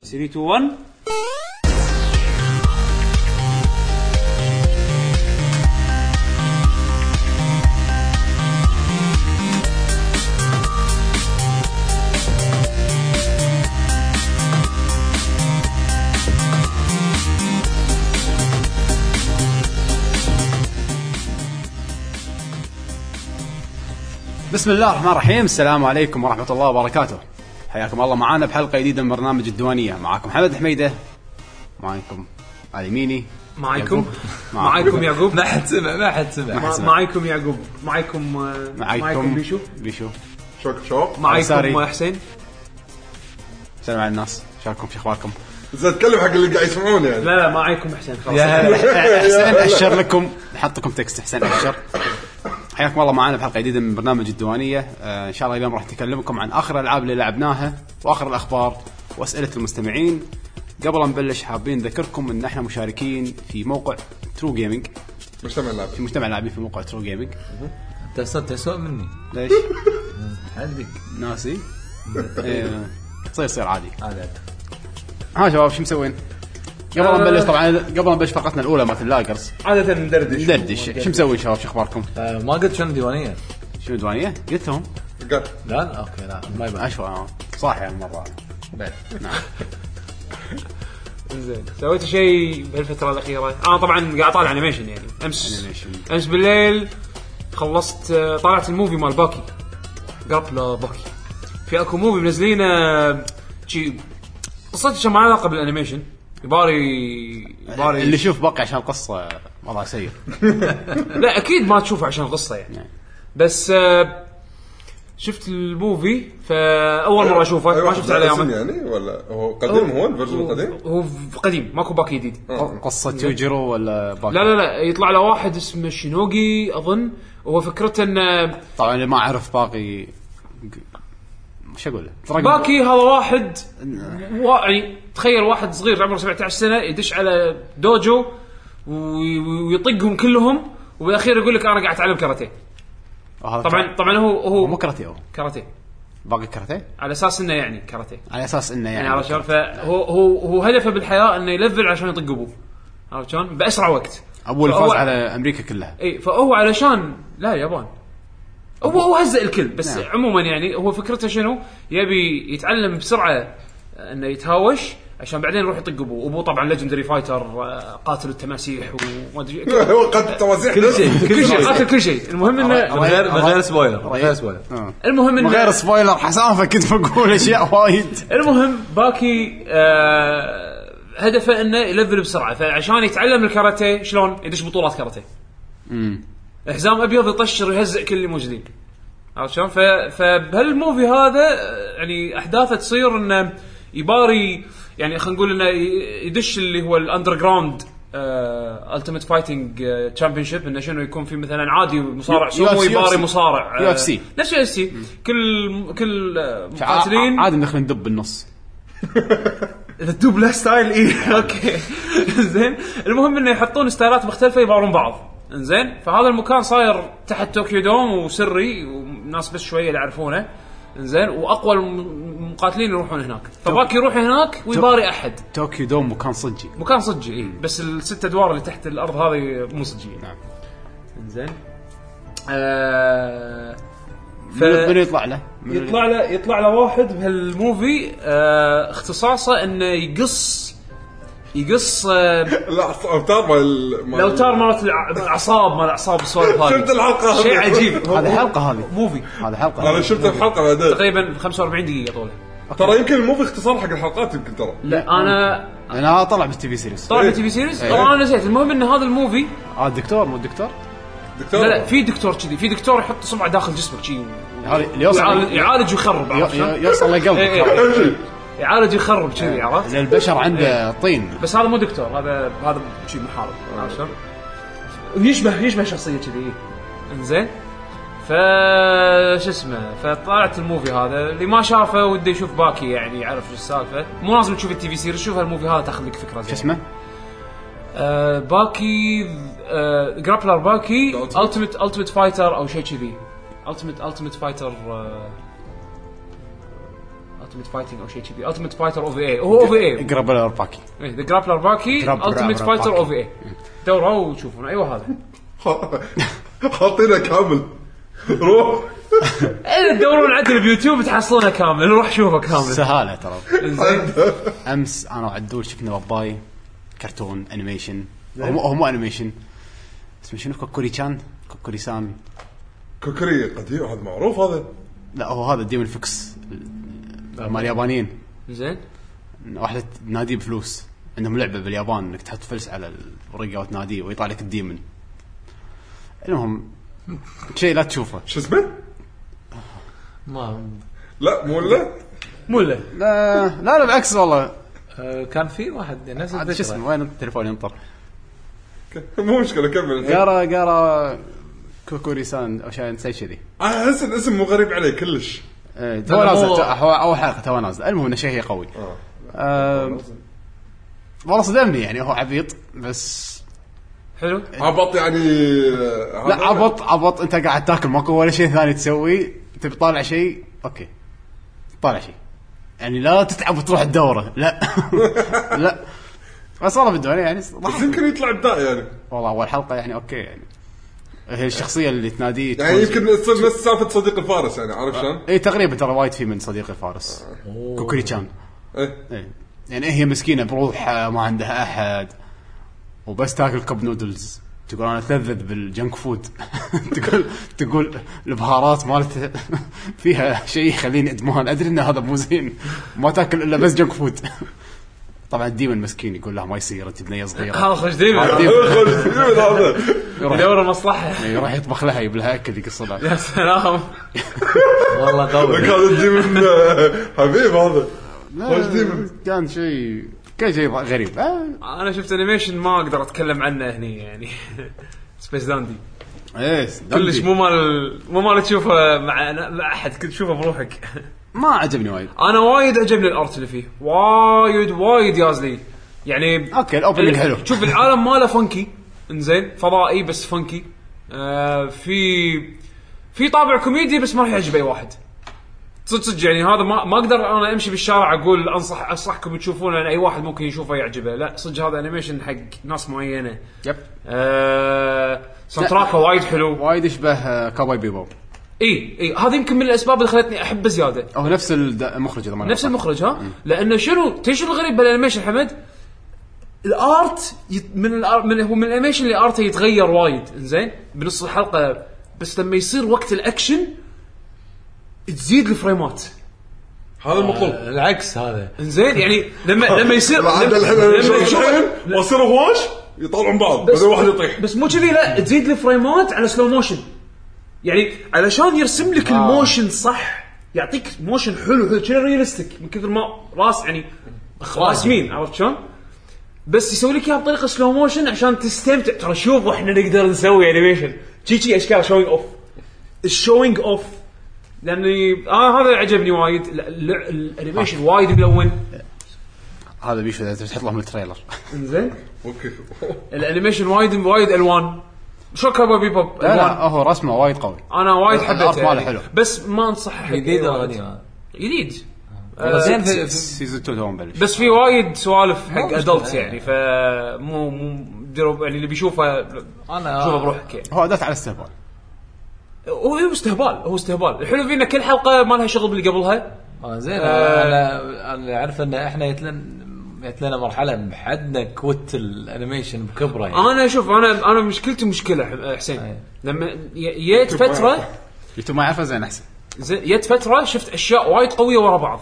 3 2 1 بسم الله الرحمن الرحيم السلام عليكم ورحمة الله وبركاته حياكم الله معانا بحلقة جديدة من برنامج الديوانية معاكم حمد حميدة معاكم على يميني معاكم يعقوب. معاكم يعقوب ما حد سمع ما حد سمع Oh, حد مع- سمع. معاكم يعقوب معاكم آه، معاكم بيشو بيشو شوك شوك معاكم ساري. حسين سلام على الناس شاركم شو اخباركم بس اتكلم حق اللي قاعد يسمعون يعني لا لا معاكم حسين خلاص حسين اشر لكم حط لكم تكست حسين اشر حياكم الله معنا بحلقه جديده من برنامج الديوانيه آه ان شاء الله اليوم راح نكلمكم عن اخر الالعاب اللي لعبناها واخر الاخبار واسئله المستمعين قبل أن نبلش حابين نذكركم ان احنا مشاركين في موقع ترو جيمنج مجتمع اللعب في مجتمع لاعبين في موقع ترو جيمنج تسوء تسوء مني ليش حد بك ناسي إيه، تصير تصير عادي هذا ها شباب شو مسوين قبل أن نبلش طبعا قبل أن نبلش فقرتنا الاولى مالت اللاجرز عادة ندردش ندردش شو مسوين شباب شو اخباركم آه، ما قلت شنو ديوانيه شنو دوانيه قلت لهم قاعد لا لا اوكي لا ما يبان اشوى آه. صاحي هالمره بعد زين سويت شيء بهالفترة الأخيرة أنا طبعا قاعد أطالع أنيميشن يعني أمس Animation. أمس بالليل خلصت آه، طالعت الموفي مال باكي قبل باكي في اكو موفي منزلينه آه، شي قصته شي ما لها علاقة بالأنيميشن يباري يباري اللي يشوف باقي عشان القصه والله سيء لا اكيد ما تشوفه عشان القصه يعني نعم. بس آه، شفت الموفي فاول مره اشوفه ما شفته على اسم يومه أيوة، يعني ولا هو قديم هو الفيرجن القديم يعني، هو ف- قديم ماكو باكي جديد قصه يوجرو ولا باقي لا لا لا يطلع له واحد اسمه شينوغي اظن هو فكرته ان آه، طبعا اللي ما عرف باقي شو اقول له؟ دراجون بول. باكي هذا واحد وا- يعني تخيل واحد صغير عمره 17 سنه يدش على دوجو وي- ويطقهم كلهم وبالاخير يقول لك انا قاعد اتعلم كاراتيه وهذا طبعا طبعا هو هو آه، مو هو كاراتيه هو كاراتيه باقي كاراتيه على اساس انه يعني كاراتيه على اساس انه يعني يعني عرفت شلون؟ فهو هو هو هدفه بالحياه انه يلفل عشان يطق ابوه عرفت شلون؟ باسرع وقت اول فاز فهو- على امريكا كلها اي فهو علشان لا يابان هو هو هزق الكل بس نعم. نعم. عموما يعني هو فكرته شنو؟ يبي يتعلم بسرعه انه يتهاوش عشان بعدين يروح يطق ابوه، ابوه طبعا ليجندري فايتر قاتل التماسيح وما ادري هو قد التوازيح كل شيء كل كل شيء شيء قاتل كل شيء، المهم من انه غير من غير سبويلر من غير سبويلر آه. المهم من غير انه سبويلر حسافه كنت بقول اشياء وايد المهم باكي آه هدفه انه يلفل بسرعه فعشان يتعلم الكاراتيه شلون يدش بطولات كاراتيه حزام ابيض يطشر ويهزئ كل اللي موجودين عرفت شلون؟ ف- فبهالموفي هذا آه، يعني احداثه تصير انه يباري يعني خلينا نقول انه ي- يدش اللي هو آه، الاندر جراوند التيمت فايتنج تشامبيون شيب انه آه، شنو يكون في مثلا عادي مصارع يو- سومو UFC. يباري مصارع آه، UFC. نفس يو اف سي كل كل آه، مقاتلين ع- عادي ندخل ندب بالنص اذا تدوب له ستايل اي اوكي زين المهم انه يحطون ستايلات مختلفه يبارون بعض زين فهذا المكان صاير تحت طوكيو دوم وسري وناس بس شويه اللي يعرفونه زين واقوى الم- المقاتلين يروحون هناك فباكي يروح هناك ويباري احد طوكيو دوم مكان صجي مكان صجي اي بس الست ادوار اللي تحت الارض هذه مو صجيه نعم. زين آه ف... من من يطلع له؟ من- يطلع له يطلع له واحد بهالموفي آه اختصاصه انه يقص يقص آه الاوتار مال مال- الاوتار مالت الع- الاعصاب مال الاعصاب السوالف هذه شفت الحلقة هذه؟ شيء عجيب هذه حلقه هذه موفي هذه حلقه انا هذه. شفت الحلقه بعدين تقريبا 45 دقيقه طوله ترى يمكن مو في اختصار حق الحلقات يمكن ترى لا انا انا طلع بالتي في سيريس طلع بالتي في سيريز إيه. طبعا انا نسيت المهم ان هذا الموفي اه الدكتور مو الدكتور؟ دكتور لا لا في دكتور كذي في دكتور يحط صبعه داخل جسمك كذي هذا اللي يوصل يعالج ويخرب ي- عرفت شلون؟ ي- يوصل إيه، لقلبك إيه. هذا. يعالج ويخرب كذي عرفت؟ لأن البشر إيه. عنده طين بس هذا مو دكتور هذا هذا شي محارب عرفت شلون؟ يشبه يشبه شخصيه كذي انزين ف شو اسمه فطلعت الموفي هذا اللي ما شافه وده يشوف باكي يعني يعرف شو السالفه مو لازم تشوف التي في سيريز شوف الموفي هذا تاخذ لك فكره شو زين اسمه؟ آه باكي آه جرابلر باكي The Ultimate. التيمت التيمت آه، فايتر او شيء كذي التيمت التيمت فايتر التيمت فايتنج او شيء كذي التيمت فايتر او في اي هو او في اي جرابلر باكي ذا جرابلر باكي Grappler التيمت باكي. فايتر او في اي دوروا وشوفون ايوه هذا حاطينه كامل روح إيه، تدورون عدل بيوتيوب تحصلونه كامل روح شوفه كامل سهاله ترى زين امس انا وعدول شفنا باباي كرتون انيميشن هو مو- هو مو انيميشن اسمه شنو كوكوري كان كوكوري سان كوكري قديم هذا معروف هذا لا هو هذا ديمون فيكس مال اليابانيين زين واحد نادي بفلوس عندهم لعبه باليابان انك تحط فلس على الورقه وتناديه ويطلع لك الديمن المهم شيء لا تشوفه شو اسمه؟ ما لا مو لا مو له لا لا, لا بالعكس والله آه، كان في واحد نفس عاد شو اسمه الفكره وين التليفون ينطر مو مشكله كمل قرا قرا كوكوريسان او شيء نسي كذي احس الاسم مو غريب عليه كلش إيه، تو نازل تو- هو اول حلقه تو نازل المهم انه شيء قوي آه. آم، والله صدمني يعني هو عبيط بس حلو عبط يعني آه، لا عبط عبط انت قاعد تاكل ماكو ولا شيء ثاني تسوي تبي تطالع شيء اوكي طالع شيء يعني لا تتعب وتروح الدوره لا لا بس والله بالدنيا يعني بس ضحك. يمكن يطلع ابداع يعني والله اول حلقه يعني اوكي يعني هي الشخصيه اللي تناديه يعني يمكن تصير نفس سالفه صديق الفارس يعني عارف شلون؟ اي تقريبا إيه، ترى وايد في من صديقي فارس كوكري كان إيه. إيه. يعني هي مسكينه بروحها ما عندها احد وبس تاكل كب نودلز تقول انا اتلذذ بالجنك فود تقول تقول البهارات مالت فيها شيء يخليني ادمان ادري ان هذا مو زين ما تاكل الا بس جنك فود طبعا الديمن مسكين يقول لها ما يصير انت بنيه صغيره خلاص خش ديمن الديمن خلص، إيه هذا يروح, دور المصلحه يروح إيه، يطبخ لها يجيب لها اكل يقصلها يا سلام والله قوي كان الديمن آه، حبيب هذا وش ديمن؟ كان شيء كان شيء غريب آه، انا شفت انيميشن ما اقدر اتكلم عنه هني يعني سبيس داندي ايه كلش مو مال مو مال تشوفه مع مع احد كنت تشوفه بروحك ما عجبني وايد انا وايد عجبني الارت اللي فيه وايد وايد يازلي يعني اوكي الاوبننج حلو شوف العالم ماله فنكي انزين فضائي بس فنكي آه في في طابع كوميدي بس ما راح يعجب اي واحد صدق صدق يعني هذا ما ما اقدر انا امشي بالشارع اقول انصح انصحكم تشوفونه لان اي واحد ممكن يشوفه يعجبه لا صدق هذا انيميشن حق ناس معينه يب آه ساوند تراكه وايد حلو وايد يشبه آه، كاوبوي بيبوب اي اي هذه يمكن من الاسباب اللي خلتني احبه زياده هو نفس الد- المخرج اذا ما أنا نفس غلطان. المخرج ها لانه شنو تدري شنو الغريب بالانيميشن حمد الارت يت- من الار... من هو من الانيميشن اللي ارته يتغير وايد زين بنص الحلقه بس لما يصير وقت الاكشن تزيد الفريمات هذا المطلوب العكس هذا زين يعني لما لما يصير عاد لما- الحين لما الحين يشوف- الحين واصير هواش يطالعون بعض بعدين واحد يطيح بس مو كذي لا تزيد الفريمات على سلو موشن يعني علشان يرسم آه. لك الموشن صح يعطيك موشن حلو حلو كذا ريالستيك من كثر ما راس يعني راسمين عرفت شلون؟ بس يسوي لك اياها بطريقه سلو موشن عشان تستمتع ترى شوف احنا نقدر نسوي انيميشن شي شي اشكال شوينج اوف الشوينج اوف لاني آه هذا عجبني وايد ال- ال- الانيميشن وايد ملون هذا بيشو إذا تبي تحط لهم التريلر زين اوكي الانيميشن وايد وايد الوان شو كابا بيبوب لا الوان لا هو رسمه وايد قوي انا وايد الأرت حبيته ماله يعني. حلو. بس ما انصح حق جديد أي ولا إيه، واحد. قديم هذا؟ جديد آه، والله زين في- في- سيزون 2 تو مبلش بس في وايد سوالف حق مشكلة ادلتس يعني يعني. فمو مو ديروا- يعني اللي بيشوفه انا شوفه بروحك يعني هو اداه على استهبال هو هو استهبال هو استهبال الحلو فيه ان كل حلقه ما لها شغل باللي قبلها آه، زين آه. انا انا اعرف ان احنا يتلن يتلنا مرحله بحدنا كوت الانيميشن بكبره يعني انا شوف انا انا مشكلتي مشكله ح- أي. حسين لما ي- يت فتره يوتيوب ما يعرفه زين احسن زين جت فتره شفت اشياء وايد قويه ورا بعض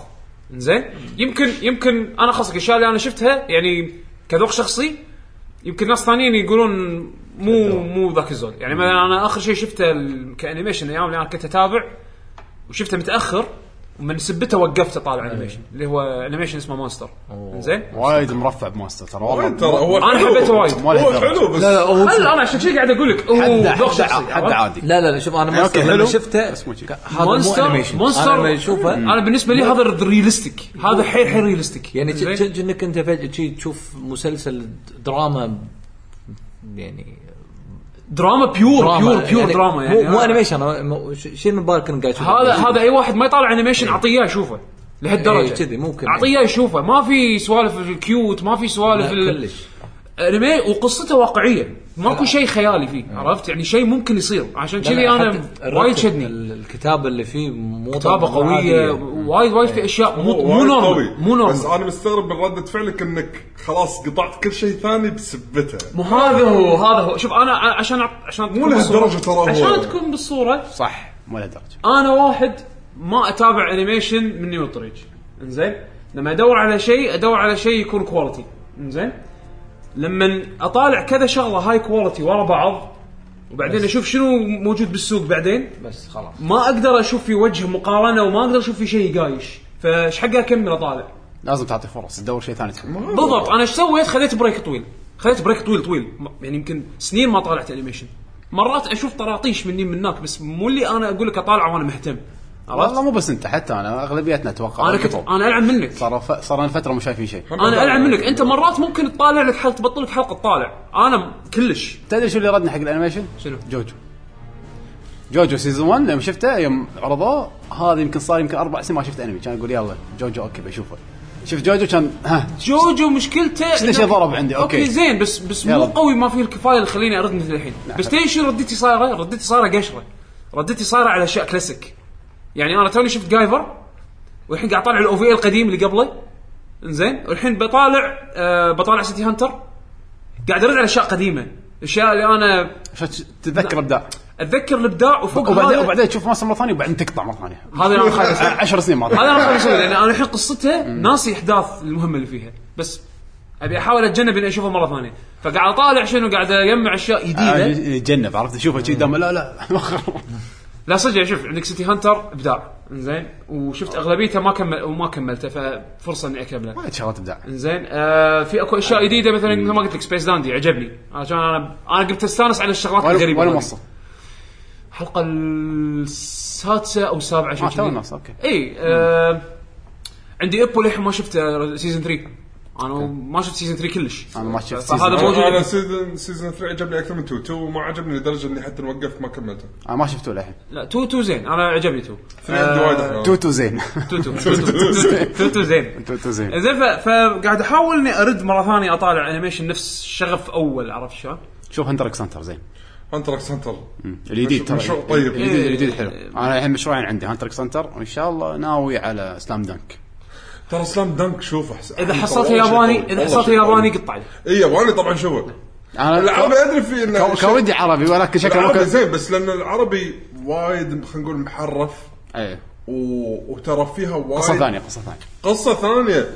زين يمكن يمكن انا خاصك الاشياء اللي انا شفتها يعني كذوق شخصي يمكن ناس ثانيين يقولون مو مو ذاك الزود يعني مثلا انا اخر شيء شفته ال- كانيميشن ايام اللي انا كنت اتابع وشفته متاخر ومن سبته وقفت اطالع انيميشن اللي هو انيميشن اسمه مونستر زين وايد مرفع بماستر ترى وايد والله ترى هو أنا حلو. حبيته وايد. مو له هو درجة. حلو بس لا لا هو هل انا عشان كذي قاعد اقول لك هو حد ذوق حد شخصي حد عرفت؟ عادي لا لا لا شوف انا أوكي، مونستر حلو. لما شفته بس مو شي. هذا مو مونستر انيميشن مونستر انا لما اشوفه انا بالنسبه لي هذا الريالستيك هذا حيل حيل ريالستيك يعني ج- زين؟ ج- جنك انت فجاه شي تشوف مسلسل دراما يعني دراما بيور بيور بيور يعني دراما يعني مو, مو انيميشن أنا- مو- ش- شيل من بالك انك قاعد تشوفه. هذا هذا اي واحد ما يطالع انيميشن اعطيه اياه شوفه لهالدرجه إيه، كذي ممكن. اعطيه يشوفه ما في سوالف الكيوت ما في سوالف لا، ال- كلش. انمي وقصته واقعيه ماكو شيء خيالي فيه إيه. عرفت يعني شيء ممكن يصير عشان كذي انا وايد شدني الكتابه اللي فيه مو كتابه مو قويه عادية. وايد وايد إيه. في اشياء مو مو وايد قوي. نورمال مو بس نورمال انا مستغرب من رده فعلك انك خلاص قطعت كل شيء ثاني بسبتها مو هذا هو هذا هو شوف انا ع- عشان أع- عشان تكون لهالدرجة بالصورة- ترى هو. عشان تكون بالصوره صح مو لهالدرجه انا واحد ما اتابع انيميشن من نيو طريج انزين لما ادور على شيء ادور على شيء يكون كواليتي انزين لما اطالع كذا شغله هاي كواليتي ورا بعض وبعدين اشوف شنو موجود بالسوق بعدين بس خلاص ما اقدر اشوف في وجه مقارنه وما اقدر اشوف في شيء قايش فايش حق اكمل اطالع لازم تعطي فرص تدور شيء ثاني تحبه بالضبط انا ايش سويت خذيت بريك طويل خذيت بريك طويل طويل م- يعني يمكن سنين ما طالعت انيميشن مرات اشوف طراطيش مني من هناك بس مو اللي انا اقول لك اطالعه وانا مهتم عرفت والله مو بس انت حتى انا اغلبيتنا اتوقع انا كنت انا العب منك صار ف... صار لنا فتره مو شايفين شيء انا العب منك انت مرات ممكن تطالع لك حلقه تبطل لك حلقه تطالع انا م- كلش تدري شو اللي ردنا حق الانيميشن؟ شنو؟ جوجو جوجو سيزون 1 يوم شفته يوم عرضوه هذا يمكن صار يمكن اربع سنين ما شفت انمي كان اقول يلا جوجو اوكي بشوفه شفت جوجو كان ها جوجو مشكلته ليش إنه- ضرب عندي؟ أوكي. اوكي زين بس بس مو يلا. قوي ما فيه الكفايه اللي خليني ارد مثل الحين بس تدري شنو ردتي صايره؟ ردتي صايره قشره ردتي صايره على اشياء كلاسيك يعني انا توني شفت جايفر والحين قاعد اطالع الاو في القديم اللي قبله انزين والحين بطالع آه بطالع سيتي هانتر قاعد ارد على اشياء قديمه الاشياء اللي انا شفت تتذكر ابداع اتذكر الابداع وفوق وبعدين هذا- وبعدين تشوف ماسه مره ثانيه وبعدين تقطع مره ثانيه هذا انا خايف أسويه. 10 سنين ما هذا انا خايف اسوي لان انا الحين قصته ناسي احداث المهمه اللي فيها بس ابي احاول اتجنب اني اشوفه مره ثانيه فقاعد اطالع شنو قاعد اجمع اشياء آه، جديده يتجنب عرفت اشوفه كذي دام لا لا مخر. لا صدق يعني شوف عندك سيتي هانتر ابداع زين وشفت اغلبيته ما كمل وما كملته ففرصه اني اكمله وايد شغلات ابداع زين آه في اكو اشياء جديده مثلا مثل ما قلت لك سبيس داندي عجبني عشان انا انا قمت استانس على الشغلات ولا الغريبه ولا هذه. موصل الحلقه السادسه او السابعه شيء اه تو كذي. الناس اوكي اي آه عندي ابو للحين ما شفته سيزون 3 انا ما شفت سيزون 3 كلش انا ما شفت فهذا سيزون. موجود. انا سيزون سيزون 3 عجبني اكثر من 2 2 ما عجبني لدرجه اني حتى وقفت ما كملته انا آه، ما شفته للحين لا تو تو زين انا عجبني تو 3 آه، عندي وايد أحلى. توتو زين تو تو تو- تو- تو تو زين توتو زين زين ف- فقاعد احاول اني ارد مره ثانيه اطالع انيميشن نفس شغف اول عرفت شلون؟ شوف هنتر اكس هنتر زين هانتر اكس هانتر الجديد مش- ترى مشروع طيب. الجديد إيه. الجديد حلو انا الحين مشروعين عندي هانتر اكس هانتر وان شاء الله ناوي على سلام دانك ترى سلام دنك شوف أحس- اذا أحس حصلته والله شيء ياباني قوي. اذا والله حصلته شيء قوي. ياباني قطع لي اي ياباني طبعا شوفه العربي انا ادري في انه كو- شيء- كودي عربي ولكن شكله العربي ممكن زين بس لان العربي وايد خلينا نقول محرف ايه و... وترى فيها وايد قصه ثانيه قصه ثانيه قصه ثانيه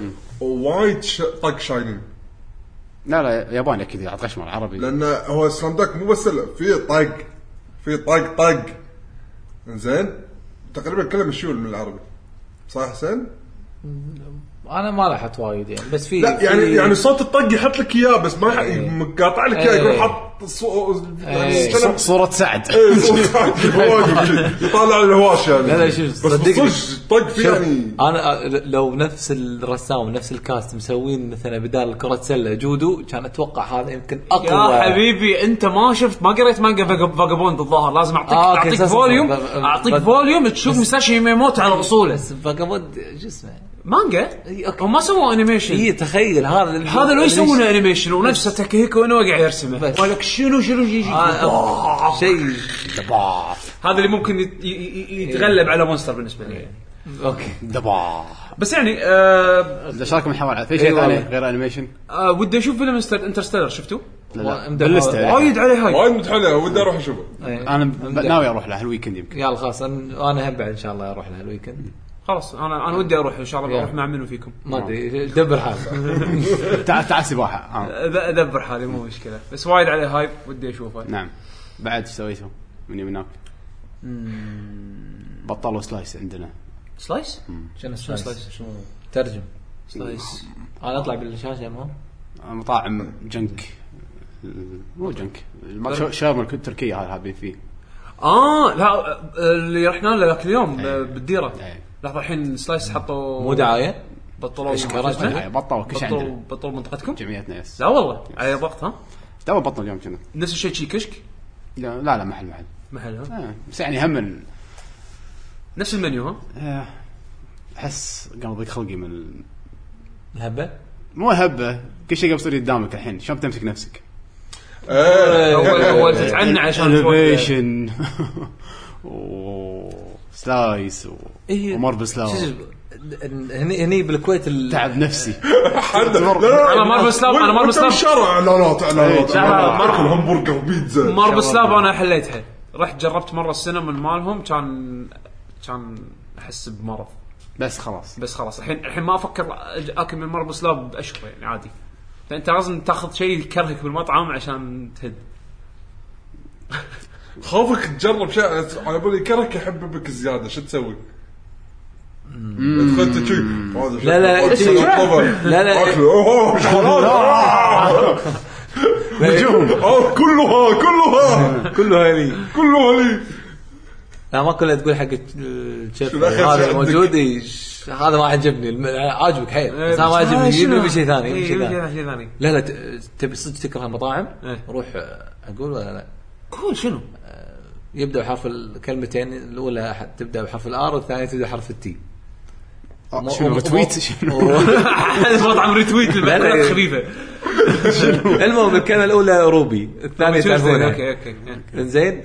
وايد ش... طق شاينين لا لا ياباني اكيد قاعد غشمر عربي لان هو سلام دانك مو بس لا، في طق في طق طق زين تقريبا كله مشيول من العربي صح حسين؟ انا ما لاحظت وايد يعني بس في لا في- يعني يعني صوت الطق يحط لك اياه بس ما يح- إيه. قاطع لك اياه يكون إيه. حط صو... يعني إيه. كلام- ص- صوره سعد إيه، صوت واقف كذي، يطالع الهواش يعني لا، لا، شوف، بس صدقني. بالصج طق فيه شوف، يعني انا لو نفس الرسام ونفس الكاست مسوين مثلا بدال كرة سلة جودو كان اتوقع هذا يمكن اقوى يا حبيبي انت ما شفت ما قريت مانجا فاجا- فاجابوند الظاهر لازم اعطيك آه، أوكي، اعطيك أساساً. فوليوم ب- ب- اعطيك بس- فوليوم تشوف مساشي ميموت على اصوله بس فاجابود شو اسمه مانجا إي، أوكي. هم ما سووا انيميشن اي إيه، تخيل هذا هذا لو يسوون انيميشن ونفسه تاكيهيكو انه قاعد يرسمه بس. ولك شنو شنو شي- شي- آه، شيء دباف هذا اللي ممكن يت- ي- ي- يتغلب على مونستر بالنسبه لي اوكي دباف إيه. بس يعني آه، اذا شارك محاور على في إيه شيء ثاني والله. غير انيميشن آه، ودي اشوف فيلم انترستيلر شفتوه؟ لا لا مدح- باللسته آه. وايد عليه هاي وايد متحلى ودي اروح اشوفه إيه. انا ب- ناوي اروح له الويكند يمكن يلا خلاص انا أنا هم بعد ان شاء الله اروح لها الويكند خلاص انا انا ودي اروح ان شاء الله بروح مع منو فيكم ما ادري دبر حالك تعال تعال سباحه آه. أذ- ادبر حالي مو مشكله بس وايد عليه هايب ودي اشوفه نعم بعد ايش سويته من هناك بطلوا سلايس عندنا سلايس؟ شنو سلايس؟ سلايس ترجم سلايس انا اطلع بالشاشه ما مطاعم جنك مو جنك الم- شا- شاورما الك- التركيه هاي هابين فيه اه لا آه، اللي رحنا له ذاك اليوم آه، بالديره إيه. لحظه الحين سلايس حطوا مو دعايه بطلوا إيش كرهت منطقتنا؟ هاي بطلوا كل شيء بطلوا عندنا بطلوا منطقتكم؟ جمعيتنا يس لا والله على ضغط ها تو بطل اليوم كنا نفس الشيء شي كشك لا لا, لا محل محل محل ها آه. بس يعني هم ال- نفس المنيو ها آه. احس قام يضيق خلقي من ال- الهبه مو هبه كل شيء قام يصير قدامك الحين شلون بتمسك نفسك؟ إيه. اول اول تتعنى عشان توقف. الفيشن وسلايس و... إيه. ومربل سلايس شو- هني هني بالكويت ال- تعب نفسي حد لا، لا، لا. أنا مارفل سلاب، أنا وأنت مارفل سلاب. بالشارع اعلانات إيه، اعلانات لا، لا، اكل همبرجر وبيتزا ماربل سلاب انا حليتها رحت جربت مره السينما مالهم كان كان احس بمرض بس خلاص بس خلاص الحين الحين ما افكر أج- اكل من ماربل سلاب اشهر يعني عادي فانت لازم تاخذ شيء يكرهك بالمطعم عشان تهد خوفك تجرب شيء على بالي كرك يحببك زياده شو تسوي؟ دخلت شي هذا شو- لا، لا، أكل شي- طبعاً. لا، لا. اكل اوه شغلات آه. آه، كلها كلها كله هني كلها لي لا ما كله تقول حق الشيف شو الأخير شو هذا عندك؟ موجود إيش- هذا ما عجبني الم- عاجبك حيل إيه، بس انا ما عجبني آه، يجيب شنو؟ لي شيء ثاني يجيب لي إيه، يجيب شيء ثاني لي شيء ثاني لا لا ت- تبي صدق تكره المطاعم إيه. روح آه، اقول ولا لا قول شنو؟ يبدا بحرف الكلمتين الاولى ح- تبدا بحرف الار والثانيه تبدا بحرف التي آه، شنو ريتويت شنو المطعم ريتويت المقالات خفيفه المهم الكلمه الاولى روبي الثانيه اوكي تعرفونها اوكي إيه. زين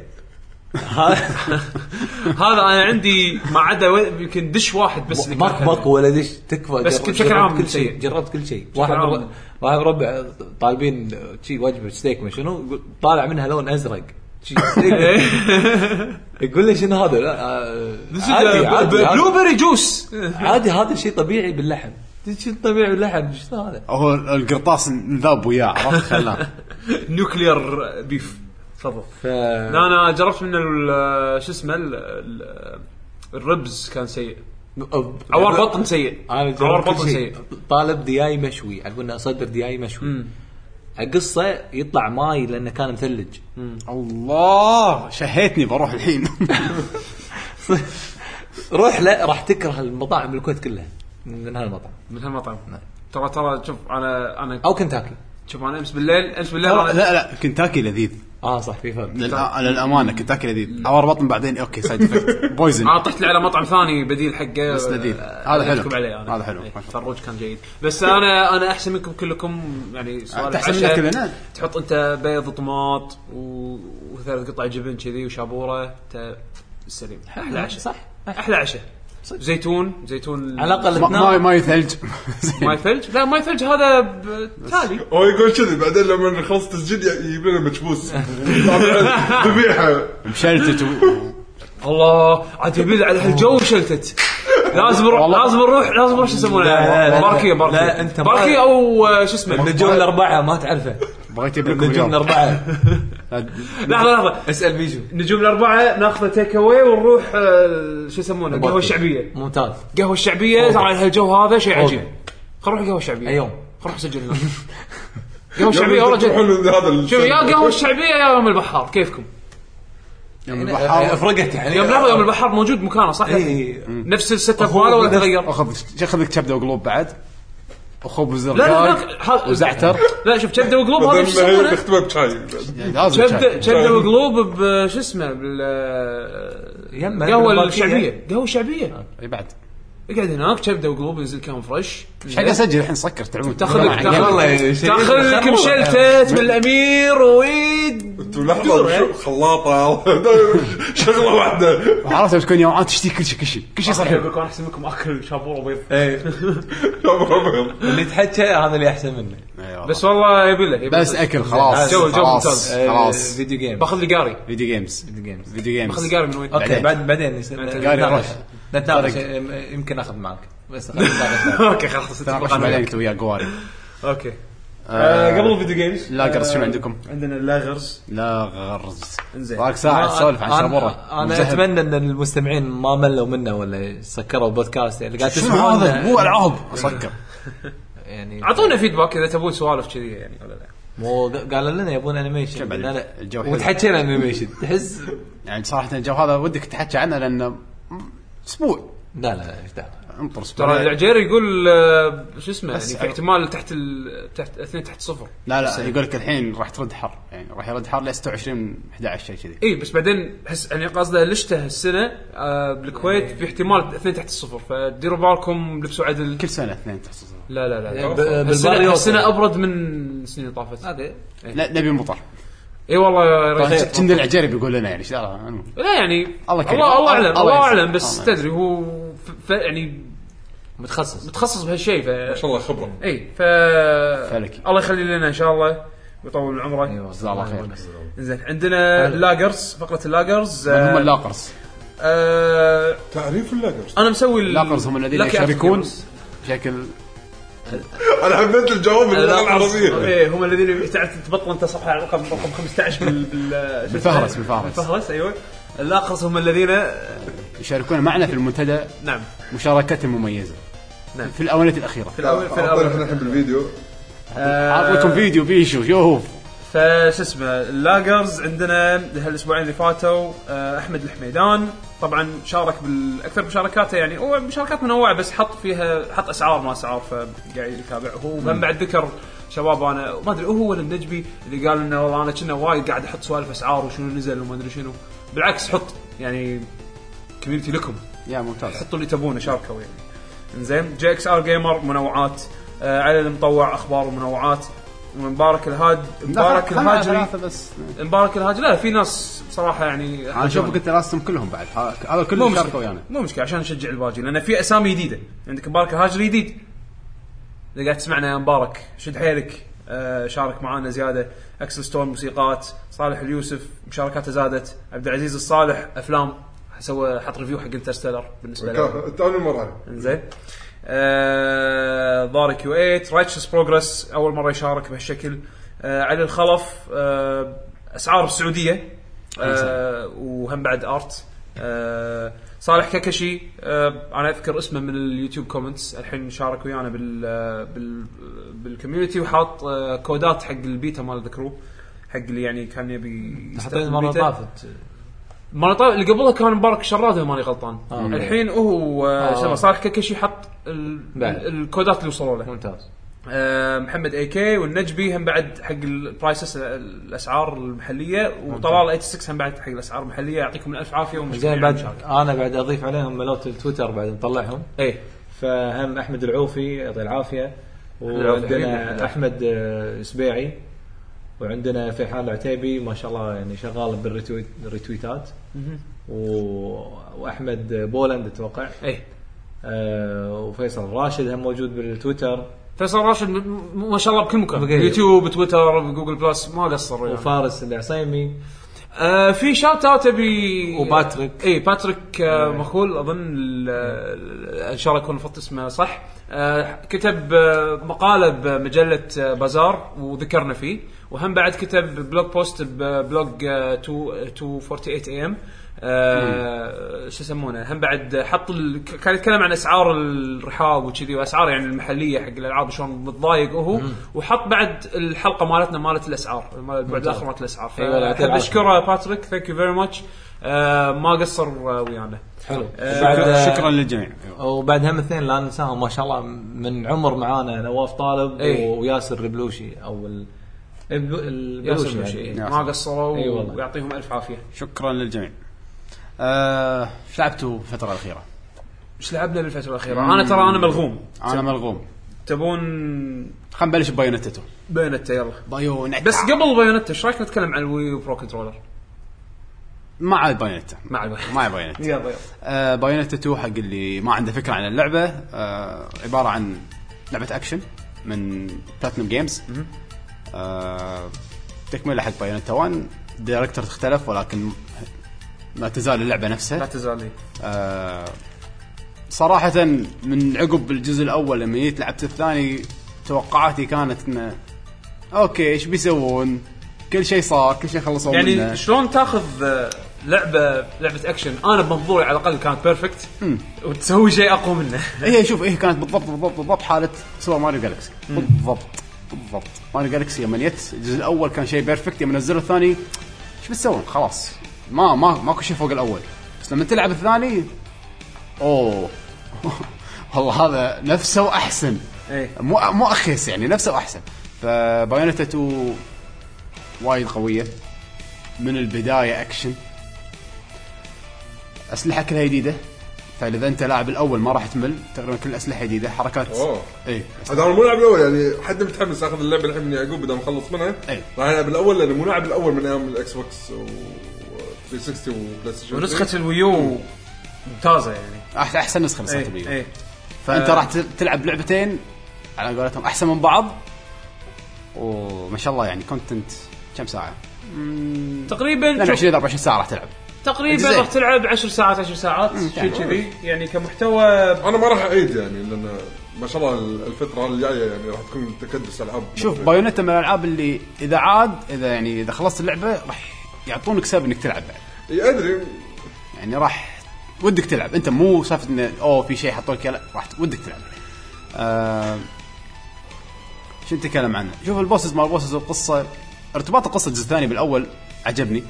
هذا انا عندي ما عدا و- يمكن دش واحد بس اللي ماك كان ماك ولا ديش تكفى بس جرب- بشكل جربت عام كل شيء سيء. جربت كل شيء واحد عام. مر- واحد ربع آه، طالبين شي وجبه ستيك ما شنو يقول- طالع منها لون ازرق شي ستيك. يقول لي شنو هذا لا، آه، عادي عادي بلو عادي. بيري جوس عادي هذا شيء طبيعي باللحم شيء طبيعي باللحم شنو هذا هو القرطاس انذاب وياه عرفت خلاه نوكلير بيف تفضل ف لا انا جربت من ال- شو اسمه ال- ال- الربز كان سيء أب- عوار بطن سيء انا عوار جربت بطن كل شيء سيء طالب دياي مشوي عقبنا اصدر دياي مشوي مم. اقصه يطلع ماي لانه كان مثلج الله شهيتني بروح الحين روح لا راح تكره المطاعم بالكويت كلها من هالمطعم من هالمطعم نعم. ترى ترى شوف انا انا او كنتاكي شوف انا امس بالليل امس بالليل لا انا لا لا كنتاكي لذيذ اه صح في فرق للأ- للامانه كنتاكي لذيذ عور بطن بعدين اوكي سايد افكت بويزن انا طحت لي على مطعم ثاني بديل حقه بس لذيذ. آه، هذا حلو. أحكم عليه انا هذا حلو. إيه، ما شاء الله. فروج كان جيد بس انا انا احسن منكم كلكم يعني سؤال أنت أحسن العشاء، منا كلنا. تحط انت بيض وطماط و... وثلاث قطع جبن كذي وشابوره انت السليم احلى عشاء صح احلى طيب. عشاء صدق. زيتون زيتون على الاقل ما- ماي اثنان ماي ثلج ماي ثلج لا ماي ثلج هذا ب- تالي هو يقول كذي بعدين لما نخلص تسجيل يجيب لنا مكبوس ذبيحه مشلتت و- الله عاد يبي على هالجو شلتت لازم نروح والله. لازم نروح لازم نروح شو يسمونه لا، لا، لا، باركيه لا، باركيه أنت ما- باركيه او آه، شو اسمه النجوم الاربعه ما تعرفه بغيت اجيب لكم النجوم اليوم. الاربعه لحظه لحظه اسال بيجو نجوم الاربعه ناخذه تيك اواي ونروح آه، شو يسمونه القهوه الشعبيه ممتاز القهوه الشعبيه ترى هالجو هذا شيء عجيب خلينا نروح قهوه شعبيه أي يوم؟ خلينا نروح نسجل هناك قهوه شعبيه يا رجل شوف يا قهوه الشعبيه يا يوم البحار كيفكم يوم إيه، آه، البحر افرقت يعني يوم لحظه يوم البحار موجود مكانه صح؟ إيه. نفس السيت اب ماله ولا تغير؟ اخذ اخذ لك كبده وقلوب بعد وخبز إيه. لا لا زرقاء هناك- ها- وزعتر لا شوف كبده وقلوب هذا شو بدل يسمونه؟ نختمها بشاي لازم كبده شاي. كبده وقلوب بشو اسمه بال يمه آه. قهوه بالباركية. الشعبيه قهوه شعبيه اي إيه، بعد اقعد هناك كبده وقلوب ينزل كان فريش ايش حق اسجل الحين سكر تعبون تاخذ لك والله تاخذ شيء- تاخذ لك خروف. مشلتت من الامير وايد لحظه شو- خلاطه شغله واحده عرفت بتكون يومات تشتي كل شيء كل شيء كل شيء صار حلو انا احسن منكم اكل شابوره بيض إيه. اللي تحكى هذا اللي احسن منه أيوة. بس والله يبي له يبي بس له. اكل خلاص جو- جو خلاص ممتاز. آه، خلاص فيديو جيم باخذ لي قاري فيديو جيمز فيديو جيمز فيديو جيمز باخذ لي قاري من وين؟ اوكي بعدين. بعد بعدين يصير- قاري نتناقش. روح. نتناقش طارق. يم- يمكن اخذ معك بس خلينا نتناقش. اوكي خلاص تناقش أنا بعدين وياك. انت ويا جواري اوكي آه، آه، قبل الفيديو جيمز لاغرز آه، شنو عندكم؟ عندنا اللاغرز لا غرز انزين. راك ساعه أنا- تسولف عن أنا- شابوره انا مزهد. اتمنى ان المستمعين ما ملوا منا ولا سكروا البودكاست يعني قاعد شنو تسمعون هذا مو العاب اسكر يعني اعطونا فيدباك اذا تبون سوالف كذي يعني ولا لا مو قالوا لنا يبون انيميشن بعد لا لا الجو حلو. وتحكينا انيميشن تحس يعني صراحه الجو هذا ودك تحكي عنه لانه اسبوع لا لا ايش دعوه انطر ترى اسبوعين العجير يقول آه، شو اسمه يعني يعني- بس في أنا- احتمال تحت ال... تحت اثنين تحت صفر لا لا يقول لك الحين راح ترد حر يعني راح يرد حر ل 26 11 شيء كذي اي إيه، بس بعدين حس يعني قصده لشته هالسنه آه يعني- بالكويت في احتمال اثنين تحت الصفر فديروا بالكم لبسوا عدل كل سنه اثنين تحت الصفر. لا لا يعني لا ب- بالبار هالسنه يوصل. هالسنه ابرد من السنين اللي طافت هذا لا نبي مطر اي والله يا رجل. كنا العجيري بيقول لنا يعني إيش دعوة، المهم. لا يعني طيب. الله كريم. الله الله اعلم الله الله يسلمك. اعلم بس الله تدري هو ف... ف... يعني متخصص متخصص بهالشيء ف ما شاء الله خبره اي ف فلكي. الله يخلي لنا ان شاء الله ويطول من عمره جزاه الله خير زين عندنا اللاجرز فقره اللاجرز من هم آه، اللاقرز آه، تعريف اللاجرز انا مسوي ال- اللاقرز هم الذين لاكي يشاركون أفريكانز. بشكل انا حبيت الجواب باللغه العربيه ايه هم الذين تعرف تبطل انت صفحه رقم رقم 15 بال بال- بالفهرس- بالفهرس. بالفهرس ايوه الاقرص هم الذين يشاركون معنا في المنتدى نعم مشاركتهم مميزه نعم. في الاونه الاخيره في آه، الاول في اعطينا احنا الاول الحين بالفيديو اعطيكم فيديو بيشو شوف فشو اسمه اللاجرز عندنا هالاسبوعين اللي فاتوا آه، احمد الحميدان طبعا شارك بالاكثر مشاركاته يعني هو مشاركات منوعه بس حط فيها حط اسعار ما اسعار فقاعد يتابع هو هم بعد ذكر شباب انا ما ادري هو ولا النجبي اللي قال انه والله انا كنا وايد قاعد احط سوالف اسعار وشنو نزل وما ادري شنو بالعكس حط يعني كوميونتي لكم يا ممتاز حطوا اللي تبونه شاركوا يعني انزين جي اكس ار جيمر منوعات آه علي المطوع اخبار ومنوعات مبارك الهاد مبارك الهاجري ثلاثة بس مبارك الهاجري لا في ناس بصراحه يعني انا اشوفك انت راسم كلهم بعد ها- هذا مو كلهم شاركوا يعني. مشكله ويانا مو مشكله عشان نشجع الباجي لان في اسامي جديده عندك مبارك الهاجري جديد اذا قاعد تسمعنا يا مبارك شد حيلك آه شارك معانا زياده اكسل ستون موسيقات صالح اليوسف مشاركاته زادت عبد العزيز الصالح افلام سوى حط ريفيو حق انترستيلر بالنسبه له انت اول مره انزين آه، ضاري كيو 8 رايتشس بروجرس اول مره يشارك بهالشكل آه، علي الخلف آه، اسعار السعوديه آه، وهم بعد ارت آه، صالح ككشي آه، انا اذكر اسمه من اليوتيوب كومنتس الحين شارك ويانا بال آه، بال بالكوميونتي وحاط آه، كودات حق البيتا مال ذا كرو حق اللي يعني كان يبي يستخدم حطيت مره البيتا. طافت ماني طيب اللي قبلها كان مبارك الشراد إذا ماني غلطان آه. الحين هو آه، شو اسمه صالح ككشي حط ال- بعد. ال- الكودات اللي وصلوا له ممتاز آه، محمد اي كي والنجبي هم بعد حق البرايسس الاسعار المحليه وطلال 86 هم بعد حق الاسعار المحليه يعطيكم الف عافيه ومشكور زين بعد على المشاركة. انا بعد اضيف عليهم ملوت التويتر بعد نطلعهم إيه، اي فهم احمد العوفي يعطيه العافيه العوفي حبيبنا، وعندنا احمد آه، سبيعي وعندنا فيحان العتيبي ما شاء الله يعني شغال بالريتويت الريتويتات و... واحمد بولند اتوقع اي آه، وفيصل راشد هم موجود بالتويتر فيصل راشد م- م- ما شاء الله بكل مكان بقية. يوتيوب تويتر جوجل بلس ما قصر يعني. وفارس العصيمي آه في شاوت اوت ابي وباتريك. اي باتريك آه مخول اظن ال- ال- ان شاء الله اكون نفضت اسمه صح آه كتب آه مقاله بمجله آه بازار وذكرنا فيه وهم بعد كتب بلوج بوست ببلوج آه 248 اي ام آه، شو يسمونه هم بعد حط ال... ك- كان يتكلم عن اسعار الرحاب وكذي واسعار يعني المحليه حق الالعاب شلون متضايق هو وحط بعد الحلقه مالتنا مالت الاسعار مال البعد الاخر مالت الاسعار أي والله، يعطيه احب العافية. اشكره باتريك ثانك يو فيري ماتش ما قصر آه، ويانا حلو شكرا- شكرا للجميع آه، وبعد هم اثنين لا ننساهم ما شاء الله من عمر معانا نواف طالب إيه. وياسر البلوشي او ال... الب- ياسر البلوشي بوشي، يعني. إيه. نعم. ما قصروا أي والله. ويعطيهم الف عافيه شكرا للجميع آه، ايش لعبتوا الفتره الاخيره؟ ايش لعبنا بالفتره الاخيره انا ترى انا ملغوم انا ملغوم تبون خلينا نبلش ببايونتتو بايونتا يلا بايونتا بس قبل بايونتا ايش رايك نتكلم عن الوي وبرو كنترولر ما عاد بايونتا مع الوي ما عاد بايونتا يلا يلا آه، بايونيتا 2 حق اللي ما عنده فكره عن اللعبه آه، عباره عن لعبه اكشن من بلاتنم جيمز آه، تكمله حق بايونيتا 1 دايركتور اختلف ولكن ما تزال اللعبه لا نفسها تزعل لي آه، صراحه من عقب الجزء الاول لما جيت لعبت الثاني توقعاتي كانت انه اوكي ايش بيسوون؟ كل شيء صار كل شيء خلصوا منه. يعني شلون تاخذ آه، لعبه لعبه اكشن انا بمنظوري على الاقل كانت بيرفكت وتسوي شيء اقوى منه هي إيه، شوف هي كانت بالضبط بالضبط بالضبط حاله سوبر ماريو جالكسي بالضبط بالضبط ماريو جالكسي يوم جت الجزء الاول كان شيء بيرفكت يوم نزلوا الثاني ايش بتسوون خلاص ما ما ماكو شيء فوق الاول بس لما تلعب الثاني اوه والله هذا نفسه واحسن ايه مو مو اخيس يعني نفسه واحسن فبايونيتا 2 وايد قويه من البدايه اكشن اسلحه كلها جديده فاذا انت لاعب الاول ما راح تمل تقريبا كل الاسلحه جديده حركات إيه. أوه. اي هذا انا مو لاعب الاول يعني حد متحمس اخذ اللعبه الحين من يعقوب بدل ما اخلص منها إيه. راح العب الاول لانه مو لاعب الاول من ايام الاكس بوكس و 360 وبلاي ستيشن ونسخه الويو ممتازه يعني أح- احسن نسخه من ايه ساتر بيو. ايه فانت آه. راح تل- تلعب لعبتين على قولتهم احسن من بعض وما شاء الله يعني كونتنت كم ساعه؟ تقريبا شوف، 22 إلى 24 ساعه راح تلعب تقريبا الجزئين. راح تلعب 10 ساعات 10 ساعات شيء كذي يعني كمحتوى انا ما راح اعيد يعني لان ما شاء الله الفتره الجايه يعني راح تكون تكدس العاب شوف بايونيتا من الالعاب اللي اذا عاد اذا يعني اذا خلصت اللعبه راح يعطونك سبب انك تلعب بعد إي ادري يعني راح ودك تلعب انت مو سالفه انه اوه في شيء حطوا لك إياه، لا راح ت- ودك تلعب آه شو نتكلم عنه؟ شوف البوسز مال البوسز والقصه ارتباط القصه الجزء الثاني بالاول عجبني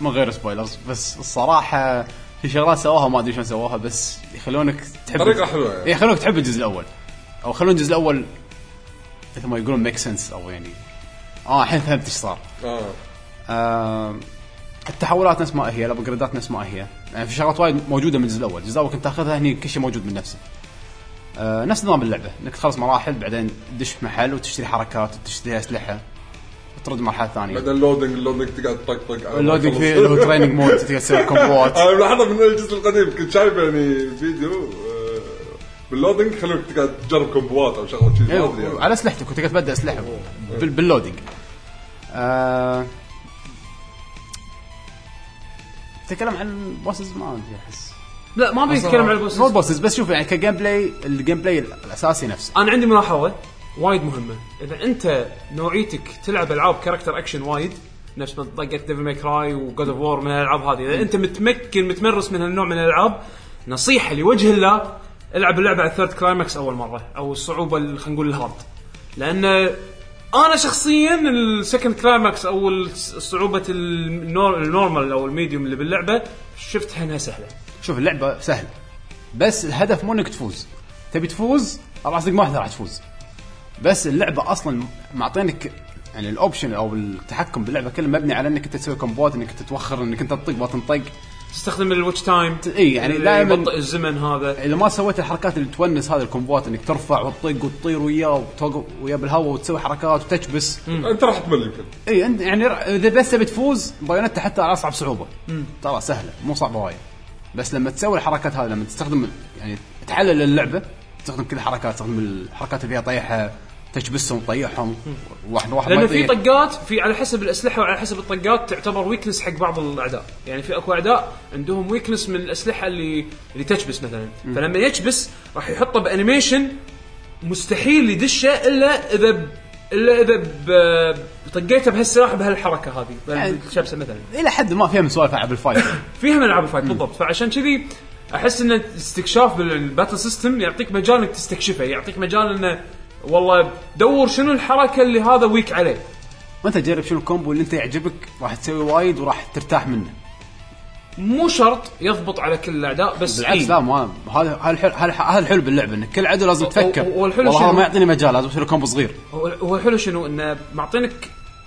من غير سبويلرز بس الصراحه في شغلات سووها ما ادري شلون سووها بس يخلونك تحب طريقة حلوة يعني. يعني. يخلونك تحب الجزء الاول او خلون الجزء الاول مثل ما يقولون ميك سنس او يعني اه الحين فهمت ايش صار اه آم، التحولات نفس ما هي الابجريدات نفس ما هي يعني في شغلات وايد موجوده من الجزء الاول الجزء الاول كنت تاخذها هني كل شيء موجود من نفسه آه، نفس نظام اللعبه انك تخلص مراحل بعدين تدش في محل وتشتري حركات وتشتري اسلحه وترد مرحله ثانيه بعدين اللودنج اللودنج تقعد طق طق على ما اللودنج تخلص. فيه اللي هو تريننج مود تقدر تسوي كومبوات انا ملاحظه أه، من الجزء القديم كنت شايف يعني فيديو آه، باللودنج خلوك تقعد تجرب كومبوات او شغله كذي ما ادري يعني. إيه، على اسلحتك وتقدر تبدا اسلحه بال- باللودنج آه، تتكلم عن بوسز ما ادري احس لا ما ابي اتكلم عن مو البوسس بوسز آه، بس شوف يعني كجيم بلاي الجيم بلاي الاساسي نفسه انا عندي ملاحظه وايد مهمه اذا انت نوعيتك تلعب العاب كاركتر اكشن وايد نفس ما طقت ديفل ماي كراي وجود اوف وور من الالعاب هذه اذا انت متمكن متمرس من هالنوع من الالعاب نصيحه لوجه الله العب اللعبه على الثيرد كلايمكس اول مره او الصعوبه اللي خلينا نقول الهارد لان انا شخصيا السكند كلايمكس او الس- صعوبه النور- النورمال او الميديوم اللي باللعبه شفتها انها سهله شوف اللعبه سهله بس الهدف مو انك تفوز تبي تفوز راح صدق ما واحده راح تفوز بس اللعبه اصلا معطينك يعني الاوبشن او التحكم باللعبه كله مبني على انك انت تسوي كومبوات انك انت تتوخر انك انت تطق بطن طق تستخدم الواتش تايم إي، يعني دائماً- يبطئ الزمن هذا اذا ما سويت الحركات اللي تونس هذه الكومبوات انك ترفع وتطق وتطير وياه وتوقف وياه بالهواء وتسوي حركات وتكبس انت راح تمل يمكن اي انت يعني ر- اذا بس تبي تفوز بايونتا حتى على اصعب صعوبه ترى سهله مو صعبه وايد بس لما تسوي الحركات هذه لما تستخدم يعني تحلل اللعبه تستخدم كل الحركات تستخدم الحركات اللي فيها طيحه تكبسهم طيحهم واحد واحد ما لانه في يطيح طقات في على حسب الاسلحه وعلى حسب الطقات تعتبر ويكنس حق بعض الاعداء، يعني في اكو اعداء عندهم ويكنس من الاسلحه اللي اللي تشبس مثلا، فلما يشبس راح يحطه بانيميشن مستحيل يدشه الا اذا ب... الا اذا ب... طقيته بهالسلاح بهالحركه هذه بهالشبسه مثلا. الى حد ما فيها من سوالف العاب الفايت فيها من العاب الفايت بالضبط فعشان كذي احس ان الاستكشاف بالباتل سيستم يعطيك مجال انك تستكشفه يعطيك مجال انه والله دور شنو الحركه اللي هذا ويك عليه وانت تجرب شنو الكومبو اللي انت يعجبك راح تسوي وايد وراح ترتاح منه مو شرط يضبط على كل الاعداء بس إيه، بالعكس لا ما هذا هذا الحلو هذا الحلو باللعبه انك كل عدو لازم تفكر و- والحلو والله هذا شنو؟ ما يعطيني مجال لازم اسوي له كومبو صغير هو هو الحلو شنو انه معطينك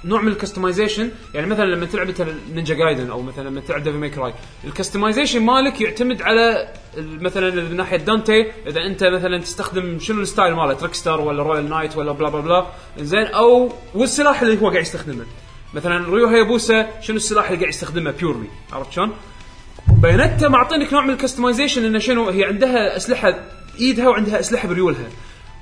نوع من الكستمايزيشن يعني مثلا لما تلعب مثلا نينجا جايدن او مثلا لما تلعب ديفل ماي كراي الكستمايزيشن مالك يعتمد على ال- مثلا من ناحيه دانتي اذا انت مثلا تستخدم شنو الستايل ماله تريكستر ولا رويال نايت ولا بلا بلا بلا زين او والسلاح اللي هو قاعد يستخدمه مثلا ريو هيابوسا شنو السلاح اللي قاعد يستخدمه بيورلي عرفت شلون؟ بايونيتا معطينك نوع من الكستمايزيشن انه شنو هي عندها اسلحه بايدها وعندها اسلحه بريولها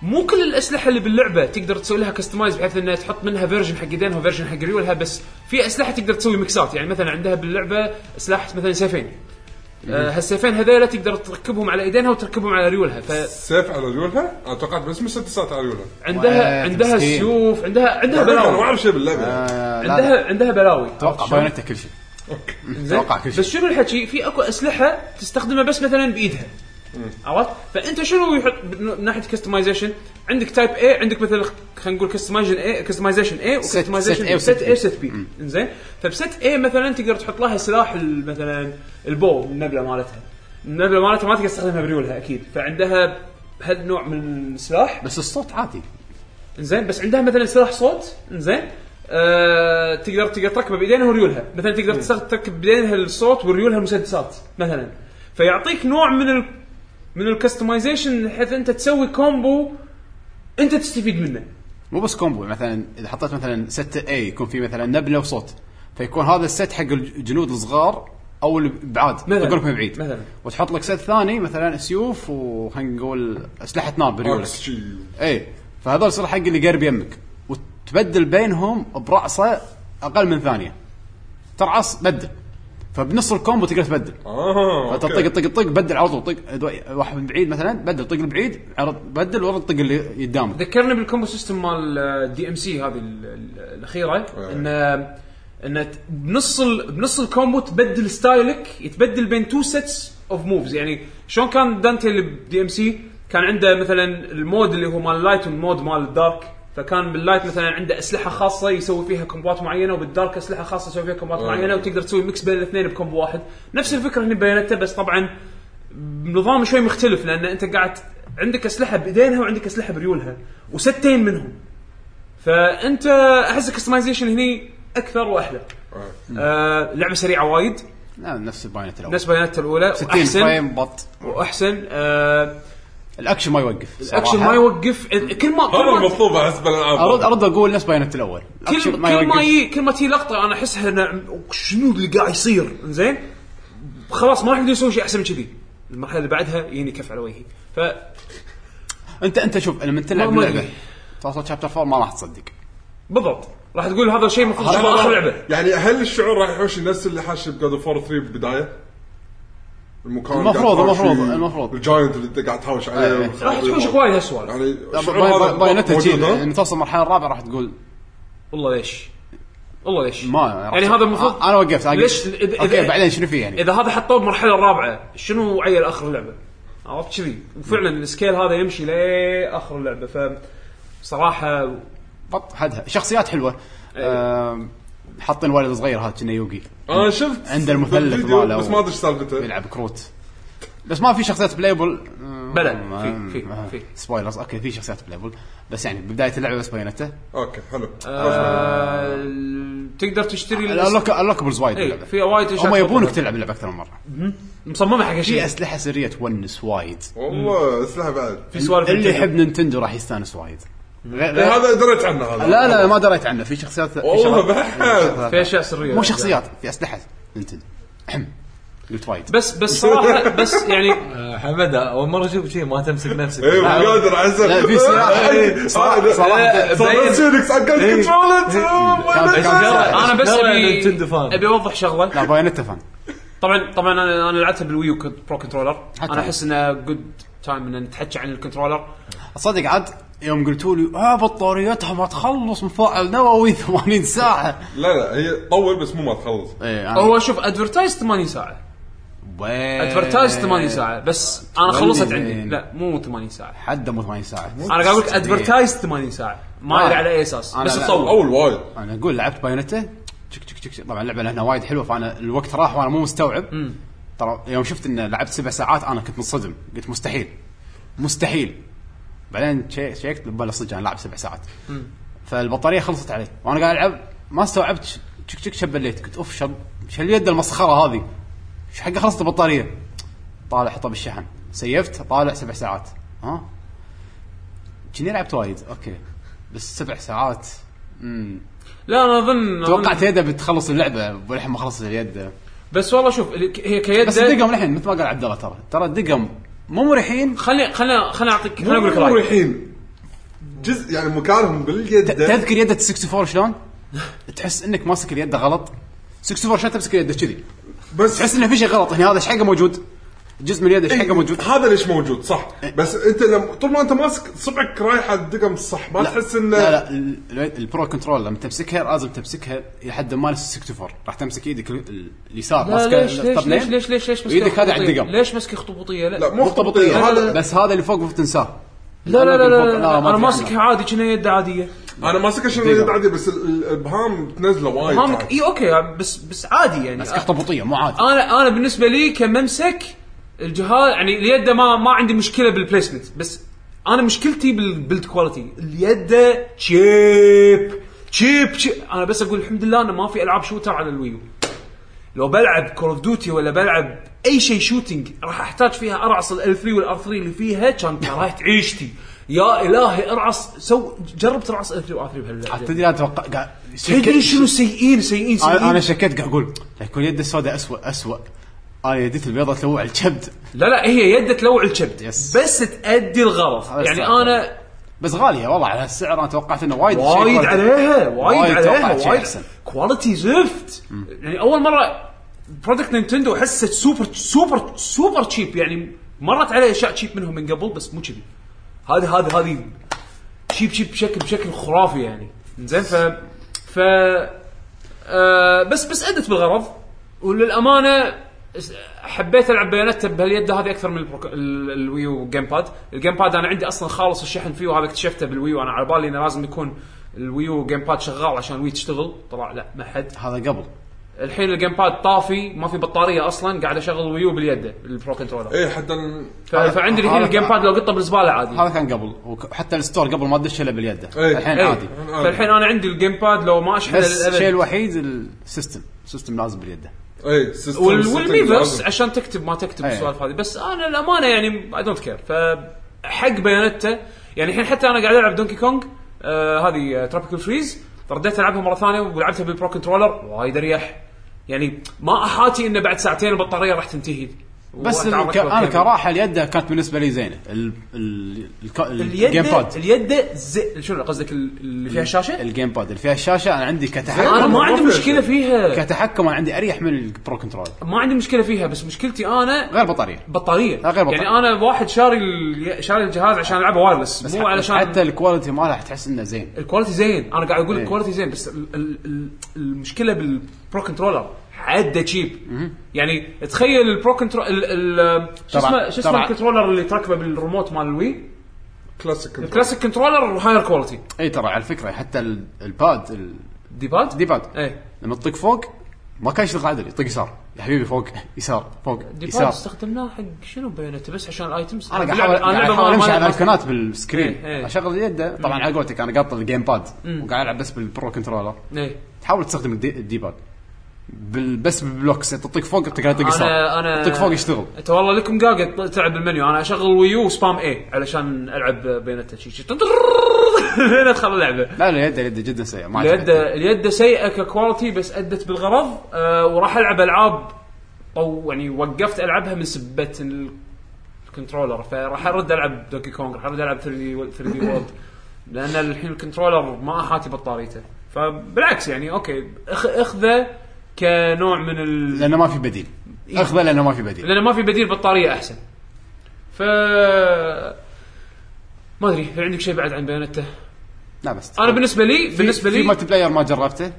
مو كل الاسلحه اللي باللعبه تقدر تسوي لها كستمايز بحيث انها تحط منها فيرجن حق ايدينها وفيرجن حق ريولها بس في اسلحه تقدر تسوي ميكسات يعني مثلا عندها باللعبه سلاح مثلا سيفين آه، هالسيفين هذيلا تقدر تركبهم على ايدينها وتركبهم على ريولها سيف على ريولها انا توقعت بس مسدسات على ريولها فعندها واه، عندها مسكين. سيوف عندها عندها انا ما بلاوي اعرف شيء باللعبه يعني. آه، لا، لا. عندها عندها بلاوي اتوقع بايونيتا كل شيء زين؟ اتوقع كل شيء بس شنو الحكي في اكو اسلحه تستخدمها بس مثلا بايدها عرفت فانت شنو يحط من ناحيه كستمايزيشن عندك تايب اي عندك مثلا خلينا نقول كستمايزيشن اي كستمايزيشن اي set وكستمايزيشن A اي وset وست B. اي وست بي طيب انزين فبست اي مثلا تقدر تحط لها سلاح ال- مثلا البو النبله مالتها النبله مالتها ما تقدر تستخدمها بريولها اكيد فعندها هالنوع من السلاح بس الصوت عادي زين بس عندها مثلا سلاح صوت زين آه تقدر تقدر تركبه بايدينها وريولها مثلا تقدر تستخدم تركب بايدينها الصوت وريولها المسدسات مثلا فيعطيك نوع من ال من الكستمايزيشن حيث انت تسوي كومبو انت تستفيد منه مو بس كومبو مثلا اذا حطيت مثلا ست اي يكون في مثلا نبله وصوت فيكون هذا الست حق الجنود الصغار او البعاد مثلاً. تقرب من بعيد مثلاً. وتحط لك ست ثاني مثلا سيوف وخلينا نقول اسلحه نار بريولك عكس شي. اي فهذول يصير حق اللي قرب يمك وتبدل بينهم برعصه اقل من ثانيه ترعص بدل فبنص الكومبو تقدر تبدل اه فانت طق طق طق بدل على طول طق دو- واحد من بعيد مثلا بدل طق البعيد عرض بدل ورد طق اللي قدامك ذكرني بالكومبو سيستم مال آه، دي ام سي هذه ال- ال- الاخيره آه. ان ان ت- بنص ال... بنص الكومبو تبدل ستايلك يتبدل بين تو سيتس اوف موفز يعني شلون كان دانتي اللي بدي ام سي كان عنده مثلا المود اللي هو مال اللايت والمود مال الدارك فكان باللايت مثلا عنده اسلحه خاصه يسوي فيها كومبوات معينه وبالدارك اسلحه خاصه يسوي فيها كومبوات معينه وتقدر يعني تسوي ميكس بين الاثنين بكومبو واحد نفس الفكره هنا ببياناتا بس طبعا نظام شوي مختلف لان انت قاعد عندك اسلحه بايدينها وعندك اسلحه بريولها وستين منهم فانت احس الكستمايزيشن هني اكثر واحلى آه. آه لعبه سريعه وايد لا نفس الباينت الاول نفس بيانات الاولى 60 واحسن فريم بط واحسن آه الاكشن ما يوقف الاكشن صراحة. ما يوقف كل ما هذا كل ما المطلوب احس بالالعاب ارد ارد اقول نفس باينت الاول كل الأكشن كل ما يجي كل ما تجي لقطه انا احسها إيه أنا شنو اللي قاعد يصير زين خلاص ما راح يقدر يسوي شيء احسن من كذي المرحله اللي بعدها يجيني كف على وجهي ف انت انت شوف لما تلعب ما- ما اللعبه أدري. توصل شابتر 4 ما راح تصدق بالضبط راح تقول هذا الشيء المفروض هذا يشوفه اخر راح- لعبه يعني هل الشعور راح يحوش نفس اللي حاش بجود اوف 3 بالبدايه؟ المكان اللي المفروض- قاعد تهاوش المفروض- فيه، المفروض. الجاينت اللي انت قاعد تهاوش عليه إيه. والخرابيط. راح تحوشك وايد هالسؤال يعني الشعور باي- هذا باي- باينتها موجود، شي، ها؟ لما يعني توصل المرحله الرابعه راح تقول والله ليش؟ والله ليش؟ ما يعني هذا المفروض انا وقفت أنا ليش قلت- إذا- اوكي إذا- بعدين شنو في يعني اذا هذا حطوه بالمرحله الرابعه شنو عيل اخر اللعبه؟ عرفت كذي وفعلا السكيل هذا يمشي لاخر اللعبه ف صراحه بط حدها شخصيات حلوه إيه. آم، حاطين ولد صغير هذا كنا يوقي آه، انا آه، شفت عند المثلث الفيديو، ماله بس ما ادري ايش سالفته يلعب كروت بس ما في شخصيات بلايبل بلى، آم، في- في- آم، في. سبويلرز اوكي في شخصيات بلايبل بس يعني ببدايه اللعبه بس باينته اوكي حلو آه تقدر تشتري الأس- اللوكبلز وايد اي باللعبة. إيه، في وايد أشياء هم يبونك تفضلها. تلعب اللعبه اكثر من مره مصممه حق في شيء اسلحه سريه تونس وايد والله اسلحه بعد في سوالف اللي بالجنة. يحب نينتندو راح يستانس وايد غير إيه، غير هذا دريت عنه هذا لا لا ما دريت عنه في شخصيات في والله شغلات- بعد في اشياء سريه مو شخصيات في اسلحه نينتندو أحم. قلت وايد بس بس صراحه بس يعني آه، حمد اول مره اشوف شيء ما تمسك نفسك ايه مو قادر اعزل لا، في سلاح. إيه. إيه، صراحة- صراحة- صار بين. سيركس اقل إيه. كنترولت كان- كان- انا بس نرى ابي نينتندو فان. ابي اوضح شغله لا بايونيتا فان طبعا طبعا انا انا لعبتها بالويو كنت برو كنترولر حتى يعني. انا احس انه جود تايم ان نتحكى عن الكنترولر صدق عاد يوم قلتوا لي اه بطاريتها ما تخلص مفاعل نووي 80 ساعه لا لا هي طول بس مو ما تخلص ايه هو شوف ادفرتايز 8 ساعه إيه. ادفرتايز 8 ساعه بس انا خلصت وين؟ عندي لا مو 8 ساعه حد إيه. مو 80 ساعه انا انا قاعد اقول لك ادفرتايز 8 ساعه ما آه. ادري على اي اساس أنا بس لا. تصور اول وايد انا اقول لعبت بايونيتا تشك تشك تشك طبعا اللعبه لانها وايد حلوه فانا الوقت راح وانا مو مستوعب ترى يوم شفت ان لعبت سبع ساعات انا كنت منصدم قلت مستحيل مستحيل بعدين شي- شيكت بلا صدق انا لاعب سبع ساعات فالبطاريه خلصت علي وانا قاعد العب ما استوعبت تشك تشك شبليت قلت اوف شب شل يد المسخره هذه ايش حق خلصت البطاريه طالع حطه بالشحن سيفت طالع سبع ساعات ها كني لعبت وايد اوكي بس سبع ساعات امم لا انا اظن توقعت يده بتخلص اللعبه ولحين ما خلصت اليد بس والله شوف ال- ك- هي كيد بس الدقم الحين مثل ما قال عبد الله ترى ترى الدقم مو مريحين خلي خلي خلي اعطيك خلي اقول لك مو رايي مريحين جزء يعني مكانهم ت- باليد تذكر يده 64 شلون؟ تحس انك ماسك اليد غلط 64 شلون تمسك اليد كذي بس تحس انه في شيء غلط هنا هذا ايش حقه موجود؟ جزء من اليد ايش حقه موجود؟ إيه، إيه. هذا ليش موجود صح بس انت لما طول ما انت ماسك صبعك رايح على الدقم الصح ما لا. تحس انه لا لا ال- ال- البرو كنترول لما تمسكها لازم تمسكها الى حد ما نفس 64 راح تمسك ايدك ال- ال- اليسار لا ليش ليش الثمنين، ليش ليش ليش ليش مسكة وايدك هذه على خطوطية؟ الدقم ليش مسكه خطوطيه لا لا لا مو مرتبطين خطوطيه هذا بس هذا اللي فوق تنساه لا لا لا, لا, لا ما انا في ماسكها عادي كنا يد عاديه انا ماسك عشان دقم. اليد عادي بس ال- ال- الابهام تنزله وايد هامك عادي. اي اوكي بس بس عادي يعني بس خطبطيه مو عادي انا انا بالنسبه لي كممسك الجهاز يعني اليد ما ما عندي مشكله بالبليسمنت بس انا مشكلتي بالبيلد كواليتي اليد تشيب تشيب تشيب انا بس اقول الحمد لله انه ما في العاب شوتر على الويو لو بلعب كول اوف ديوتي ولا بلعب اي شيء شوتنج راح احتاج فيها ارعص ال 3 والار 3 اللي فيها كان كرهت عيشتي يا الهي ارعص سو جرب ترعص ال 3 والار 3 بهاللعبه تدري انا اتوقع قاعد- تدري شكيت- شنو سيئين سيئين سيئين انا أنا شكيت قاعد اقول لا يكون يده السوداء اسوء اسوء انا يديت البيضة تلوع الكبد لا لا هي يده تلوع الكبد يس. بس تأدي الغرض بس يعني تأدي انا بس غالية والله على هالسعر انا توقعت انه وايد شيء وايد كواليتي. عليها وايد توقعت عليها شيء وايد أحسن. كواليتي زفت يعني اول مره برودكت نينتندو احسه سوبر سوبر سوبر تشيب يعني مرت علي اشياء تشيب منهم من قبل بس مو كذي هذه هذه هذه تشيب تشيب بشكل بشكل خرافي يعني زين ف ف آه بس بس ادت بالغرض وللامانه اس- حبيت العب بيانات بهاليد هذه اكثر من البروك... ال- الويو جيم باد، الجيم باد انا عندي اصلا خالص الشحن فيه وهذا اكتشفته بالويو انا على بالي انه لازم يكون الويو جيم باد شغال عشان الوي تشتغل، طلع لا ما حد، هذا قبل الحين الجيم باد طافي ما في بطاريه اصلا قاعد اشغل الويو باليد البرو كنترولر، اي إيه، حتى ال- ف... فعندي الحين هذا- الجيم باد لو قطه بالزباله عادي هذا كان قبل وحتى الستور قبل ما تدش الا باليد إيه. الحين إيه. عادي فالحين انا عندي الجيم باد لو ما اشحن بس للأبد. الشيء الوحيد السيستم السيستم لازم باليد اي سيستم وال- سيستم والميفرس إيه، لازم. عشان تكتب ما تكتب أي. السوالف هذه بس انا الامانه يعني اي دونت كير فحق بيانته يعني الحين حتى انا قاعد العب دونكي كونج آه هذه تروبيكال فريز رديت العبها مره ثانيه ولعبتها بالبرو كنترولر وايد اريح يعني ما احاتي انه بعد ساعتين البطاريه راح تنتهي بس وأتعرض الك... للكاميرا. انا كراحه اليد كانت بالنسبه لي زينه ال... ال... الك... الجيم اليد باد اليد زي شنو قصدك ال- اللي فيها شاشه؟ الجيم باد اللي فيها الشاشه انا عندي انا كتحكم ما ما عندي فيها مشكله فيها كتحكم انا عندي اريح من البرو كنترول ما عندي مشكله فيها بس مشكلتي انا غير بطاريه بطاريه لا، غير بطارية. يعني انا واحد شاري ال- شاري الجهاز عشان العبه وايرلس بس مو ح- علشان حتى الكواليتي مالها تحس انه زين الكواليتي زين انا قاعد اقول إيه. الكواليتي زين بس ال ال ال المشكله بالبرو كنترولر حده تشيب يعني تخيل البرو كنترول ال- ال- شو طبعاً- اسمه شو اسمه طبعاً. الكنترولر اللي تركبه بالريموت مال الوي كلاسيك كنترول. الكلاسيك كنترولر هاير كواليتي اي ترى على فكره حتى ال- الباد ال... دي باد دي باد ايه لما تطق فوق ما كان يشتغل عدل يطق يسار يا حبيبي فوق يسار فوق دي باد يسار استخدمناه حق شنو بيانته بس عشان الايتمز انا قاعد بلعب- احاول قاعد لعبة احاول ما- امشي ما- على ما- الايقونات بالسكرين إيه، إيه. اشغل اليد طبعا على قولتك انا قاطع الجيم باد وقاعد العب بس بالبرو كنترولر إيه. تحاول تستخدم الدي- الديباد بال... بس بالبلوكس تطق فوق تقعد تطق يسار انا انا تطق فوق يشتغل انت والله لكم قاقة تط- تلعب بالمنيو انا اشغل ويو وسبام اي علشان العب بينتا شي شي لين ادخل اللعبه لا لا يده يده جدا سيئه ما اليد عجبتني. اليد سيئه ككواليتي بس ادت بالغرض أه وراح العب العاب او يعني وقفت العبها من سبه ال- الكنترولر فراح ارد العب دوكي كونغ راح ارد العب 3 دي 3 دي وورلد لان الحين الكنترولر ما احاتي بطاريته فبالعكس يعني اوكي أخ- اخذه كنوع من ال لانه ما في بديل اخذه لانه ما في بديل لانه ما في بديل بطاريه احسن ف ما ادري هل عندك شيء بعد عن بيانته لا بس انا بالنسبه لي بالنسبه في لي ملتي بلاير ما جربته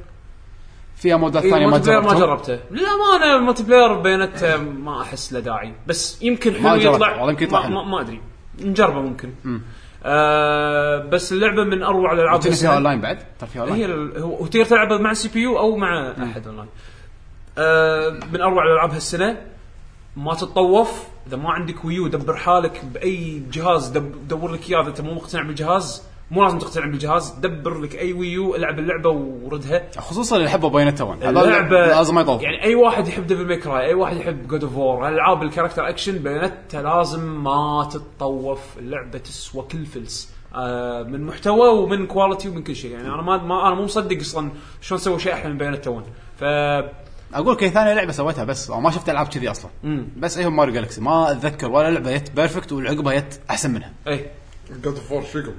فيها مودات إيه، ثانيه ما الملتي بلاير ما جربتها جربته للامانه الملتي بلاير بيانته ما احس له داعي بس يمكن حلو جربته، يطلع والله يمكن يطلع ما, حلو. ما, ما ادري نجربه ممكن آه بس اللعبه من اروع الالعاب جربت اللي فيها اونلاين بعد ترى فيها هي اونلاين ال- هو هو تقدر تلعبه مع السي بي يو او مع احد اونلاين. آه من اروع الالعاب هالسنه ما تتطوف اذا ما عندك ويو دبر حالك باي جهاز دب دور لك اياه اذا انت مو مقتنع بالجهاز مو لازم تقتنع بالجهاز دبر لك اي ويو العب اللعبه وردها خصوصا اللي يحبوا بايونيتا 1 هذول اللعبه لازم ما يطوف يعني اي واحد يحب ديفل ميك راي اي واحد يحب جود اوف وور العاب الكاركتر اكشن بيانتا لازم ما تتطوف اللعبه تسوى كل فلس آه من محتوى ومن كواليتي ومن كل شيء يعني انا ما, ما انا مو مصدق اصلا شلون سووا شيء احلى من بيانتا 1 ف اقول لك هي ثاني لعبه سويتها بس أو ما شفت العاب كذي اصلا بس ايهم ماريو جالكسي ما اتذكر ولا لعبه جت بيرفكت والعقبها جت احسن منها اي جاد اوف وور شكل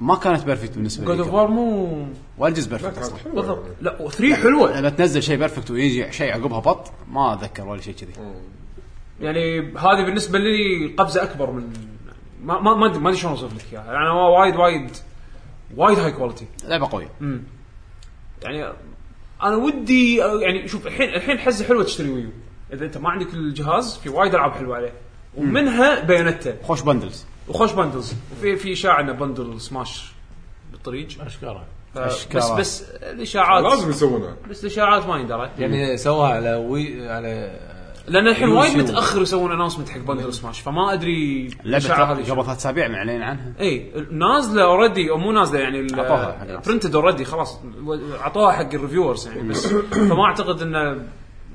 ما كانت بيرفكت بالنسبه لي جود اوف كان. وور مو ولا جزء بيرفكت كانت اصلا حلوة بالضبط يعني. لا 3 حلوه لما تنزل شيء بيرفكت ويجي شيء عقبها بط ما اتذكر ولا شيء كذي يعني هذه بالنسبه لي قفزه اكبر من ما ما ما أدري- ما ادري شلون اوصف لك اياها يعني انا وايد وايد وايد هاي كواليتي لعبه قويه يعني انا ودي يعني شوف الحين الحين حزه حلوه تشتري ويو اذا انت ما عندك الجهاز في وايد العاب حلوه عليه ومنها بيانتا خوش بندلز وخوش بندلز وفي في اشاعه ان بندل سماش بالطريق اشكره ف- بس أشكال. بس الاشاعات لازم يسوونها بس الاشاعات ما يندرى يعني سواها على وي على لان الحين وايد يوزيو. متاخر يسوون اناونسمنت حق بندل سماش فما ادري لعبه المشاعر هذه قبل ثلاث اسابيع معلنين عنها اي نازله اوريدي او مو نازله يعني عطوها حق الناس. برنتد اوريدي خلاص عطوها حق الريفيورز يعني بس فما اعتقد انه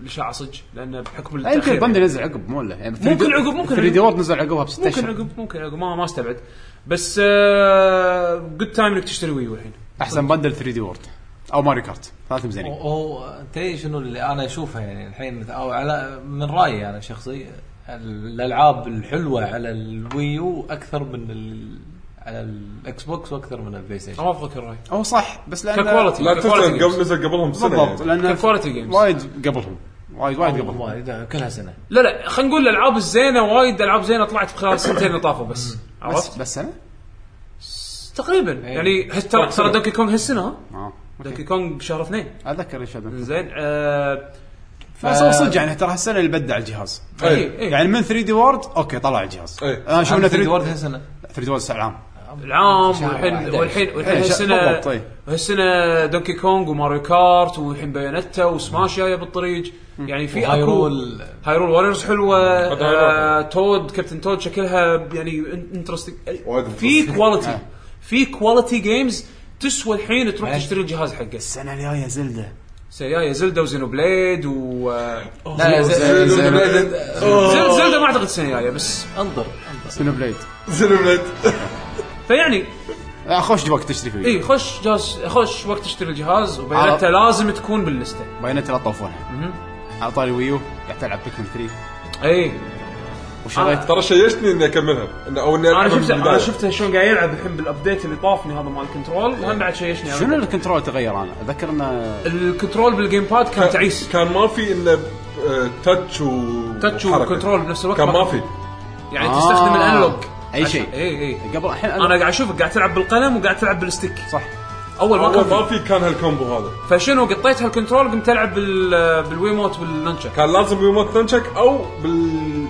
الاشاعه صدق لان بحكم يعني. لا، يمكن التاخير البند ينزل عقب مو يعني ولا ممكن عقب، ممكن 3 دي عقب. وورد نزل عقبها بست ممكن اشهر عقب ممكن عقب ما ما استبعد بس آه، جود تايم انك تشتري ويو الحين احسن بندل 3 دي وورد او ماري كارت ثلاث مزينين هو انت إيه شنو اللي انا اشوفه يعني الحين مث- او على من رايي انا شخصي الالعاب الحلوه على الويو اكثر من ال... على الاكس بوكس واكثر من البلاي ستيشن أنا اوافقك الراي او صح بس لان ككواليتي لا تنسى ككواليتي قبل نزل قبلهم بسنه بالضبط يعني. لان ككواليتي جيمز. وايد قبلهم وايد وايد قبلهم والله ده كلها سنه لا لا خلينا نقول الالعاب الزينه وايد العاب زينه طلعت خلال السنتين اللي طافوا بس بس عرفت؟ بس انا تقريبا إيه. يعني هس- طيب، ترى ترى دونكي كونغ هالسنه ها؟ اه دونكي أوكي. كونغ بشهر اثنين اتذكر شادو زين آه بس هو صدق يعني ترى هالسنه اللي بدع الجهاز اي اي يعني من 3 دي وورد اوكي طلع الجهاز إيه. انا شفنا 3 دي وورد سنه 3 دي وورد العام العام شهر والحين 11. والحين والحين إيه، شهر- هالسنه بالضبط، إيه. هالسنه دونكي كونغ وماريو كارت والحين بايونيتا وسماش جايه بالطريق يعني في اكو هايرول هايرول واريورز حلوه قد آه هايرول. تود كابتن تود شكلها يعني انترستنج وايد في كواليتي آه. في كواليتي جيمز تسوى الحين تروح آه. تشتري الجهاز حقه السنه الجايه زلده سيايا زلدا وزينو بليد و لا ز- ز- ز- آه، زل- زلدا ما اعتقد سيايا بس انظر سنو بليد زلمت فيعني آه، خوش وقت تشتري فيه اي خش جهاز خش وقت تشتري آه. الجهاز وبياناتا لازم تكون باللسته باينت لا طوفونها على طاري ويو قاعد العب بيكمن 3 اي وشريت ترى شيشتني اني اكملها إن- او اني انا ألعبها من شفت انا البداية. شفته شلون قاعد يلعب الحين بالابديت اللي طافني هذا مال الكنترول هم بعد يعني؟ شيشني إيه. شنو الكنترول تغير انا اتذكر انه الكنترول بالجيم باد كان تعيس كان ما في الا آه، تاتش و تاتش وحركة. وكنترول بنفس الوقت كان ما ما في. في يعني آه. تستخدم الانالوج أي شيء. اي اي قبل الحين انا إيه. قاعد اشوفك قاعد تلعب بالقلم وقاعد تلعب بالستيك صح اول ما كان أول ما في. في كان هالكومبو هذا فشنو قطيت هالكنترول قمت العب بال- بالويموت والنانشك كان لازم يوم تنشك او بال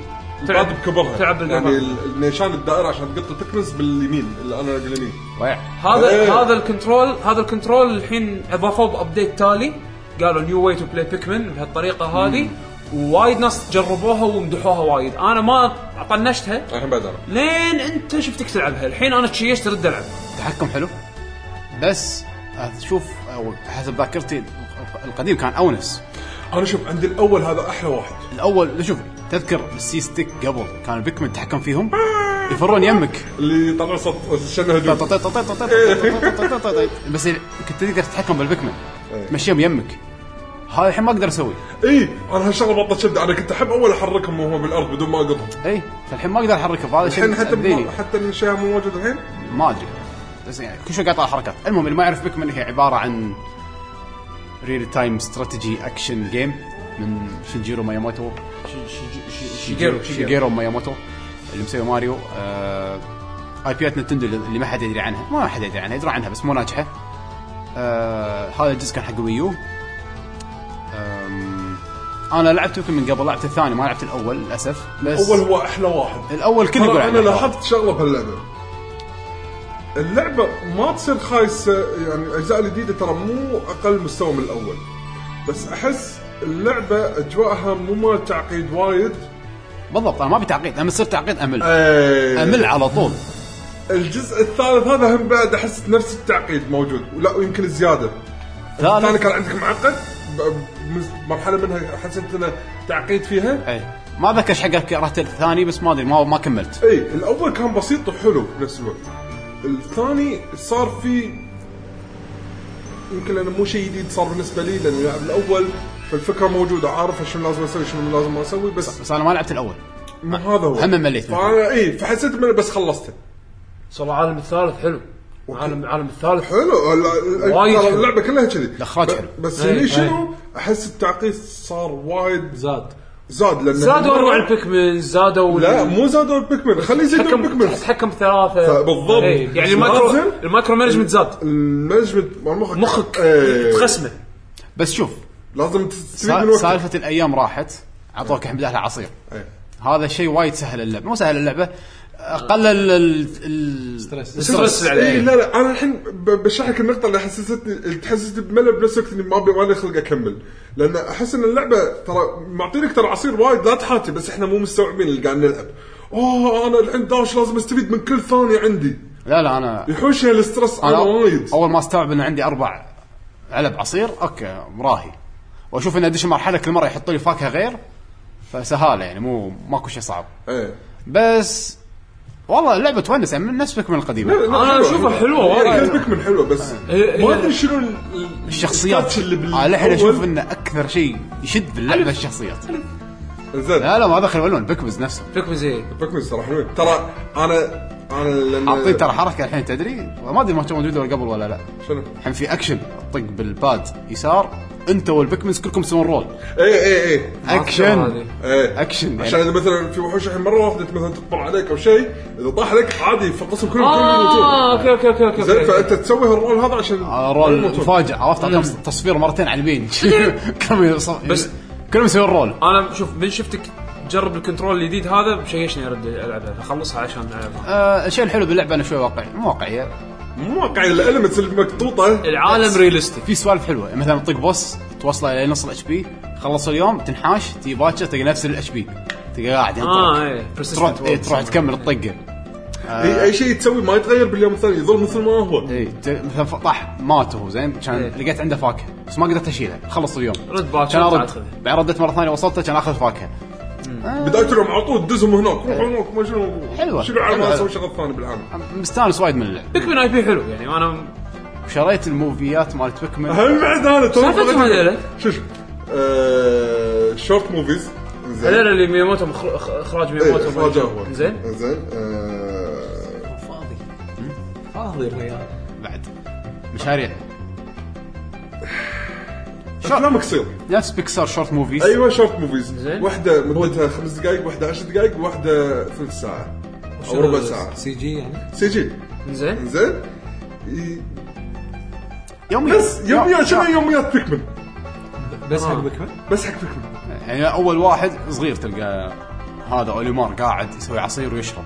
تلعب- تلعب بكبرها تلعب بالكبر. يعني ال- النيشان الدائره عشان تقط تكنس باليمين اللي انا اليمين ضيع هذا إيه. هذا الكنترول هذا الكنترول الحين اضافوه بابديت تالي قالوا نيو واي تو بلاي بيكمن بهالطريقه هذه ووايد ناس جربوها ومدحوها وايد انا ما طنشتها الحين بعد انا لين انت شفتك تلعبها الحين انا تشيشت ارد العب تحكم حلو بس آه، شوف حسب ذاكرتي القديم كان اونس انا شوف عندي الاول هذا احلى واحد الاول شوف تذكر السي ستيك قبل كان البيكمن تحكم فيهم يفرون يمك طيب، اللي يطلع صوت شنه هجوم طيط- طيط- طيط- طيط- طيط- طيط- طيط- طيط. طيب، بس كنت تقدر تتحكم بالبيكمن إيه. تمشيهم يمك هذا الحين ما اقدر اسوي اي انا هالشغله بطلت شد انا كنت احب اول احركهم وهم بالارض بدون ما اقطهم اي فالحين إيه؟ ما اقدر احركه فهذا شيء الحين حتى مأذيني. بم- حتى الشيء مو موجود الحين ما ادري بس يعني كل شوي قاعد طالع حركات المهم اللي ما يعرف بيكمن هي عباره عن ريل تايم استراتيجي اكشن جيم من شينجيرو ماياموتو شيجيرو شيجيرو ماياموتو اللي مسوي ماريو آه اي بيات نتندو اللي ما حد يدري عنها ما حد يدري عنها يدري عنها بس مو ناجحه آه هذا الجزء كان حق ويو انا لعبت يمكن من قبل لعبت الثاني ما لعبت الاول للاسف بس اول هو احلى واحد الاول كله يقول ترى عنه انا لاحظت شغله بهاللعبه اللعبه ما تصير خايسه يعني الاجزاء الجديده ترى مو اقل مستوى من الاول بس احس اللعبه اجواءها مو مال تعقيد وايد بالضبط انا ما بتعقيد لما يصير تعقيد امل أي. امل على طول الجزء الثالث هذا هم بعد احس نفس التعقيد موجود ولا ويمكن زياده ثالث. الثاني كان عندك معقد ب- مز- مرحله منها حسيت انه تعقيد فيها اي ما ذكر ايش حق كرهت الثاني بس ما ادري ما ما كملت اي الاول كان بسيط وحلو بنفس الوقت الثاني صار في يمكن لانه مو شيء جديد صار بالنسبه لي يعني لانه لاعب الاول فالفكره موجوده عارفه شنو لازم اسوي شنو لازم ما اسوي بس بس انا ما لعبت الاول مو هذا هو هم مليت منه. فانا اي فحسيت منه بس خلصته صار العالم الثالث حلو عالم عالم الثالث حلو ال- ال- وايد ترى حلو. اللعبه كلها كذي الإخراج ب- حلو. بس إيه، هني شنو احس التعقيد صار وايد زاد زاد لان زادوا انواع البيكمن زادوا لا مو زادوا البيكمن خليه يزيدوا تحكم البيكمن تحكم ثلاثه بالضبط. إيه، يعني المايكرو لازم. المايكرو مانجمنت زاد المانجمنت مال مخك مخك إيه. تخسمه بس شوف لازم سا- تستفيد من وقتك سالفه الايام راحت اعطوك الحمد لله عصير إيه. هذا الشيء وايد سهل اللعبه مو سهل اللعبه قلل ال- ال- ستريس الستريس عليه. إيه، لا لا انا الحين ب- بشرح لك النقطه اللي حسستني اللي تحسسني بملل بنفس الوقت اني ما ابي مالي خلق اكمل لان احس ان اللعبه ترى معطينك ترى عصير وايد لا تحاتي بس احنا مو مستوعبين اللي قاعد نلعب اوه انا الحين داش لازم استفيد من كل ثانيه عندي لا لا انا يحوشني الاسترس انا انا وايد اول ما استوعب ان عندي اربع علب عصير اوكي مراهي واشوف ان ادش مرحله كل مره يحطوا لي فاكهه غير فسهاله يعني مو ماكو شيء صعب إيه. بس والله اللعبه تونس يعني من نفسك من القديمه لا، لا، أنا حلوة، أشوفها حلوة. حلوة إيه، وايد. إيه، كلمة من حلوه بس هي- ما هي- ادري شنو ال- ال- الشخصيات آه، التاتش اللي بال- الحين اشوف أول. ان اكثر شيء يشد باللعبه الشخصيات زين لا لا ما دخل ولا بيكمز نفسه فيكم زي بكمل صراحه حلوين. ترى انا انا لأن- حاطين ترى حركه الحين تدري ما ادري ما كان موجوده ولا قبل ولا لا شنو؟ الحين في اكشن طق بالباد يسار انت والبيكمنز كلكم تسوون رول ايه ايه ايه اكشن ايه اكشن عشان يعني اذا مثلا في وحوش الحين مره واحده مثلا تطبع عليك او شيء اذا طاح عليك عادي يفقصهم كلهم كلهم اه يموتون اوكي اوكي اوكي اوكي زين اوكي فانت تسوي هالرول هذا عشان آه، رول يموتون. مفاجئ عرفت أعطيهم تصفير مرتين على اليمين كلهم يص- بس- كلهم يسوون رول انا شوف من شفتك جرب الكنترول الجديد هذا بشيشني ارد العبها اخلصها عشان العبها آه، الشيء الحلو باللعبه انه شوي واقعي مو واقعيه مو واقعي الالمنتس اللي مقطوطه العالم ريلستيك في سوالف حلوه مثلا تطق بوس توصله الى نص الاتش بي خلص اليوم تنحاش تي باكر تلقى نفس الاتش بي تلقى قاعد اه ينطلق. ايه تروح persistent إيه، world. إيه. تروح تكمل الطقه آه. اي اي شيء تسوي ما يتغير باليوم الثاني يظل مثل ما هو اي إيه، ت- مثلا ف- طاح مات هو زين كان إيه. لقيت عنده فاكهه بس ما قدرت اشيلها خلص اليوم رد باكر كان تعال ارد خذها. بعدين رديت مره ثانيه وصلته كان اخذ فاكهه بدايه اليوم على طول دزهم هناك روح هناك ما شنو حلوة. شنو على حلوة. ما اسوي شغل ثاني بالعالم مستانس وايد من اللعب بيكمن اي بي حلو يعني انا شريت الموفيات مالت بيكمن هم بعد انا تو سالفتهم هذيلا؟ شوف آه، شورت موفيز زين. هذول اللي ميموتو مخر- اخ- اخراج إيه، ميموتو إخراجه هو. زين زين آه، فاضي فاضي الريال بعد مشاريع افلام قصير نفس بيكسار شورت موفيز أيوة. ايوه شورت موفيز زين. واحده مدتها خمس دقائق واحده عشر دقائق واحده ثلث ساعه او ربع ساعه سي جي يعني سي جي زين زين ي- يوميا بس يوميات شنو يوميات بيكمن بس حق بيكمن بس حق بيكمن يعني اول واحد صغير تلقى هذا اوليمار قاعد يسوي عصير ويشرب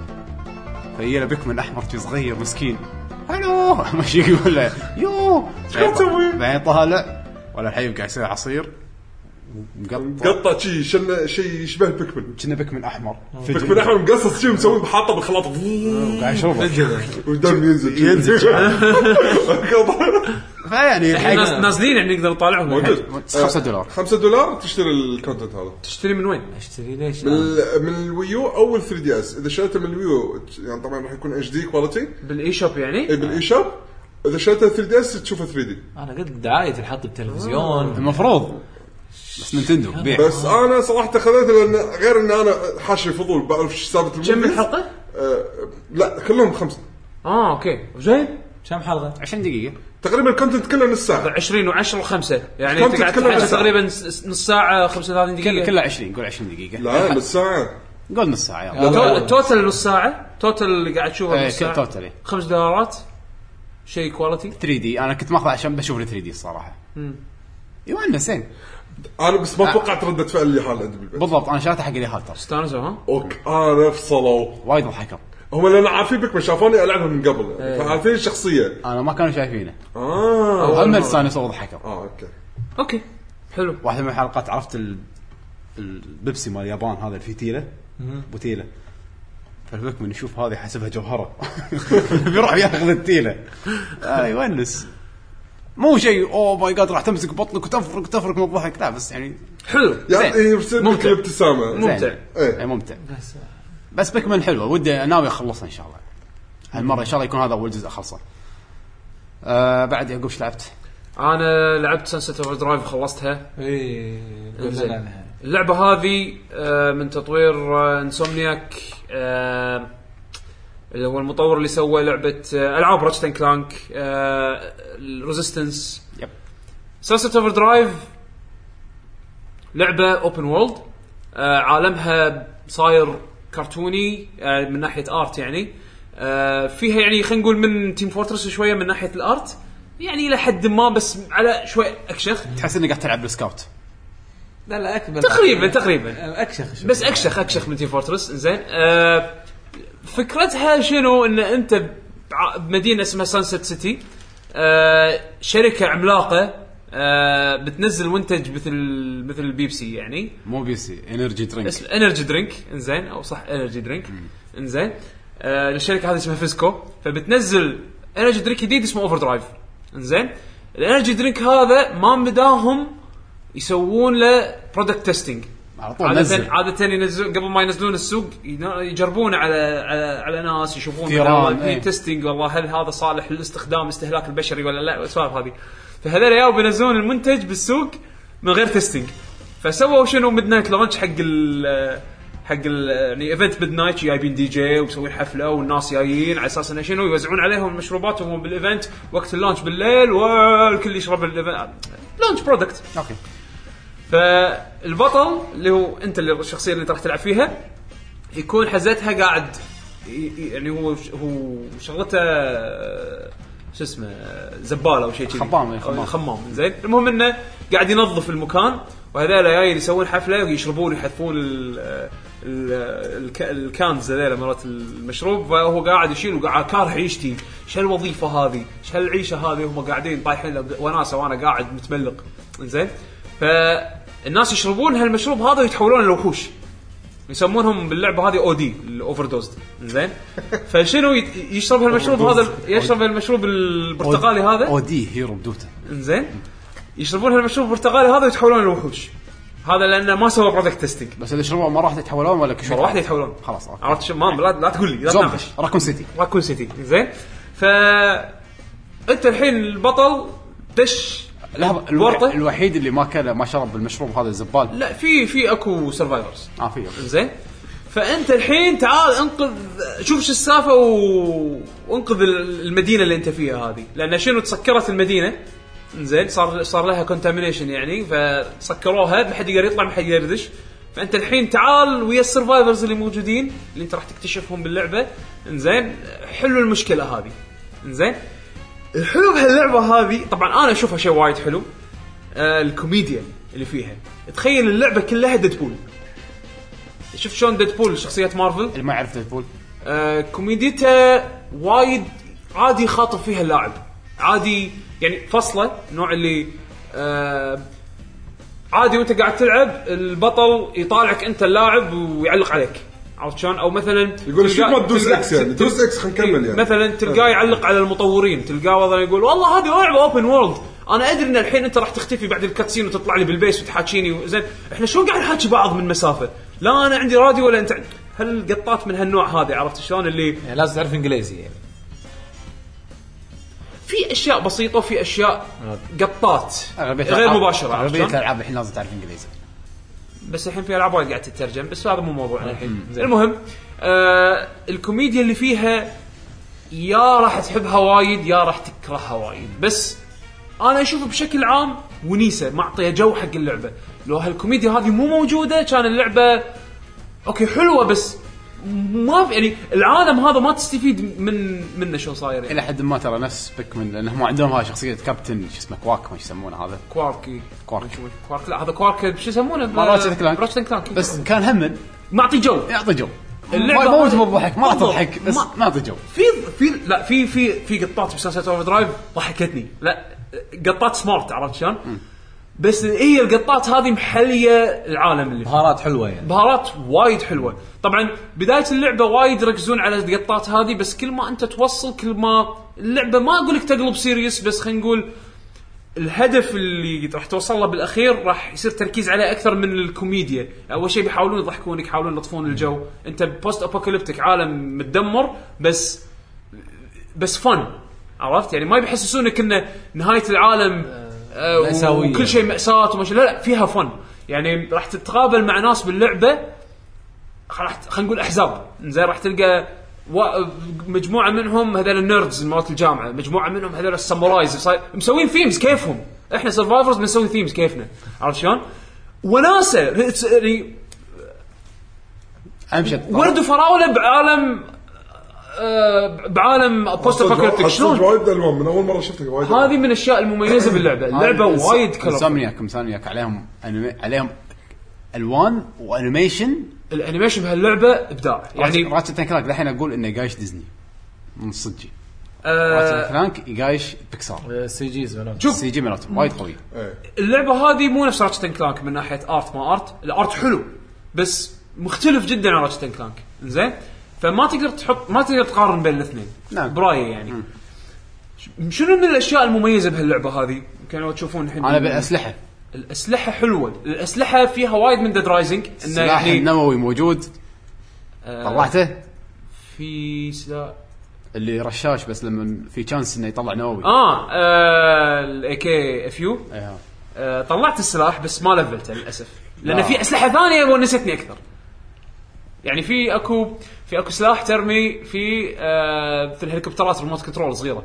فيجي له بيكمن احمر شي صغير مسكين الو ماشي يقول له يو قاعد تسوي؟ بعدين طالع ولا الحين قاعد يسوي عصير مقطع قطع شي شنه شي يشبه بيكمن كنا بيكمن احمر بيكمن احمر مقصص شي مسوي حاطه بالخلاط قاعد يشربه والدم ينزل ينزل. ينزل فيعني الحين ناس- الحين نازلين يعني نقدر نطالعهم الحين. موجود 5 دولار 5 دولار تشتري الكونتنت هذا تشتري من وين؟ اشتري ليش من لا؟ ال- من الويو او ال 3 دي اس اذا شريته من الويو يعني طبعا راح يكون اتش دي كواليتي بالاي شوب يعني؟ بالاي شوب اذا إيه، شريته 3 دي اس تشوفه 3 دي انا قلت دعايه تنحط بتلفزيون المفروض بس نينتندو بيع بس انا صراحه خذيته لان غير ان انا حاشي فضول بعرف ايش سالفه الموفيز. كم الحلقه؟ آه لا كلهم خمسه اه اوكي زين كم حلقه؟ 20 دقيقة تقريبا الكونتنت كله نص ساعه 20 و10 و5 يعني كم انت قاعد تتكلم عن تحكي ساعة؟ تقريبا س- س- نص ساعه 35 كله دقيقه كله 20 قول 20 دقيقة لا نص ساعه قول نص ساعة يلا التو- لا. التوتل نص ساعه توتل اللي قاعد تشوفه إيه، نص كل ساعه توتل، إيه. خمس دولارات شيء كواليتي 3 دي انا كنت ماخذ عشان بشوف ال 3 دي الصراحة يونس زين انا بس ما توقعت رده فعل اللي حال عندي بالبيت بالضبط انا شاريته حق اليهال ترى استانسوا ها؟ اوك انا فصلوا وايد ضحكوا هم لان عارفين بك ما شافوني العبها من قبل فعارفين الشخصيه انا ما كانوا شايفينه اه هم استانسوا وضحكوا اه اوكي اوكي حلو واحده من الحلقات عرفت ال... البيبسي مال اليابان هذا الفتيله بوتيله فالبيكمن يشوف هذه يحسبها جوهره بيروح ياخذ التيله آه يونس مو شيء اوه ماي جاد راح تمسك بطنك وتفرك تفرك من الضحك لا بس يعني حلو يعني زين. يرسل لك ممتع. الابتسامه ممتع. زين. إيه. إيه، ممتع بس بس بيكمن حلوه ودي ناوي اخلصها ان شاء الله هالمره ان شاء الله يكون هذا اول جزء اخلصه آه بعد يعقوب ايش لعبت؟ انا لعبت سانست اوفر درايف خلصتها ايه إنزين. قلنا عنها اللعبه هذه آه، من تطوير آه، انسومنياك آه، اللي هو المطور اللي سوى لعبه آه، العاب راتشتن كلانك آه، الريزيستنس يب. سانست اوفر درايف لعبه اوبن وورلد آه، عالمها صاير كرتوني آه، من ناحيه ارت يعني آه، فيها يعني خلينا نقول من تيم فورترس شويه من ناحيه الارت يعني الى حد ما بس على شوي اكشخ تحس اني قاعد تلعب بالسكاوت لا لا اكمل تقريبا تقريبا اكشخ شوي. بس اكشخ اكشخ من تيم فورترس زين آه فكرتها شنو ان انت بع- بمدينه اسمها سانست سيتي آه شركه عملاقه آه بتنزل منتج مثل مثل البيبسي يعني مو بيسي انرجي درينك اسم انرجي درينك انزين او صح انرجي درينك انزين آه الشركه هذه اسمها فيسكو فبتنزل انرجي درينك جديد اسمه اوفر درايف انزين الانرجي درينك هذا ما مداهم يسوون له برودكت تيستينج على طول نزل عادة عادة ينزلون قبل ما ينزلون السوق ين- يجربون على على, على ناس يشوفون ثيران، والله في إيه. تيستينج والله هل هذا صالح للاستخدام استهلاك البشري ولا لا والسوالف هذه فهذول ياو بينزلون المنتج بالسوق من غير تيستينج فسووا شنو ميد نايت لانش حق ال حق ال يعني ايفنت ميد نايت جايبين دي جي ومسوين حفله والناس جايين على اساس انه شنو يوزعون عليهم المشروبات وهم بالايفنت وقت اللانش بالليل والكل يشرب الايفنت لانش برودكت اوكي فالبطل اللي هو انت اللي الشخصيه اللي انت راح تلعب فيها يكون حزتها قاعد ي- ي- يعني هو هو شغلته آه، شو اسمه آه، زباله او شيء كذي خمام، إيه، أو خمام. خمام زين المهم انه قاعد ينظف المكان وهذول جايين يسوون حفله ويشربون ويحذفون ال- آه، ال- آه، الك- الكانز هذول مرات المشروب فهو قاعد يشيل وقاعد كاره عيشتي شو الوظيفه هذه؟ شو العيشه هذه هم قاعدين طايحين وناسه وانا قاعد متملق زين فالناس يشربون هالمشروب هذا ويتحولون لوحوش يسمونهم باللعبه هذه او دي الاوفر دوز زين فشنو يت- يشرب هالمشروب هذا يشرب هالمشروب البرتقالي هذا او دي هيرو بدوته انزين يشربون هالمشروب البرتقالي هذا ويتحولون لوحوش هذا لانه ما سوى برودكت تيستنج بس اللي شربوه مره واحده يتحولون ولا كل شوي مره واحده يتحولون خلاص، أوكي. عرفت شو ما لا, لا تقول لي لا زومبي تناقش راكون سيتي راكون سيتي زين ف انت الحين البطل دش لحظه ورطة؟ الوحي- الوحيد اللي ما كان ما شرب المشروب هذا الزبال لا في في اكو سرفايفرز اه في أوكي. زين فانت الحين تعال انقذ شوف شو السالفه و... وانقذ ال- المدينه اللي انت فيها هذه لان شنو تسكرت المدينه زين صار صار لها كونتامينيشن يعني فسكروها ما حد يقدر يطلع ما حد يقدر يدش فانت الحين تعال ويا السرفايفرز اللي موجودين اللي انت راح تكتشفهم باللعبه زين حلوا المشكله هذه زين الحلو بهاللعبه هذه طبعا انا اشوفها شيء وايد حلو آه الكوميديا اللي فيها تخيل اللعبه كلها ديدبول شوف شلون ديدبول شخصية مارفل اللي ما يعرف ديدبول آه كوميديته وايد عادي خاطب فيها اللاعب عادي يعني فصله النوع اللي آه عادي وانت قاعد تلعب البطل يطالعك انت اللاعب ويعلق عليك عرفت شلون او مثلا يقول لك شوف تلقى- ما تدوس تلقى- إكس يعني، دوس تلقى- إكس خلينا نكمل يعني. مثلا إيه، تلقاه يعلق على المطورين تلقاه مثلا يقول والله هذه لعبه اوبن وورلد انا ادري ان الحين انت راح تختفي بعد الكاتسين وتطلع لي بالبيس وتحاكيني و- زين احنا شلون قاعد نحاكي بعض من مسافه لا انا عندي راديو ولا انت عند- هالقطات من هالنوع هذه عرفت شلون اللي يعني لازم تعرف انجليزي يعني في اشياء بسيطه وفي اشياء قطات أغلبية غير الألعاب- مباشره عرفت اغلبيه شلون؟ الالعاب الحين لازم تعرف انجليزي بس الحين في العاب وايد قاعد تترجم بس هذا مو موضوعنا الحين المهم آه الكوميديا اللي فيها يا راح تحبها وايد يا راح تكرهها وايد بس انا اشوف بشكل عام ونيسه معطيه جو حق اللعبه لو هالكوميديا هذه مو موجوده كان اللعبه اوكي حلوه بس ما في يعني العالم هذا ما تستفيد من منه شو صاير يعني الى حد ما ترى نفس بيكمن لانهم عندهم هاي شخصيه كابتن شو اسمه كواك ما يسمونه هذا كواركي كوارك. كوارك لا هذا كوارك شو يسمونه آه، راتشت كلانك. راتشت كلانك بس كان هم معطي جو يعطي جو اللعبة اللعبه مو هذه- مو بضحك ما راح بالضبط. تضحك بس ما- ما اعطي جو في في لا في في في قطات بسلسله اوفر درايف ضحكتني لا قطات سمارت عرفت شلون؟ بس هي القطات هذه محليه العالم اللي فيه. بهارات حلوه يعني بهارات وايد حلوه طبعا بدايه اللعبه وايد يركزون على القطات هذه بس كل ما انت توصل كل ما اللعبه ما اقول لك تقلب سيريس بس خلينا نقول الهدف اللي راح توصل له بالاخير راح يصير تركيز عليه اكثر من الكوميديا، اول شيء بيحاولون يضحكونك، يحاولون يلطفون الجو، انت بوست ابوكاليبتيك عالم متدمر بس بس فن عرفت؟ يعني ما يحسسونك انه نهايه العالم آه مأساوية. وكل شيء ماساه وما شي- لا لا فيها فن، يعني راح تتقابل مع ناس باللعبه راح ت- خلينا نقول احزاب زين راح تلقى و... مجموعه منهم هذول النيردز مالت الجامعه مجموعه منهم هذول السامورايز صاير- مسوين ثيمز كيفهم احنا سرفايفرز بنسوي ثيمز كيفنا عرفت شلون؟ وناسه رتس- يعني اهم شيء ورد وفراوله بعالم آه، بعالم بوست ابوكاليبتيك شلون؟ شلون؟ وايد الوان من اول مره شفتك وايد ألوان. هذه من الاشياء المميزه باللعبه، اللعبه وايد كلام انسومنياك انسومنياك عليهم أنمي... عليهم الوان وانيميشن الانيميشن بهاللعبه ابداع يعني يعني راتشت أند كلانك الحين اقول انه يقايش ديزني من صدقي راتشت أند آه كلانك يقايش بيكسار سي جيز مالهم. شوف. سي جي مرات وايد قوي ايه اللعبه هذه مو نفس راتشت أند كلانك من ناحيه ارت ما ارت الارت حلو بس مختلف جدا عن راتشت أند كلانك زين فما تقدر تحط ما تقدر تقارن بين الاثنين نعم. برايي يعني ش- شنو من الاشياء المميزه بهاللعبه هذه؟ كانوا تشوفون الحين انا بالاسلحه الاسلحه حلوه، الاسلحه فيها وايد من ديد رايزنج انه السلاح يعني النووي موجود آه، طلعته في سلا... اللي رشاش بس لما في تشانس انه يطلع نووي اه, آه الاي كي اف يو إيه. آه، طلعت السلاح بس ما لفلته للاسف لان لا. في اسلحه ثانيه ونستني اكثر يعني في اكو في اكو سلاح ترمي في آه، مثل هليكوبترات ريموت كنترول صغيره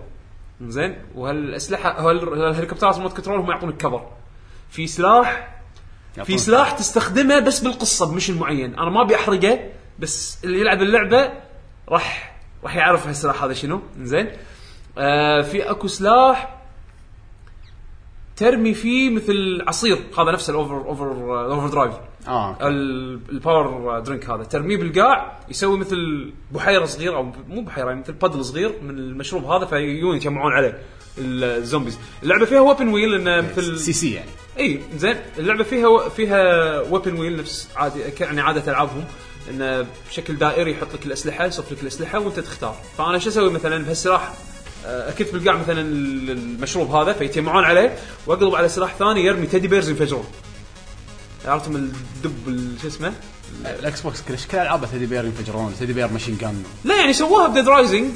زين وهالاسلحه وهال- هالهليكوبترات ريموت كنترول هم يعطونك كفر في سلاح في يعطونك. سلاح تستخدمه بس بالقصه بمشن معين انا ما ابي احرقه بس اللي يلعب اللعبه راح راح يعرف هالسلاح هذا شنو زين آه في اكو سلاح ترمي فيه مثل عصير هذا نفسه الاوفر اوفر اوفر درايف آه، اه ال- الباور درينك هذا ترميه بالقاع يسوي مثل بحيره صغيره او مو بحيره يعني مثل بادل صغير من المشروب هذا فيجون يجمعون عليه الزومبيز اللعبه فيها ويبن ويل انه مثل سي سي يعني اي زين اللعبه فيها فيها ويبن ويل نفس عادي يعني عاده العابهم انه بشكل دائري يحط لك الاسلحه يصف لك الاسلحه وانت تختار فانا شو اسوي مثلا بهالسلاح آه، اكت بالقاع مثلا ال- المشروب هذا فيتجمعون عليه واقلب على سلاح ثاني يرمي تيدي بيرز ينفجرون عرفتم الدب ال- شو اسمه؟ الاكس بوكس كلش كل العابه تدي بير ينفجرون تدي بير ماشين جان لا يعني سووها بديد رايزنج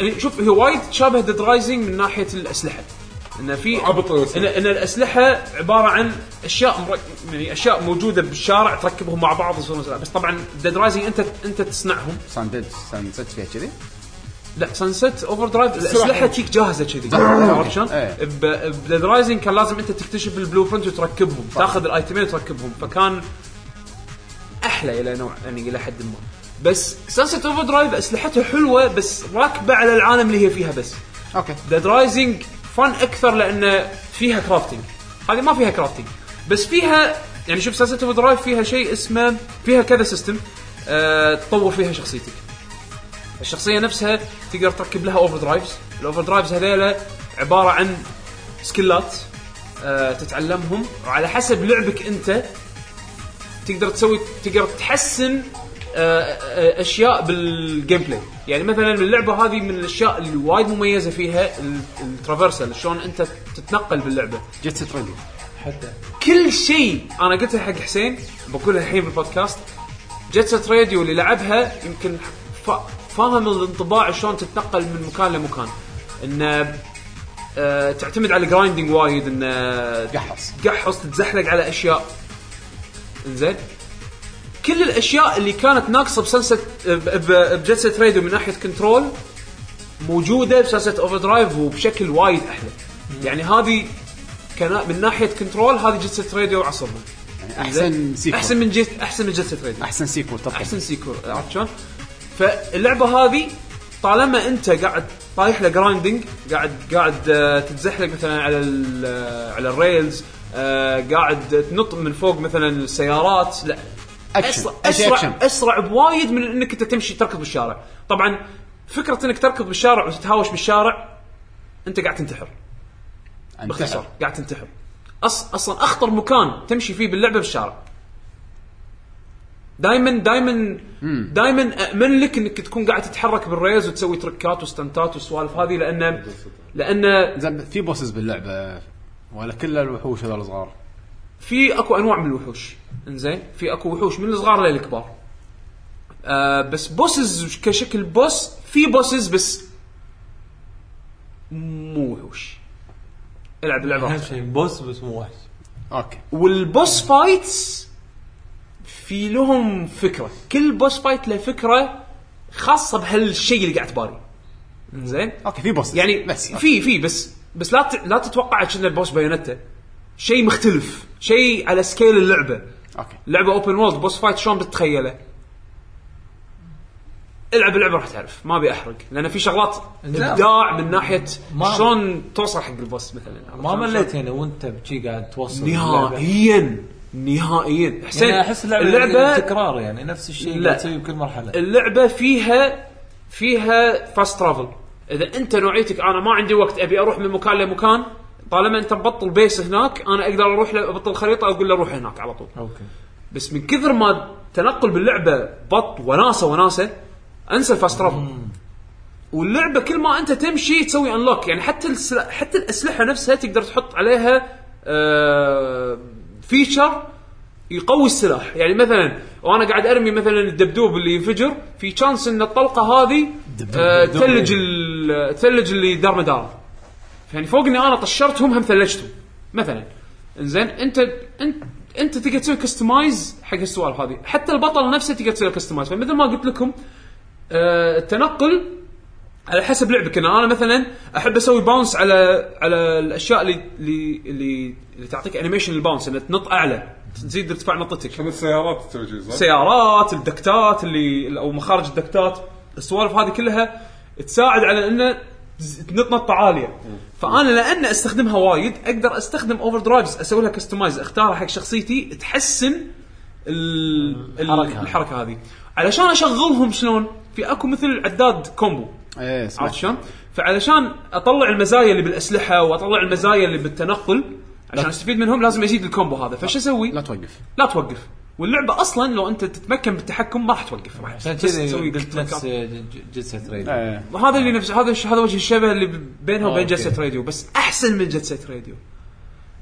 يعني شوف هي وايد شابه ديد رايزنج من ناحيه الاسلحه انه في عبط ان الاسلحه ان الاسلحه عباره عن اشياء مر... يعني اشياء موجوده بالشارع تركبهم مع بعض يصيرون سلاح. بس طبعا ديد رايزنج انت انت تصنعهم سان ديد سان ست فيها كذي لا سانست اوفر درايف الاسلحه تجيك جاهزه كذي عرفت شلون؟ إيه. بديد رايزنج كان لازم انت تكتشف البلو برنت وتركبهم تاخذ الايتمين وتركبهم فكان احلى الى نوع يعني الى حد ما بس سانست اوفر درايف اسلحتها حلوه بس راكبه على العالم اللي هي فيها بس اوكي ديد رايزنج فن اكثر لان فيها كرافتنج هذه ما فيها كرافتنج بس فيها يعني شوف سلسله اوف درايف فيها شيء اسمه فيها كذا سيستم أه تطور فيها شخصيتك الشخصيه نفسها تقدر تركب لها اوفر درايفز الاوفر درايفز هذيلا عباره عن سكلات أه تتعلمهم وعلى حسب لعبك انت تقدر تسوي تقدر تحسن آه، آه، اشياء بالجيم بلاي يعني مثلا اللعبه هذه من الاشياء اللي وايد مميزه فيها ال- الترافرسل شلون انت تتنقل باللعبه جيت ست ريديو حتى كل شيء انا قلتها حق حسين بقولها الحين بالبودكاست جيتسات راديو اللي لعبها يمكن فا- فاهم الانطباع شلون تتنقل من مكان لمكان انه آه، تعتمد على الجرايندنج وايد آه، انه قحص تقحص تتزحلق على اشياء انزين كل الاشياء اللي كانت ناقصه بسلسله بجلسه ريدو من ناحيه كنترول موجوده بسلسله اوفر درايف وبشكل وايد احلى يعني هذه كان من ناحيه كنترول هذه جلسه راديو عصرنا احسن سيكول احسن احسن من جلسة احسن من جلسه راديو احسن سيكول تطلع احسن سيكور عرفت شلون؟ فاللعبه هذه طالما انت قاعد طايح له جرايندنج قاعد قاعد آه، تتزحلق مثلا على ال- آه، على الريلز آه، قاعد تنط من فوق مثلا السيارات لا اكشن أسرع- أشي اسرع اكشن اسرع بوايد من انك انت تمشي تركض بالشارع طبعا فكره انك تركض بالشارع وتتهاوش بالشارع انت قاعد تنتحر باختصار انتحر. نعم. قاعد تنتحر أص... اصلا اخطر مكان تمشي فيه باللعبه بالشارع دائما دائما دائما اامن لك انك تكون قاعد تتحرك بالريز وتسوي تركات وستنتات والسوالف هذه لان لان زين في بوسز باللعبه ولا كل الوحوش هذول صغار في اكو انواع من الوحوش انزين في اكو وحوش من الصغار للكبار آه بس بوسز كشكل بوس في بوسز بس مو وحوش العب اللعبه اهم راحتك. شيء بوس بس مو وحش اوكي والبوس فايتس في لهم فكره كل بوس فايت له فكره خاصه بهالشيء اللي قاعد تباري زين اوكي في بوسز يعني بس أوكي. في في بس بس لا ت- لا تتوقع ان البوس بايونتا شيء مختلف شيء على سكيل اللعبه اوكي لعبه اوبن وورلد بوس فايت شلون بتتخيله العب اللعبه راح تعرف ما ابي احرق لان في شغلات لا. ابداع من ناحيه ما- شلون توصل حق البوس مثلا ما مليت يعني وانت بشي قاعد توصل اللعبة؟ نهائيا نهائيا حسين يعني احس اللعبه, اللعبة تكرار يعني نفس الشيء لا. اللي تسويه بكل مرحله اللعبه فيها فيها فاست ترافل اذا انت نوعيتك انا ما عندي وقت ابي اروح من مكان لمكان طالما انت مبطل بيس هناك انا اقدر اروح له- ابطل خريطه اقول له روح هناك على طول اوكي بس من كثر ما تنقل باللعبه بط وناسه وناسه انسى الفاست ترافل واللعبه كل ما انت تمشي تسوي انلوك يعني حتى السلا... حتى الاسلحه نفسها تقدر تحط عليها آه... فيشر يقوي السلاح يعني مثلا وانا قاعد ارمي مثلا الدبدوب اللي ينفجر في تشانس ان الطلقه هذه آه... دبدوب. تلج ال... تلج اللي دار مدار يعني فوق اني انا طشرتهم هم ثلجتهم مثلا زين انت انت انت تقدر تسوي كستمايز حق السوالف هذه حتى البطل نفسه تقدر تسوي كستمايز فمثل ما قلت لكم آه، التنقل على حسب لعبك انا انا مثلا احب اسوي باونس على على الاشياء اللي اللي اللي, اللي تعطيك انيميشن الباونس انك تنط اعلى تزيد ارتفاع نطتك كم السيارات تسوي شيء صح؟ سيارات الدكتات اللي او مخارج الدكتات السوالف هذه كلها تساعد على انه تز- تنط نطه عاليه فانا لان استخدمها وايد اقدر استخدم اوفر درايفز اسوي لها كستمايز اختارها حق شخصيتي تحسن ال- الحركة. الحركه الحركه هذه علشان اشغلهم شلون في اكو مثل عداد كومبو ايه عرفت شلون؟ فعلشان اطلع المزايا اللي بالاسلحه واطلع المزايا اللي بالتنقل عشان استفيد منهم لازم ازيد الكومبو هذا فش اسوي؟ لا توقف لا توقف واللعبه اصلا لو انت تتمكن بالتحكم ما راح توقف راح عشان بس كذي تسوي قلت كليك نفس آه، أب. جلسه ريد ايه هذا اللي نفس هذا الش- هذا وجه الشبه اللي ب- بينها وبين آه، أوكي. جلسه راديو بس احسن من جلسه راديو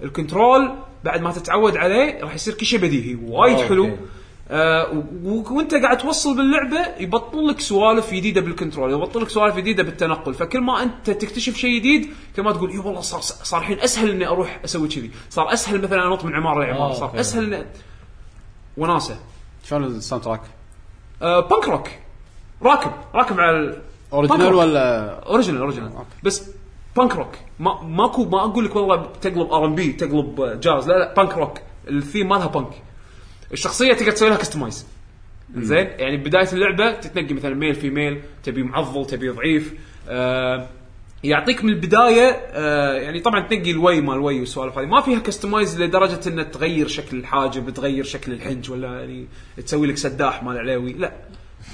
الكنترول بعد ما تتعود عليه راح يصير كل شيء بديهي وايد أوكي. حلو آه و- و- وانت قاعد توصل باللعبه يبطل لك سوالف جديده بالكنترول يبطل لك سوالف جديده بالتنقل فكل ما انت تكتشف شيء جديد كل ما تقول اي والله صار صار الحين اسهل اني اروح اسوي كذي صار اسهل مثلا انط من عماره لعماره آه، صار أوكي. اسهل إني- وناسه شلون الساوند تراك؟ آه، بانك روك راكب راكب على ال- بانك اوريجينال روك. ولا اوريجينال اوريجينال بس بانك روك ما ماكو ما اقول لك والله تقلب ار ام بي تقلب جاز لا لا بانك روك الثيم مالها بانك الشخصيه تقدر تسوي لها كستمايز زين يعني بدايه اللعبه تتنقي مثلا ميل في ميل تبي معضل تبي ضعيف آه يعطيك من البدايه آه يعني طبعا تنقي الوي مال الوي والسوالف هذه ما فيها كستمايز لدرجه انها تغير شكل الحاجب تغير شكل الحنج ولا يعني تسوي لك سداح مال عليوي لا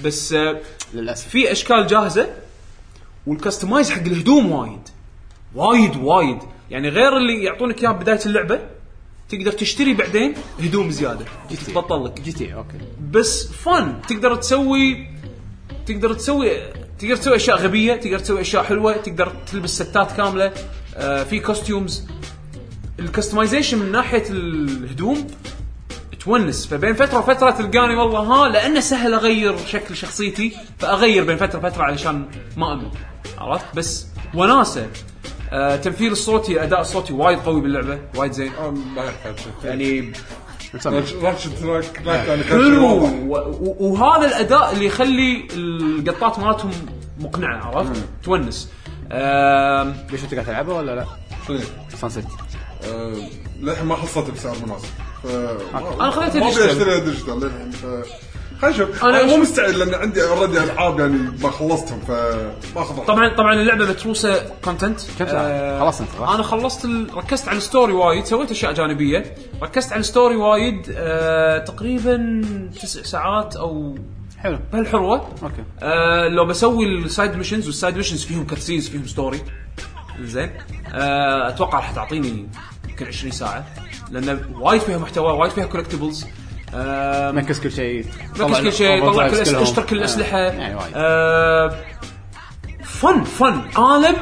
بس آه للاسف في اشكال جاهزه والكستمايز حق الهدوم وايد وايد وايد يعني غير اللي يعطونك اياه بدايه اللعبه تقدر تشتري بعدين هدوم زياده تبطل لك جي تي اوكي بس فن تقدر تسوي تقدر تسوي تقدر تسوي اشياء غبيه تقدر تسوي اشياء حلوه تقدر تلبس ستات كامله آه في كوستيومز الكستمايزيشن من ناحيه الهدوم تونس فبين فتره وفتره تلقاني والله ها لانه سهل اغير شكل شخصيتي فاغير بين فتره وفتره علشان ما امل عرفت بس وناسه آه تمثيل الصوتي اداء الصوتي وايد قوي باللعبه وايد زين أنا ما أعرف. يعني راشد تراك تراك يعني كان شيء حلو واضح. و- و- وهذا الاداء اللي يخلي القطات مالتهم مقنعه عرفت؟ تونس آم، ليش انت قاعد تلعبها ولا لا؟ شنو؟ سانسيت آه، للحين ما حصلته بسعر مناسب ف- انا خذيتها ما ابي ديجيتال اشتريها ديجيتال للحين ف خلينا نشوف أنا انا مو أشوف- مستعد لان عندي اوريدي العاب يعني ما خلصتهم فباخذ راحتي. طبعا طبعا اللعبه متروسه كونتنت كم ساعة؟ خلاص انت خلاص. انا آه، خلصت ال... ركزت على الستوري وايد سويت اشياء جانبيه ركزت على الستوري وايد آه، تقريبا تسع ساعات او حلو بهالحروه اوكي آه لو بسوي السايد ميشنز والسايد ميشنز فيهم كاتسينز فيهم ستوري زين آه اتوقع راح تعطيني يمكن 20 ساعه لان وايد فيها محتوى وايد فيها كولكتبلز آه مركز كل شيء ركز كل شيء طلع كل الأس- اشترك كل الاسلحه الاسلحه يعني وايد آه فن فن عالم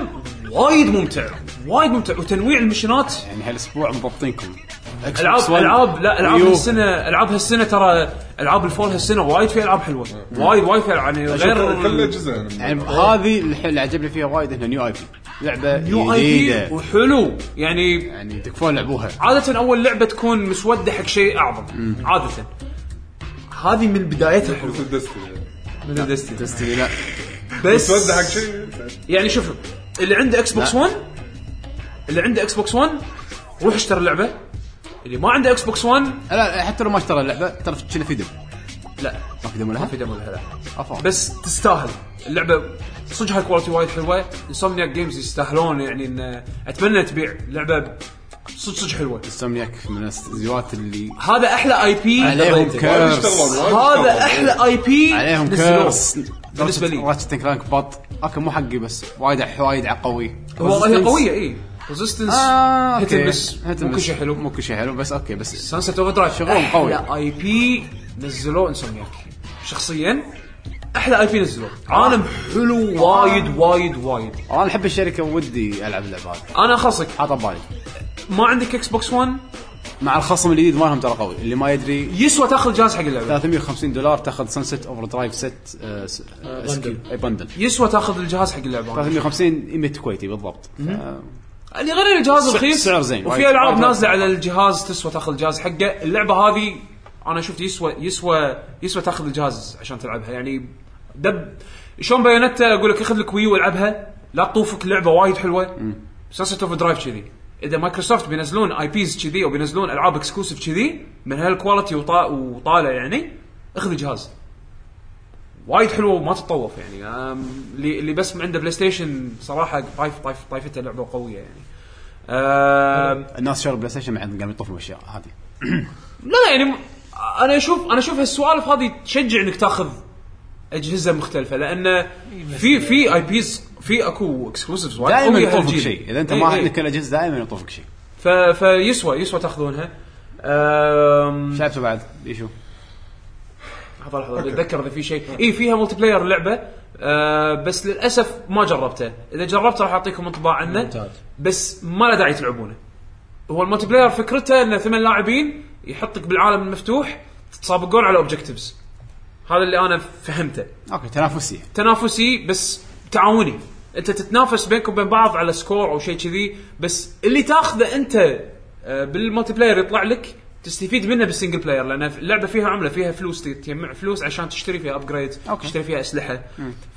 وايد ممتع وايد ممتع وتنويع المشنات يعني هالاسبوع مضبطينكم Xbox العاب One، العاب لا العاب Wii U. هالسنه العاب هالسنه ترى العاب الفول هالسنه وايد في العاب حلوه وايد وايد في يعني غير كل جزء يعني يعني هذه الحين اللي عجبني فيها وايد هنا نيو اي بي لعبه يو اي بي جديده وحلو يعني يعني تكفون لعبوها عاده اول لعبه تكون مسوده حق شيء اعظم عاده هذه من بدايتها حلوه مثل دستني من Destiny. تستوي لا بس تودع حق شيء يعني شوف اللي عنده اكس بوكس لا. 1 اللي عنده اكس بوكس 1 روح اشتري اللعبه اللي ما عنده اكس بوكس 1 لا حتى لو ما اشترى اللعبه ترى كنا في دم لا ما في دم ولا ما ها؟ في دم لها لا أفا. بس تستاهل اللعبه صدق هاي كواليتي وايد حلوه انسومنياك جيمز يستاهلون يعني ان اتمنى تبيع لعبه صدق صدق حلوه سميك من الاستديوهات اللي هذا احلى اي بي عليهم وايد كيرس يشتغلون، وايد يشتغلون. هذا احلى اي بي عليهم كيرس بالنسبه لي راتشت كلانك بط اوكي مو حقي بس وايد وايد قوي والله هي إيه. قويه اي ريزيستنس آه، هيت أوكي. بس هيت مو كل بس. شيء حلو مو كل شيء حلو بس اوكي بس سانست اوفر درايف شغلهم قوي. احلى اي بي نزلوه انسومياك شخصيا احلى اي بي نزلوه عالم حلو وايد وايد وايد انا احب الشركه ودي العب اللعبه هذه انا خاصك حاطه ببالي ما عندك اكس بوكس 1 مع الخصم الجديد مالهم ترى قوي اللي ما يدري يسوى تاخذ جهاز حق اللعبه 350 دولار تاخذ سانست اوفر درايف ست آه، س- آه، سكيل. اي بندل يسوى تاخذ الجهاز حق اللعبه 350 100 كويتي بالضبط آه، اللي يعني غير الجهاز سعر- رخيص سعر زين. وايد- وفي العاب وايد- نازله على الجهاز تسوى تاخذ الجهاز حقه اللعبه هذه انا شفت يسوى يسوى يسوى تاخذ الجهاز عشان تلعبها يعني دب شلون بايونتا اقول لك اخذ لك ويو والعبها لا تطوفك لعبه وايد حلوه سانست اوف درايف كذي اذا مايكروسوفت بينزلون اي بيز كذي او بينزلون العاب اكسكلوسيف كذي من هالكواليتي وطا- وطالع يعني اخذ الجهاز وايد حلوه وما تتطوف يعني أم، اللي اللي بس عنده بلاي ستيشن صراحه طايف طايف طايفته لعبه قويه يعني أم، الناس شاروا بلاي ستيشن بعدين قاموا يطوفون بالاشياء هذه لا يعني م- انا اشوف انا اشوف هالسوالف هذه تشجع انك تاخذ اجهزه مختلفه لان في في اي بيز في اكو اكسكلوسيفز وايد دائما قوية يطوفك هالجيل. شيء اذا انت إي ما إي. عندك الاجهزه دائما يطوفك شيء ف... فيسوى يسوى تاخذونها أم... شايفته بعد يشو لحظه لحظه اتذكر اذا في شيء اي فيها ملتي بلاير لعبه آه بس للاسف ما جربته اذا جربته راح اعطيكم انطباع عنه ممتاز. بس ما له داعي تلعبونه هو الملتي بلاير فكرته انه ثمان لاعبين يحطك بالعالم المفتوح تتسابقون على اوبجكتيفز هذا اللي انا فهمته اوكي تنافسيه تنافسي بس تعاوني انت تتنافس بينك وبين بعض على سكور او شيء كذي بس اللي تاخذه انت آه، بالمالتي بلاير يطلع لك تستفيد منه بالسنجل بلاير لان اللعبه فيها عمله فيها فلوس ت- تجمع فلوس عشان تشتري فيها ابجريد أوكي. تشتري فيها اسلحه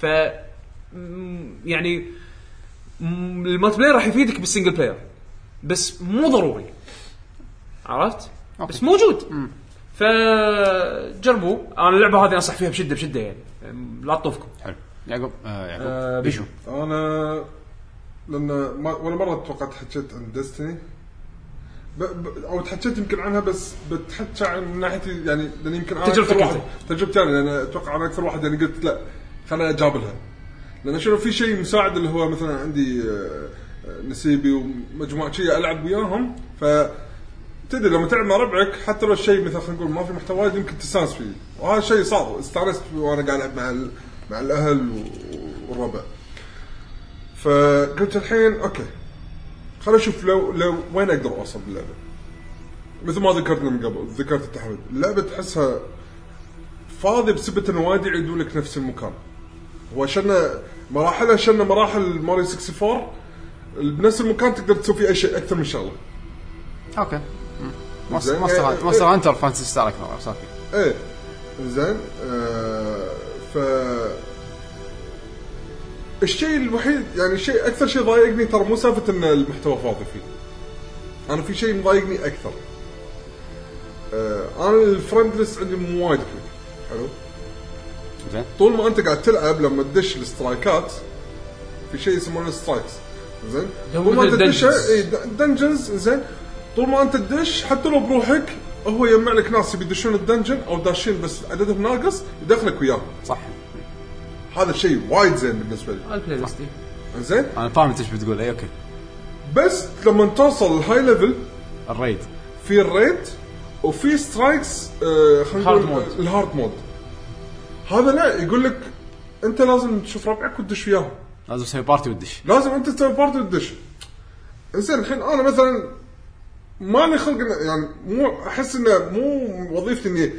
ف م- يعني م- المالتي بلاير راح يفيدك بالسنجل بلاير بس مو ضروري عرفت؟ أوكي. بس موجود فجربوا انا اللعبه هذه انصح فيها بشده بشده يعني لا تطوفكم حلو يعقوب آه آه، يعقوب بيشو. بيشو انا لان ما ولا مره توقعت حكيت عن ديستني ب... ب... او تحكيت يمكن عنها بس بتحكى عن ناحيتي يعني لان يمكن انا تجربتك اكثر واحد أنت. تجربتي انا لان اتوقع انا اكثر واحد يعني قلت لا خليني اجابلها لان شنو في شيء مساعد اللي هو مثلا عندي آه، آه، نسيبي ومجموعه شيء العب وياهم ف تدري لما تلعب مع ربعك حتى لو الشيء مثلا خلينا نقول ما في محتوى وايد يمكن تستانس فيه وهذا الشيء صار استانست وانا قاعد العب مع ال- مع الاهل و- والربع فقلت الحين اوكي خليني اشوف لو لو وين اقدر اوصل باللعبه مثل ما ذكرتنا من قبل ذكرت التحدي اللعبه تحسها فاضي بسبه انه وايد يعيدون لك نفس المكان هو شلنا مراحلها شلنا مراحل ماريو 64 بنفس المكان تقدر تسوي فيه اي شيء اكثر من شغله اوكي زين. ماستر آه، ماستر آه. هانتر فانتسي ستار اكثر صار فيه. ايه زين آه ف الشيء الوحيد يعني الشيء اكثر شيء ضايقني ترى مو سالفه ان المحتوى فاضي فيه انا في شيء مضايقني اكثر آه انا الفرند ليست عندي مو وايد كبير حلو زين طول ما انت قاعد تلعب لما تدش الاسترايكات في شيء يسمونه سترايكس زين هم طول ما انت مثل تدش dungeons. اي دنجنز زين طول ما انت تدش حتى لو بروحك هو يجمع لك ناس يبي يدشون الدنجن او داشين بس عددهم ناقص يدخلك وياهم صح هذا الشيء وايد زين بالنسبه لي البلاي ليست إيه. زين انا فاهم انت ايش بتقول إيه، اي اوكي بس لما توصل الهاي ليفل الريد في الريد وفي سترايكس آه خلينا هارد نقول مود. الهارد مود هذا لا يقول لك انت لازم تشوف ربعك وتدش وياهم لازم تسوي بارتي وتدش لازم انت تسوي بارت وتدش زين الحين انا مثلا ما لي خلق إن- يعني مو احس انه مو وظيفتي اني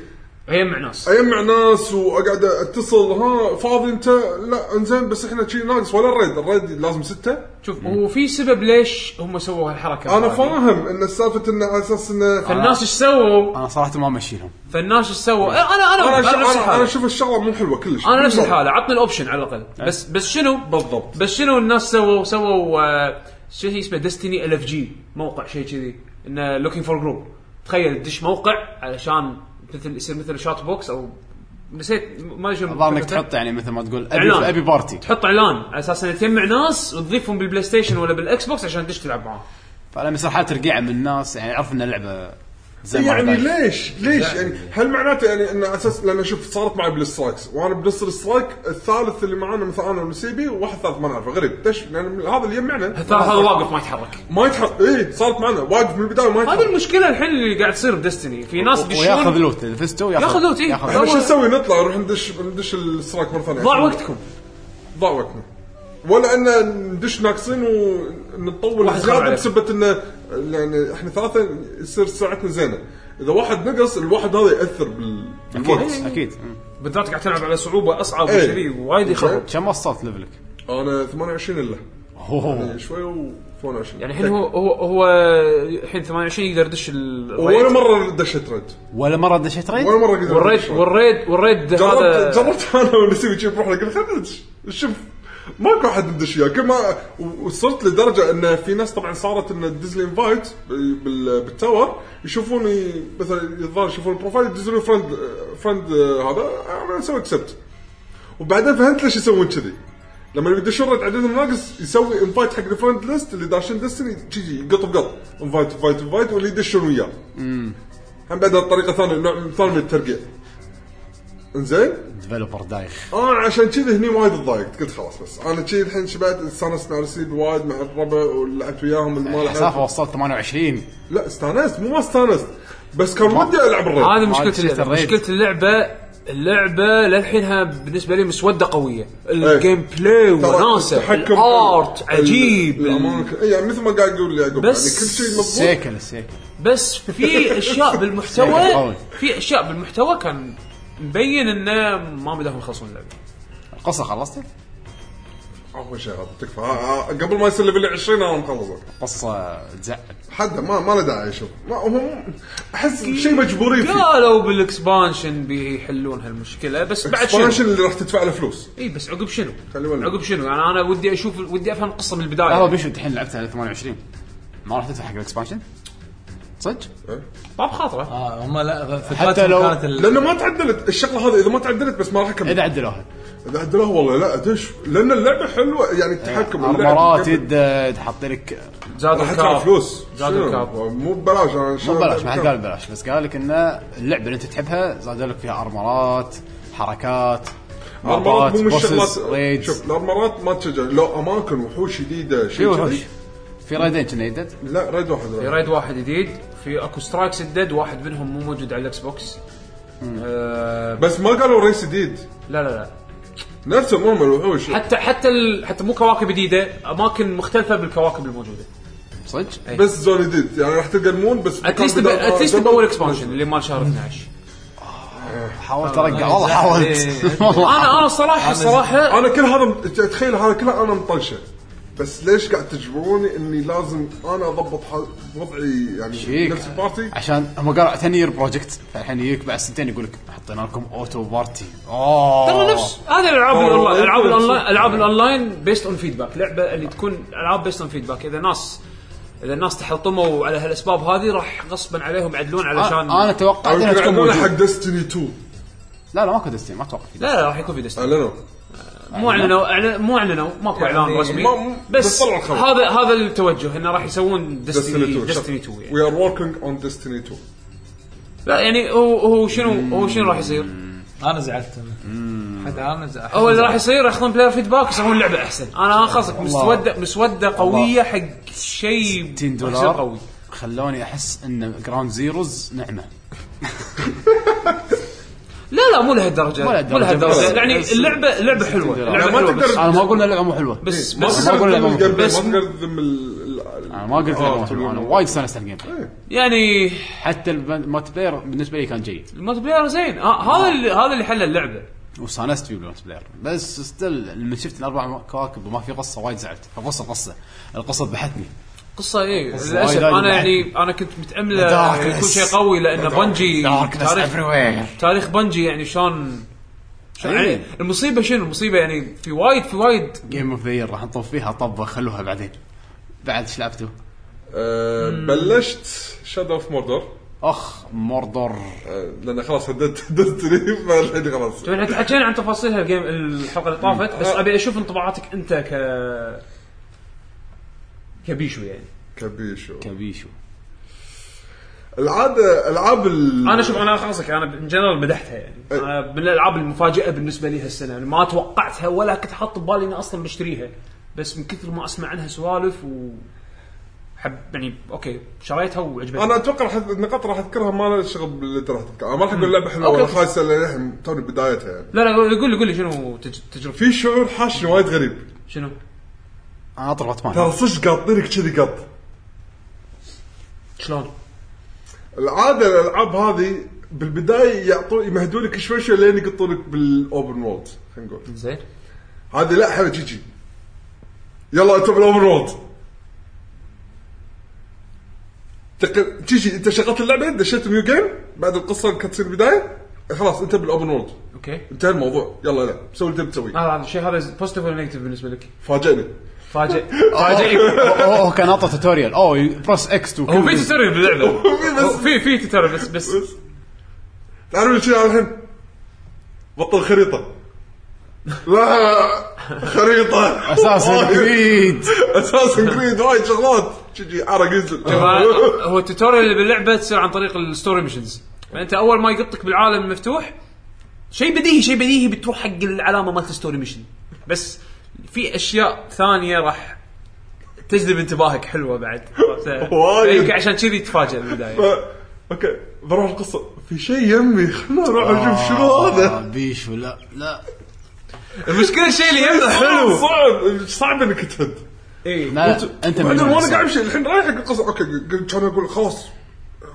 اجمع ناس اجمع ناس واقعد اتصل ها فاضي انت لا انزين بس احنا شي ناقص ولا الريد الريد لازم سته شوف هو في سبب ليش هم سووا هالحركه انا هذه. فاهم ان السالفه انه على اساس انه فالناس ايش سووا؟ انا صراحه ما مشيلهم فالناس ايش سووا؟ إيه، انا انا انا انا نفس انا, أنا الحاله اشوف الشغله مو حلوه كلش انا نفس الحاله عطني الاوبشن على الاقل بس بس شنو؟ بالضبط بس شنو الناس سووا سووا آه، شو هي اسمه ديستني ال اف جي موقع شيء كذي انه لوكينج فور جروب تخيل تدش موقع علشان مثل يصير مثل شات بوكس او نسيت ما ادري شنو الظاهر انك فكرته. تحط يعني مثل ما تقول إيه. إعلان. ابي ابي بارتي تحط اعلان على اساس انه تجمع ناس وتضيفهم بالبلاي ستيشن ولا بالاكس بوكس عشان تدش تلعب معاهم فلما يصير حاله رقيعه من الناس يعني عرف ان اللعبه زي ما يعني عندها. ليش؟ ليش؟ يعني هل معناته يعني ان اساس لان شوف صارت معي بالسترايكس وانا بنص السترايك الثالث اللي معانا مثلا انا والمسيبي وواحد ثالث ما نعرفه غريب ليش؟ لان هذا اللي يجمعنا ترى هذا واقف ما يتحرك ما يتحرك اي صارت معنا واقف من البدايه ما هذه يتحرك المشكله الحين اللي قاعد تصير بدستني في ناس وياخذ يدشون لوت اذا فزتوا ياخذ لوت، إيه. احنا شو أول- نسوي نطلع نروح ندش ندش السترايك مره ثانيه ضاع وقتكم ضاع وقتنا ولا ان ندش ناقصين ونطول واحد خرب زياده عليك. بسبب انه يعني احنا ثلاثه يصير ساعتنا زينه اذا واحد نقص الواحد هذا ياثر بال اكيد اكيد مم. بالذات قاعد تلعب على صعوبه اصعب إيه. وكذي وايد يخرب كم وصلت ليفلك؟ انا 28 الا اوه شوي و 28 يعني الحين هو هو هو الحين 28 يقدر يدش ولا الريد مره دشيت ريد ولا مره دشيت ريد؟ ولا مره قدرت والريد أدش. والريد والريد هذا جربت جربت انا ونسيب تشوف روحنا قلت خلينا ندش شوف ماكو احد ندش وياه كل ما وصلت لدرجه ان في ناس طبعا صارت ان تدز لي انفايت بال- بالتاور يشوفوني مثلا الظاهر يشوفون البروفايل يدز لي فرند فرند هذا انا اسوي اكسبت وبعدين فهمت ليش يسوون كذي لما يدشون رد عددهم ناقص يسوي انفايت حق الفرند ليست اللي داشين ديستني تجي قط بقط انفايت انفايت انفايت واللي يدشون وياه. هم بعدها طريقه ثانيه نوع ثاني من الترقيع. انزين ديفلوبر دايخ انا آه، عشان كذي هني وايد اتضايقت قلت خلاص بس انا كذي الحين شبعت استانست مع رسيب وايد مع الربع ولعبت وياهم اللي ما إيه، مسافه لعبت وصلت 28 لا استانست مو ما استانست بس كان ودي العب الربع هذه هذا مشكله شيء اللعبه الريد. مشكله اللعبه اللعبه للحينها بالنسبه لي مسوده قويه إيه. الجيم بلاي وناسه الارت عجيب أمم. الأمانة- إيه، يعني مثل ما قاعد يقول يعقوب بس يعني كل شيء مضبوط السيكل السيكل بس في اشياء بالمحتوى يعني قوي. في اشياء بالمحتوى كان مبين انه ما بداهم يخلصون اللعبه القصه خلصتها؟ اول شيء هذا تكفى ها- ها، قبل ما يصير ليفل 20 انا مخلصه قصه تزعل حد ما ما له داعي شوف ما هم احس شيء مجبورين فيه قالوا بالاكسبانشن بيحلون هالمشكله بس بعد اكسبانشن شنو؟ اللي راح تدفع له فلوس اي بس عقب شنو؟ خلي بالك. عقب شنو؟ يعني انا ودي اشوف ودي افهم القصه من لحظه البدايه بيشو انت أه، الحين لعبتها 28 ما راح تدفع حق الاكسبانشن؟ صدق؟ ما بخاطره اه هم لا حتى لو- كانت ال- لانه ما تعدلت الشغله هذه اذا ما تعدلت بس ما راح اكمل اذا عدلوها لا عدلوها والله لا دش لان اللعبه حلوه يعني التحكم ارمرات يد يد حاط لك زاد راح ادفع الكاب فلوس زاد شنو؟ الكاب مو ببلاش انا إن شاء مو الله بلاش ما حد قال بلاش بس قال لك ان اللعبه اللي انت تحبها زادوا لك فيها ارمرات حركات الارمرات مابات مو من الشغلات بوسز ريدز شوف الارمرات ما تشجع لو اماكن وحوش جديده في شيء وحوش كذي. في رايدين كنا يدد لا ريد واحد في ريد واحد جديد في اكو سترايكس جدد واحد منهم مو موجود على الاكس بوكس آه بس ما قالوا ريس جديد لا لا لا نفس المهم الوحوش حتى حتى ال... حتى مو كواكب جديده اماكن مختلفه بالكواكب الموجوده صدق؟ بس زون جديد يعني راح تلقى المون بس اتليست مكان ب... بدل- اتليست جنب- باول اكسبانشن اللي مال شهر 12 حاولت ارقع إيه. والله حاولت انا انا الصراحه الصراحه انا كل هذا م- تخيل هذا كله انا مطنشه بس ليش قاعد تجبروني اني لازم انا اضبط حال- وضعي يعني شيك. نفس البارتي عشان هم قالوا ثاني يير بروجكت فالحين يجيك بعد سنتين يقول لك حطينا لكم اوتو بارتي اوه ترى نفس هذه الالعاب الأونلاين- أوه. الالعاب الاونلاين العاب الاونلاين بيست اون فيدباك لعبه اللي تكون العاب بيست اون فيدباك اذا ناس اذا الناس تحطموا على هالاسباب هذه راح غصبا عليهم يعدلون علشان انا توقعت انها تكون اعلنوا حق موجودة. ديستني 2 لا لا ماكو دستين ما اتوقع في لا لا راح يكون في دست اعلنوا مو اعلنوا أعلن- مو اعلنوا ماكو اعلان يعني رسمي ما- ما- بس بس طلعوا الخبر. هذا هذا التوجه انه راح يسوون ديستني ديستني 2 ديستني 2 يعني وي ار وركينج اون ديستني 2 لا يعني هو هو شنو هو شنو راح يصير؟ انا زعلت حتى انا زعلت هو اللي راح يصير ياخذون بلاير فيدباك ويسوون لعبه احسن انا خلصك مسوده مسوده قويه حق شيء 60 شيء دولار قوي خلوني احس ان جراوند زيروز نعمه لا لا مو لهالدرجه مو لهالدرجة. مو لهالدرجه بس- يعني بس- اللعبه لعبه حلوه دولار. لعبه يعني ما حلوه تقدر- بس- انا ما اقول ان اللعبه مو حلوه بس ما بس تقدر أقول تذم لهم الجيم بلاي، بس- ما تقدر تذم ال- ال- انا ما قلت آه، لك تقول انا لهم. وايد استانست على الجيم بلاي يعني حتى المالتي بلاير بالنسبه لي كان جيد الملتي بلاير زين آه هذا اللي هذا اللي حل اللعبه واستانست فيه بالمالتي بلاير بس ستيل لما شفت الاربع كواكب وما في قصه وايد زعلت فقصه قصه القصه ذبحتني قصه ايه وايد للاسف وايد انا بعد. يعني انا كنت متامله Darkness. يكون شيء قوي لان بنجي تاريخ وير تاريخ بنجي يعني شلون شلون- إيه. يعني المصيبه شنو المصيبه يعني في وايد في وايد جيم اوف ذا راح نطوف فيها طبه خلوها بعدين بعد ايش لعبتوا؟ آه، بلشت شادو اوف موردر اخ موردور لان آه، خلاص هددت ديستني فالحين خلاص طيب احنا تحكينا عن تفاصيلها الجيم الحلقه اللي آه. طافت بس ابي اشوف انطباعاتك انت ك كبيشو يعني كبيشو كبيشو العاب العاب ال... انا شوف انا خلاصك انا بالجنرال مدحتها يعني إيه. أنا من الالعاب المفاجئه بالنسبه لي هالسنه يعني ما توقعتها ولا كنت حاط ببالي اني اصلا بشتريها بس من كثر ما اسمع عنها سوالف و حب يعني اوكي شريتها وعجبتني انا اتوقع راح النقاط راح اذكرها ما لها شغل باللي انت راح تذكرها أنا ما راح اقول لعبه حلوه أوكي، ولا أوكي. خايسه لان الحين توني بدايتها يعني لا لا قول لي قول لي شنو تج- تجربتك في شعور حاشني وايد غريب شنو؟ انا اطلع باتمان ترى صدق قاطينك كذي قط شلون؟ العاده الالعاب هذه بالبدايه يعطوا يمهدوا لك شوي شوي لين يقطونك بالاوبن وولد خلينا نقول زين هذه لا حلو جيجي يلا انت بالاوبن وولد تق- جيجي انت شغلت اللعبه دشيت نيو جيم بعد القصه اللي كانت تصير بدايه خلاص انت بالاوبن وولد اوكي انتهى الموضوع يلا لا سوي اللي تبي تسويه آه، هذا هذا الشيء هذا بوزيتيف ولا نيجاتيف بالنسبه لك؟ فاجئني فاجئ اوه كان اعطى توتوريال اوه برس اكس تو هو في توتوريال باللعبه في بس- هو في في توتوريال بس بس تعرف ايش يعني الحين؟ بطل خريطه لا خريطه اساسا جديد اساسا كريد وايد شغلات تجي عرق ينزل هو- هو التوتوريال اللي باللعبه تصير عن طريق الستوري ميشنز فانت اول ما يقطك بالعالم المفتوح شيء بديهي شيء بديهي بتروح حق العلامه مالت الستوري ميشن بس في اشياء ثانيه راح تجذب انتباهك حلوه بعد عرفت؟ وايد. يمكن عشان كذي تفاجئ بالبدايه ف- اوكي بروح القصه في شيء يمي خلنا نروح آه. نشوف شنو هذا بيشو لا لا المشكله الشيء اللي يبدا حلو إيه، حلو صعب صعب انك تهد اي لا انت بعدين مجنون وانا قاعد امشي الحين رايح حق القصه اوكي قلت- كان اقول خلاص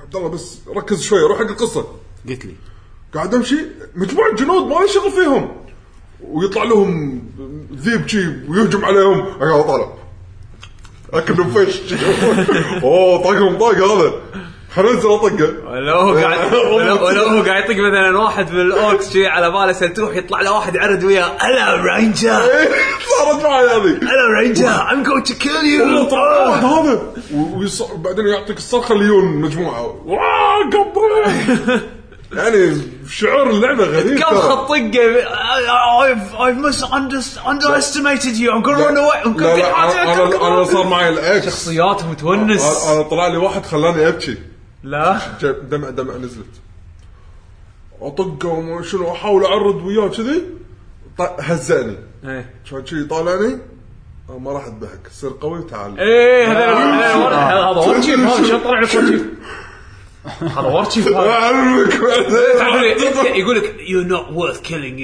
عبد الله بس ركز شوي روح حق القصه قلت لي قاعد امشي مجموعه جنود ما لي شغل فيهم ويطلع لهم ذيب شي ويهجم عليهم اقعد اطالع اكلهم فش شي. اوه طاقهم طاق هذا حنزل اطقه ولو هو قاعد ولو- ولو هو قاعد يطق مثلا واحد من الاوكس شي على باله سلتوح يطلع له واحد يعرض وياه انا رينجر إيه، صارت معي هذه انا رينجر ام جوينج تو كيل والله يو طلع واحد هذا وبعدين يعطيك الصرخه ليون مجموعه واه قبره يعني شعور اللعبه غريب كم ترى. خط طقه I've I've misunderst- underestimated you I'm gonna run away I'm لا gonna لا أنا- انا انا صار معي الاكس شخصيات انا متونس أنا طلع لي واحد خلاني ابكي لا جاب دمع دمع نزلت اطقه وما شنو احاول اعرض وياه كذي ط- هزاني ايه كان كذي طالعني أنا ما راح اذبحك صير قوي وتعال إيه، هذا هذا- هذا ورشيف هذا شو طلع لك ورشيف هذا ورشيف هذا اعلمك تعرف لي- يقول لك يو نوت ورث كيلينج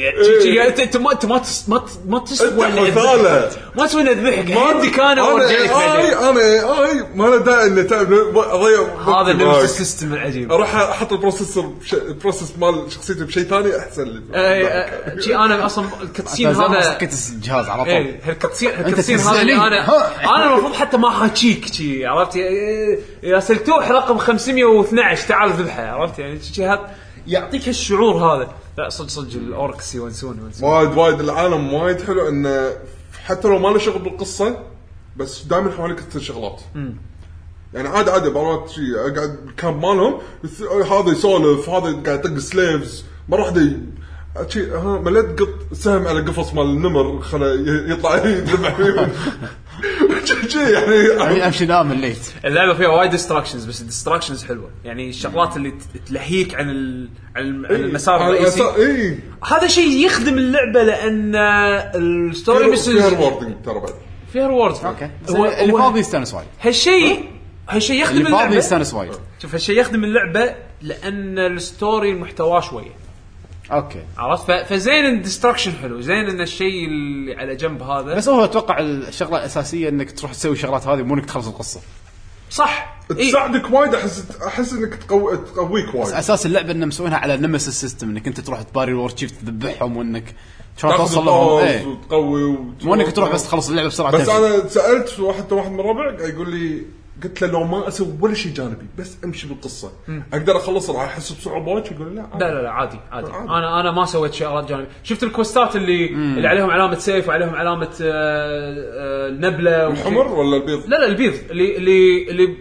انت انت ما انت ما تس- ما تس- ما تسوى أنت إني أذبحك. مثالة. ما تسوى إني اذبحك عندك انا وارجع لك بعدين انا اي ما له داعي اني تعب اضيع وقتي هذا النمسيس معاك. سيستم العجيب اروح احط البروسيسور بش- البروسيس مال شخصيتي بشيء ثاني احسن لي اي أي- شي انا اصلا الكتسين هذا مسكت الجهاز على طول ايه هالكتسين هالكتسين هذا تسألني. اللي انا ها. انا المفروض حتى ما احاكيك شي عرفت يا- يا سلتوح رقم 512 تعال ذبحه عرفت يعني شي هاد- يعطيك هالشعور هذا لا صدق صدق الاوركس يونسون يونسون وايد وايد العالم وايد حلو انه حتى لو ما له شغل بالقصه بس دائما حواليك تصير شغلات يعني عادي عادي مرات شي اقعد بالكامب مالهم يس- هذا يسولف هذا قاعد يطق سليفز مره واحده ي- شي ها مليت قط سهم على قفص مال النمر خلا ي- يطلع يذبح فيهم شي- شي يعني يعني امشي نام الليت اللعبه فيها وايد ديستراكشنز بس الديستراكشنز حلوه يعني الشغلات اللي ت- تلهيك عن ال... عن الم- عن إيه. المسار الرئيسي اي هذا شيء يخدم اللعبه لان الستوري فيها مسج ريوردنج ترى بعد فيها ريوردز اوكي بس هو- اللي هو- فاضي يستانس وايد هالشيء هالشيء يخدم اللي فاضي اللعبه يستانس وايد شوف هالشيء يخدم اللعبه لان الستوري محتواه شويه اوكي عرفت ف- فزين الدستركشن حلو زين ان الشيء اللي على جنب هذا بس هو اتوقع الشغله الاساسيه انك تروح تسوي الشغلات هذه مو انك تخلص القصه صح إيه؟ تساعدك وايد احس احس انك تقوي تقويك وايد اساس اللعبه انهم مسوينها على نمسيس سيستم انك انت تروح تباري الورد شيف تذبحهم وانك شلون تاخذ توصل لهم الطاز إيه. وتقوي مو انك تروح بس تخلص اللعبه بسرعه بس تمشي. انا سالت واحد واحد من ربع قاعد يقول لي قلت له لو ما اسوي ولا شيء جانبي بس امشي بالقصه اقدر اخلص راح احس بصعوبه وايد يقول لي لا لا لا لا عادي عادي انا انا ما سويت شغلات جانبيه شفت الكوستات اللي اللي عليهم علامه سيف وعليهم علامه آه، آه، نبله وشي. الحمر ولا البيض لا لا البيض اللي اللي اللي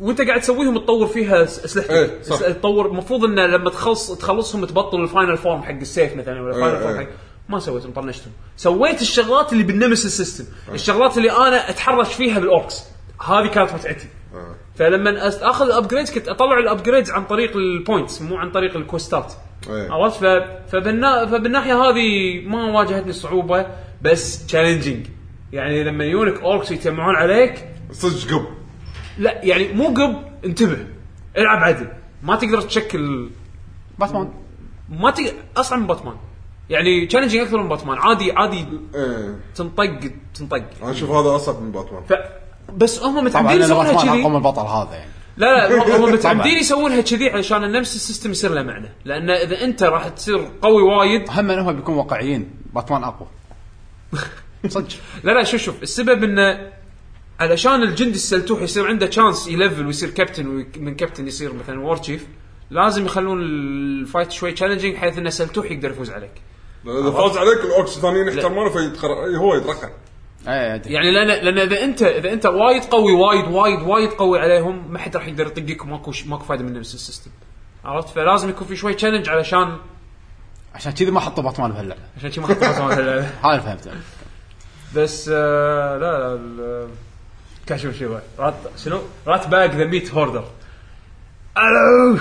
وانت قاعد تسويهم تطور فيها س- اسلحتك ايه، صح. اس- تطور المفروض انه لما تخلص تخلصهم تبطل الفاينل فورم حق السيف مثلا ولا الفاينل ايه، فورم ايه. حق ما سويتهم إيه. طنشتهم سويت الشغلات اللي بالنمس السيستم الشغلات اللي انا اتحرش فيها بالاوركس هذه كانت متعتي آه. فلما أس- اخذ الابجريدز كنت اطلع الابجريدز عن طريق البوينتس مو عن طريق الكوستات إيه. عرفت ف... فبالنا... فبالناحيه هذه ما واجهتني صعوبه بس تشالنجينج يعني لما يجونك اوركس يتجمعون عليك صدق قب لا يعني مو قب انتبه العب عدل ما تقدر تشكل باتمان ما تقدر اصعب من باتمان يعني تشالنجينج اكثر من باتمان عادي عادي ايه تنطق تنطق انا اشوف هذا اصعب من باتمان ف بس هم طبعا متعمدين انا يسوونها باتمان اقوم كذي البطل هذا يعني لا لا هم متعمدين طبعاً. يسوونها كذي علشان النفس السيستم يصير له معنى لان اذا انت راح تصير قوي وايد هم انهم بيكون واقعيين باتمان اقوى صدق لا لا شوف شوف السبب انه علشان الجندي السلتوح يصير عنده تشانس يلفل ويصير كابتن ومن كابتن يصير مثلا وور تشيف لازم يخلون الفايت شوي تشالنجينج بحيث ان سلتوح يقدر يفوز عليك لأن اذا فاز عليك الاوركس الثانيين يحترمونه فيتخر... هو يترقع اي إيه، أدري. يعني لان لان اذا انت اذا انت وايد قوي وايد وايد وايد قوي عليهم ما حد راح يقدر يطقك وماكو ش- ماكو فايده من نفس السيستم عرفت فلازم يكون في شوي تشالنج علشان عشان كذي ما حطوا باتمان بهاللعبه عشان شي ما حد يفوز على اللعبة. هذا اللي فهمته بس آه لا لا ال- كان شوف شوف رات شنو رات باك ذا ميت هوردر الو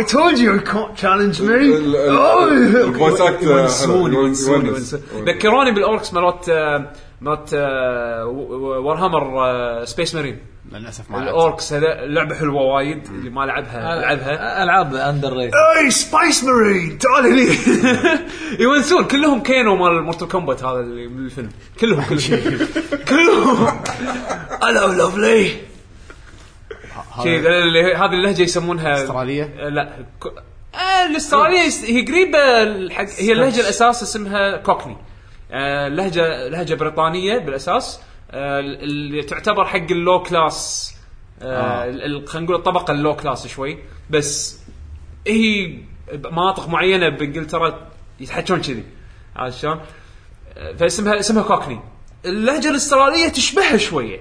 I told you you can't challenge me. ال- ال- Oh! الفويس أكت، آه، يونسوني حلو، يونسوني يونس. يونسوني. ذكروني بالاوركس مرات آه، مرات آه، وارهامر سبيس مارين للاسف ما لعبت الاوركس هذا لعبه حلوه وايد اللي ما لعبها لعبها العاب اندر ريت اي سبايس مارين تعال هني يونسون كلهم كانوا مال مورتال كومبات هذا اللي من الفيلم كلهم كلهم كلهم الو لافلي شي- هذا اللي- هذه اللهجه يسمونها استراليه لا ك- آه، الاستراليه يس- هي قريبه الحق هي اللهجه الاساس اسمها كوكني آه، لهجه لهجه بريطانيه بالاساس آه، اللي تعتبر حق اللو كلاس آه. خلينا نقول الطبقه اللو كلاس شوي بس هي مناطق معينه بانجلترا يتحكون كذي عرفت شلون؟ آه، فاسمها اسمها كوكني اللهجه الاستراليه تشبهها شويه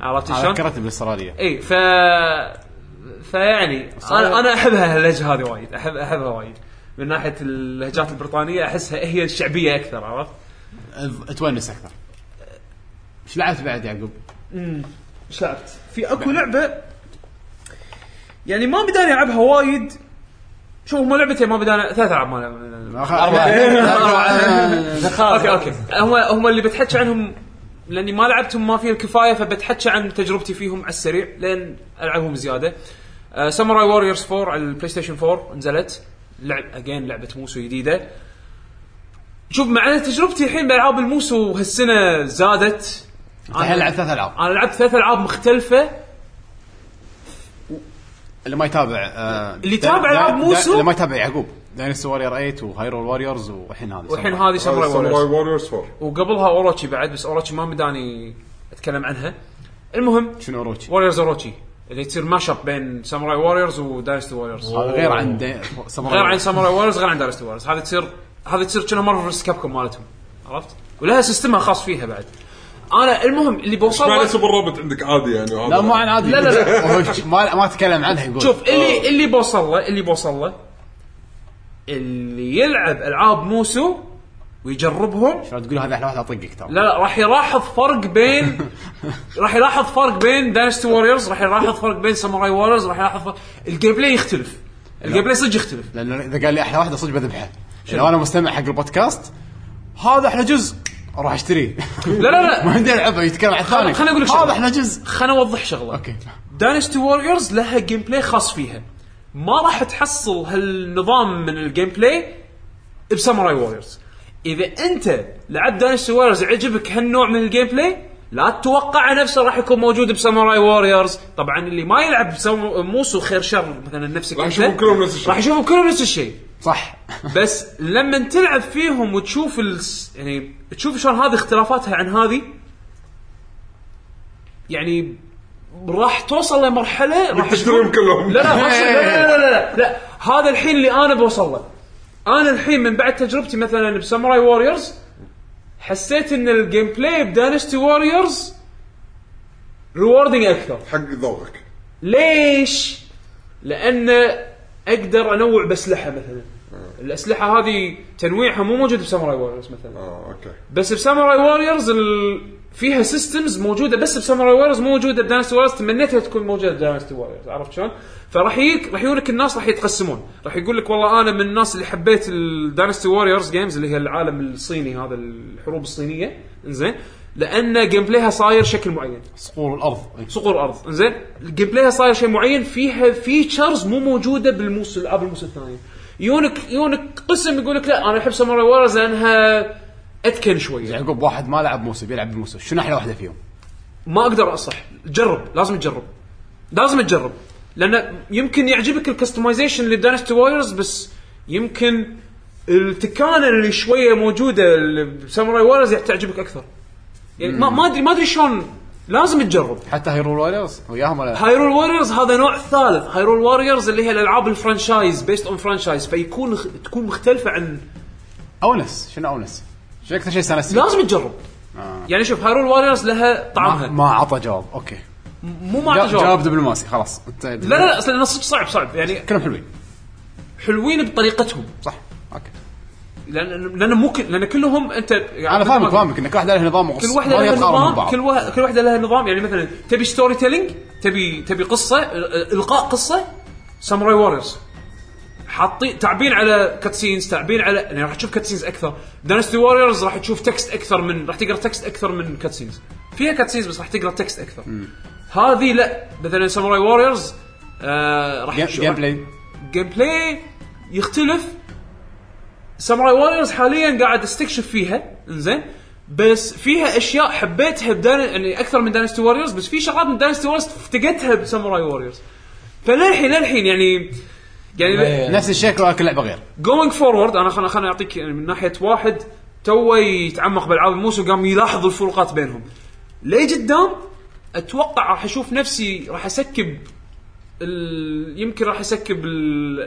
عرفت شلون؟ ذكرتني بالاستراليه اي إيه، ف فيعني انا انا احبها اللهجه هذه وايد احب احبها وايد من ناحيه اللهجات البريطانيه احسها هي الشعبيه اكثر عرفت؟ أذ- تونس اكثر ايش لعبت بعد يعقوب؟ ايش لعبت؟ في اكو لعبه يعني ما بداني العبها وايد شوف هم لعبتين ما بدانا ثلاث العاب ما لعب- اوكي اوكي هم هم اللي بتحكي عنهم لاني ما لعبتهم ما فيهم كفايه فبتحكي عن تجربتي فيهم على السريع لان العبهم زياده ساموراي ووريرز 4 على البلاي ستيشن 4 نزلت لعب اجين لعبه موسو جديده شوف مع ان تجربتي الحين بالعاب الموسو هالسنه زادت الحين لعبت ثلاث العاب انا لعبت ثلاث العاب مختلفه اللي ما يتابع آه، اللي دا- يتابع دا- ألعاب دا- موسو؟ اللي ما يتابع يعقوب داينستور وارير 8 وهايرول واريورز والحين هذه والحين ساموراي. هذه ساموراي ساموراي ووريرز ووريرز 4 وقبلها اوروتشي بعد بس اوروتشي ما مداني اتكلم عنها المهم شنو اوروتشي؟ ووريرز اوروتشي اللي تصير ماش اب بين ساموراي ووريرز وداينستي ووريرز هذا غير عن دا- ساموراي غير عن ساموراي ووريرز غير عن داينستي ووريرز هذه تصير هذه تصير كنا مارفل فيرس كابكوم مالتهم عرفت؟ ولها سيستمها خاص فيها بعد انا المهم اللي بوصل معنى سوبر رابط عندك عادي يعني وهذا لا مو عن عادي لا، لا، لا. وهو ما ما تكلم عنها يقول شوف اللي اللي بوصل له اللي بوصل له اللي يلعب العاب موسو ويجربهم شلون تقول هذا احلى واحد اطقك ترى لا لا راح يلاحظ فرق بين راح يلاحظ فرق بين داينستي ووريرز راح يلاحظ فرق بين ساموراي ووريرز راح يلاحظ فرق... الجيم بلاي يختلف الجيم بلاي صدق يختلف لانه اذا قال لي احلى واحده صدق بذبحه لو انا مستمع حق البودكاست هذا احلى جزء اروح اشتريه لا لا لا ما عندي العبه يتكلم عن الثاني خليني أقول لك شغلة. هذا احلى جزء خليني اوضح شغله اوكي داينستي ووريرز لها جيم بلاي خاص فيها ما راح تحصل هالنظام من الجيم بلاي بساموراي ووريرز اذا انت لعبت داينستي ووريرز عجبك هالنوع من الجيم بلاي لا تتوقع نفسه راح يكون موجود بساموراي ووريرز طبعا اللي ما يلعب بسامو- موسو خير شر مثلا نفسك راح أنت، يشوفهم كلهم نفس الشيء. راح يشوفهم كلهم نفس الشيء صح بس لما تلعب فيهم وتشوف الس... يعني تشوف شلون هذه اختلافاتها عن هذه يعني راح توصل لمرحله راح تشتريهم كلهم لا لا, ما أقصد- لا, لا, لا, لا, لا, لا هذا الحين اللي انا بوصل له انا الحين من بعد تجربتي مثلا بساموراي ووريرز حسيت ان الجيم بلاي بدانستي ووريرز ريوردنج اكثر حق ذوقك ليش؟ لان اقدر انوع باسلحه مثلا الاسلحه هذه تنويعها مو موجود بساموراي ووريرز مثلا اه اوكي بس بساموراي ووريرز ال... فيها سيستمز موجوده بس بساموراي وورز مو موجوده بداينستي وورز تمنيتها تكون موجوده بداينستي وورز عرفت شلون؟ فراح يجيك راح يقول لك الناس راح يتقسمون راح يقول لك والله انا من الناس اللي حبيت الداينستي ووريرز جيمز اللي هي العالم الصيني هذا الحروب الصينيه زين لان جيم بلايها صاير شكل معين صقور الارض صقور الارض زين الجيم بلايها صاير شيء معين فيها فيتشرز مو موجوده بالموس الالعاب الموس الثانيه يونك يونك قسم يقول لك لا انا احب ساموراي وورز لانها اتكن شويه يعقوب واحد ما لعب موسى بيلعب بموسى شنو احلى واحده فيهم؟ ما اقدر انصح جرب لازم تجرب لازم تجرب لان يمكن يعجبك الكستمايزيشن اللي بداينستي وايرز بس يمكن التكانه اللي شويه موجوده اللي بساموراي وايرز تعجبك اكثر يعني ما ما ادري ما ادري شلون لازم تجرب حتى هيرو ويلرز وياهم ولا هايرول واريورز هذا نوع ثالث هايرول واريورز اللي هي الالعاب الفرانشايز بيست اون فرانشايز فيكون تكون مختلفه عن اونس شنو اونس؟ شنو اكثر شيء سنه لازم تجرب يعني شوف هايرول واريورز لها طعمها آه. ما عطى جواب اوكي مو ما جا- جواب جواب دبلوماسي خلاص انت لا لا لا اصلا أنا صدق صعب صعب يعني كلهم حلوين حلوين بطريقتهم صح اوكي لان لان مو كل- لان كلهم انت انا فاهمك فاهمك ان كل واحده لها نظام وقصه كل واحده ما هي لها تقارب من نظام بعض. كل واحد كل واحده لها نظام يعني مثلا تبي ستوري تيلينج تبي تبي قصه آه، القاء قصه ساموراي ووريرز حاطين تعبين على كاتسينز تعبين على يعني راح تشوف كاتسينز اكثر دانستي ووريرز راح تشوف تكست اكثر من راح تقرا تكست اكثر من كاتسينز فيها كاتسينز بس راح تقرا تكست اكثر هذه لا مثلا ساموراي ووريرز آه راح جيم- تشوف- جيم بلاي جيم بلاي يختلف ساموراي واريورز حاليا قاعد استكشف فيها انزين بس فيها اشياء حبيتها بدان يعني اكثر من داينستي واريورز بس في شغلات من داينستي واريورز افتقدتها بساموراي واريورز فللحين للحين يعني يعني إيه. نفس الشكل ولكن لعبه غير جوينج فورورد انا خلنا خلنا اعطيك يعني من ناحيه واحد توه يتعمق بالعاب الموسو قام يلاحظ الفروقات بينهم ليه قدام اتوقع راح اشوف نفسي راح اسكب ال... يمكن راح اسكب ال...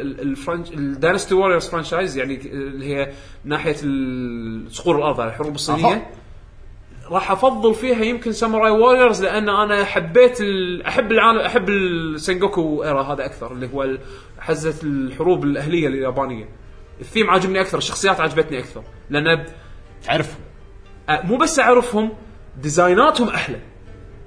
ال- الفرنش الداينستي ووريرز فرانشايز يعني اللي هي ناحيه ال- صقور الارض على الحروب الصينيه راح افضل فيها يمكن ساموراي ووريرز لان انا حبيت ال... احب العالم احب السنجوكو ايرا هذا اكثر اللي هو ال- حزه الحروب الاهليه اليابانيه الثيم عاجبني اكثر الشخصيات عجبتني اكثر لان تعرف أه، مو بس اعرفهم ديزايناتهم احلى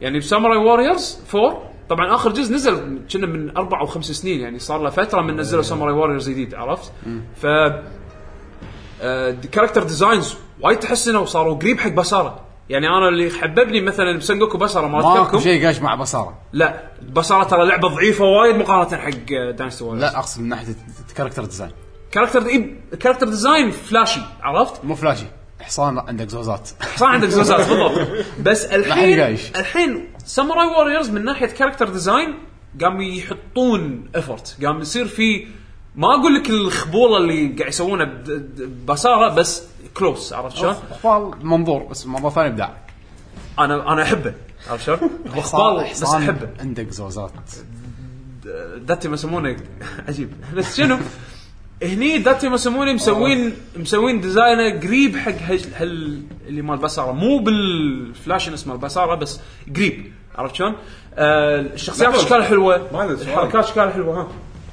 يعني بساموراي ووريرز 4 طبعا اخر جزء نزل كنا من اربع او خمس سنين يعني صار له فتره من نزلوا ساموراي ووريرز جديد عرفت؟ ف آه، كاركتر ديزاينز وايد تحسنوا وصاروا قريب حق بساره يعني انا اللي حببني مثلا بسنجوكو بساره ما ماكو اذكركم شيء قاش مع بصاره لا بساره ترى لعبه ضعيفه وايد مقارنه حق آه، داينستي ووريرز لا اقصد من ناحيه الكاركتر ديزاين كاركتر كاركتر ديزاين فلاشي عرفت؟ مو فلاشي حصان عندك زوزات صار عندك زوزات بالضبط بس الحين قايش. الحين ساموراي ووريرز من ناحيه كاركتر ديزاين قام يحطون افورت قام يصير في ما اقول لك الخبوله اللي قاعد يسوونها بد- د- ببساطه بس كلوز عرفت شلون؟ اخبال منظور بس منظور ثاني ابداع انا انا احبه عرفت شلون؟ هو خبال بس حصان احبه عندك زوزات داتي ما يسمونه عجيب بس شنو؟ هني داتي ما يسمونه مسوين مسوين ديزاينه قريب حق هج- هال اللي مال بساره مو بالفلاشنس مال بساره بس قريب عرفت شلون؟ آه الشخصيات لحظة. اشكالها حلوه معلش، الحركات اشكالها حلوه ها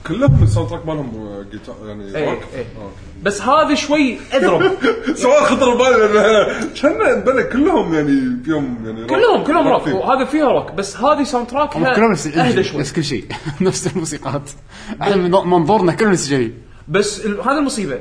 كلهم الساوند تراك مالهم آه، جيتار يعني إيه، روك. إيه. آه، بس هذا شوي اضرب أوكي. سؤال خطر بالي لان كان بلا كلهم يعني فيهم يعني روك. كلهم كلهم روك ثيم. وهذا فيها روك بس هذه ساوند تراكها كلهم نفس اهدى شوي نفس كل شيء نفس الموسيقات احنا من منظورنا كله نفس الشيء بس ال- هذا المصيبه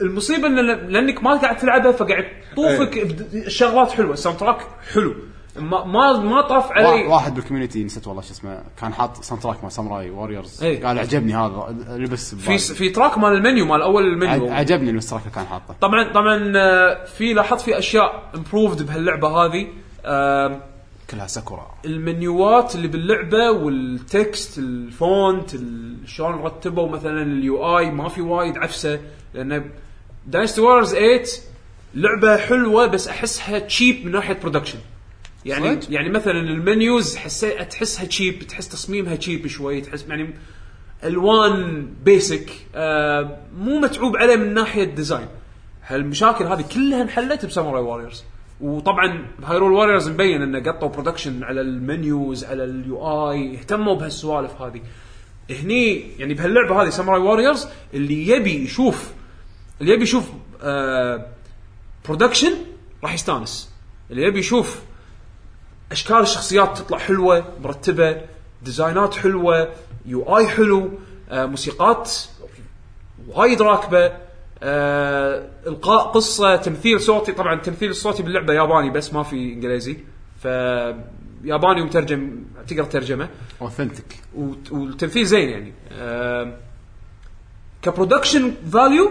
المصيبه ان ل- لانك ما قاعد تلعبها فقاعد إيه. طوفك بد- شغلات حلوه الساوند تراك حلو ما ما ما طاف وا- علي واحد بالكوميونتي نسيت والله شو اسمه كان حاط ساوند تراك مع ساموراي ووريرز إيه. قال عجبني هذا لبس في ببالي. س- في تراك مال المنيو مال اول المنيو ع- عجبني البس تراك اللي كان حاطه طبعا طبعا آه، في لاحظت في اشياء امبروفد بهاللعبه هذه آم، كلها ساكورا المنيوات اللي باللعبه والتكست الفونت ال- شلون رتبوا مثلا اليو اي ما في وايد عفسه لان داينستي وارز 8 لعبه حلوه بس احسها تشيب من ناحيه برودكشن يعني صدق؟ يعني مثلا المنيوز حسيت تحسها تشيب تحس تصميمها تشيب شوي تحس يعني الوان بيسك آه مو متعوب عليه من ناحيه ديزاين هالمشاكل هذه كلها انحلت بساموراي واريورز وطبعا هايرول واريورز مبين انه قطوا برودكشن على المنيوز على اليو اي اهتموا بهالسوالف هذه هني يعني بهاللعبه هذه ساموراي واريورز اللي يبي يشوف اللي يبي يشوف آه برودكشن راح يستانس اللي يبي يشوف اشكال الشخصيات تطلع حلوه مرتبه ديزاينات حلوه يو اي حلو آه، موسيقات وايد راكبه آه، القاء قصه تمثيل صوتي طبعا التمثيل الصوتي باللعبه ياباني بس ما في انجليزي ف ياباني ومترجم تقدر ترجمه اوثنتك وت- والتمثيل زين يعني آم، كبرودكشن فاليو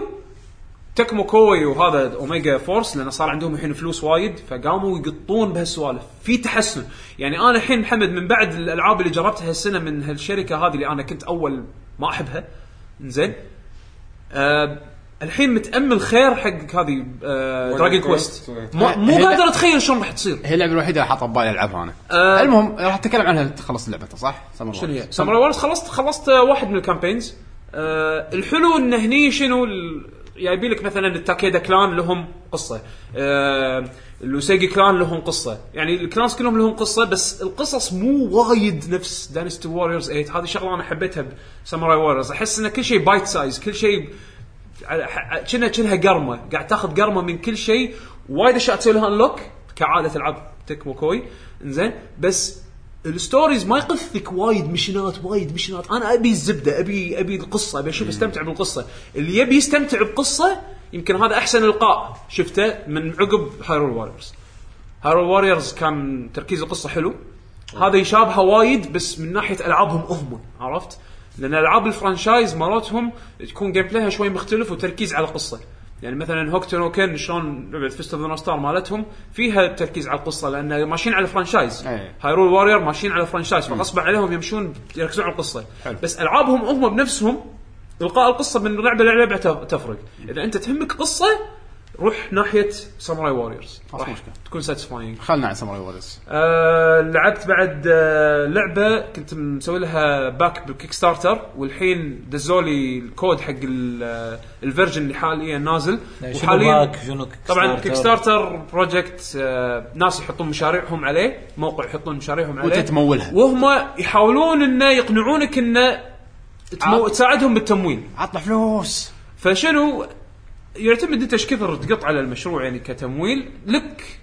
تكمو كوي وهذا اوميجا فورس لان صار عندهم الحين فلوس وايد فقاموا يقطون بهالسوالف في تحسن يعني انا الحين محمد من بعد الالعاب اللي جربتها هالسنه من هالشركه هذه اللي انا كنت اول ما احبها زين آه الحين متامل خير حق هذه آه دراجون كويست ما- مو هي- قادر اتخيل شلون راح تصير هي اللعبه الوحيده اللي حاطه ببالي العبها انا آه. أه المهم راح اتكلم عنها تخلص لعبته صح؟ سمر شنو هي؟ ساموراي وورز خلصت خلصت آه، واحد من الكامبينز آه الحلو ان هني شنو ال- جايبين لك مثلا التاكيدا كلان لهم قصه آه اللوسيجي كلان لهم قصه يعني الكلانس كلهم لهم قصه بس القصص مو وايد نفس دانستي ووريرز 8 هذه شغله انا حبيتها بساموراي ووريرز احس ان كل شيء بايت سايز كل شيء على- ح- كنا كنها قرمه قاعد تاخذ قرمه من كل شيء وايد اشياء تسوي لها انلوك كعاده العاب تكمو كوي انزين بس الستوريز ما يقثك وايد مشينات وايد مشينات انا ابي الزبده ابي ابي القصه ابي اشوف استمتع بالقصه اللي يبي يستمتع بقصه يمكن هذا احسن القاء شفته من عقب هايرول واريورز هايرول واريورز كان تركيز القصه حلو هذا يشابهه وايد بس من ناحيه العابهم هم عرفت؟ لان العاب الفرانشايز مراتهم تكون جيم بلايها شوي مختلف وتركيز على القصه يعني مثلا هوكتو نو كن شلون لعبه فيست اوف ستار مالتهم فيها تركيز على القصه لان ماشيين على فرانشايز أي. هايرول واريور ماشيين على فرانشايز فغصب عليهم يمشون يركزون على القصه حلو. بس العابهم هم بنفسهم القاء القصه من لعبه للعبه ت- تفرق اذا انت تهمك قصه روح ناحيه ساموراي واريورز خلاص مشكلة. تكون ساتيسفاينج خلنا عن سمر وورز آه لعبت بعد آه لعبه كنت مسوي لها باك بالكيك ستارتر والحين دزولي الكود حق ال- آه، الفيرجن اللي حاليا نازل شنو باك شنو كيك طبعا ستارتر؟ كيك ستارتر بروجكت آه ناس يحطون مشاريعهم عليه موقع يحطون مشاريعهم عليه وأنت تمولها. وهم يحاولون انه يقنعونك انه تمو... عط. تساعدهم بالتمويل عطنا فلوس فشنو يعتمد انت ايش كثر تقط على المشروع يعني كتمويل لك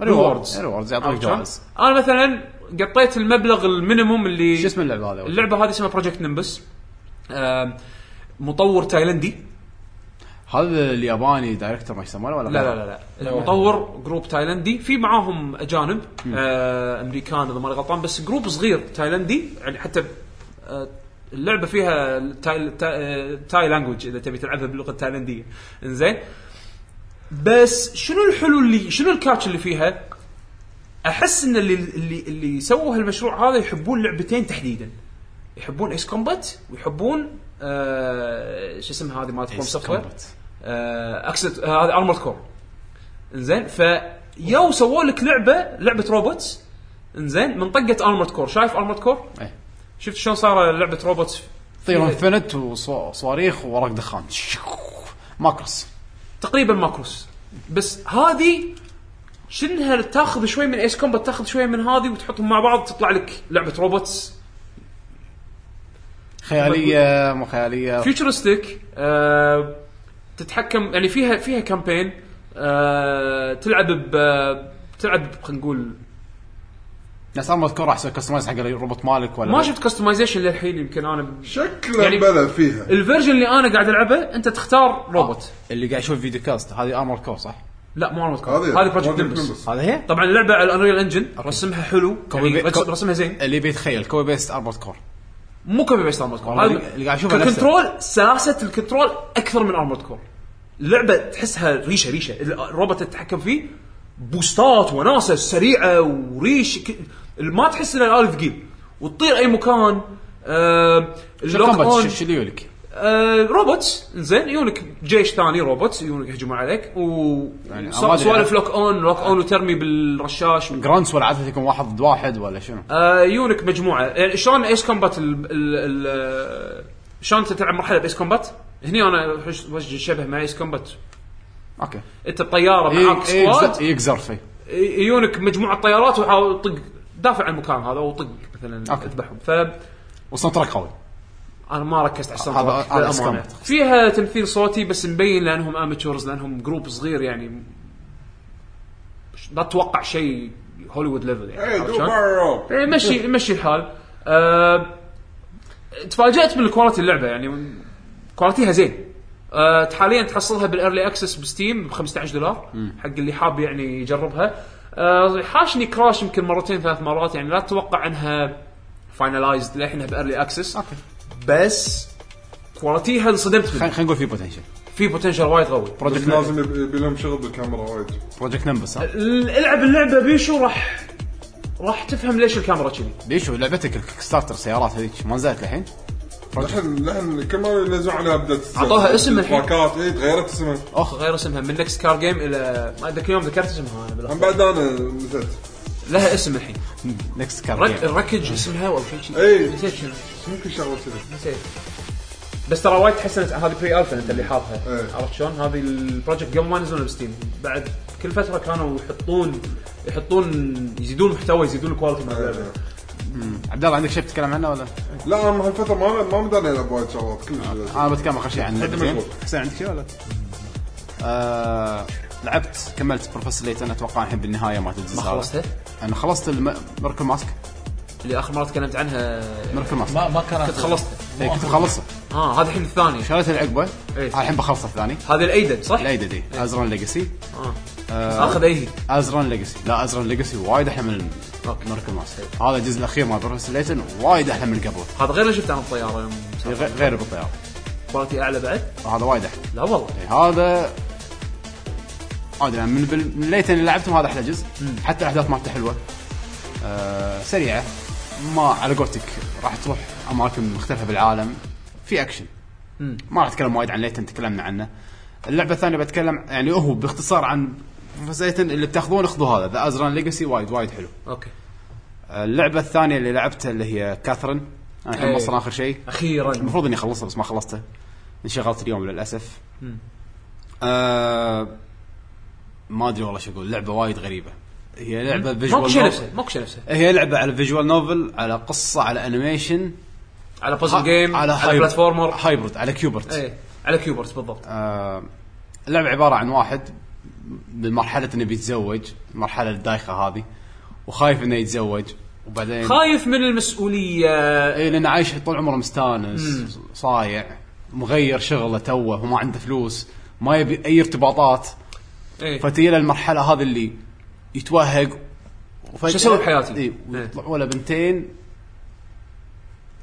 ريوردز rewards. عرفت ريوردز يعطوك شلون؟ جوائز انا مثلا قطيت المبلغ المينيموم اللي شو اسم اللعبه هذا؟ اللعبه هذه اسمها بروجكت نمبس آم، مطور تايلندي هذا الياباني دايركتور ما يسمونه ولا إيه. لا لا لا, لا. المطور جروب تايلندي في معاهم اجانب آه امريكان اذا ماني غلطان بس جروب صغير تايلندي يعني حتى آه اللعبه فيها آه، تاي تاي, تاي لانجوج اذا تبي تلعبها باللغه التايلنديه انزين بس شنو الحلو اللي شنو الكاتش اللي فيها؟ احس ان اللي اللي اللي سووا هالمشروع هذا يحبون لعبتين تحديدا يحبون ايس كومبات ويحبون آه شو اسمها هذه مالت كوم Ace سوفت Combat. اكسد آه، هذا ارمورد كور انزين فيو سووا لك لعبه لعبه روبوتس انزين من طقه ارمورد كور شايف ارمورد كور؟ إيه. شفت شلون صار لعبه روبوتس طير إيه. انفنت وصواريخ وورق دخان ماكروس تقريبا ماكروس بس هذه شنها تاخذ شوي من ايس كومبات تاخذ شوي من هذه وتحطهم مع بعض تطلع لك لعبه روبوتس خياليه مو خياليه فيوتشرستيك آه تتحكم يعني فيها فيها كامبين آه تلعب ب تلعب ب- خلينا نقول ناس ما اذكر راح اسوي كستمايز حق الروبوت مالك ولا ما شفت كستمايزيشن للحين يمكن انا شكله يعني- بلا فيها الفيرجن اللي انا قاعد العبه انت تختار آه. روبوت اللي قاعد يشوف فيديو كاست هذه ارمر كور صح؟ لا مو ارمود هذه هذه بروجكت Project نمبس Nimbus. هذه هي؟ طبعا اللعبه على الانريل انجن رسمها حلو كوبي يعني بي- رس- كو- رسمها زين اللي بيتخيل كوبي بيست ارمر كور مو كوبي بيست ارمورد كور والله هذا- اللي قاعد أشوفه نفسه. ككنترول سلاسه الكنترول اكثر من ارمورد كور اللعبه تحسها ريشه ريشه الروبوت اللي تتحكم فيه بوستات وناسه سريعه وريش ك... ما تحس انه الالف جيم وتطير اي مكان آه شو اللوك الكومبات؟ اون شو- شو اللي يقولك؟ آه روبوتس زين يونك جيش ثاني روبوتس يونك يهجمون عليك و يعني ص- أمادي سوالف يعني. لوك اون لوك اون وترمي بالرشاش جرانتس ولا عاده يكون واحد ضد واحد ولا شنو؟ آه، يونك مجموعه يعني شلون ايس كومبات ال ال ال شلون انت تلعب مرحله بايس كومبات هني انا حش- وجه شبه مع ايس كومبات اوكي انت بطياره معاك ي- سكواد يقزر- يقزر فيه ي- يونك مجموعه طيارات وحاول طق دافع عن المكان هذا وطق مثلا أوكي. اذبحهم ف والصوت تراك قوي انا ما ركزت على الساوند هذا- تراك هذا للأمانة. إسكام. فيها تمثيل صوتي بس مبين لانهم اماتشورز لانهم جروب صغير يعني لا تتوقع شيء هوليوود ليفل يعني إيه، عرفت دو شلون؟ بارو. إيه، مشي مشي الحال أه تفاجات بالكواليتي اللعبه يعني كواليتيها زين أه حاليا تحصلها بالارلي اكسس بستيم ب 15 دولار حق اللي حاب يعني يجربها أه حاشني كراش يمكن مرتين ثلاث مرات يعني لا تتوقع انها فاينلايزد للحين بارلي اكسس اوكي بس كواليتيها انصدمت منها. خلينا نقول في بوتنشل في بوتنشل وايد قوي بس بروجكت لازم يب- يبي لهم شغل بالكاميرا وايد بروجكت نمبس ها. ال- العب اللعبه بيشو راح راح تفهم ليش الكاميرا كذي بيشو لعبتك الكيك ستارتر سيارات هذيك ما نزلت الحين لحن لحن كل مره ينزلون عليها ابديت عطوها اسم الحين. باكات اي تغيرت اسمها اخ غير اسمها من نكست كار جيم الى ما ذاك اليوم ذكرت اسمها انا بالأخ- هم بعد انا نسيت لها اسم الحين نكست رك... كار ركج اسمها او شيء شيء إيه. نسيت شنو ممكن شغله كذي نسيت بس ترى وايد تحسنت هذه بري الفا انت اللي حاطها إيه. عرفت شلون هذه البروجكت قبل ما ينزلون بستيم بعد كل فتره كانوا يحطون يحطون يزيدون محتوى يزيدون الكواليتي إيه. مال اللعبه عبد الله عندك شيء تتكلم عنه ولا؟ لا انا هالفتره ما ما مداني العب وايد شغلات كلش انا بتكلم اخر شيء عن اللعبتين. مشغول. حسين عندك شيء ولا؟ آه لعبت كملت بروفيسور ليتن اتوقع الحين بالنهايه مالت الجزء ما هذا. خلصتها انا خلصت الم... ميركل ماسك اللي اخر مره تكلمت عنها ميركل ماسك ما ما كانت كنت خلصتها إيه، كنت مخلصه اه هذا الحين الثاني شريت العقبه إيه. الحين بخلص الثاني هذا الايدن صح؟ لا آه. دي ازرون ليجاسي اه اخذ اي ازرون ليجاسي لا ازرون ليجاسي وايد احلى من أوكي. ميركل ماسك هذا الجزء الاخير مال بروفيسور ليتن وايد احلى من اللي قبله هذا غير اللي شفته عن الطياره يوم غير- غير بالطياره كواليتي اعلى بعد؟ هذا وايد احلى لا والله يعني هذا ما ادري من بال... من ليتن اللي لعبتهم هذا احلى جزء حتى الاحداث مالته حلوه آه سريعه ما على قولتك راح تروح اماكن مختلفه بالعالم في اكشن ما راح اتكلم وايد عن ليتن تكلمنا عنه اللعبه الثانيه بتكلم يعني هو باختصار عن بس ليتن اللي بتاخذون اخذوا هذا ذا ازران ليجاسي وايد وايد حلو اوكي آه، اللعبه الثانيه اللي لعبتها اللي هي كاثرين انا الحين إيه. وصلنا اخر شيء اخيرا المفروض اني اخلصها بس ما خلصته انشغلت اليوم للاسف آه ما ادري والله شو اقول لعبه وايد غريبه هي لعبه ماكو شيء فيجوال نفسه ماكو شيء نفسه هي لعبه على فيجوال نوفل على قصه على انيميشن على بازل جيم على, هايبر- على بلاتفورمر هايبرد على كيوبرت ايه على كيوبرت بالضبط آه، اللعبة عبارة عن واحد بمرحلة انه بيتزوج المرحلة الدايخة هذه وخايف انه يتزوج وبعدين خايف من المسؤوليه اي لانه إيه، عايش طول عمره مستانس صايع مغير شغله توه وما عنده فلوس ما يبي اي ارتباطات ايه فتجي له المرحلة هذه اللي يتوهق وفجأة شو إيه. أسوي بحياتي؟ اي ويطلع ولا بنتين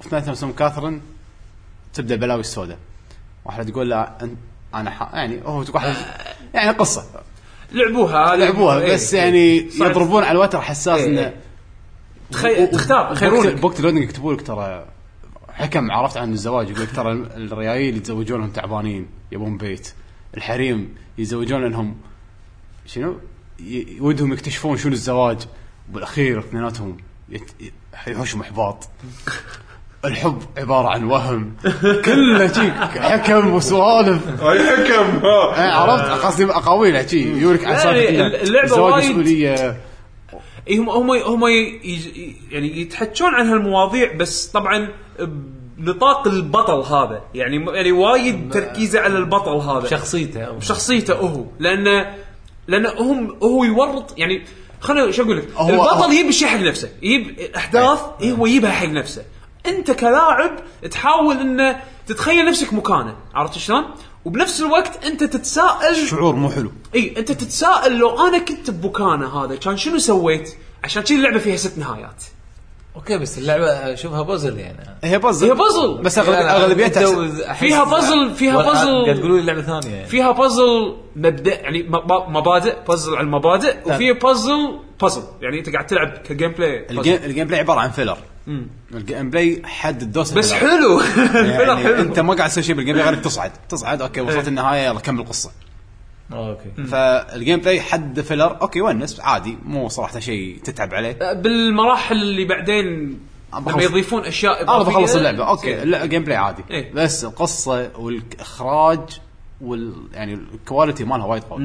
اثنيناتهم اسمهم كاثرين تبدا البلاوي السوداء واحدة تقول له أن- انا ح... يعني هو واحدة يعني قصة لعبوها لعبوها آه. إيه. بس يعني صعب. يضربون على الوتر حساس إيه. انه تخي... تختار بوقت- يخيرونك بوقت اللودنج يكتبوا لك ترى حكم عرفت عن الزواج يقول لك ترى الريايل اللي يتزوجونهم تعبانين يبون بيت الحريم يتزوجون لانهم شنو ي- ودهم يكتشفون شنو الزواج وبالاخير اثنيناتهم يت- ي- يحوشهم احباط الحب عباره عن وهم كله شي حكم وسوالف هاي حكم آه، ها عرفت قصدي اقاويل شي يقولك عن لا، سالفه يعني إن اللعبة الزواج وايد- مسؤوليه إيه هم هم هم ي- ي- يعني يتحكون عن هالمواضيع بس طبعا بنطاق البطل هذا يعني يعني وايد تركيزه على البطل هذا شخصيته بشخصيته هو لان لان هم هو يورط يعني خليني شو اقول لك هو- هو- البطل يجيب الشيء حق نفسه يجيب احداث إيه هو يجيبها حق نفسه انت كلاعب تحاول انه تتخيل نفسك مكانه عرفت شلون؟ وبنفس الوقت انت تتساءل شعور مو حلو اي انت تتساءل لو انا كنت بمكانه هذا كان شنو سويت؟ عشان كذي اللعبه فيها ست نهايات اوكي بس اللعبه شوفها بوزل يعني هي بازل هي بازل. بس أغلب- اغلبيتها أحسن. فيها بازل- فيها بازل. قاعد تقولوا لي لعبه ثانيه يعني. فيها بازل مبدا يعني مب- مبادئ بازل على المبادئ وفي بازل بازل يعني انت قاعد تلعب كجيم بلاي بازل. الجيم, الجيم بلاي عباره عن فيلر الجيم بلاي حد الدوس بس الفيلر. حلو الفيلر يعني حلو انت ما قاعد تسوي شيء بالجيم بلاي غير إنك تصعد تصعد اوكي وصلت إيه. النهايه يلا كمل القصه اوكي فالجيم بلاي حد فيلر اوكي ونس عادي مو صراحه شيء تتعب عليه بالمراحل اللي بعدين أنا لما بخلص- يضيفون اشياء انا إضافية، بخلص اللعبه اوكي زين. لا جيم بلاي عادي إيه. بس القصه والاخراج وال يعني الكواليتي مالها وايد قوي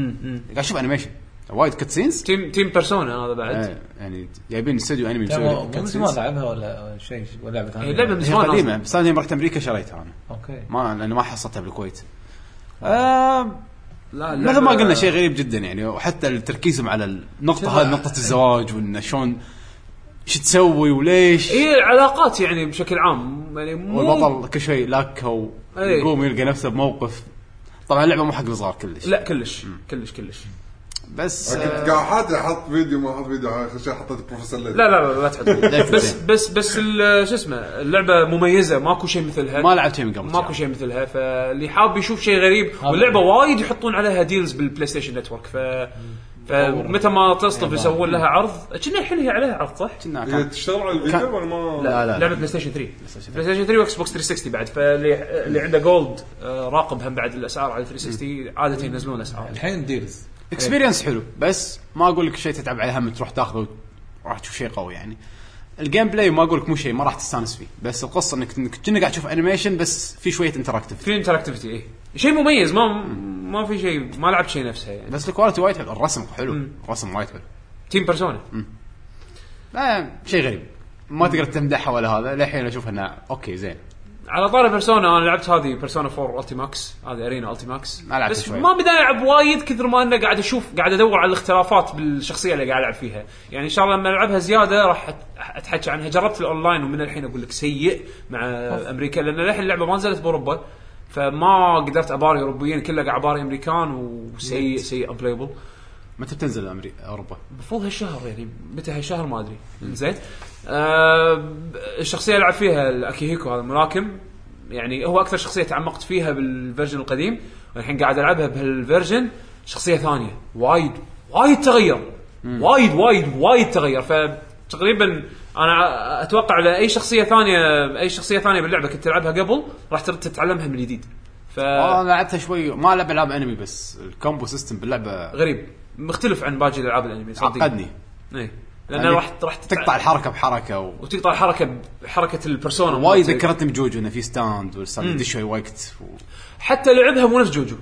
قاعد اشوف انيميشن وايد كاتسينز تيم تيم بيرسونا هذا بعد إيه، يعني جايبين استوديو انمي لا، مسوي مو- لك مو من cutscenes. زمان لعبها ولا شيء ولا لعبه ثانيه هي لعبه من هي زمان قديمه أصلاً. بس انا يوم رحت امريكا شريتها انا اوكي ما لانه ما حصلتها بالكويت. آه لا مثل ما قلنا شيء غريب جدا يعني وحتى تركيزهم على النقطه هذه نقطه الزواج وانه شلون شو تسوي وليش هي العلاقات يعني بشكل عام يعني إيه، مو والبطل كل شيء لاكه إيه. ويقوم يلقى نفسه بموقف طبعا اللعبه مو حق الصغار كلش لا كلش كلش كلش بس كنت قاعد حاط حط فيديو ما حط فيديو على آخر شيء حطيت بروفيسور ليث. لا لا لا لا تحط بس بس بس ال- شو اسمه اللعبه مميزه ماكو شيء مثلها ما لعبت شيء من قبل ماكو شيء مثلها فاللي حاب يشوف شيء غريب واللعبه وايد يحطون عليها ديلز بالبلاي ستيشن نتورك ف فمتى ما تصطف يسوون لها عرض كنا الحين هي عليها عرض صح؟ كنا هي كان- تشتغل على الفيديو ولا ما لا لا, لا. لعبه بلاي ستيشن 3 بلاي ستيشن 3 واكس بوكس 360 بعد فاللي اللي عنده جولد آه، راقب هم بعد الاسعار على 360 عاده ينزلون اسعار الحين ديلز إيه. اكسبيرينس حلو بس ما اقول لك شيء تتعب عليه هم تروح تاخذه وت- راح تشوف شيء قوي يعني الجيم بلاي ما اقول لك مو شيء ما راح تستانس فيه بس القصه انك انك كأنك قاعد تشوف انيميشن بس في شويه انتراكتيف في انتراكتيفيتي اي شيء مميز ما ما في شيء ما لعبت شيء نفسها يعني بس الكواليتي وايد حلو الرسم حلو الرسم وايد حلو تيم بيرسونا لا يعني شيء غريب ما تقدر تمدحها ولا هذا للحين اشوف انه اوكي زين على طار بيرسونا انا لعبت هذه بيرسونا 4 التي ماكس هذه ارينا التي ماكس ما لعبت بس شوي. ما بدي العب وايد كثر ما انا قاعد اشوف قاعد ادور على الاختلافات بالشخصيه اللي قاعد العب فيها يعني ان شاء الله لما العبها زياده راح أت- اتحكى عنها جربت الاونلاين ومن الحين اقول لك سيء مع امريكا لان للحين اللعبه ما نزلت باوروبا فما قدرت اباري اوروبيين كله قاعد اباري امريكان وسيء سيء امبلايبل متى بتنزل امريكا اوروبا؟ المفروض هالشهر يعني متى هالشهر ما ادري زين آه ب- الشخصيه اللي العب فيها الاكيهيكو هذا الملاكم يعني هو اكثر شخصيه تعمقت فيها بالفيرجن القديم والحين قاعد العبها بهالفيرجن شخصيه ثانيه وايد وايد تغير وايد وايد وايد تغير فتقريبا انا اتوقع لاي شخصيه ثانيه اي شخصيه ثانيه باللعبه كنت تلعبها قبل راح تر- تتعلمها من جديد ف آه. انا لعبتها شوي ما العب العاب انمي بس الكومبو سيستم باللعبه غريب مختلف عن باقي الالعاب الانمي صدق. عقدني ايه لان يعني راح راح تتع- تقطع الحركه بحركه و... وتقطع الحركه بحركه البرسونا وايد مالتك. ذكرتني بجوجو انه في ستاند والستاند يدش شوي وقت و... حتى لعبها مو نفس جوجو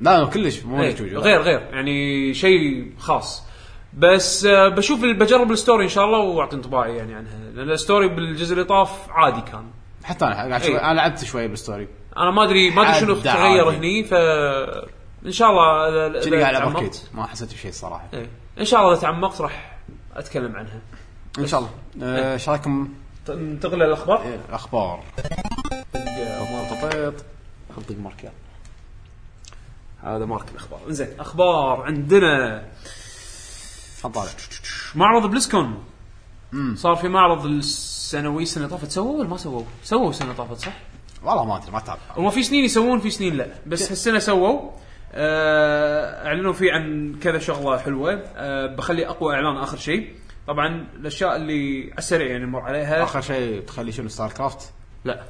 لا كلش مو إيه، جوجو آه. غير غير يعني شيء خاص بس آه، بشوف ال- بجرب الستوري ان شاء الله واعطي انطباعي يعني عنها لان الستوري بالجزء اللي طاف عادي كان حتى انا قاعد شوي إيه. انا لعبت شوي بالستوري انا ما ادري ما ادري شنو حد تغير عادي. هني ف ان شاء الله إذا- إذا كني قاعد العب تعمقت- اركيد ما حسيت بشيء الصراحه إيه، ان شاء الله اذا تعمقت راح اتكلم عنها ان شاء الله إيه. آه، ايش رايكم ت- ننتقل للاخبار إيه، الاخبار خطيط حنطق ماركر هذا مارك الاخبار زين اخبار عندنا تفضل معرض بلسكون صار في معرض السنوي السنه طافت سووه ولا ما سووه؟ سووه السنه طافت صح؟ والله ما ادري ما تعرف هو في سنين يسوون في سنين لا بس هالسنه سووا آه، اعلنوا فيه عن كذا شغله حلوه آه، بخلي اقوى اعلان اخر شيء طبعا الاشياء اللي على السريع يعني نمر عليها اخر شيء تخلي شنو ستار كرافت لا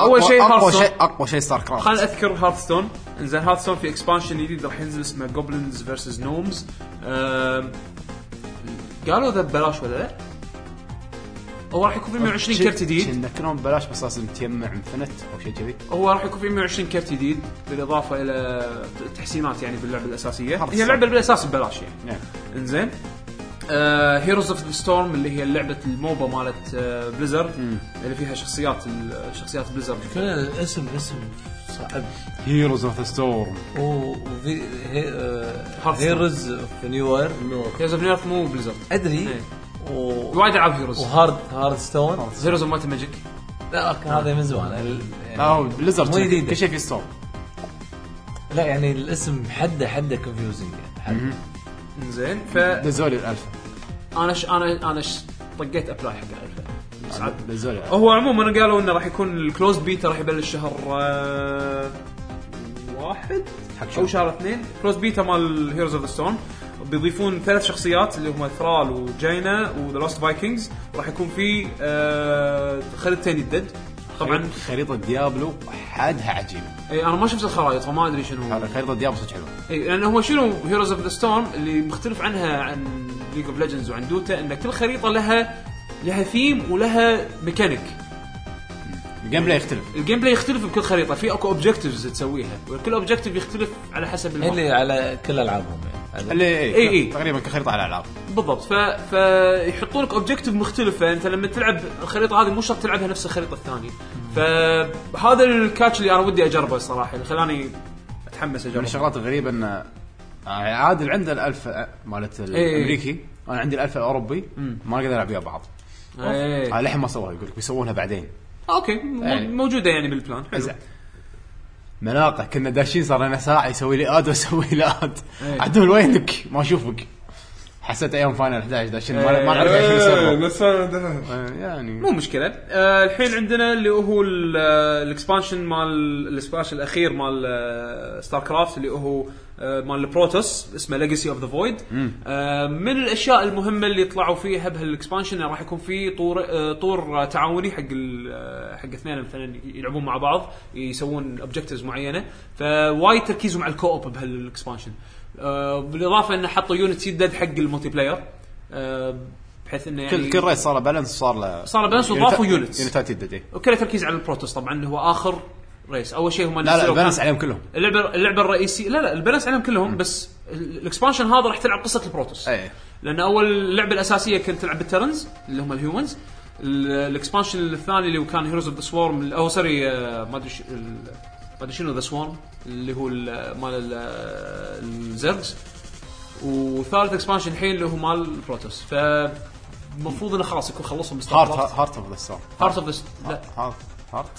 اول أقوى- شيء اقوى هارثستون شيء اقوى شيء ستار كرافت خلينا اذكر هارثستون انزين هارثستون في اكسبانشن جديد راح ينزل اسمه جوبلنز فيرسز نومز آه، قالوا ذا ببلاش ولا لا؟ هو راح يكون في 120 كرت جديد كنا ببلاش بس لازم تجمع انفنت او شيء كذي هو راح يكون في 120 كرت جديد بالاضافه الى تحسينات يعني باللعبه الاساسيه Hearthstone. هي لعبه بالاساس ببلاش يعني آه، نعم انزين هيروز اوف ذا ستورم اللي هي لعبه الموبا مالت بليزرد اللي فيها شخصيات ال- شخصيات بليزرد كل الاسم اسم صعب هيروز اوف ذا ستورم و- وفي هي- آه، Hearthstone. هيروز اوف نيو وورلد هيروز اوف نيرف مو بليزرد ادري إيه. و- وايد العاب هيروز وهارد هارد ستون هيروز اوف مايت ماجيك لا أوكي، هذا من زمان ال- يعني لا هو بليزرد مو جديدة. كل شيء في ستورم لا يعني الاسم حده حده كونفيوزنج يعني زين فانا نزولي الالفا ش... انا انا ش... طقيت ابلاي حق الفا صعب. نزولي الالفا هو عموما قالوا انه راح يكون الكلوز بيتا راح يبلش شهر آه، واحد او شهر اثنين كلوز بيتا مال هيروز اوف ذا ستون بيضيفون ثلاث شخصيات اللي هم ثرال وجينا وذا لوست فايكنجز راح يكون في آه، خريطتين جدد طبعا خريطه ديابلو حدها عجيبه اي انا ما شفت الخرائط فما ادري شنو هذا خريطه ديابلو صدق حلوه اي لان هو شنو هيروز اوف ذا ستورم اللي مختلف عنها عن ليج اوف ليجندز وعن دوتا ان كل خريطه لها لها ثيم ولها ميكانيك الجيم بلاي يختلف الجيم بلاي يختلف بكل خريطه في اكو اوبجكتيفز تسويها وكل اوبجكتيف يختلف على حسب هي الماب اللي على كل العابهم إيه، يعني اللي اي إي إي. تقريبا كخريطه على الالعاب بالضبط ف... فيحطون لك اوبجكتيف مختلف فانت لما تلعب الخريطه هذه مو شرط تلعبها نفس الخريطه الثانيه فهذا الكاتش اللي انا ودي اجربه الصراحه اللي خلاني أتح- متحمس من اجرب الشغلات الغريبه ان آه، عادل عنده الالف مالت إيه. الامريكي انا عندي الالف الاوروبي ما اقدر العب ويا بعض إيه. آه، للحين ما سووها يقول لك بيسوونها بعدين اوكي مو- إيه. موجوده يعني بالبلان حلو. زين. مناطق كنا داشين صار لنا ساعه يسوي لي اد واسوي لي اد إيه. عدول وينك ما اشوفك حسيت ايام فاينل 11 داشين ما إيه. ما نعرف داشين إيه، سيرفر نسينا ده. آه، يعني مو مشكله آه الحين عندنا اللي هو ال- آه، الاكسبانشن مال الاكسبانشن الاخير مال آه، ستار كرافت اللي هو آه، مال البروتوس اسمه ليجاسي اوف ذا فويد آه، من الاشياء المهمه اللي طلعوا فيها بهالاكسبانشن راح يكون في طور آه، طور تعاوني حق ال- آه، حق اثنين مثلا يلعبون مع بعض يسوون اوبجكتيفز معينه فوايد تركيزهم على الكوب بهالاكسبانشن آه، بالاضافه انه حطوا يونت جدد حق الملتي بلاير آه، بحيث انه يعني كل كل ريس صار له بالانس صار له صار له بالانس وضافوا يونتس. يونتات جدد إيه. وكله تركيز على البروتوس طبعا اللي هو اخر ريس اول شيء هم لا لا نزلوا البالانس كان- عليهم كلهم اللعبه اللعبه الرئيسيه لا لا البالانس عليهم كلهم بس ال- الاكسبانشن هذا راح تلعب قصه البروتوس إيه. لان اول اللعبه الاساسيه كنت تلعب بالترنز اللي هم الهيومنز ال- الاكسبانشن الثاني اللي هو كان هيروز اوف ذا سوارم او سوري آه، ما ادري ش- ال- ما ادري شنو ذا سوارم اللي هو ال- مال ال- الزرج وثالث اكسبانشن الحين اللي هو مال البروتوس ف المفروض انه خلاص يكون خلصهم هارت هارت اوف ذا ستار هارت اوف لا هارت هارت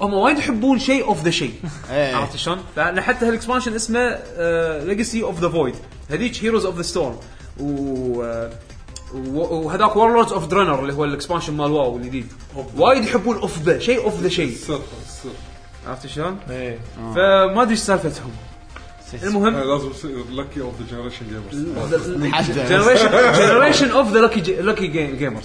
هم وايد يحبون شيء اوف ذا شيء إيه. عرفت شلون؟ فانا حتى هالاكسبانشن اسمه آه، ليجاسي اوف ذا فويد هذيك هيروز اوف ذا ستورم و آه، و- وهذاك وورلوردز اوف درينر اللي هو الاكسبانشن مال واو الجديد وايد يحبون اوف ذا شيء اوف ذا شيء السر السر عرفت شلون؟ ايه فما ادري ايش سالفتهم أنا المهم لازم يصير لكي اوف ذا جنريشن جيمرز حد جنريشن جنريشن اوف ذا لكي لكي جيمرز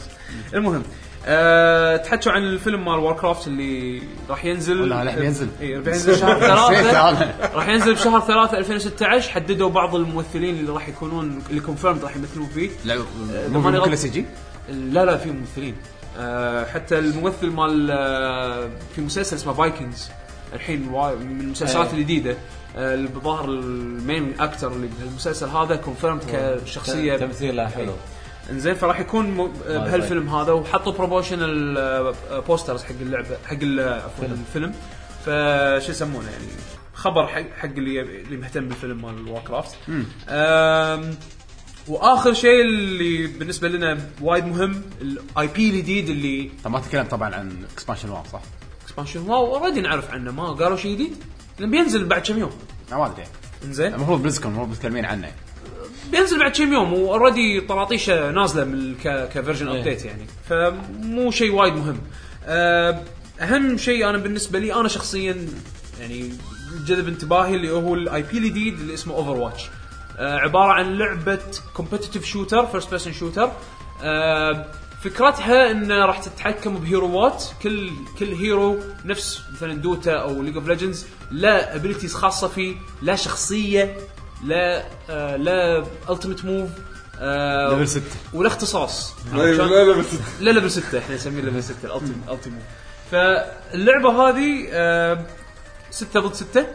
المهم أه تحكوا عن الفيلم مال وور كرافت اللي راح ينزل ولا راح ينزل. اي راح ينزل شهر نسيت ثلاثة أنا. راح ينزل بشهر ثلاثة 2016 حددوا بعض الممثلين اللي راح يكونون اللي كونفيرمد راح يمثلون فيه لعب إذا ماني غلط- كله سي جي لا لا في ممثلين أه حتى الممثل مال آه، في مسلسل اسمه فايكنجز الحين وا- من المسلسلات إيه. الجديده آه، اللي بظهر المين اكتر اللي بالمسلسل هذا كونفيرمد كشخصيه تمثيلها حلو انزين فراح يكون م... بهالفيلم هذا وحطوا بروموشنال بوسترز حق اللعبه حق ال- آه، عفوا الفيلم فشو يسمونه يعني خبر حق حق اللي اللي مهتم بالفيلم مال واركرافت واخر شيء اللي بالنسبه لنا وايد مهم الاي بي الجديد اللي طب ما تكلم طبعا عن اكسبانشن واو صح؟ اكسبانشن واو اوريدي نعرف عنه ما قالوا شيء جديد لأن بينزل بعد كم يوم أنا ما ادري انزين المفروض بلزكم المفروض متكلمين عنه بينزل بعد كم يوم واوريدي طراطيشه نازله من ك... كفيرجن ابديت يعني فمو شيء وايد مهم أه، اهم شيء انا بالنسبه لي انا شخصيا يعني جذب انتباهي اللي هو الاي بي الجديد اللي اسمه اوفر واتش عباره عن لعبه كومبتتف شوتر فيرست بيرسون شوتر آه، فكرتها انه راح تتحكم بهيروات كل كل هيرو نفس مثلا دوتا او ليج اوف ليجندز لا ابيلتيز خاصه فيه لا شخصيه لا آه لا التيمت موف آه ليفل 6 ولا اختصاص لا عشان- لا لا إيه، بس لا ليفل 6 احنا نسميه ليفل 6 الالتيمت موف فاللعبه هذه 6 ضد 6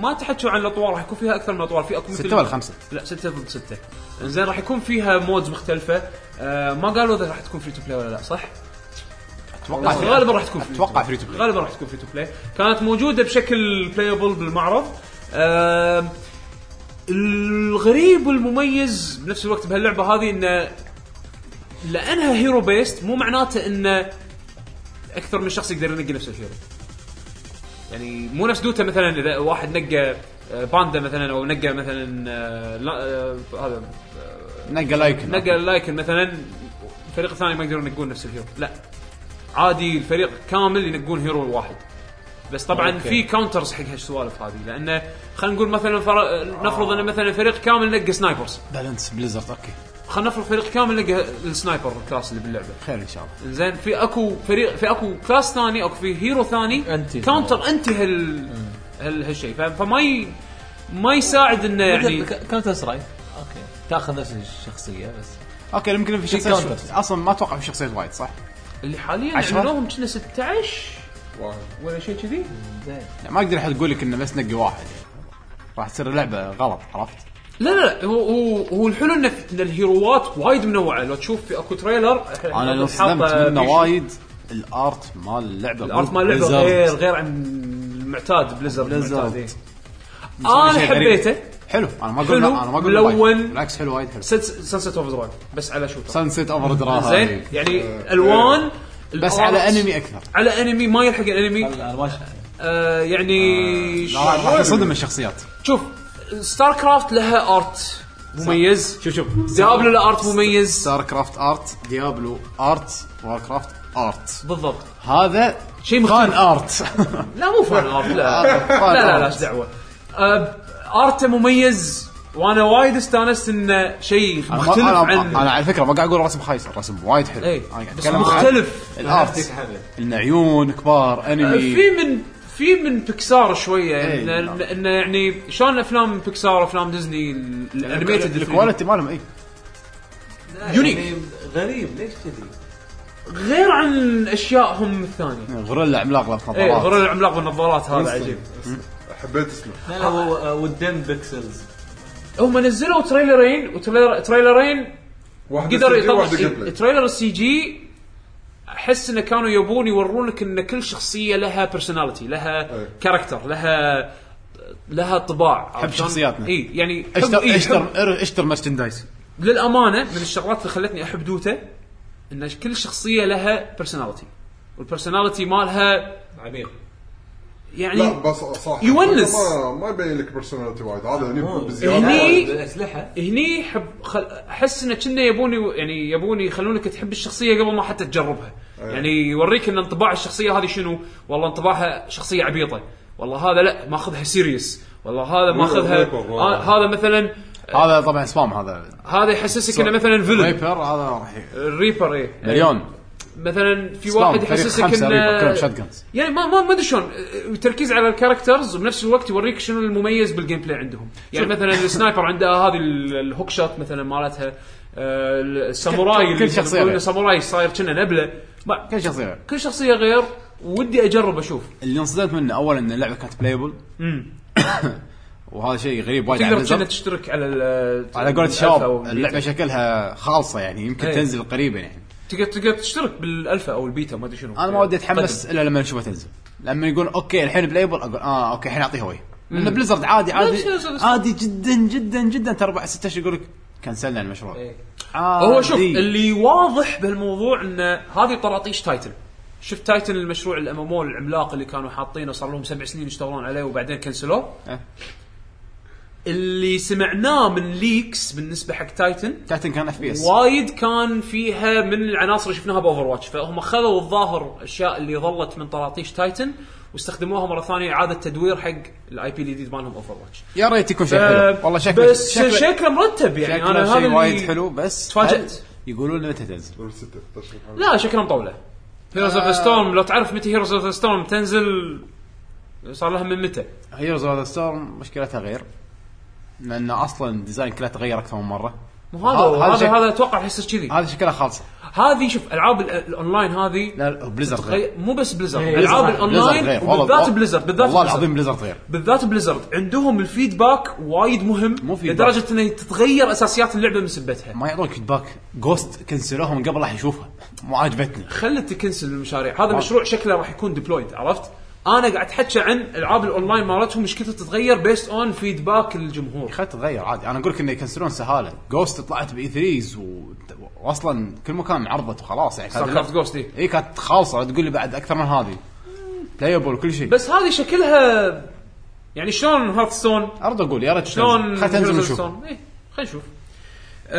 ما تحكوا عن الاطوار راح يكون فيها اكثر من اطوار في اطوار 6 ولا 5 لا 6 ضد 6 زين راح يكون فيها مودز مختلفه آه ما قالوا اذا راح تكون فري تو بلاي ولا لا صح؟ اتوقع غالبا راح تكون free to اتوقع فري تو بلاي غالبا راح تكون فري تو بلاي كانت موجوده بشكل بلايبل بالمعرض آم، الغريب والمميز بنفس الوقت بهاللعبه هذه انه لانها هيرو بيست مو معناته انه اكثر من شخص يقدر ينقي نفس الهيرو يعني مو نفس دوتا مثلا اذا واحد نقى آه، باندا مثلا او نقى مثلا آه، لا- آه، هذا نقى لايكن نقى اللايكن مثلا الفريق الثاني ما يقدرون ينقون نفس الهيرو لا عادي الفريق كامل ينقون هيرو واحد بس طبعا أوكي. في كاونترز حق هالسوالف هذه لانه خلينا نقول مثلا فر... نفرض ان مثلا فريق كامل نقى سنايبرز بالانس بليزرد اوكي خلينا نفرض فريق كامل نقى السنايبر الكلاس اللي باللعبه خير ان شاء الله زين في اكو فريق في اكو كلاس ثاني اكو في هيرو ثاني أنتي. كاونتر انتي هال, هال... هالشيء ف... فما ي... ما يساعد انه يعني كاونتر سترايك اوكي تاخذ نفس الشخصيه بس اوكي يمكن في في شخصيات counters. اصلا ما اتوقع في شخصيات وايد صح؟ اللي حاليا عشرة؟ عملوهم كنا 16 ولا شيء كذي زين لا ما اقدر احد يقول لك انه بس نقي واحد يعني. راح تصير اللعبه غلط عرفت؟ لا لا لا، هو هو, هو الحلو ان ان الهيروات وايد منوعه لو تشوف في اكو تريلر انا اللي انصدمت حاطة منه آه، بيشو. وايد الارت مال اللعبه الارت مال اللعبه غير غير عن المعتاد بليزر بليزرد مسوي شيء انا غريب. حبيته حلو انا ما اقول حلو، لا، انا ما اقول لا وايد. ملون. بالعكس حلو وايد حلو سنسيت اوف درايف بس على شوتر سانسيت اوفر دراها زين يعني الوان بس الآرت، على انمي اكثر على انمي ما يلحق الانمي انا ما شفت آه يعني شو- راح راح تصدم الشخصيات شوف ستار كرافت لها ارت مميز شوف شوف ديابلو لها ارت مميز ستار كرافت ارت ديابلو ارت وار كرافت ارت بالضبط هذا شيء فان مختلف ارت لا مو فان ارت آه، لا لا لا لا ايش دعوه آه، ارته مميز وانا وايد استانست انه شيء مختلف مختلف انا, عن أنا على فكره ما قاعد اقول رسم خايس الرسم وايد حلو اي أنا قاعد بس أتكلم عن مختلف الارت ان عيون كبار انمي في من في من بيكسار شويه إيه، يعني نعم. انه إنه يعني شلون افلام بيكسار وافلام ديزني ال- الانيميتد الفيلم. الكواليتي مالهم إيه. اي يونيك. يعني غريب ليش كذي؟ غير عن اشيائهم الثانيه غوريلا عملاق لابس ايه غير نظارات العملاق والنظارات هذا عجيب حبيت اسمه لا لا هو ودن بيكسلز هم نزلوا تريلرين وتريلرين واحد قدر استوديو، يطلع واحد قبله. تريلر السي جي احس انه كانوا يبون يورونك ان كل شخصيه لها بيرسوناليتي لها أي. كاركتر لها لها طباع عرفت شلون؟ شخصياتنا. اي يعني حب- اشتر إي، حب- اشتر اشتر مرشندايز للامانه من الشغلات اللي خلتني احب دوتا ان كل شخصيه لها بيرسوناليتي والبيرسوناليتي مالها عميق لا يعني بس صح يونس. ما, ما يبين لك بيرسوناليتي وايد هذا هني بزياده يعني هني- الاسلحه هني حب خل... احس انه كنا يبوني يعني يبوني يخلونك تحب الشخصيه قبل ما حتى تجربها يعني يوريك ان انطباع الشخصيه هذه شنو والله انطباعها شخصيه عبيطه والله هذا لا ماخذها سيريس والله هذا ماخذها ريبر، ريبر. آه، هذا مثلا هذا طبعا سبام هذا هذا يحسسك انه مثلا فيلن ريبر هذا راح ي- الريبر ايه مليون مثلا في سبام، واحد فريق يحسسك خمسة ريبر، كلهم انه shotguns. يعني ما ما ما ادري شلون آه، تركيز على الكاركترز وبنفس الوقت يوريك شنو المميز بالجيم بلاي عندهم يعني مثلا السنايبر عندها هذه ال- الهوك شوت مثلا مالتها آه، الساموراي كل- كل اللي شخصية يقولون غير. ساموراي صاير كنا نبله ما- كل شخصيه كل شخصيه غير ودي اجرب اشوف اللي انصدمت منه اولا ان اللعبه كانت بلايبل امم وهذا شيء غريب وايد على تقدر كنا Blizzard. تشترك على ال- على قولة الألفا الشباب أو اللعبه البيتا. شكلها خالصه يعني يمكن إيه. تنزل قريبا يعني تقدر تقدر تشترك بالالفا او البيتا ما ادري شنو انا ما ودي اتحمس الا طيب. لما نشوفها تنزل لما يقول اوكي الحين بلايبل اقول اه اوكي الحين اعطيها وي لان بليزرد عادي عادي نفس- نفس- نفس. عادي جدا جدا جدا ترى بعد ست اشهر يقول لك كنسلنا المشروع عادي. هو شوف اللي واضح بهالموضوع ان هذه طراطيش تايتن شفت تايتن المشروع الامامو العملاق اللي كانوا حاطينه صار لهم سبع سنين يشتغلون عليه وبعدين كنسلوه أه. اللي سمعناه من ليكس بالنسبه حق تايتن تايتن كان اف بي اس وايد كان فيها من العناصر اللي شفناها باوفر واتش فهم خذوا الظاهر الاشياء اللي ظلت من طراطيش تايتن واستخدموها مره ثانيه اعاده تدوير حق الاي بي الجديد مالهم اوفر واتش يا ريت يكون شيء حلو والله شكله آه، بس شكله, شكله مرتب يعني شكله انا هذا شيء اللي- وايد حلو بس تفاجأت. هل يقولون لنا متى تنزل دور ستة، 16 حلقة. لا شكلها مطوله هيروز اوف آه. ستورم لو تعرف متى هيروز اوف ستورم تنزل صار لها من متى هيروز اوف ذا ستورم مشكلتها غير لان اصلا ديزاين كله تغير اكثر من مره مو هذا هذا- آه. هذا هذا شك- هذا اتوقع احسه كذي هذا شكلها خالصه هذه شوف العاب ال- الاونلاين هذه لا لا بليزرد غير غي- مو بس بليزرد إيه، العاب بليزرد- بليزرد الاونلاين غير والله- يعني وبالذات والله- بليزرد بالذات والله بليزرد. العظيم بليزرد غير بالذات بليزرد عندهم الفيدباك وايد مهم مو feedback. لدرجه انه تتغير اساسيات اللعبه من سبتها ما يعطونك فيدباك جوست كنسلوها من قبل راح يشوفها مو عاجبتني خلت تكنسل المشاريع آه. هذا مشروع شكله راح يكون ديبلويد عرفت انا قاعد احكي عن العاب الاونلاين مالتهم مشكلتها تتغير بيست اون فيدباك الجمهور خلت تغير عادي انا اقول لك انه يكنسلون سهاله جوست طلعت باي 3 و... واصلا كل مكان عرضت وخلاص يعني ستار كرافت جوست دي اي كانت خالصه تقول لي بعد اكثر من هذه بلايبل كل شيء بس هذه شكلها يعني شلون هارثستون ارد اقول يا ريت شلون تنزل. خلت تنزل ونشوف هارثستون؟ إيه، خلينا نشوف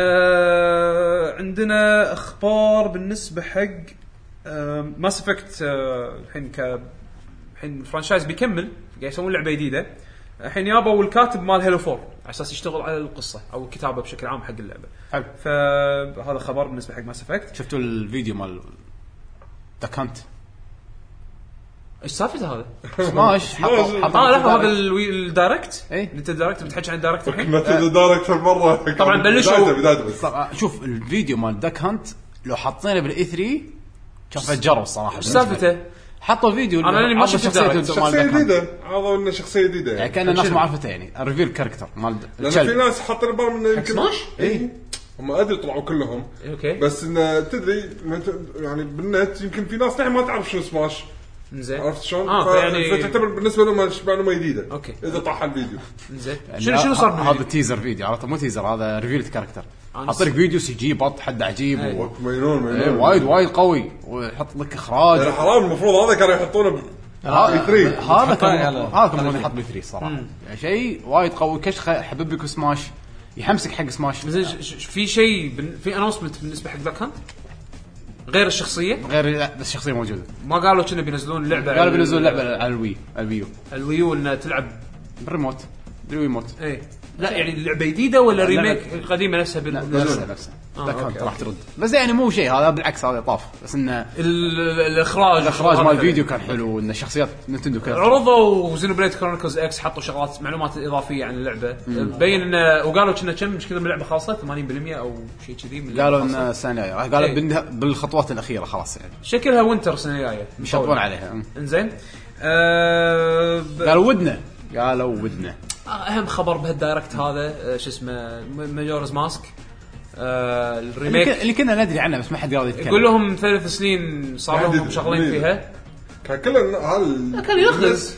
آه عندنا اخبار بالنسبه حق آه، ماس افكت آه، الحين ك الحين الفرانشايز بيكمل قاعد يسوون لعبه جديده الحين يابوا الكاتب مال هيلو 4 على اساس يشتغل على القصه او الكتابه بشكل عام حق اللعبه حلو فهذا خبر بالنسبه حق ماس افكت شفتوا الفيديو مال دكانت ايش سالفه هذا؟ سماش آه، حطوا حطوا اه لحظه هذا الوي- الدايركت إيه. انت الدايركت بتحكي عن الدايركت الحين كنا دايركتر مره طبعاً بلشوا. بدايته بدايته بس طبعا شوف الفيديو مال دك هانت لو E حطينا بالاي 3 كان فجروا الصراحه ايش سالفته؟ حطوا فيديو أنا لأني ما عرضوا شفت شخصية الدايركت. مال شخصيه Duck Hunt. جديده عرضوا لنا شخصيه جديده يعني يعني كان الناس ما عرفته يعني الريفيل كاركتر مال لان في الكلب ناس حاطين بالهم انه يمكن سماش؟ اي هم ادري طلعوا كلهم اوكي بس انه تدري ما ت- يعني بالنت يمكن في ناس نحن ما تعرف شنو سماش زين عرفت شلون؟ اه ف- فيعني فتعتبر بالنسبه لهم مش- معلومه جديده أوكي. اذا طاح الفيديو زين يعني شنو شنو صار ه- هذا بالفيديو؟ تيزر فيديو عرفت مو تيزر هذا ريفيل كاركتر أنا أيوه. حاط لك فيديو سي جي بط حد عجيب و... مجنون إيه، مجنون وايد وايد قوي ويحط لك اخراج يعني حرام المفروض هذا كانوا يحطونه ب- آه، هذا- بي 3. هذا كان يلا. هذا كان المفروض يحط بي 3 صراحه يعني شيء وايد قوي كشخه حببك سماش يحمسك حق سماش زين ش- ش- في شيء بن- في انونسمنت بالنسبه حق ذاك هانت غير الشخصيه غير لا بس الشخصيه موجوده ما قالوا كنا بينزلون لعبه على قالوا بينزلون لعبه على الوي على الويو الويو انها تلعب بالريموت بالريموت ايه لا يعني لعبه جديده ولا اللعبة- ريميك القديمه نفسها نفسه بينزلونها نفسه ذاك هانت راح ترد بس يعني مو شيء هذا بالعكس هذا طاف بس انه ال- ال- الاخراج الاخراج مال الفيديو كان حلو ان شخصيات نتندو كانت عرضوا زينوبليد كرونيكلز اكس حطوا شغلات معلومات اضافيه عن اللعبه بين انه وقالوا كنا كم مش كذا من اللعبه خاصه 80% او شيء كذي من اللعبة قالوا خاصة. ان السنه الجايه راح- قالوا إيه. بالنها- بالخطوات الاخيره خلاص يعني شكلها يعني. وينتر السنه الجايه يشطبون عليها أم. انزين آه ب- قالوا ودنا قالوا ودنا اهم خبر بهالدايركت هذا آه، شو اسمه ماجورز ماسك آه اللي كن- الريميك اللي كنا ندري عنه بس ما حد قاعد يقول يتكلم لهم ثلاث سنين صار لهم عدد شغالين سنين. فيها كان كله هال كان يغز.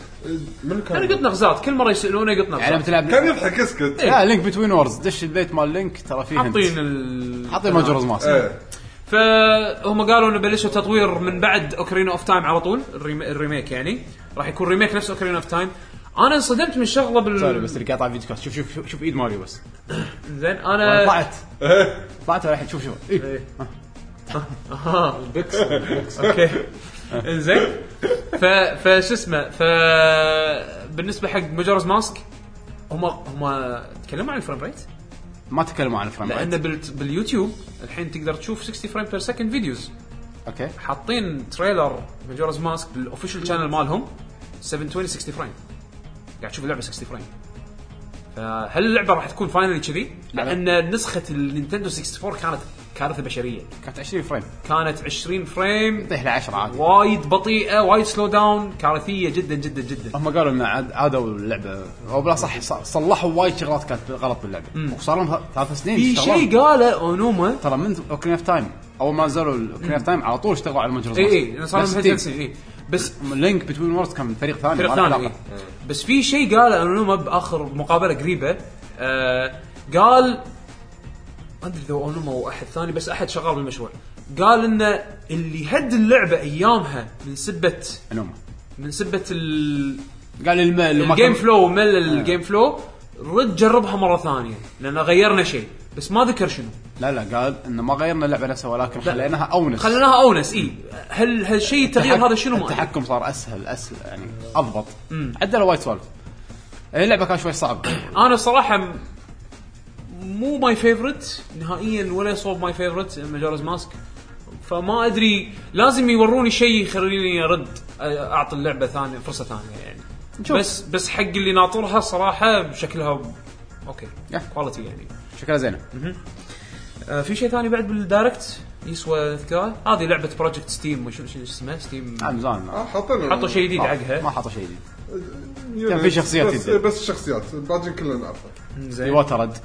من كان انا قلت نغزات كل مره يسالونه يقط يعني لما نغزات تلعب كان يضحك اسكت إيه. لا لينك بتوين وورز دش البيت مال لينك ترى فيه حاطين هنت. ال حاطين ماجورز آه. ماسك ايه فهم قالوا انه بلشوا تطوير من بعد اوكرين اوف تايم على طول الريم... الريميك يعني راح يكون ريميك نفس اوكرين اوف تايم انا انصدمت من شغله سوري بال بس اللي قاطع فيديو كاست شوف شوف شوف- شوف ايد ماريو بس زين أنا انا طلعت طلعت ولا حد شوف شوف إيه. آه، اوكي انزين ف فشو اسمه ف بالنسبه حق مجرز ماسك هم هم تكلموا عن الفريم ريت ما تكلموا عن الفريم لان ريت بال... باليوتيوب الحين تقدر تشوف 60 فريم بير سكند فيديوز اوكي حاطين تريلر ماجورز ماسك بالاوفيشال شانل مالهم 720 60 فريم قاعد تشوف اللعبه 60 فريم فهل اللعبه راح تكون فاينلي كذي؟ لان نسخه النينتندو 64 كانت كارثه بشريه كانت 20 فريم كانت 20 فريم طيح ل 10 عادي وايد بطيئه وايد سلو داون كارثيه جدا جدا جدا هم قالوا ان عاد- عادوا اللعبه او بلا صح ص- صلحوا وايد شغلات كانت غلط باللعبه وصار لهم ث- ثلاث سنين في يشتغلون. شيء قاله اونوما ترى من اوكرين اوف تايم اول ما نزلوا اوكرين اوف تايم على طول اشتغلوا على المجرز اي اي إيه، صار لهم نفس ثلاث التيم. سنين اي بس لينك بتوين وورز كان من فريق ثاني فريق ما له ثاني علاقة. إيه. بس في شيء قاله انونوما باخر مقابله قريبه آه قال ما ادري اذا هو انونوما او احد ثاني بس احد شغال بالمشروع قال ان اللي هد اللعبه ايامها من سبه انوما من سبه ال- قال الم... اللي ما الجيم كان- آه. فلو مل الجيم فلو رد جربها مره ثانيه لان غيرنا شيء بس ما ذكر شنو لا لا قال انه ما غيرنا اللعبه نفسها ولكن خليناها اونس خليناها اونس اي هل هالشيء التغيير هذا شنو ما أدري. التحكم صار اسهل اسهل يعني اضبط عدلوا وايد سوالف اللعبه كان شوي صعب انا صراحه م- مو ماي فيفورت نهائيا ولا صوب ماي فيفورت ماجورز ماسك فما ادري لازم يوروني شيء يخليني ارد أ- اعطي اللعبه ثانيه فرصه ثانيه يعني نشوف. بس بس حق اللي ناطرها صراحه شكلها اوكي Yeah. كواليتي يعني شكلها زينه آه، في شيء ثاني بعد بالدايركت يسوى اذكاره هذه لعبه بروجكت ستيم شو شو اسمها ستيم آه، مزان آه، حاطين حطوا شيء جديد ما حقها حطوا شيء جديد كان في شخصيات بس, جديدة. بس الشخصيات الباقيين كلنا نعرفه زين ايواتا رد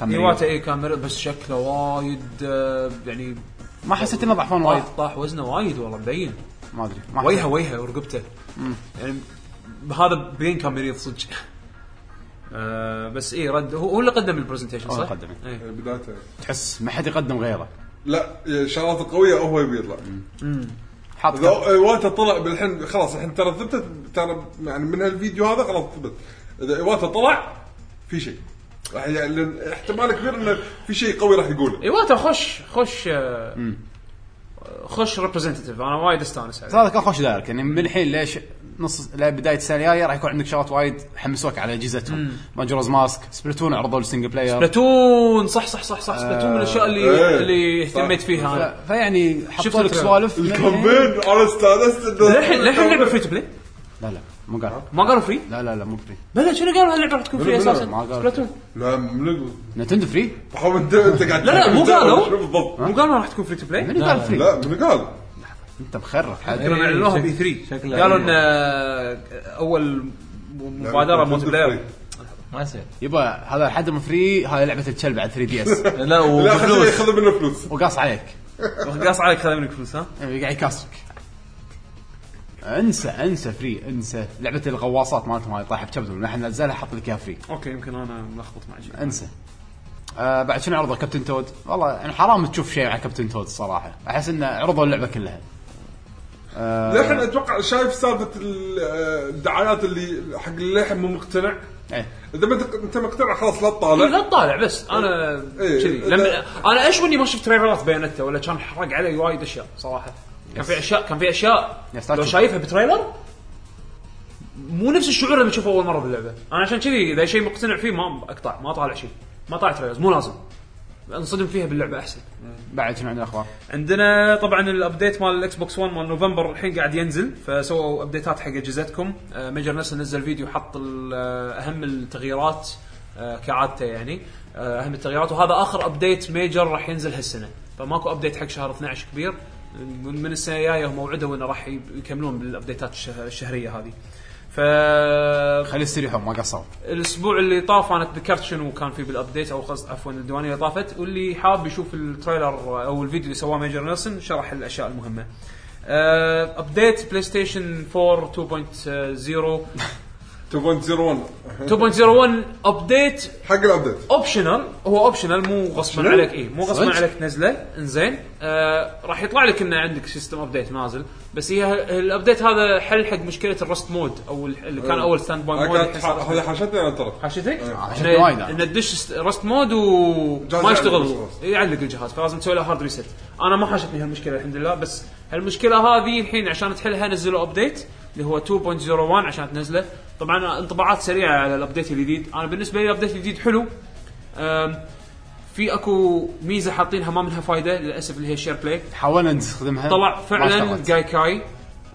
كان ايواتا اي إيه كان مريض بس شكله وايد آه، يعني ما حسيت انه ضعفان وايد وايد طاح وزنه وايد والله مبين ما ادري ما ويها حسيت. ويها ورقبته يعني هذا بين كان مريض صدق آه بس ايه رد هو, هو اللي قدم البرزنتيشن هو صح؟ اللي قدم، إيه. يعني بدايته تحس ما حد يقدم غيره لا الشغلات القويه هو يبي يطلع حاط اذا ايواتا طلع بالحين خلاص الحين ترى ثبتت ترى يعني من هالفيديو هذا خلاص ثبت اذا ايواتا طلع في شيء راح يعني لأن احتمال كبير انه في شيء قوي راح يقوله ايواتا إيه، خوش خوش آه خوش ريبرزنتيف انا وايد استانس عليه هذا كان خوش دايركت يعني من الحين ليش نص لبدايه السنه الجايه راح يكون عندك شغلات وايد حمسوك على اجهزتهم ماجورز ماسك سبلاتون عرضوا السنجل بلاير سبلاتون صح صح صح آه. صح سبلاتون من الاشياء اللي إيه. اللي صح. اهتميت فيها انا ف- فيعني شفت حطوا لك التريلر. سوالف الكامبين انا استانست إنه- للحين للحين اللعبه فري تو بلاي لا لا مو قال ما قالوا فري لا لا لا مو فري بلا شنو قالوا هاللعبه راح تكون فري بلا، بلا، اساسا ما قالوا. سبلاتون لا من- نتندو فري حاول انت انت قاعد لا، لا، مو قالوا. شنو بالضبط مو قالوا راح تكون فري تو بلاي منو قال فري لا من قال انت يعني مخرف حد ترى اعلنوها بي شكل- 3 شكلها قالوا ان حلوة. آه، اول م- مبادره لا، مونتي بلاير ما يصير يبا هذا لحد ما فري هاي لعبه الكلب على 3 دي اس لا لا خليه وفلوس ياخذ منه فلوس وقاص عليك قاص عليك خذ منك فلوس ها يعني قاعد يكاسرك انسى انسى فري انسى لعبه الغواصات مالتهم هاي طايحه بكبدهم الحين نزلها حط لك اياها فري اوكي يمكن انا ملخبط مع شيء انسى آه بعد شنو عرضوا كابتن تود والله يعني حرام تشوف شيء على كابتن تود الصراحه احس انه عرضوا اللعبه كلها آه. للحين اتوقع شايف سالفه ال- آه، الدعايات اللي حق للحين مو مقتنع ايه اذا ما انت انت مقتنع خلاص لا إيه، تطالع لا تطالع بس انا إيه، كذي لا. لما انا اشو اني ما شفت تريلرات بيانتا ولا كان حرق علي وايد اشياء صراحه كان في اشياء كان في اشياء Yes, لو that's- شايفها بتريلر مو نفس الشعور اللي بتشوفه اول مره باللعبه انا عشان كذي اذا شيء مقتنع فيه ما اقطع ما طالع شيء ما طالع تريلرز مو لازم انصدم فيها باللعبه احسن بعد شنو عندنا اخبار؟ عندنا طبعا الابديت مال الاكس بوكس 1 مال نوفمبر الحين قاعد ينزل فسووا ابديتات حق اجهزتكم آه، ميجر نسل نزل فيديو حط ال- آه، اهم التغييرات آه، كعادته يعني آه، اهم التغييرات وهذا اخر ابديت ميجر راح ينزل هالسنه فماكو ابديت حق شهر 12 كبير من من السنه الجايه هم وعدوا انه راح يب- يكملون بالابديتات الشه- الشهريه هذه ف خلي يستريحون ما قصروا الاسبوع اللي طاف انا تذكرت شنو كان فيه بالابديت او قصد عفوا الديوانيه اللي طافت واللي حاب يشوف التريلر او الفيديو اللي سواه ميجر نيلسون شرح الاشياء المهمه. آه، ابديت بلاي ستيشن 4 2.0 2.01 2.01 ابديت حق الابديت اوبشنال هو اوبشنال مو غصبا عليك اي مو غصبا صدق؟ عليك تنزله انزين آه راح يطلع لك انه عندك سيستم ابديت نازل بس هي ه- الابديت هذا حل حق مشكله الرست مود او ال- اللي كان اول ستاند باي أنا مود كانت الحين صار ح- هذه حاشتني انا ترى حاشتك؟ عشان وايد انه أنا. إنه تدش رست مود وما إيه. جهاز يعلق يشتغل إيه، بالجهاز. يعلق الجهاز فلازم تسوي له هارد ريست انا ما حاشتني هالمشكله الحمد لله بس هالمشكله هذه الحين عشان تحلها نزلوا ابديت اللي هو 2.01 عشان تنزله طبعا انطباعات سريعه على الابديت الجديد انا بالنسبه لي الابديت الجديد حلو أم، في اكو ميزه حاطينها ما منها فايده للاسف اللي هي شير بلاي حاولنا نستخدمها طلع ما فعلا اشتغلت. جاي كاي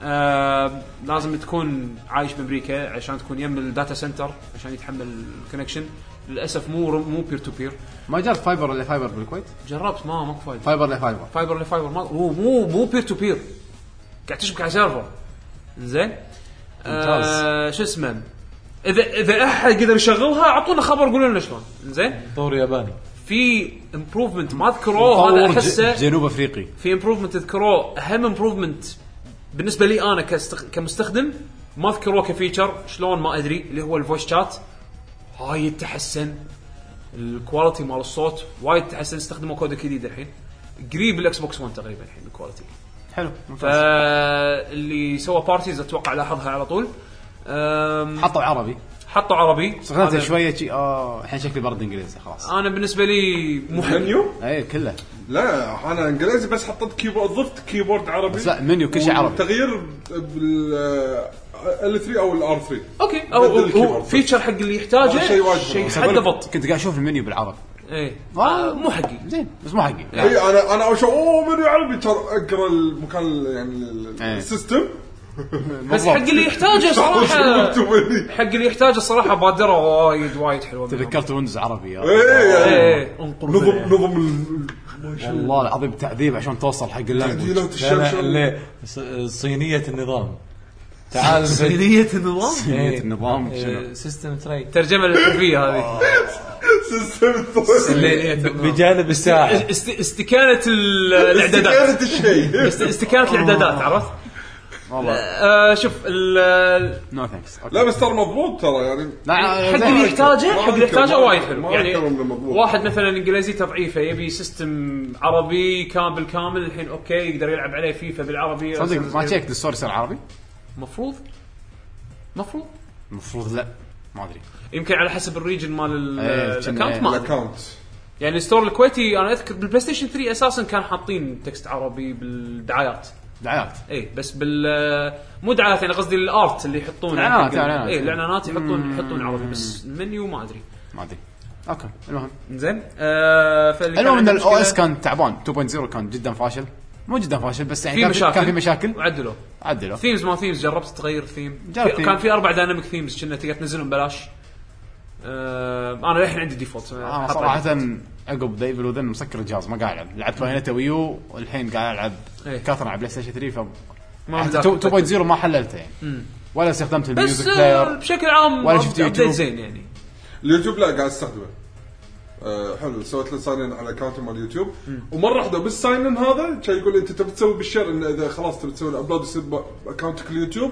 آه لازم تكون عايش بامريكا عشان تكون يم الداتا سنتر عشان يتحمل الكونكشن للاسف مو مو بير تو بير ما جرب فايبر ولا فايبر بالكويت؟ جربت ما ماكو فايده فايبر ولا فايبر فايبر لفايبر ما هو مو مو بير تو بير قاعد تشبك على سيرفر زين آه ممتاز. شو اسمه اذا اذا احد قدر يشغلها اعطونا خبر قولوا لنا شلون زين طور ياباني في امبروفمنت ما ذكروه هذا مطور احسه ج- جنوب افريقي في امبروفمنت تذكروه اهم امبروفمنت بالنسبه لي انا كاستخ... كمستخدم ما ذكروه كفيتشر شلون ما ادري اللي هو الفويس شات وايد تحسن الكواليتي مال الصوت وايد تحسن استخدموا كودك جديد الحين قريب الاكس بوكس 1 تقريبا الحين الكواليتي حلو ممتاز فاللي سوى بارتيز اتوقع لاحظها على طول أم... حطوا عربي حطوا عربي استخدمته أنا- شويه شي اه الحين شكلي برد انجليزي خلاص انا بالنسبه لي مو حلو منيو اي كله لا انا انجليزي بس حطيت كيبورد ضفت كيبورد عربي بس لا منيو كل شيء عربي تغيير بال ال 3 او الار 3 اوكي او بدل هو الكيبورد. فيتشر حق اللي يحتاجه هذا شيء واجد شيء حد مهم. ضبط كنت قاعد اشوف المنيو بالعربي ايه آه، مو حقي زين بس مو حقي اي انا انا اول شيء اوه منيو عربي ترى اقرا المكان ال- يعني ال- إيه. السيستم بس حق اللي يحتاجه صراحه حق اللي يحتاجه صراحه بادره وايد وايد حلوه منهم. تذكرت ويندوز عربي إيه، يا اي ايه انقر نظم إيه. بها. نظم ال- والله العظيم تعذيب عشان توصل حق اللانجوج تبديلات لا الشمشم لا ص- صينيه النظام تعال صينيه النظام صينية إيه، النظام إيه. شنو؟ سيستم تري الترجمه الحرفيه هذه سيستم الثواني. اللي بجانب الساعه است- استكانه ال- الاعدادات استكانة الشيء است- استكانه الاعدادات عرفت؟ والله آه، شوف ال- ال- نو ثانكس لا بس ترى مضبوط ترى يعني آه، حق اللي يحتاجه حق اللي يحتاجه وايد حلو ما يعني أكثر من المضبوط. واحد مثلا انجليزي تضعيفه يبي سيستم عربي كامل بالكامل الحين اوكي يقدر يلعب عليه فيفا بالعربي صدق ما تشيكت السوري صار عربي؟ مفروض مفروض المفروض لا ما ادري يمكن على حسب الريجن مال ال- إيه، الاكونت كنا- ما أدري. الاكونت يعني الستور الكويتي انا اذكر بالبلاي ستيشن 3 اساسا كان حاطين تكست عربي بالدعايات دعايات اي بس بال مو دعايات يعني قصدي الارت اللي يحطون الإعلانات، الإعلانات. إيه. اي الاعلانات يحطون يحطون عربي بس المنيو ما ادري ما ادري اوكي المهم زين آه فاللي المهم ان عنده الاو مشكلة اس كان تعبان 2.0 كان جدا فاشل مو جدا فاشل بس يعني في كان في مشاكل كان في مشاكل وعدلوه عدلوا ثيمز ما ثيمز جربت تغير ثيم جرب theme. كان في اربع دايناميك ثيمز كنا تقدر تنزلهم ببلاش آه انا للحين عندي ديفولت انا صراحه آه، عقب ديفل وذن مسكر الجهاز ما قاعد العب لعبت باينتا ويو والحين قاعد العب إيه. كثر على بلاي ستيشن 3 ف ما حتى بدأت. 2.0 ما حللته يعني ولا استخدمت بس الميوزك آه، بلاير بشكل عام ولا شفت update يوتيوب. زين يعني اليوتيوب لا قاعد استخدمه آه حلو سويت له ساين ان على اكونتي مال يوتيوب ومره واحده بالساين ان هذا كان يقول لي انت تبي تسوي بالشر انه اذا خلاص تبي تسوي الابلود يصير باكونتك اليوتيوب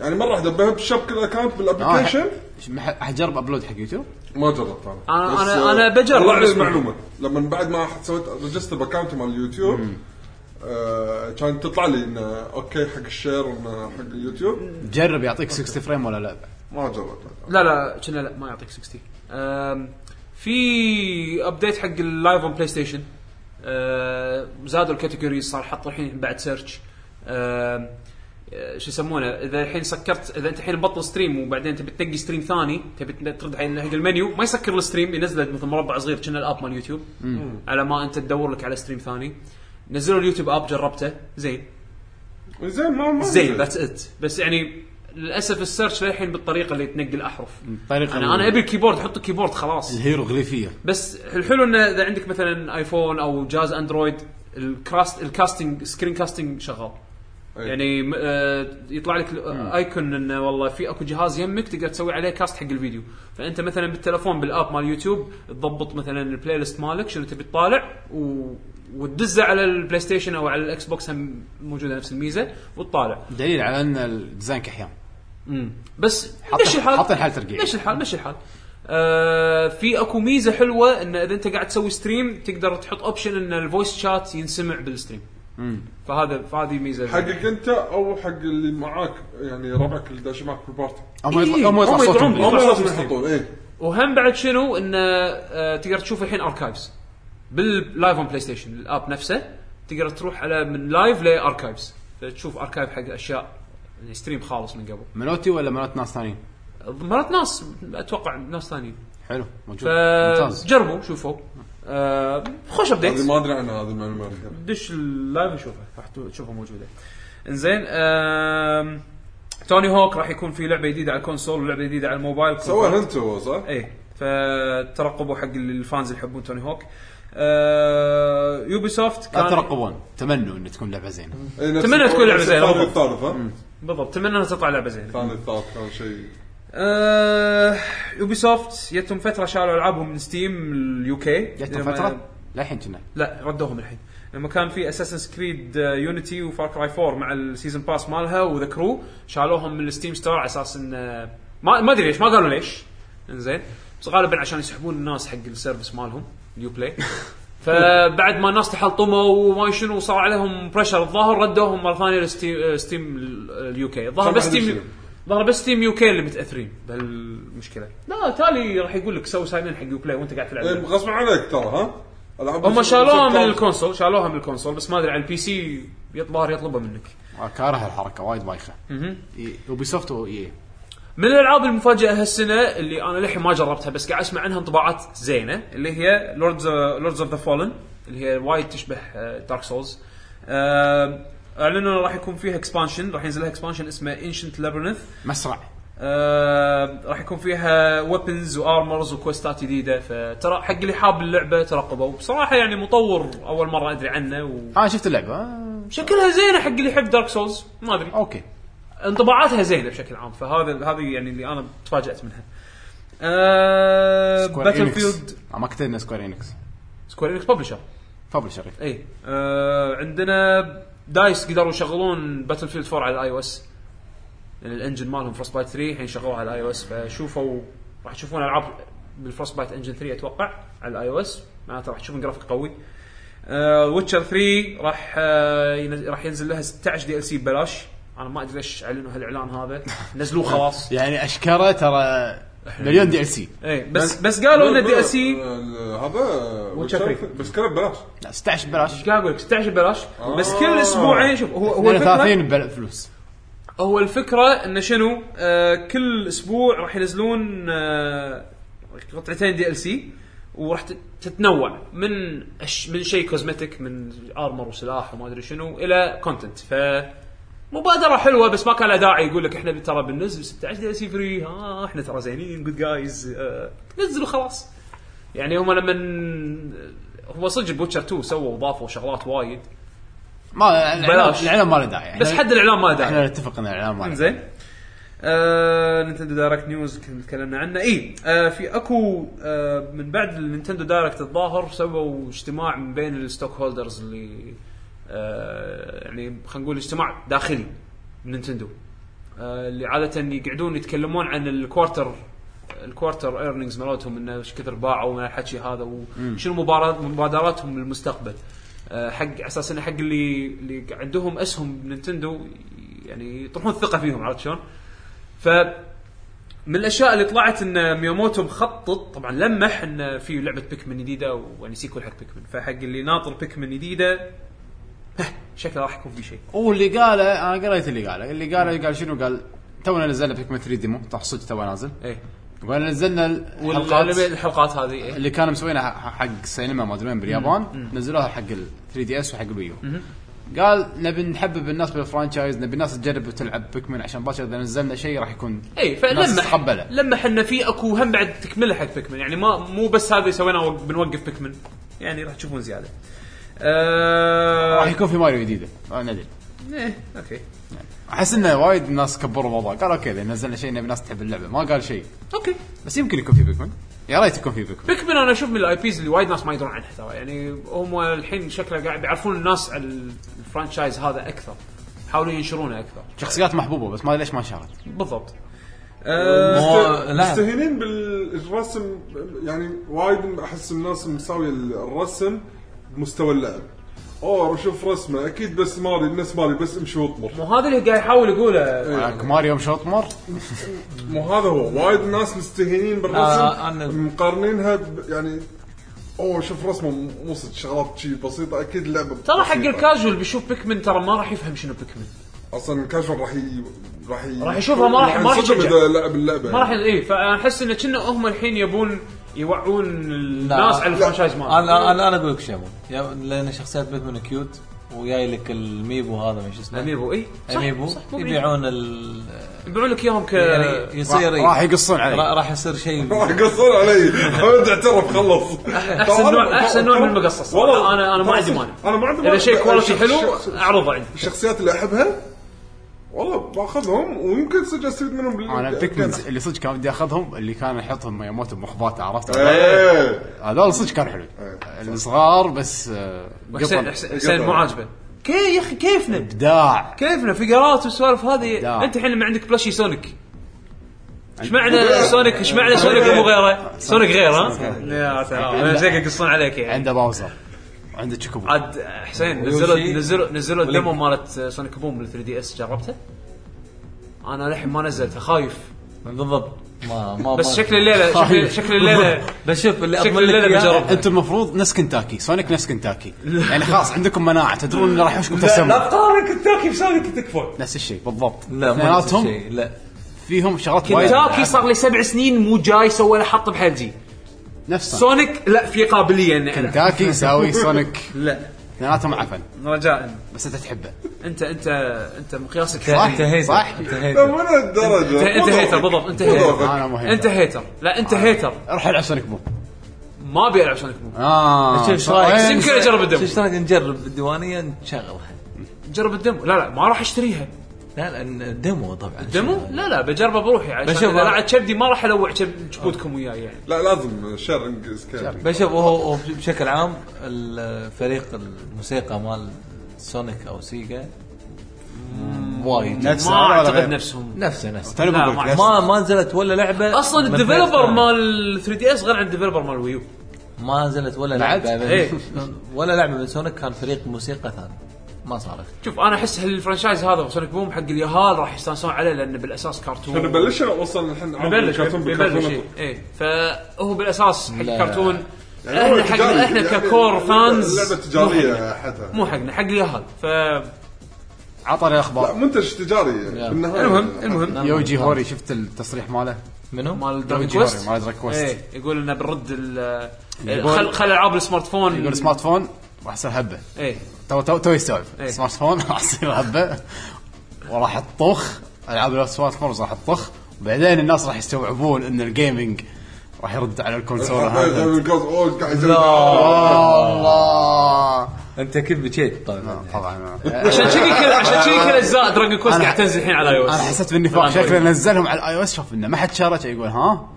يعني مره واحده بهب شبك الاكونت آه، بالابلكيشن ح- مح- حجرب ابلود حق يوتيوب ما جربت انا أنا- بس، أنا- آه، أنا بجرب طلع لي بس- المعلومه لما بعد ما سويت ريجستر باكونت مال اليوتيوب آه كان تطلع لي انه اوكي حق الشير وانه حق اليوتيوب جرب يعطيك 60 فريم ولا لا ما جربت لا لا كنا لا ما يعطيك 60 أم، في ابديت حق اللايف اون بلاي ستيشن أم، زادوا الكاتيجوريز صار حطوا الحين بعد سيرش أم، أه، شو يسمونه اذا الحين سكرت اذا انت الحين مبطل ستريم وبعدين تبي تنقي ستريم ثاني تبي تن- ترد على حق المنيو ما يسكر الستريم ينزله مثل مربع صغير كنا الاب مال يوتيوب على ما انت تدور لك على ستريم ثاني نزلوا اليوتيوب اب جربته زين زين ما ما زين ذاتس ات بس يعني للاسف السيرش للحين بالطريقه اللي تنقي الاحرف طريقه انا انا ابي الكيبورد حط الكيبورد خلاص الهيروغليفيه بس الحلو انه اذا عندك مثلا ايفون او جهاز اندرويد الكراست الكاستنج سكرين كاستنج شغال أي. يعني م- آه، يطلع لك ايكون انه والله في اكو جهاز يمك تقدر تسوي عليه كاست حق الفيديو فانت مثلا بالتلفون بالاب مال يوتيوب تضبط مثلا البلاي ليست مالك شنو تبي تطالع و... وتدزه على البلاي ستيشن او على الاكس بوكس هم موجوده نفس الميزه وتطالع دليل على ان الديزاين كحيان بس حط- مشي الحال حط الحال ترقيع. مشي الحال مشي الحال آه في اكو ميزه حلوه ان اذا انت قاعد تسوي ستريم تقدر تحط اوبشن ان الفويس شات ينسمع بالستريم فهذا فهذه ميزه حقك انت او حق اللي معاك يعني ربعك اللي داش معك بالبارتي هم يطلع- إيه، هم يطلع هم يطلعون صوتهم بالضبط. هم لازم بالستريم. يحطون اي وهم بعد شنو ان آه تقدر تشوف الحين اركايفز باللايف اون بلاي ستيشن الاب نفسه تقدر تروح على من لايف لاركايفز فتشوف اركايف حق اشياء يعني ستريم خالص من قبل منوتي ولا منوت ناس ثانيين مرات ناس اتوقع ناس ثانيين حلو موجود ممتاز فجربوا شوفوا آه خوش ابديت هذه ما ادري عنها هذه المعلومه الحين. دش اللايف وشوفها راح تو- تشوفها موجوده انزين آم، توني هوك راح يكون في لعبه جديده على الكونسول ولعبه جديده على الموبايل سواها انت هو صح؟ اي فترقبوا حق الفانز اللي يحبون توني هوك آه يوبي سوفت لا كان ترقبون تمنوا ان تكون لعبه زينه إي، إيه، نفس أتمنى تكون لعبة زينة. الثاني الثالث ها؟ بالضبط اتمنى انها تطلع لعبه زينه الثاني الثالث كان شيء آه يوبي سوفت جتهم فتره شالوا العابهم من ستيم اليو كي جت فتره للحين كنا لا ردوهم الحين لما كان في آه، اساسن كريد يونيتي وفار كراي 4 مع السيزون باس مالها وذا كرو شالوهم من الستيم ستور على اساس ان آه، ما ما ادري ليش ما قالوا ليش انزين بس غالبا عشان يسحبون الناس حق السيرفس مالهم اليو بلاي فبعد ما الناس تحلطموا وما شنو صار عليهم بريشر الظاهر ردوهم مره ثانيه لستيم ستيم اليو كي الظاهر طبعاً بس ستيم يشيلوا. الظاهر بس ستيم يو كي اللي متاثرين بهالمشكله لا تالي راح يقول لك سوي ساين حق يو بلاي وانت قاعد تلعب إي، إيه، غصب عنك ترى ها؟ ألعاب هم بس- شالوها بس من الثالث. الكونسول شالوها من الكونسول بس ما ادري على البي سي يطبار يطلبها منك آه، كاره الحركه وايد بايخه يوبي سوفت واي من الالعاب المفاجاه هالسنه اللي انا للحين ما جربتها بس قاعد اسمع عنها انطباعات زينه اللي هي لوردز لوردز اوف ذا فولن اللي هي وايد تشبه آه، دارك سولز اعلنوا آه، إنه راح يكون فيها اكسبانشن راح ينزل لها اكسبانشن اسمه انشنت لابرنث مسرع آه، راح يكون فيها ويبنز وارمرز وكوستات جديده فترى حق اللي حاب اللعبه ترقبوا بصراحه يعني مطور اول مره ادري عنه و... انا شفت اللعبه آه، شكلها زينه حق اللي يحب دارك سولز ما ادري اوكي آه، انطباعاتها زينه بشكل عام فهذا هذه يعني اللي انا تفاجات منها آه باتل فيلد ما كتبنا سكوير انكس سكوير انكس ببلشر ببلشر اي آه عندنا دايس قدروا يشغلون باتل فيلد 4 على الاي او اس يعني الانجن مالهم فروست بايت 3 الحين شغلوها على الاي او اس فشوفوا راح تشوفون العاب بالفروست بايت انجن 3 اتوقع على الاي او اس معناته راح تشوفون جرافيك قوي ويتشر 3 راح آه ين- راح ينزل لها 16 دي ال سي ببلاش انا ما ادري ليش اعلنوا هالاعلان هذا نزلوه خلاص يعني اشكره ترى مليون دي ال سي اي بس بس قالوا ان الدي ال سي آه، هذا وتشافري. بس كله ببلاش لا 16 ببلاش قاعد اقول لك 16 ببلاش بس كل اسبوعين شوف هو هو الفكره 32 بفلوس هو الفكره انه شنو آه كل اسبوع راح ينزلون آه قطعتين دي ال سي وراح تت- تتنوع من أش من شيء كوزمتيك من ارمر وسلاح وما ادري شنو الى كونتنت ف مبادرة حلوة بس ما كان لها داعي يقول لك احنا ترى بننزل 16 دي سي فري ها احنا ترى زينين جود جايز آه نزلوا خلاص يعني هم لما آه، هو صدق بوتشر 2 سووا وضافوا شغلات وايد ما الإعلان- بلاش. الاعلان ما له داعي يعني بس إحنا- حد الاعلان ما له داعي احنا نتفق ان الاعلان ما له داعي زين آه، نينتندو دايركت نيوز كن- تكلمنا عنه اي آه، في اكو آه، من بعد النينتندو دايركت الظاهر سووا اجتماع من بين الستوك هولدرز اللي آه، يعني خلينا نقول اجتماع داخلي من نينتندو آه، اللي عاده يقعدون يتكلمون عن الكوارتر الكوارتر ايرنينجز مالتهم انه ايش كثر باعوا من الحكي هذا وشنو مبارا- مبادراتهم للمستقبل آه، حق على اساس انه حق اللي اللي عندهم اسهم بننتندو يعني يطرحون الثقه فيهم عرفت شلون؟ ف من الاشياء اللي طلعت ان مياموتو مخطط طبعا لمح ان في لعبه بيكمن جديده ويعني سيكول حق بيكمن فحق اللي ناطر بيكمن جديده شكله راح يكون في شيء واللي قاله انا قريت اللي قاله اللي قاله قال شنو قال تونا نزلنا بيكما 3 ديمو طح صدق توه نازل ايه وقال نزلنا الحلقات والحلقات الحلقات هذه إيه. اللي كانوا مسوينها ح- حق السينما ما ادري وين باليابان نزلوها حق ال 3 دي اس وحق الويو قال نبي نحبب الناس بالفرانشايز نبي الناس تجرب تلعب بيكمن عشان باكر اذا نزلنا شيء راح يكون اي الناس فلمح تتقبله. لمح انه في اكو هم بعد تكمله حق بيكمن يعني ما مو بس هذا سوينا وق- بنوقف بيكمن يعني راح تشوفون زياده. آه... راح يكون في ماريو جديده ما ندري ايه اوكي احس انه وايد ناس كبروا الموضوع قالوا اوكي اذا نزلنا شيء نبي الناس تحب اللعبه ما قال شيء اوكي بس يمكن يكون في بيكمن يا ريت يكون في بيكمن بيكمن انا اشوف من الاي بيز اللي وايد ناس ما يدرون عنها ترى يعني هم الحين شكله قاعد بيعرفون الناس على الفرانشايز هذا اكثر يحاولون ينشرونه اكثر شخصيات محبوبه بس ما أدري ليش ما انشهرت بالضبط مو- لا. مستهينين بالرسم يعني وايد احس الناس مساويه الرسم بمستوى اللعب اوه شوف رسمه اكيد بس ماري الناس ماري بس امشي واطمر مو هذا اللي قاعد يحاول يقوله معك آه، ماريو مش اطمر مو هذا هو وايد ناس مستهينين آه، بالرسم أنا- مقارنينها ب- يعني اوه شوف رسمه مو صدق شغلات شي بسيطه اكيد اللعبه ترى حق بسيطة. الكاجوال بيشوف بيكمن ترى ما راح يفهم شنو بيكمن اصلا الكاجوال راح ي... راح ي... راح يشوفها ما راح- ما راح ينصدم يشجع. اذا لعب اللعبه ما راح اي فاحس انه كنا هم الحين يبون يوعون الناس لا. على الفرانشايز مالهم انا انا انا اقول لك شيء أبو. يا- لان شخصيات بيتمان كيوت وجاي لك الميبو هذا ما شو اسمه اميبو اي صح، اميبو صح، مو بعيد. آه، إيه؟ يبيعون ال يبيعون لك اياهم ك يعني يصير راح- راح يقصون علي. را- راح يصير شيء راح يقصون علي حمد اعترف خلص احسن نوع احسن نوع من المقصص والله انا انا ما عندي صدق، مانع انا ما عندي مانع اذا شيء كواليتي الش- حلو الش- اعرضه عندي الشخصيات اللي احبها والله باخذهم ويمكن صدق استفيد منهم بال- انا بيكمن بالجيم. اللي صدق كان بدي اخذهم اللي كان يحطهم مياموتو بمخباته عرفت إيه. هذول صدق كانوا حلو الصغار بس آه، حسين قطن حسين- حسين مو عاجبه كيف يا اخي كيفنا ابداع كيفنا فقرات والسوالف هذه لا. انت الحين لما عندك بلاشي سونيك ايش معنى سونيك ايش معنى سونيك مو غيره؟ سونيك غير ها؟ يا سلام شكلك يقصون عليك يعني عنده باوزر وعنده تشيكوبو عاد حسين ويوشي. نزلوا نزلوا نزلوا الديمو مالت سونيك بوم لل 3 دي اس جربتها؟ انا للحين ما نزلتها خايف بالضبط ما ما بس ما- شكل الليله شكل شكل الليله بس شوف اللي شكل اضمن لك الليلة إياه- بجربها. انتم المفروض نفس كنتاكي سونيك نفس كنتاكي يعني خلاص عندكم مناعه تدرون انه راح يحوشكم تسمم تقارن كنتاكي بسونيك تكفى نفس الشيء بالضبط لا ما نفس اثنيناتهم الشيء لا فيهم شغلات وايد كنتاكي صار لي سبع سنين مو جاي سوى له حط بحجي نفسه سونيك لا في قابليه اني ألعب. كنتاكي يساوي سونيك لا اثنيناتهم عفن رجاء بس انت تحبه انت انت انت مقياسك انت صح؟ انت انت هيثم صح؟ انت لا، هيثم مو لهالدرجه انت هيتر بالضبط انت هيتر انا مهم انت هيتر لا انت هيتر روح العب سونيك بوم ما ابي العب سونيك بوم اه شوف ايش رايك يمكن أجرب الدم. ايش رايك نجرب الديوانيه نشغلها جرب الديمو لا لا ما راح اشتريها لا لا ديمو طبعا ديمو لا لا بجربه بروحي عشان بشوف اذا أنا. لعبت كبدي ما راح الوع كب- كبودكم وياي يعني لا لازم شيرنج سكان بشوف هو هو بشكل عام الفريق الموسيقى مال سونيك او سيجا وايد نفسه ما هذا ولا اعتقد غيره؟ نفسهم نفسه نفسه توني لا، بقول لك ما- نفسه. ما ما نزلت ولا لعبه اصلا من الديفلوبر فريق- مال 3 دي اس غير عن الديفلوبر مال ويو ما نزلت ولا بعد؟ لعبه من- إيه. ولا لعبه من سونيك كان فريق موسيقى ثاني ما صارت شوف انا احس هالفرنشايز هذا سونيك بوم حق اليهال راح يستانسون عليه لانه بالاساس كرتون نبلش وصلنا الحين عرض ببلش الكرتون ببلش بالكرتون. إيه. ايه فهو بالاساس حق لا. كرتون يعني هو احنا حق تجاري، احنا يعني ككور فانز لعبه تجاريه حتى مو حقنا حق اليهال ف عطنا لا الاخبار منتج تجاري يا. بالنهايه المهم المهم يوجي هوري شفت التصريح ماله منو؟ مال دراجون يوجي هوري كويست مال دراك كويست ايه يقول انه بنرد ال يقول- خل خل العاب السمارت فون يقول سمارت فون راح يصير هبه ايه تو تو تو إيه. يستوعب سمارت فون راح يصير هبه وراح تطخ العاب السمارت فون راح تطخ وبعدين الناس راح يستوعبون ان الجيمنج راح يرد على الكونسول الحين هذا الجوز- أوه، قاعد يسوي- الله انت اكيد بكيت طبعا طبعا أنا- عشان كذي كل عشان كذي كل اجزاء دراجون كويست قاعد تنزل الحين على اي انا حسيت بالنفاق شكله نزلهم على الاي او اس شوف انه ما حد شاره شي يقول ها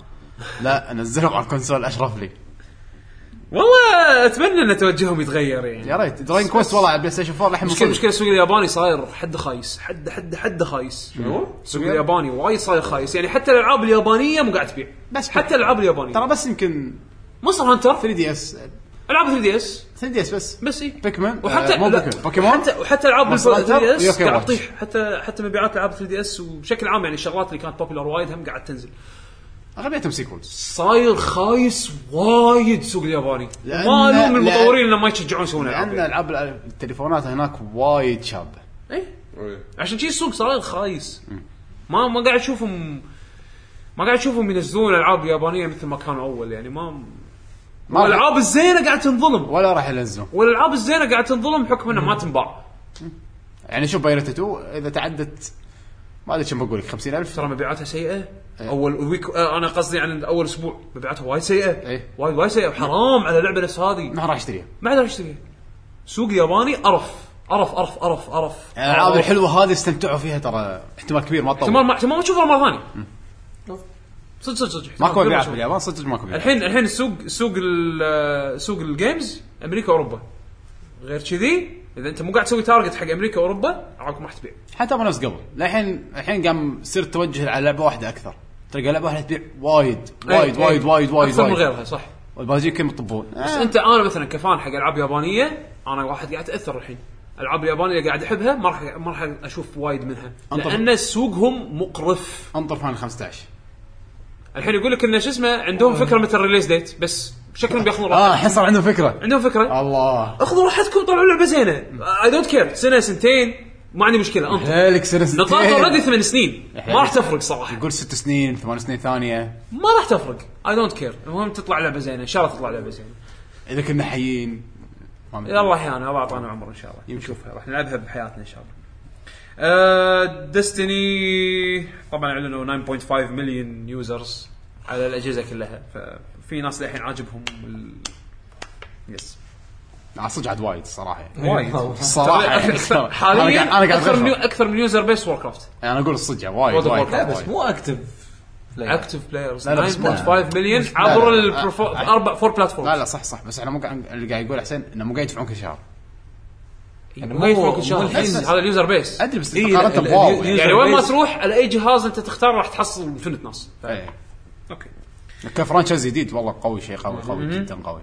لا نزلهم على الكونسول اشرف لي والله اتمنى ان توجههم يتغير يعني يا ريت دراين كويست والله على بلاي ستيشن 4 لحم مشكله مشكله السوق الياباني صاير حد خايس حد حد حد خايس السوق الياباني وايد صاير خايس يعني حتى الالعاب اليابانيه مو قاعد تبيع بس حتى الالعاب اليابانيه ترى بس يمكن مصر هانتر 3 دي اس 3 العاب 3 دي اس دي اس بس بس اي بيكمان وحتى آه، مو لا، بيكمان بوكيمون حتى وحتى العاب مونستر 3 دي هانتر، اس يوكي قاعد واتش. تطيح حتى حتى مبيعات العاب 3 دي اس وبشكل عام يعني الشغلات اللي كانت بوبيلر وايد هم قاعد تنزل اغلبيتهم سيكولز صاير خايس وايد سوق الياباني لأن- ما الوم لأن- المطورين انهم ما يشجعون يسوون العاب لان يعني. العاب التليفونات هناك وايد شابه إيه. إيه. عشان كذي السوق صاير خايس ما ما قاعد اشوفهم ما قاعد اشوفهم ينزلون العاب يابانيه مثل ما كانوا اول يعني ما ما الالعاب الزينه قاعد تنظلم ولا راح ينزلون والالعاب الزينه قاعد تنظلم بحكم انها ما تنباع يعني شوف بايرت 2 اذا تعدت ما ادري كم بقول لك 50000 ترى مبيعاتها سيئه إيه. اول ويك آه، انا قصدي عن اول اسبوع مبيعاتها وايد سيئه إيه. وايد وايد سيئه حرام على لعبه نفس هذه ما راح اشتريها ما اقدر اشتريها سوق ياباني قرف قرف قرف قرف قرف الالعاب الحلوه هذه استمتعوا فيها ترى احتمال كبير ما احتمال تطول ما احتمال ما تشوفها مره ثانيه صدق صدق صدق احتمال ماكو كبير ما مبيعات تشوفها. باليابان صدق ماكو مبيعات الحين الحين السوق سوق ال- آه، سوق الجيمز امريكا واوروبا غير كذي اذا انت مو قاعد تسوي تارجت حق امريكا واوروبا العابك ما راح تبيع حتى مو نفس قبل الحين الحين قام يصير توجه على لعبه واحده اكثر تلقى لعبه واحده تبيع وايد وايد إيه، إيه. وايد وايد وايد اكثر من إيه. وايد غيرها صح والباجيك كم يطبون بس آه، انت انا مثلا كفان حق العاب يابانيه انا واحد قاعد اتاثر الحين العاب اليابانيه اللي قاعد احبها ما راح ما راح اشوف وايد منها أنطر. لان سوقهم مقرف انطر فان 15 الحين يقول لك ان شو اسمه عندهم فكره متى الريليز ديت بس شكلهم بياخذون راحتهم اه الحين صار عندهم فكره عندهم فكره الله اخذوا راحتكم طلعوا لعبه زينه اي دونت كير سنه سنتين ما عندي مشكله انطر هيلك سنس نطاط اوريدي ثمان سنين ما راح تفرق صراحه قول ست سنين ثمان سنين ثانيه ما راح تفرق اي دونت كير المهم تطلع لعبه زينه ان شاء الله تطلع لعبه زينه اذا كنا حيين ما مدري. يلا احيانا الله اعطانا عمر ان شاء الله نشوفها راح نلعبها بحياتنا ان شاء الله أه ديستني طبعا اعلنوا 9.5 مليون يوزرز على الاجهزه كلها ففي ناس للحين عاجبهم ال... يس آه، صدق عاد وايد صراحه يعني. وايد. الصراحه أكثر- أكثر. حاليا انا قاعد- يعني. أنا اكثر قاعد من أغفر. اكثر من يوزر بيس وور كرافت انا اقول الصدق وايد World of وايد Warcraft. لا بس مو اكتف اكتف بلايرز إيه. لا، لا، بس 9.5 مليون لا، عبر لا. البروفو... آه، آه. اربع فور لا بلاتفورمز لا صح صح بس احنا مو قاعد اللي قاعد يقول حسين انه مو قاعد يدفعون كل شهر يعني ما يفرق ان شاء مو الله الحين. هذا اليوزر بيس ادري بس إيه، مقارنه ال- ال- بواو يعني. يعني وين ما بيس. تروح على اي جهاز انت تختار راح تحصل فنت ناس إيه. اوكي كفرانشايز جديد والله قوي شيء قوي قوي جدا قوي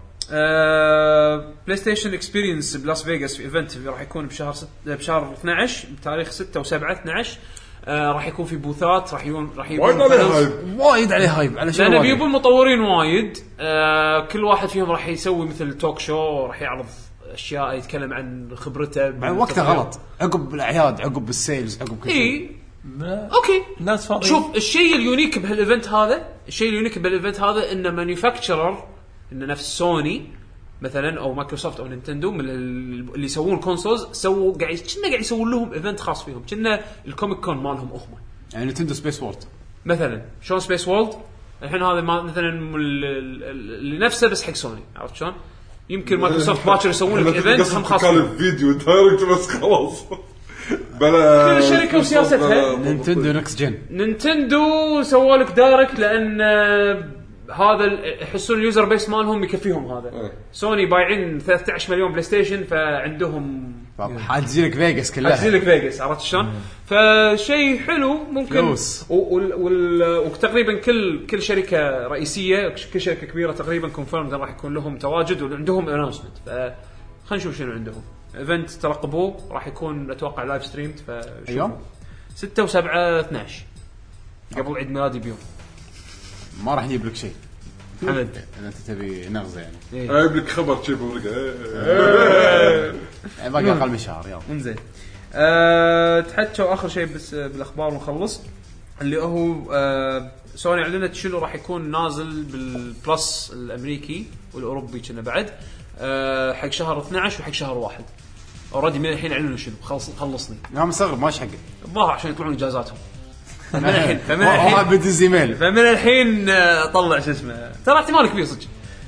بلاي ستيشن اكسبيرينس آه، بلاس فيغاس في ايفنت راح يكون بشهر ست آه، بشهر 12 بتاريخ 6 و7 12 آه راح يكون في بوثات راح يكون راح وايد يكون عليه panels. هايب وايد عليه هايب على شنو لان وايد؟ بيجيبون مطورين وايد آه كل واحد فيهم راح يسوي مثل توك شو راح يعرض اشياء يتكلم عن خبرته مع وقته غلط عقب الاعياد عقب السيلز عقب كل شيء اي اوكي ناس فاضيين شوف الشيء اليونيك بهالايفنت هذا الشيء اليونيك بهالايفنت هذا ان مانيفاكتشرر ان نفس سوني مثلا او مايكروسوفت او نينتندو من ال- اللي يسوون كونسولز سووا قاعد كنا قاعد يسوون لهم ايفنت خاص فيهم كنا الكوميك كون مالهم هم يعني نتندو سبيس وورد مثلا شلون سبيس وولد الحين هذا ما مثلا ال- ال- ال- اللي نفسه بس حق سوني عرفت شلون؟ يمكن مايكروسوفت باكر يسوون لك ايفنت هم خاص كان فيهم. الفيديو دايركت بس خلاص بلا كل شركة وسياستها. نتندو نكست جن نينتندو سووا لك دايركت لان آه، هذا ال- يحسون اليوزر بيس مالهم يكفيهم هذا إيه. سوني بايعين 13 مليون بلاي ستيشن فعندهم حتجي لك فيجاس كلها لك فيجاس عرفت شلون؟ فشيء حلو ممكن فلوس. و- وال- وال- وتقريبا كل كل شركه رئيسيه كل شركه كبيره تقريبا كونفيرم راح يكون لهم تواجد وعندهم اناونسمنت خلينا نشوف شنو عندهم ايفنت ترقبوه راح يكون اتوقع لايف ستريمد ايوه 6 و7 12 قبل عيد ميلادي بيوم ما راح نجيب لك شيء حمد اذا انت تبي نغزه يعني جايب لك إيه، خبر شي بورقه يعني باقي اقل من شهر يلا انزين أه تحكوا اخر شيء بس آه، بالاخبار ونخلص اللي هو أه سوني اعلنت شنو راح يكون نازل بالبلس الامريكي والاوروبي كنا بعد أه حق شهر 12 وحق شهر واحد اوريدي من الحين اعلنوا شنو خلص خلصني انا مستغرب ماش حقه الظاهر عشان يطلعون اجازاتهم فمن الحين فمن الحين واحد بدز ايميل فمن الحين آه، طلع شو اسمه ترى احتمال كبير صدق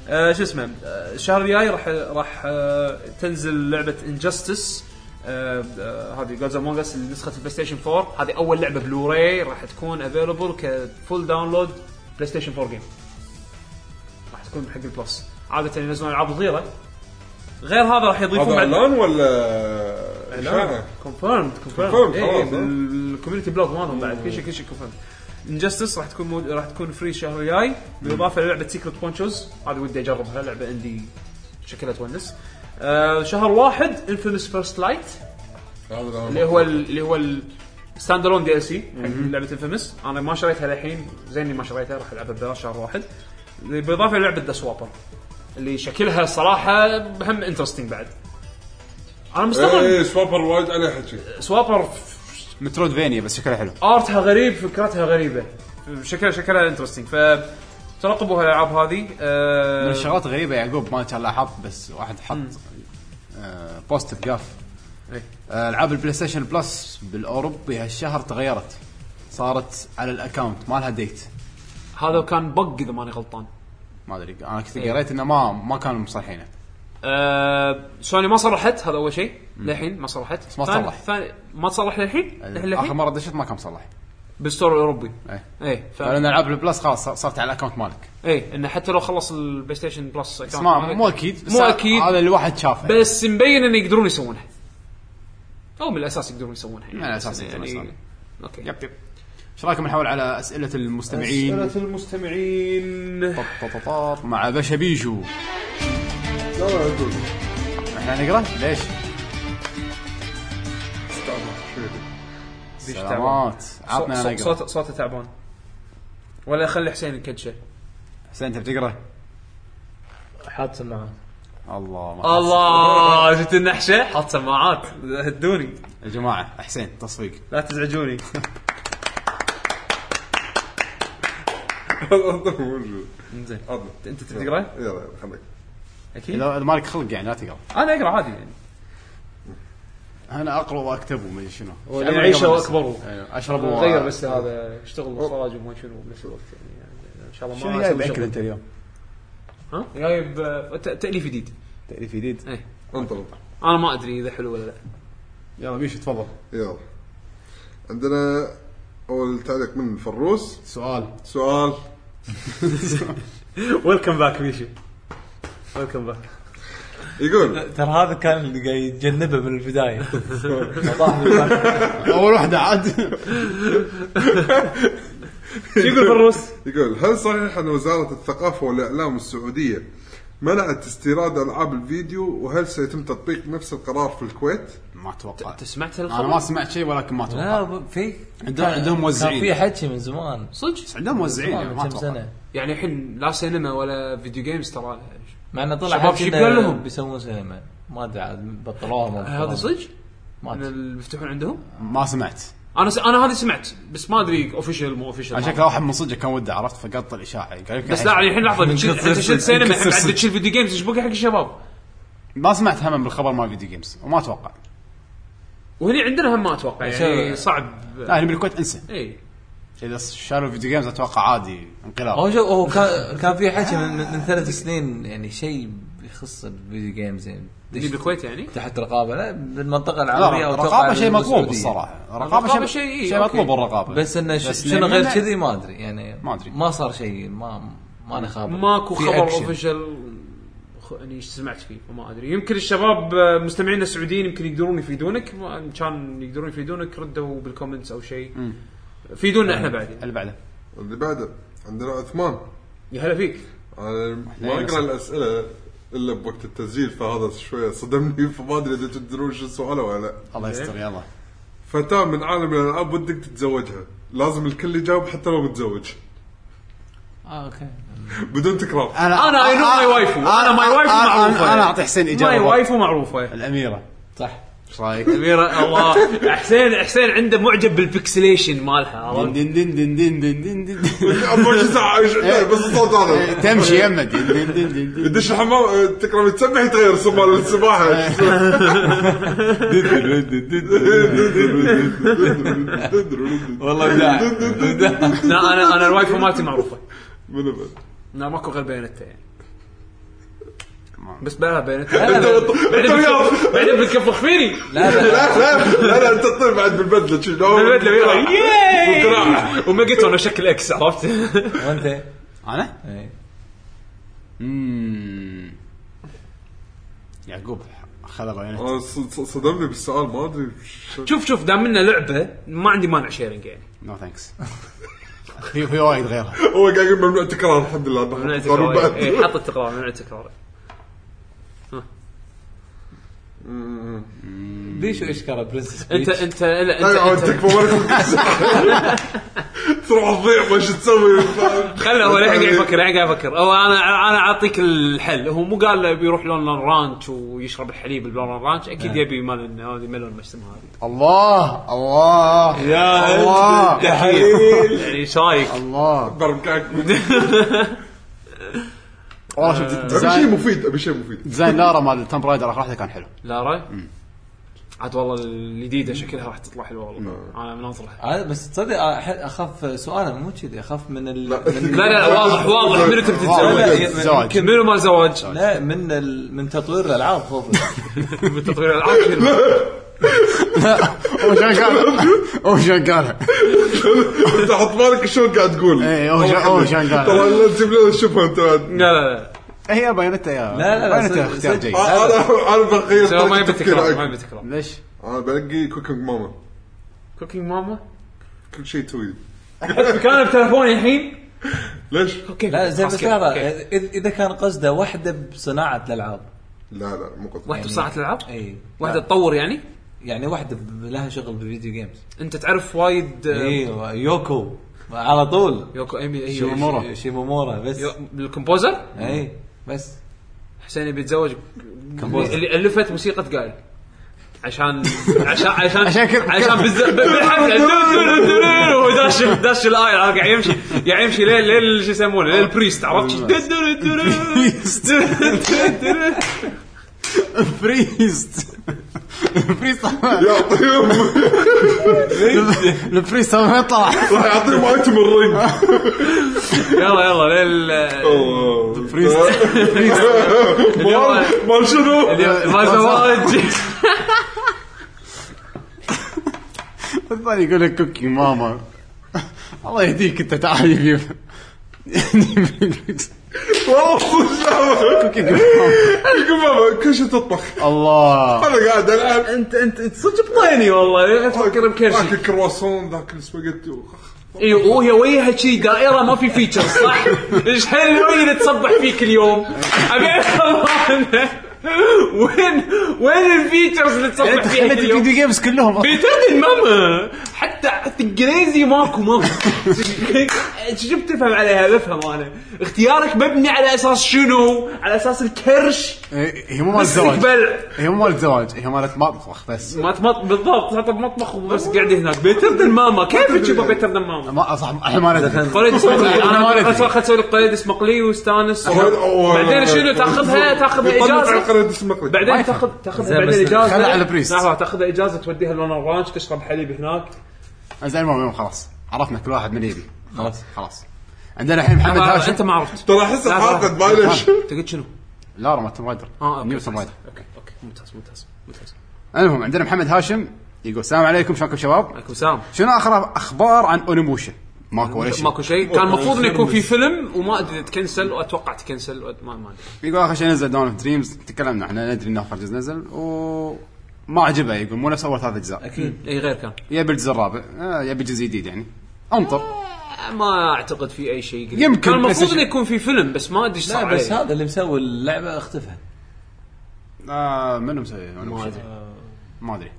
آه، شو اسمه آه، الشهر الجاي راح راح آه، تنزل لعبه انجستس آه، هذه جودز امونج اس نسخه البلاي ستيشن 4 هذه اول لعبه بلوراي راح تكون افيلبل كفول داونلود بلاي ستيشن 4 جيم راح تكون حق البلس عاده ينزلون العاب صغيره غير هذا راح يضيفون هذا بعد- اعلان ولا لا إشاعة؟ كونفيرمد Confirmed، كونفيرمد خلاص، آه. ها؟ الكوميونتي بلوج مالهم بعد كل شيء كل شيء كونفيرمد انجستس راح تكون مود... راح تكون فري الشهر الجاي بالاضافه للعبه سيكرت بونشوز هذه ودي اجربها لعبه عندي شكلها تونس آه شهر واحد انفينس فيرست لايت هذا الأعلان. اللي هو ال- اللي هو ستاند الون دي ال سي حق لعبه انفيمس انا ما شريتها للحين زين إني ما شريتها راح العبها ببلاش شهر واحد بالاضافه للعبه ذا سوابر اللي شكلها صراحه هم انترستنج بعد انا مستغرب ايه سوابر وايد عليه حكي سوابر مترود فينيا بس شكلها حلو ارتها غريب فكرتها غريبه شكلها شكلها انترستنج ف ترقبوا هالالعاب هذه من آه الشغلات الغريبه يعقوب ما كان لا حط بس واحد حط آه بوست بقاف إيه. آه، العاب البلاي ستيشن بلس بالاوروبي هالشهر تغيرت صارت على الاكونت ما لها ديت هذا كان بق اذا ماني غلطان ما ادري انا كنت قريت انه ما ما كانوا مصلحينه آه سوني ما صرحت هذا اول شيء للحين ما صرحت ما ثاني- تصلح. ثاني ما تصلح للحين اخر للحين مره دشيت ما كان مصلح بالستور الاوروبي إيه. ايه ف... لان العاب البلس خلاص صار- صارت على الاكونت مالك ايه انه حتى لو خلص البلاي ستيشن بلس بس ما طيب. مو اكيد بس مو اكيد هذا اللي واحد شافه بس مبين انه يقدرون يسوونها او من الاساس يقدرون يسوونها يعني من الأساس بس يقدرون يسوونها. اوكي يب يب ايش رايكم نحاول على اسئله المستمعين أسئلة المستمعين طط طط طط مع باشا بيجو لا لا أقول. احنا نقرا ليش؟ استعمل. شو يبي؟ سلامات عطنا صوت- نقرا صوت صوته تعبان ولا خلي حسين يكدشه حسين انت بتقرا حاط سماعات الله ما الله جبت النحشه حاط سماعات هدوني يا جماعه حسين تصفيق لا تزعجوني هذا موجود. زين عطنا. انت تقرا يلا يلا خليك اكيد اذا إذا مالك خلق يعني لا تقرا انا اقرا عادي يعني انا اقرا واكتب وما ادري شنو يعني عيشه واكبروا أيوة، اشرب و- غير بس هذا اشتغل وصراج وما شنو بنفس الوقت يعني يعني ان شاء الله شنو ما جايب أسوي شغل. اكل انت اليوم؟ ها جايب آه، ت- تاليف جديد تاليف جديد ايه انطلق انا ما ادري اذا حلو ولا لا يلا بيشو تفضل يلا عندنا اول تعليق من فروس سؤال سؤال ويلكم باك ميشو ويلكم باك يقول ترى هذا كان اللي قاعد يتجنبه من البدايه اول واحده عاد شو يقول فروس؟ يقول هل صحيح ان وزاره الثقافه والاعلام السعوديه منعت استيراد العاب الفيديو وهل سيتم تطبيق نفس القرار في الكويت؟ ما اتوقع انت سمعت انا ما هالخبر؟ سمعت شيء ولكن ما اتوقع لا ب- في عندهم- عندهم موزعين. كان في حكي من زمان صدق بس عندهم موزعين يعني من ما كم اتوقع سنه يعني الحين لا سينما ولا فيديو جيمز ترى مع انه طلع شباب حكي شو إنه قال لهم؟ بيسوون سينما ما ادري عاد بطلوها ما بطلوها. هذا صدق؟ ما ان أدري. اللي بيفتحون عندهم؟ ما سمعت انا س... انا هذه سمعت بس ما ادري اوفيشال مو انا اوفيشال شكله واحد من صدق كان وده عرفت فقط الاشاعه قال يمكن بس لا الحين- الحين لحظه تشيل- انكسر انت شلت صدق، سينما انكسر بعد صدق. تشيل فيديو جيمز ايش بقى حق الشباب؟ ما سمعت هم بالخبر مال فيديو جيمز وما اتوقع وهني عندنا هم ما اتوقع يعني شباب. صعب إيه، لا هنا بالكويت انسى اي اذا شالوا فيديو جيمز اتوقع عادي انقلاب هو شوف هو كان كان في حكي من, من من ثلاث سنين يعني شيء يخص الفيديو جيمز يعني اللي بالكويت يعني تحت رقابه لا بالمنطقه العربيه لا أو الرقابه أتوقع شيء مطلوب بالسعودية. الصراحه الرقابة الرقابه شيء- إيه، شيء شيء أوكي. مطلوب الرقابه بس انه ش- شنو لما غير يمنع- كذي ما ادري يعني ما أدري. ما صار شيء ما ما انا خابر ماكو في خبر action. اوفيشال خ- يعني ايش سمعت فيه وما ادري يمكن الشباب آه، مستمعينا السعوديين يمكن يقدرون يفيدونك ما- إن كان يقدرون يفيدونك ردوا بالكومنتس او شيء فيدونا احنا بعد اللي بعده اللي بعده عندنا عثمان يا هلا فيك أنا ما اقرا الاسئله الا بوقت التسجيل فهذا شويه صدمني فما ادري اذا تدرون شو السؤال ولا لا الله يستر يلا فتاة من عالم الالعاب ودك تتزوجها لازم الكل يجاوب حتى لو متزوج آه، اوكي بدون آه. تكرار أنا I know my wife. أنا my wife أنا- معروفة. أنا- انا اعطي حسين ماي اجابه وايفو معروفه الاميره صح ايش رايك؟ أميرة الله حسين حسين عنده معجب بالبكسليشن مالها دن عرفت؟ دن دن دن دن دن دن دن. 24 ساعه يش- لا، إيه، بس الصوت إيه. هذا تمشي يمه دن دن دن دن دن. يدش الحمام أه، تكرم يتسبح يتغير اسم مال السباحه والله بداع لا انا انا الوايفو مالتي معروفه منو بعد؟ لا ماكو غير بيانتها يعني ما- بس بلعب بينت انت انت وياه بعدين بتكفخ فيني لا لا لا لا لا لا انت تطير بعد بالبدله شي. البدله يلا بالقراعة. ياي وميجاتون شكل اكس عرفت وانت انا؟ إيه. اممم يعقوب خذ الرينات أنا ص- ص- صدمني بالسؤال ما ادري ش- شوف شوف دام منا لعبه ما عندي مانع شيرنج يعني نو ثانكس في في وايد غيرها هو قاعد يقول ممنوع تكرار الحمد لله ممنوع قانون التكرار بعد. إيه، حط التكرار ممنوع التكرار بيشو اشكره برنسس انت بيتش انت لا لا يا عم، انت, تكفى انت ما لك- تروح تضيع ما شو تسوي خله هو الحين قاعد يفكر الحين قاعد يفكر هو انا انا اعطيك الحل هو مو قال له بيروح لون رانش ويشرب الحليب باللون رانش اكيد يبي مالن هذه ملون ما اسمها هذه الله الله يا الله تحليل يعني ايش رايك؟ الله بركعك والله آه. شفت ابي شيء ديزاين مفيد ابي شيء مفيد ديزاين لارا مال تمب رايدر اخر واحده كان حلو لارا عاد والله الجديده شكلها راح تطلع حلوه والله انا مناظرها هذا بس تصدق أح- اخاف سؤاله مو كذي اخاف من ال... من- لا لا لا واضح واضح منو تبي لا، تتزوج لا. زواج منو مال زواج لا من ال... من تطوير الالعاب خوفي بالتطوير الالعاب وش قال وش قال انت حط بالك شلون قاعد تقول إيه، هو شا- هو شلون قاعد. ترى لا تجيب لنا شوفها انت بعد. لا لا لا هي بايونتا يا لا، لا، بايونتا صدق- اختيار صدق. جيد انا انا بغير سو ما طريقة يبي تكرار ما تفكيرك. يبي تكرار ليش؟ انا بلقي كوكينج ماما كوكينج ماما كل شيء توي احس مكانه بتلفوني الحين ليش؟ اوكي لا زين خلاص بس كذا. لحظه أوكي. إذ- اذا كان قصده واحده بصناعه الالعاب لا لا مو قصدي واحده بصناعه الالعاب اي واحده تطور يعني يعني واحده ب- لها شغل بالفيديو جيمز انت تعرف وايد آه، ايوه يوكو على طول يوكو ايمي اي شيمومورا. شي- شيمومورا بس يو- الكومبوزر اي بس حسين بيتزوج اللي الفت موسيقى قايل عشان عشان عشان عشان كذا- عشان بالز- ب- بالحفله وهو داش داش الاي عرفت؟ قاعد يمشي قاعد يمشي ليل ليل شو يسمونه ليل البريست عرفت فريست فريست يعطيهم الفريست ما يطلع راح يعطيهم ايتم الرينج يلا يلا ليل فريست مال مال شنو؟ اليوم- ما زواج الثاني يقول لك كوكي ماما الله يهديك انت تعال يبي والله صدق كوكي ماما كوكينج ماما كل شيء تطبخ الله انا قاعد العب انت انت انت صدق بطيني والله تفكر ذاك بكرشي الكرواسون ذاك السباجيتي وخ- اي إيه، وهي وجهها شي دائره ما في فيتشر صح؟ ايش هالوجه اللي تصبح فيه كل يوم؟ ابي افهم أنا. وين وين الفيتشرز اللي تصبح فيها خليت كل يوم؟ الفيديو جيمز كلهم بيتردد ماما حتى حتى انجليزي ماكو ماما شو بتفهم عليها بفهم انا اختيارك مبني على اساس شنو؟ على اساس الكرش إيه، هي مو مال الزواج استقبال هي مو مال الزواج هي مالت مطبخ بس ما تمط بالضبط حتى بمطبخ وبس قاعد هناك بيتردد ماما كيف تشوف بيتردد ماما؟ ما صح احنا ما ندري قليد اسمقلي أنا ما أدري. انا اتوقع تسوي لك قليد اسمقلي وستانس أول- أول- بعدين شنو تاخذها تاخذها يطلع على اجازه قناة المقلب بعدين تاخذ تاخذها زين، بعدين بس اجازه خلها على بريست. لحظه تاخذها اجازه توديها لون اورانج تشرب حليب هناك زين المهم المهم خلاص عرفنا كل واحد من يبي خلاص خلاص عندنا الحين محمد ما- هاشم انت ما عرفت ترى احس لا، حاقد لا. معلش انت قلت شنو؟ لارا ما توم رايدر اه اوكي نيو توم رايدر اوكي اوكي ممتاز ممتاز ممتاز المهم عندنا محمد هاشم يقول السلام عليكم شلونكم شباب عليكم سلام شنو اخر اخبار عن اونيموشا ماكو ولا شيء ماكو شيء كان المفروض انه يكون في فيلم وما ادري تكنسل واتوقع تكنسل وأت- ما ما أدري. يقول اخر شيء نزل دون اوف دريمز تكلمنا احنا ندري انه اخر جزء نزل وما عجبه يقول مو نفس اول ثلاث اجزاء اكيد اي إيه، غير كان يبي الجزء الرابع آه، يبي جزء جديد يعني انطر ما اعتقد في اي شيء قريب. يمكن كان المفروض PlayStation. انه يكون في فيلم بس ما ادري ايش صار لا بس عليه هذا اللي مسوي اللعبه اختفى آه منو مسوي Onimusha؟ ما ادري ما ادري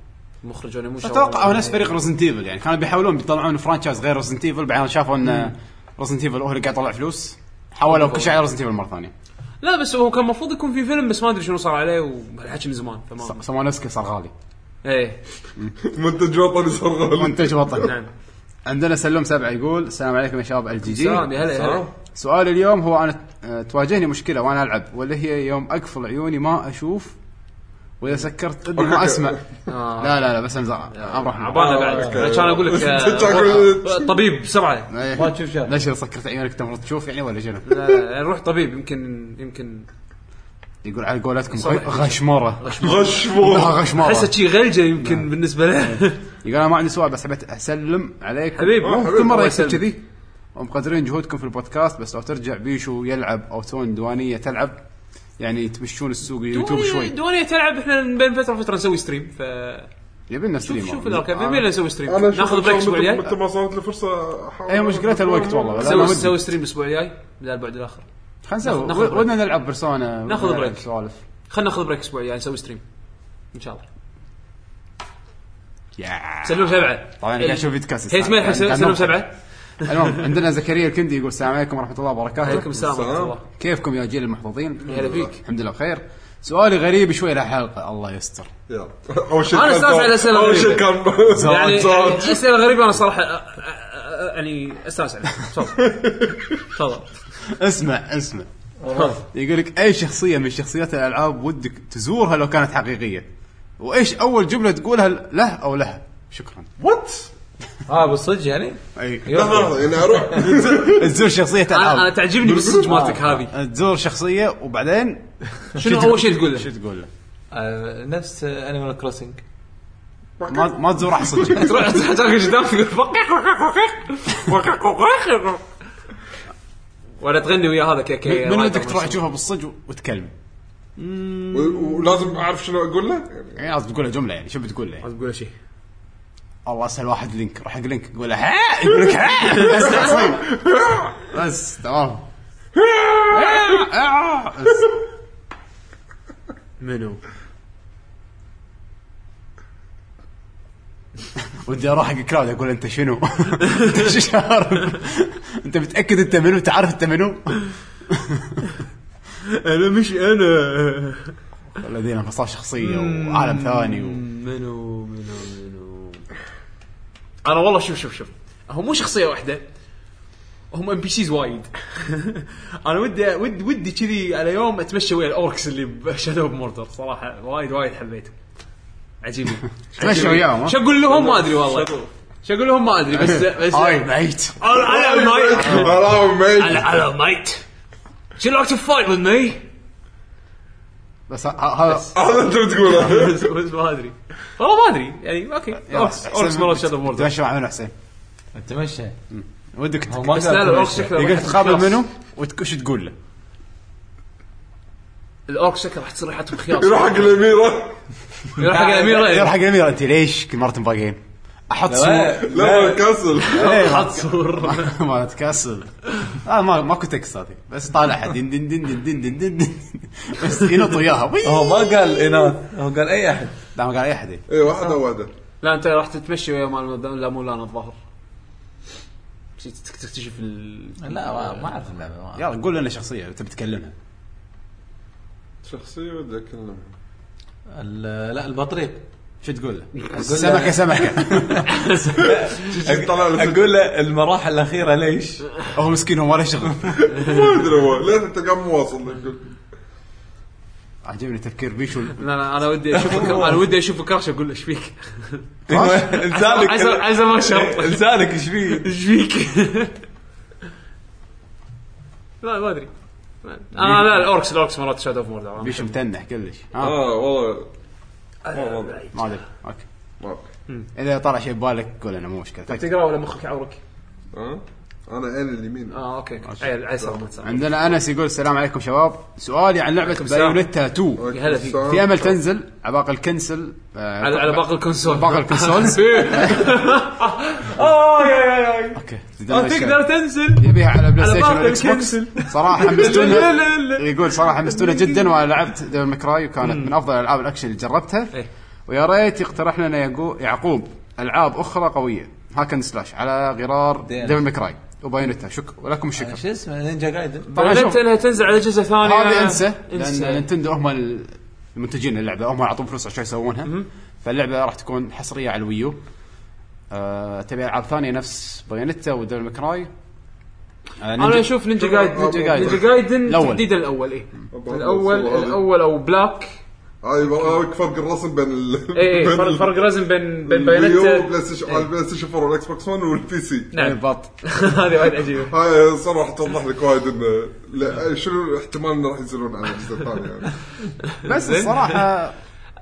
مخرج ولا مو اتوقع هو نفس فريق روزنت ايفل يعني كانوا بيحاولون بيطلعون فرانشايز غير روزنت ايفل بعدين شافوا ان روزنت ايفل هو اللي قاعد يطلع فلوس حولوا كل شيء على روزنت ايفل مره ثانيه لا بس هو كان المفروض يكون في فيلم بس ما ادري شنو صار عليه وهالحكي من زمان فما سموه نفسه صار غالي ايه منتج وطني صار غالي منتج وطني نعم عندنا سلم سبعه يقول السلام عليكم يا شباب ال جي جي سلام يا هلا يا هلا سؤال اليوم هو انا آه، تواجهني مشكله وانا العب واللي هي يوم اقفل عيوني ما اشوف واذا سكرت اذني ما أوكي. اسمع آه. لا لا لا بس امزح امرح عبالنا بعد أوكي. أنا كان اقول لك آه، أقول- طبيب بسرعه إيه. ما تشوف شر. ليش اذا سكرت عيونك انت المفروض تشوف يعني ولا شنو؟ لا، روح طبيب يمكن يمكن يقول على قولتكم غ- غشمره غشمور احسه غشمره شي غلجه يمكن بالنسبه له يقول انا ما عندي سؤال بس حبيت اسلم عليكم حبيبي. مو حبيبي، كل مره الله يصير يسلمك. كذي ومقدرين جهودكم في البودكاست بس لو ترجع بيشو يلعب او تون دوانيه تلعب يعني تمشون السوق اليوتيوب شوي دوني تلعب احنا بين فتره وفتره نسوي ستريم ف يبي لنا شوف ستريم شوف والله. الاركب آه. يبي لنا نسوي ستريم انا أشوف ناخذ إن شاء بريك الاسبوع الله متى- الجاي متى ما صارت لي فرصه أحاول- هي مشكلتها أيوة، الوقت والله. لا، أنا نسوي ودي. نسوي ستريم الاسبوع الجاي بدل البعد الاخر خلينا نسوي ناخذ بريك. و- ودنا نلعب بيرسونا ناخذ ونلعب بريك. سوالف خلينا ناخذ بريك الاسبوع الجاي نسوي ستريم ان شاء الله يا. سلم سبعه طبعا قاعد اشوف بودكاست هيت ميل حق سلم سبعه المهم عندنا زكريا الكندي يقول السلام عليكم ورحمه الله وبركاته عليكم السلام ورحمه السلام. الله كيفكم يا جيل المحظوظين؟ هلا فيك. الحمد لله بخير سؤالي غريب شوي لحلقه الله يستر يلا. اول شيء أنا كان أستانس صار- على أسئلة اول شيء غريبة. كان يعني صار- اسئله غريبه انا صراحه أ- أ- أ- يعني استانس عليها تفضل تفضل اسمع اسمع يقول لك اي شخصيه من شخصيات الالعاب ودك تزورها لو كانت حقيقيه وايش اول جمله تقولها له او لها شكرا وات اه بالصدق يعني؟ اي لحظه يعني اروح تزور شخصيه انا أنا العاب تعجبني بالصج مالتك هذه تزور شخصيه وبعدين شنو اول شيء تقول شو له؟ تقول له؟ آه نفس انيمال كروسنج ما ما تزور احد صدق تروح تحتاج قدام تقول فقق فقق فقق ولا تغني ويا هذا كي كي من ودك تروح تشوفها بالصدق وتكلم و- ولازم اعرف شنو اقول له يعني يعني لازم تقول له جمله يعني شو بتقول له يعني؟ تقول شيء الله اسال واحد لينك روح حق لينك يقول له ها يقول لك ها بس تعصب. بس تمام بس. منو؟ ودي اروح حق كلاود اقول انت شنو؟ انت شو عارف؟ انت متاكد انت منو؟ انت عارف انت منو؟ انا مش انا الذين انفصال شخصيه وعالم ثاني و... منو منو منو انا والله شوف شوف شوف هو مو شخصيه واحده هم ام بي سيز وايد انا ودي ودي ودي كذي على يوم اتمشى ويا الاوركس اللي بشادو اوف موردر صراحه وايد وايد حبيته عجيبني تمشي وياهم شو ها؟ اقول لهم ما ادري والله شو اقول لهم ما ادري بس بس هاي ميت على المايك حرام ميت على على المايك شو لايك تو فايت وذ مي بس ه- هذا هذا انت بتقوله بس بس ما ادري والله ما ادري يعني اوكي اوركس اوركس مره شادو اوف موردر تمشي مع منو حسين تمشى ودك تك- هو ما بس لا لا قال الاوركس تمشى. شكله يقول راح تقابل يتخلص. منو وش تقول له؟ الاورك شكله راح تصير ريحتهم خياس يروح حق الاميره يروح حق يروح الاميره حق الاميره انت ليش كل مره تنفاقين؟ احط صور لا لا كاسل حط صور إيه، ما- ما تكسل آه ما ما كنت اكس هذه بس طالعها دين دين دين دين دين دين دين دين بس ينط وياها وي. هو ما قال اناث هو قال اي احد لا ما قال اي احد اي واحده واحده لا انت راح تتمشى ويا مال لا مولان الظاهر شي تك- تكتشف ال لا ما- ما اعرف اللعبه ما أعرف. يلا قول لنا شخصيه تبي تكلمها شخصيه ودي اكلمها ال- لا البطريق شو تقول له؟ سمكه سمكه جيت طلع له اقول له المراحل الاخيره ليش؟ هو مسكين هو ما له شغل ما ادري هو ليه انت قام مو واصل يقول عجبني تفكير بيشو لا لا انا ودي اشوف انا ودي اشوف الكرش اقول له ايش فيك؟ لسانك عزم عزم ما شرط لسانك ايش فيه؟ ايش فيك؟ لا ما ادري انا لا الاوركس الاوركس مرات شادو اوف موردر بيشو متنح كلش ها اه والله ما أدري. ما ادري اوكي ما اذا طلع شيء ببالك قول انا مو مشكله طيب، تكفى. تقرا ولا مخك يعورك؟ ها انا أه؟ عيني اليمين اه اوكي اوكي عيل عيسر ما تسمع عندنا انس يقول السلام عليكم شباب سؤالي عن لعبه السلام. بايونيتا 2 أوكي، هلا فيك. السلام. في امل تنزل على باقي الكنسل على على باقي الكونسول باقي الكونسولز. اه يا يا يا اوكي آه، تقدر تنزل يبيها على بلاي على ستيشن باقي والاكس بوكس الكنسل. صراحه لا، حمستونا لا، لا. يقول صراحه حمستونا جدا وانا لعبت ديفل مكراي وكانت من افضل العاب الاكشن اللي جربتها إيه. ويا ريت يقترح لنا يعقو- يعقوب العاب اخرى قويه هاكن سلاش على غرار دينا. ديفل مكراي وبايونتا شكرا ولكم الشكر شو اسمه نينجا جايدن طبعاً شوف. اعلنت انها تنزل على جزء ثاني هذه انسى لان انسى نينتندو هم ال- المنتجين اللعبه هم اللي يعطون فلوس عشان يسوونها فاللعبه راح تكون حصريه على الويو أه تبي العاب ثانيه نفس بايونتا وديفل مكراي أه انا نينجا- اشوف نينجا جايدن نينجا جايدن. نينجا جايدن الأول. إيه. تحديدا الاول اي أبغى الاول أوصل هذا. الاول او بلاك هاي وراك آه، فرق الرسم بين ال... اي بين إيه، فرق ال- آه، فرق رزم بين بين الويو بايونيتا وبلاي ستيشن- على البلاي ستيشن 4 والاكس بوكس 1 والبي سي نعم بط هذه وايد عجيبه هاي صراحه توضح لك وايد انه لا، شنو الاحتمال انه راح ينزلون على الجزء الثاني يعني بس الصراحه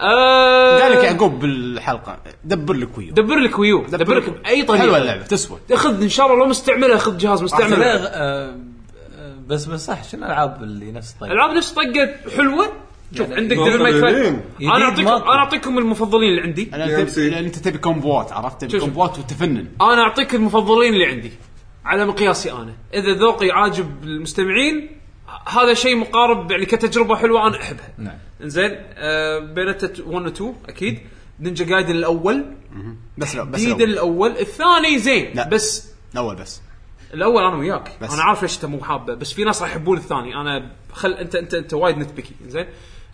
آه، قال لك يعني يعقوب بالحلقه دبر لك ويو دبر لك ويو دبر لك باي طريقه حلوه اللعبه تسوى خذ ان شاء الله لو مستعمله خذ جهاز بس مستعمل لا، آه، آه، بس بس صح شنو الالعاب اللي نفس طيب؟ الطيب؟ العاب نفس طقه حلوه يعني شوف عندك ديفل مايك جميلين. انا اعطيكم ماكو. انا اعطيكم المفضلين اللي عندي انا يا تبي مسي. لأن انت تبي كومبوات عرفت تبي شوف. كومبوات وتفنن انا اعطيك المفضلين اللي عندي على مقياسي انا اذا ذوقي عاجب المستمعين ه- هذا شيء مقارب يعني كتجربه حلوه انا احبها نعم. زين آه بينتا 1 و 2 اكيد نينجا جايدن الاول بس لا بس ديد الأول. الاول الثاني زين لا. بس الاول بس الاول انا وياك بس. انا عارف ليش انت مو حابه بس في ناس راح يحبون الثاني انا خل انت انت انت وايد نتبكي زين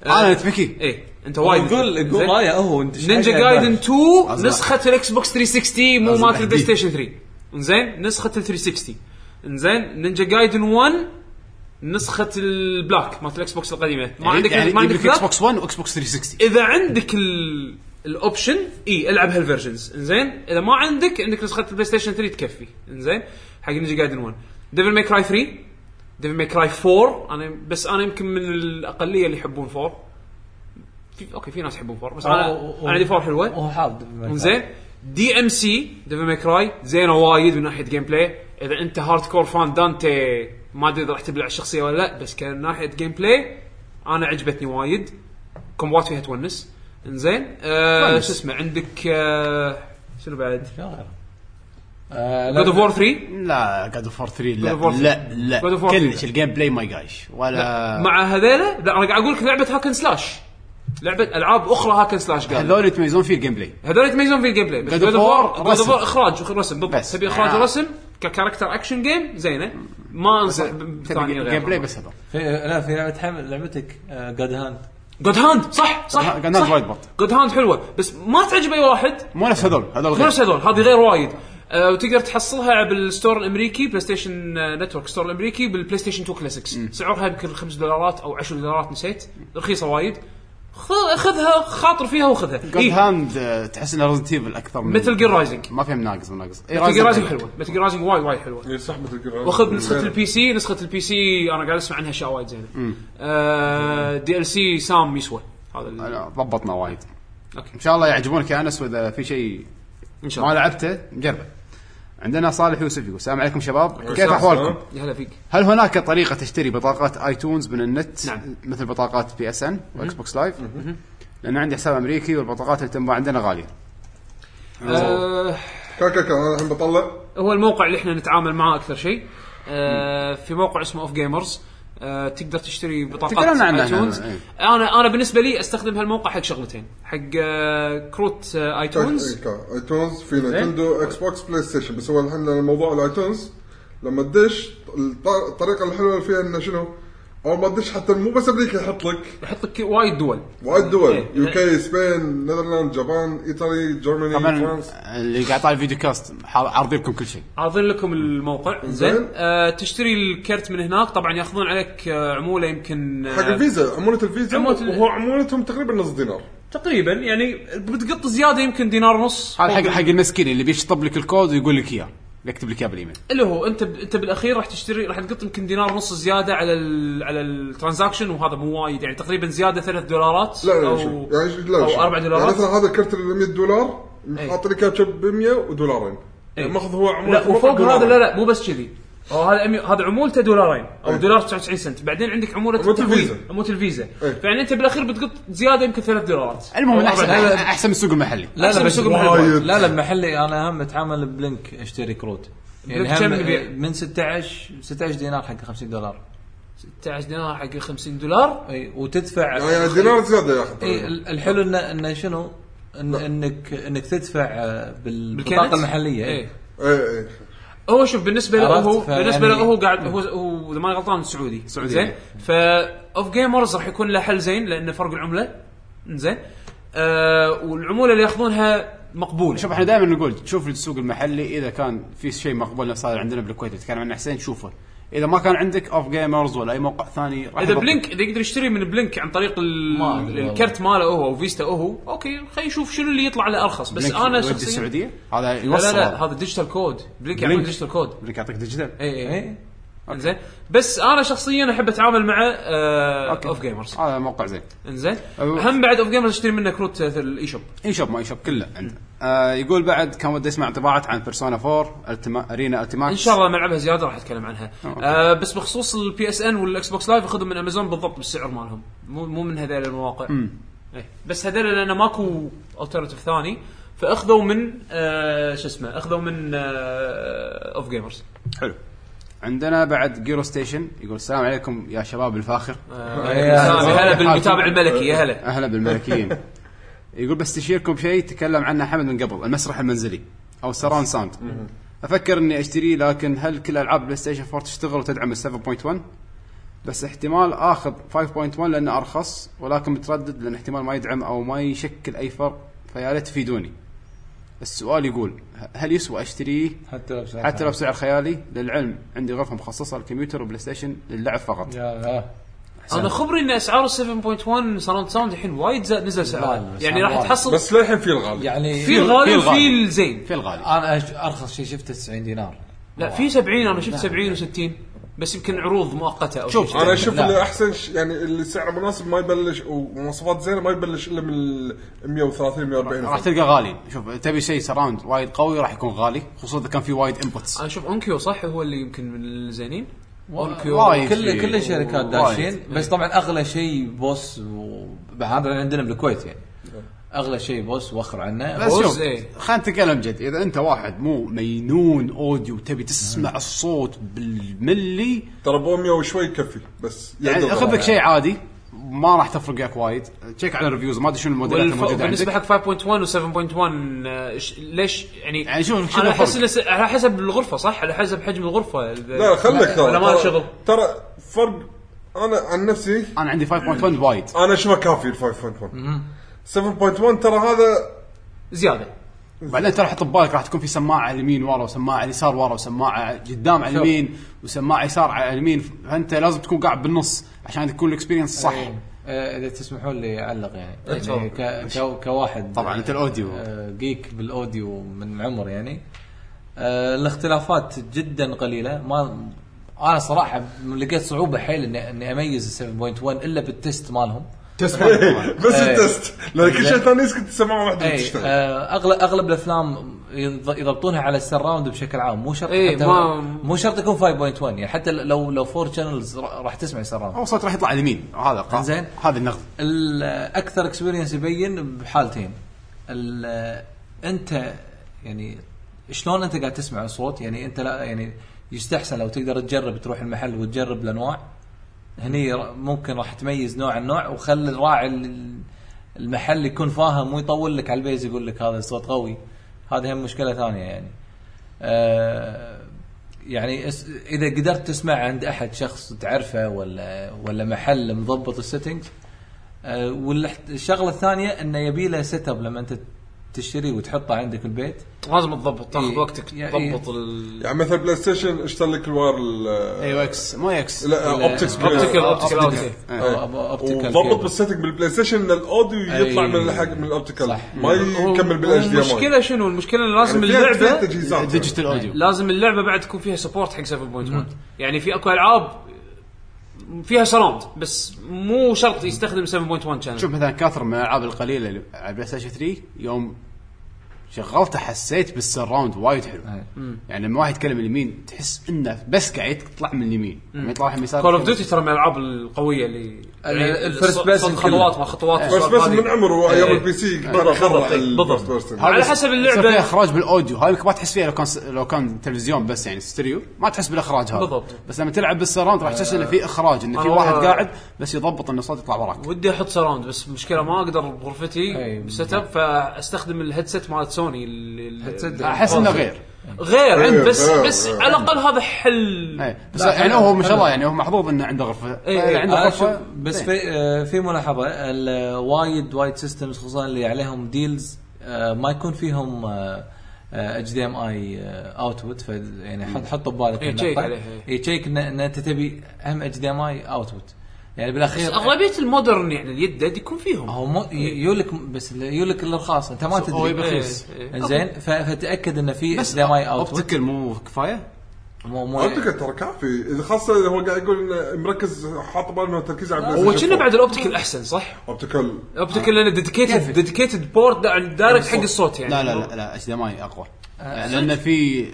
انا نتبكي ايه انت وايد قول نتبكي، زين؟ قول رايه هو انت شو نينجا حاجة جايدن عندك؟ 2 أزرق. نسخة الاكس بوكس 360 مو أزرق مالت البلاي أحدي. ستيشن 3 انزين نسخة ال 360 انزين نينجا جايدن 1 نسخة البلاك مالت الاكس بوكس القديمة ما عندك يعني ما عندك يجيب لك اكس بلاك بوكس 1 واكس بوكس 360 اذا عندك ال الاوبشن اي العب هالفيرجنز انزين اذا ما عندك عندك نسخة البلاي ستيشن 3 تكفي انزين حق نينجا جايدن 1 ديفل ماي كراي 3 ديفل ماي كراي 4 انا بس انا يمكن من الاقلية اللي يحبون 4 في اوكي في ناس يحبون 4 بس انا أو- أو- انا عندي 4 حلوة وهو حاضر زين دي ام سي ديفل ماي كراي زينه وايد من ناحيه جيم بلاي اذا انت هارد كور فان دانتي ما ادري اذا راح تبلع الشخصيه ولا لا بس كان ناحيه جيم بلاي انا عجبتني وايد كومبات فيها تونس انزين آه تونس. شو اسمه عندك آه شنو بعد شو غيره؟ آه، لا- جود اوف وور 3 لا جاد اوف 3 لا God of War لا 3. لا God of War 3. كلش الجيم بلاي ما يقايش آه. ولا مع هذيلا لا انا قاعد اقول لك لعبه هاكن سلاش لعبه العاب اخرى هاكن سلاش قال هذول يتميزون فيه الجيم بلاي هذول يتميزون في الجيم بلاي بس God of جود اوف War وور رسم. اخراج ورسم بالضبط بس. تبي اخراج آه. ورسم ككاركتر اكشن جيم زينه ما انصح بثاني تبي جيم بلاي بس هذول في لا في لعبه حمل لعبتك آه، جاد هاند جود هاند صح صح God Hand وايد بط. جود هاند حلوه بس ما تعجب اي واحد مو نفس هذول هذول مو غير نفس هذول هذه غير وايد آه، وتقدر تحصلها بالستور الامريكي بلاي ستيشن آه، نتورك ستور الامريكي بالبلاي ستيشن 2 كلاسيكس سعرها يمكن 5 دولارات او 10 دولارات نسيت رخيصه وايد خ- خذها خاطر فيها وخذها إيه، جود هاند آه، تحس انه ريزنت ايفل اكثر من مثل جير رايزنج ما فيهم ناقص من ناقص اي مثل جير رايزنج حلوه مثل جير رايزنج وايد وايد حلوه يعني صح مثل كذا. واخذ نسخه البي سي نسخه البي سي انا قاعد اسمع عنها اشياء وايد زينه آه دي ال سي سام يسوى هذا ال- لا، ضبطنا وايد اوكي ان شاء الله يعجبونك يا انس واذا في شيء ان شاء ما الله لعبته نجربه عندنا صالح يوسف يقول السلام عليكم شباب كيف السلام. احوالكم؟ يا هلا فيك هل هناك طريقه تشتري بطاقات ايتونز من النت نعم. مثل بطاقات بي اس ان واكس بوكس لايف؟ لان عندي حساب امريكي والبطاقات اللي تنباع عندنا غاليه. آه كاكا كان انا الحين بطلع هو الموقع اللي احنا نتعامل معاه اكثر شيء آه في موقع اسمه اوف جيمرز آه تقدر تشتري بطاقات تكلمنا عنه ايتونز احنا، انا انا بالنسبه لي استخدم هالموقع حق شغلتين حق آه كروت آه ايتونز كاكا. ايتونز إيه، في نينتندو اكس بوكس بلاي ستيشن بس هو الحين الموضوع الايتونز لما تدش الط- الطريقه الحلوه اللي فيها انه شنو؟ اول ما تدش حتى مو بس امريكا يحط لك يحط لك وايد دول وايد دول إيه. يو كي سبين نذرلاند جابان ايطالي جرماني طبعا فرنسا اللي قاعد طالع فيديو كاست ح- عارضين لكم كل شيء. عارضين لكم الموقع زين زين. آه تشتري الكرت من هناك طبعا ياخذون عليك آه عموله يمكن آه، حق الفيزا عمولة الفيزا عمولة ال- وهو عمولتهم تقريبا نص دينار تقريبا يعني بتقط زياده يمكن دينار ونص هذا حق حق المسكين اللي بيشطب لك الكود ويقول لك اياه يكتب لك اياه بالايميل. اللي هو انت ب... انت بالاخير راح تشتري راح تقط يمكن دينار ونص زياده على ال... على الترانزاكشن وهذا مو وايد يعني تقريبا زياده ثلاث دولارات لا لا او شوف. يعني شوف، لا او شوف. اربع يعني دولارات مثلا هذا الكرت ال 100 دولار إيه. حاط لك اياه ب 100 ودولارين إيه. يعني ماخذ هو عمولة لا وفوق هذا لا لا مو بس كذي هو هذا أمي... هذا عمولته دولارين او أي. دولار 99 سنت بعدين عندك عموله عمولة التحويل، الفيزا. عموله الفيزا أي. فيعني انت بالاخير بتقط زياده يمكن ثلاث دولارات المهم أو احسن أربع دولارات. احسن من السوق المحلي. لا أحسن لا بس سوق المحلات. لا لا محلي انا هم اتعامل بلينك اشتري كروت يعني بلينك هم كم يبيع؟ من 16 16 دينار حق 50 دولار 16 دينار حق 50 دولار اي وتدفع يعني دينار زياده ياخذ إيه. اي ال- الحلو انه انه شنو إن انك انك تدفع آه، بالكنت؟ بالبطاقه المحليه إيه. اي اي اي هو شوف بالنسبه له عرفت؟ هو فيعني- بالنسبه له هو قاعد هو هو اذا ماني غلطان سعودي سعودي. زين فا اوف جيمرز راح يكون له حل زين لانه فرق العمله زين آه والعموله اللي ياخذونها مقبول شوف احنا دائما نقول شوف السوق المحلي اذا كان في شيء مقبول نفس هذا عندنا بالكويت يتكلم عنه حسين شوفه اذا ما كان عندك اوف جيمرز ولا اي موقع ثاني راح اذا يضبط. بلينك اذا يقدر يشتري من بلينك عن طريق ال- ما أدري والله. الكرت ماله هو او فيستا هو اوكي خلينا نشوف شنو اللي يطلع له ارخص بس بلينك انا يودي شخصيا السعوديه هذا لا يوصل لا لا هذا ديجيتال كود بلينك يعمل بلينك. ديجيtal كود بلينك يعطيك ديجيتال اي اي إيه؟ انزين بس انا شخصيا احب اتعامل مع آه، أوكي. اوف جيمرز هذا موقع زين انزين أوه. هم بعد اوف جيمرز اشتري منه كروت آه، الاي شوب اي شوب ما اي شوب كله عنده آه يقول بعد كان ودي اسمع انطباعات عن بيرسونا 4 التما... ارينا التماكس ان شاء الله لما العبها زياده راح اتكلم عنها أوكي. آه بس بخصوص البي اس ان والاكس بوكس لايف اخذهم من امازون بالضبط بالسعر مالهم مو مو من هذول المواقع إيه. بس هذول لان ماكو الترنتيف ثاني فاخذوا من آه شو اسمه اخذوا من آه، اوف جيمرز حلو عندنا بعد جيرو ستيشن يقول السلام عليكم يا شباب الفاخر آه، يعني هلا بالمتابع الملكي يا هلا اهلا بالملكيين يقول بستشيركم شيء تكلم عنه حمد من قبل المسرح المنزلي او سران ساوند افكر اني اشتريه لكن هل كل العاب بلاي ستيشن 4 تشتغل وتدعم ال 7.1 بس احتمال اخذ 5.1 لانه ارخص ولكن متردد لان احتمال ما يدعم او ما يشكل اي فرق فيا ريت تفيدوني السؤال يقول هل يسوى اشتريه حتى لو بسعر حتى لو بسعر خيالي للعلم عندي غرفه مخصصه للكمبيوتر وبلاي ستيشن للعب فقط يا يا انا خبري ان اسعار 7.1 سراوند ساوند الحين وايد زاد نزل سعره غالي، بس يعني راح غالي. تحصل بس للحين في الغالي يعني في الغالي في وفي الغالي. الزين في الغالي انا أش- ارخص شيء شفته 90 دينار لا في 70 انا شفت 70 و60 بس يمكن عروض مؤقته او شوف، شيء انا اشوف لا. اللي احسن ش- يعني اللي سعره مناسب ما يبلش ومواصفات زينه ما يبلش الا من ال 130 140 راح تلقى غالي شوف تبي شيء سراوند وايد قوي راح يكون غالي خصوصا اذا كان في وايد انبوتس انا اشوف اونكيو صح هو اللي يمكن من الزينين وايد في- كل كل الشركات وايد. داشين بس طبعا اغلى شيء بوس وهذا عندنا بالكويت يعني اغلى شيء بوس وخر عنه بس بوز شوف إيه. خلينا نتكلم جد اذا انت واحد مو مينون اوديو تبي تسمع الصوت بالملي ترى ب 100 وشوي يكفي بس يعني يعدل اخذ لك غالي. شيء عادي ما راح تفرق وياك وايد تشيك على الريفيوز ما ادري شنو الموديلات والف- الموجوده بالنسبه عندك حق 5.1 و 7.1 آه، ش- ليش يعني يعني شوف شنو انا احس الفرق. إنه س- على حسب الغرفه صح على حسب حجم الغرفه لا خليك ترى ولا ما ترى- شغل. ترى فرق انا عن نفسي انا عندي 5.1 وايد انا اشوفه كافي ال 5.1 7.1 ترى هذا زياده بعدين ترى حط ببالك راح تكون في سماعه على اليمين ورا وسماعه على اليسار ورا وسماعه قدام على اليمين وسماعه يسار على اليمين فانت لازم تكون قاعد بالنص عشان تكون الاكسبيرينس صح إيه. آه، اذا تسمحون لي اعلق يعني, يعني تفضل. ك- ك- كواحد طبعاً، أنت الأوديو. آه، جيك بالاوديو من عمر يعني آه، الاختلافات جدا قليله ما انا صراحه لقيت صعوبه حيل اني اني اميز ال 7.1 الا بالتست مالهم بس إيه. التست لان كل شيء ثاني يسكت السماعه واحده اي تشتغل آه، اغلب اغلب الافلام يض- يضبطونها على السراوند بشكل عام مو شرط إيه، حتى ما- مو شرط يكون 5.1 يعني حتى لو لو 4 شانلز راح تسمع سراوند او صوت راح يطلع على اليمين هذا قا- زين. هذا النغم الاكثر اكسبيرينس يبين بحالتين ال- انت يعني شلون انت قاعد تسمع الصوت يعني انت لا يعني يستحسن لو تقدر تجرب تروح المحل وتجرب الانواع هني ر- ممكن راح تميز نوع عن نوع وخلي الراعي ال- المحل يكون فاهم ويطول لك على البيز يقول لك هذا الصوت قوي هذه هم مشكله ثانيه يعني آه، يعني اس- اذا قدرت تسمع عند احد شخص تعرفه ولا ولا محل مضبط السيتنج آه، والح- الشغله الثانيه انه يبي له سيت اب لما انت تشتري وتحطه عندك البيت لازم تضبط تاخذ إيه. وقتك يا- تضبط ال يعني مثلا بلاي ستيشن اشترى لك الواير ال- إيه، ايو اكس مو اكس لا اوبتكس اوبتيكال اوبتيكال او أو- اوبتيكال وضبط كيبل. بالسيتنج بالبلاي ستيشن ان الاوديو يطلع أي. من الحق من الاوبتيكال صح. ما يكمل بالاتش دي ام المشكله شنو المشكله إن لازم يعني فيها اللعبه تجهيزات ديجيتال اوديو لازم اللعبه بعد تكون فيها سبورت حق 7.1 يعني في اكو العاب فيها سراوند بس مو شرط يستخدم 7.1 شانل شوف مثلا كثر من الالعاب القليله اللي على بلاي ستيشن 3 يوم شغلته حسيت بالسراوند وايد حلو أي. يعني لما واحد يتكلم اليمين تحس انه بس قاعد يطلع من اليمين لما يطلع واحد من اليسار كول اوف ديوتي ترى من الالعاب القويه اللي ال- يعني الفيرست الص- بيرسون صوت خطوات ما خطوات بس والسوالف بس هذه. من عمره ايام إيه. البي سي بالضبط. بالضبط. بيرسون على حسب اللعبة. يصير فيها اخراج بالاوديو هاي ما تحس فيها لو كان لو كان تلفزيون بس يعني ستيريو ما تحس بالاخراج هذا بالضبط. بس لما تلعب بالسراوند راح تحس انه في اخراج انه في أنا واحد والله- قاعد بس يضبط انه الصوت يطلع وراك ودي احط سراوند بس مشكله ما اقدر بغرفتي أي. بالسيت اب فاستخدم الهيدسيت مالت سوني Headset. احس انه غير غير عند بس غير، بس غير. على الاقل هذا حل اي بس لا، يعني حلو، هو ما شاء حلو. الله يعني هو محظوظ انه عنده غرفه إيه، إيه. عنده أنا غرفه أشوف- بس زين. في آه، في ملاحظه ال- وايد وايد سيستمز خصوصا اللي عليهم ديلز آه، ما يكون فيهم آه، اتش دي ام اي اوتبوت آه، ف يعني حط حط ببالك إيه، النقطة. تشيك عليها. إيه، تشيك ان إن انت تبي هم اتش دي ام اي اوتبوت يعني بالاخير اغلبيه المودرن يعني اليد يكون فيهم هو مو يولك بس يولك الرخاص انت ما هو تدري يبي رخيص. إيه، إيه. زين ف- فتاكد انه في اتش بس دي ام اي اوتبوت اوبتيكال مو كفايه مو مو اوبتيكال ترى كافي إذا خاصه إذا هو قاعد يقول إنه مركز حاط باله تركيز على هو كنا بعد الاوبتيكال احسن صح؟ اوبتيكال الاوبتيكال لانه ديديكيتد كيف؟ ديديكيتد بورد دايركت حق الصوت يعني لا لا لا لا اتش دي ام اي اقوى لان في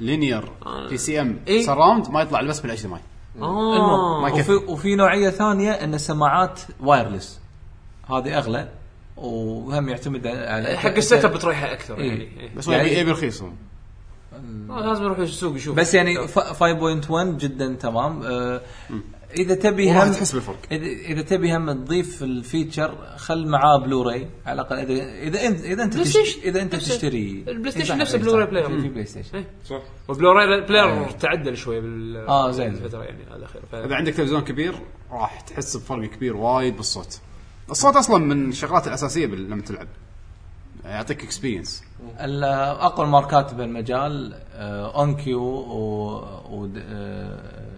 لينير في سي ام إيه. سراوند ما يطلع الا بس بالاتش دي ام اي آه. ما وفي يكفي وفي نوعيه ثانيه ان السماعات وايرلس هذه اغلى وهم يعتمد على حق السيت اب تريحه اكثر يعني إيه. بس هو يبي يعني- يبي رخيص هو. آه، لازم يروح السوق يشوف بس يعني ف- 5.1 جدا تمام آه، اذا تبي وراح هم تحس بالفرق. اذا إذا تبي هم تضيف الفيتشر خل معاه بلوراي على الاقل اذا اذا انت اذا انت بلاي تش- ستيشن. اذا انت نفس- تشتري البلاي ستيشن صح، نفسه صح، بلوراي بلاير. في- في مم. بلاي ستيشن إيه. صح وبلوراي بلاير تعدل شوي بال آه، زين. الفتره يعني هذا خير ف... اذا عندك تلفزيون كبير راح تحس بفرق كبير وايد بالصوت الصوت اصلا من الشغلات الاساسيه بال- لما تلعب يعطيك اكسبيرينس ال- اقوى الماركات بالمجال آه، اونكيو و و- آه،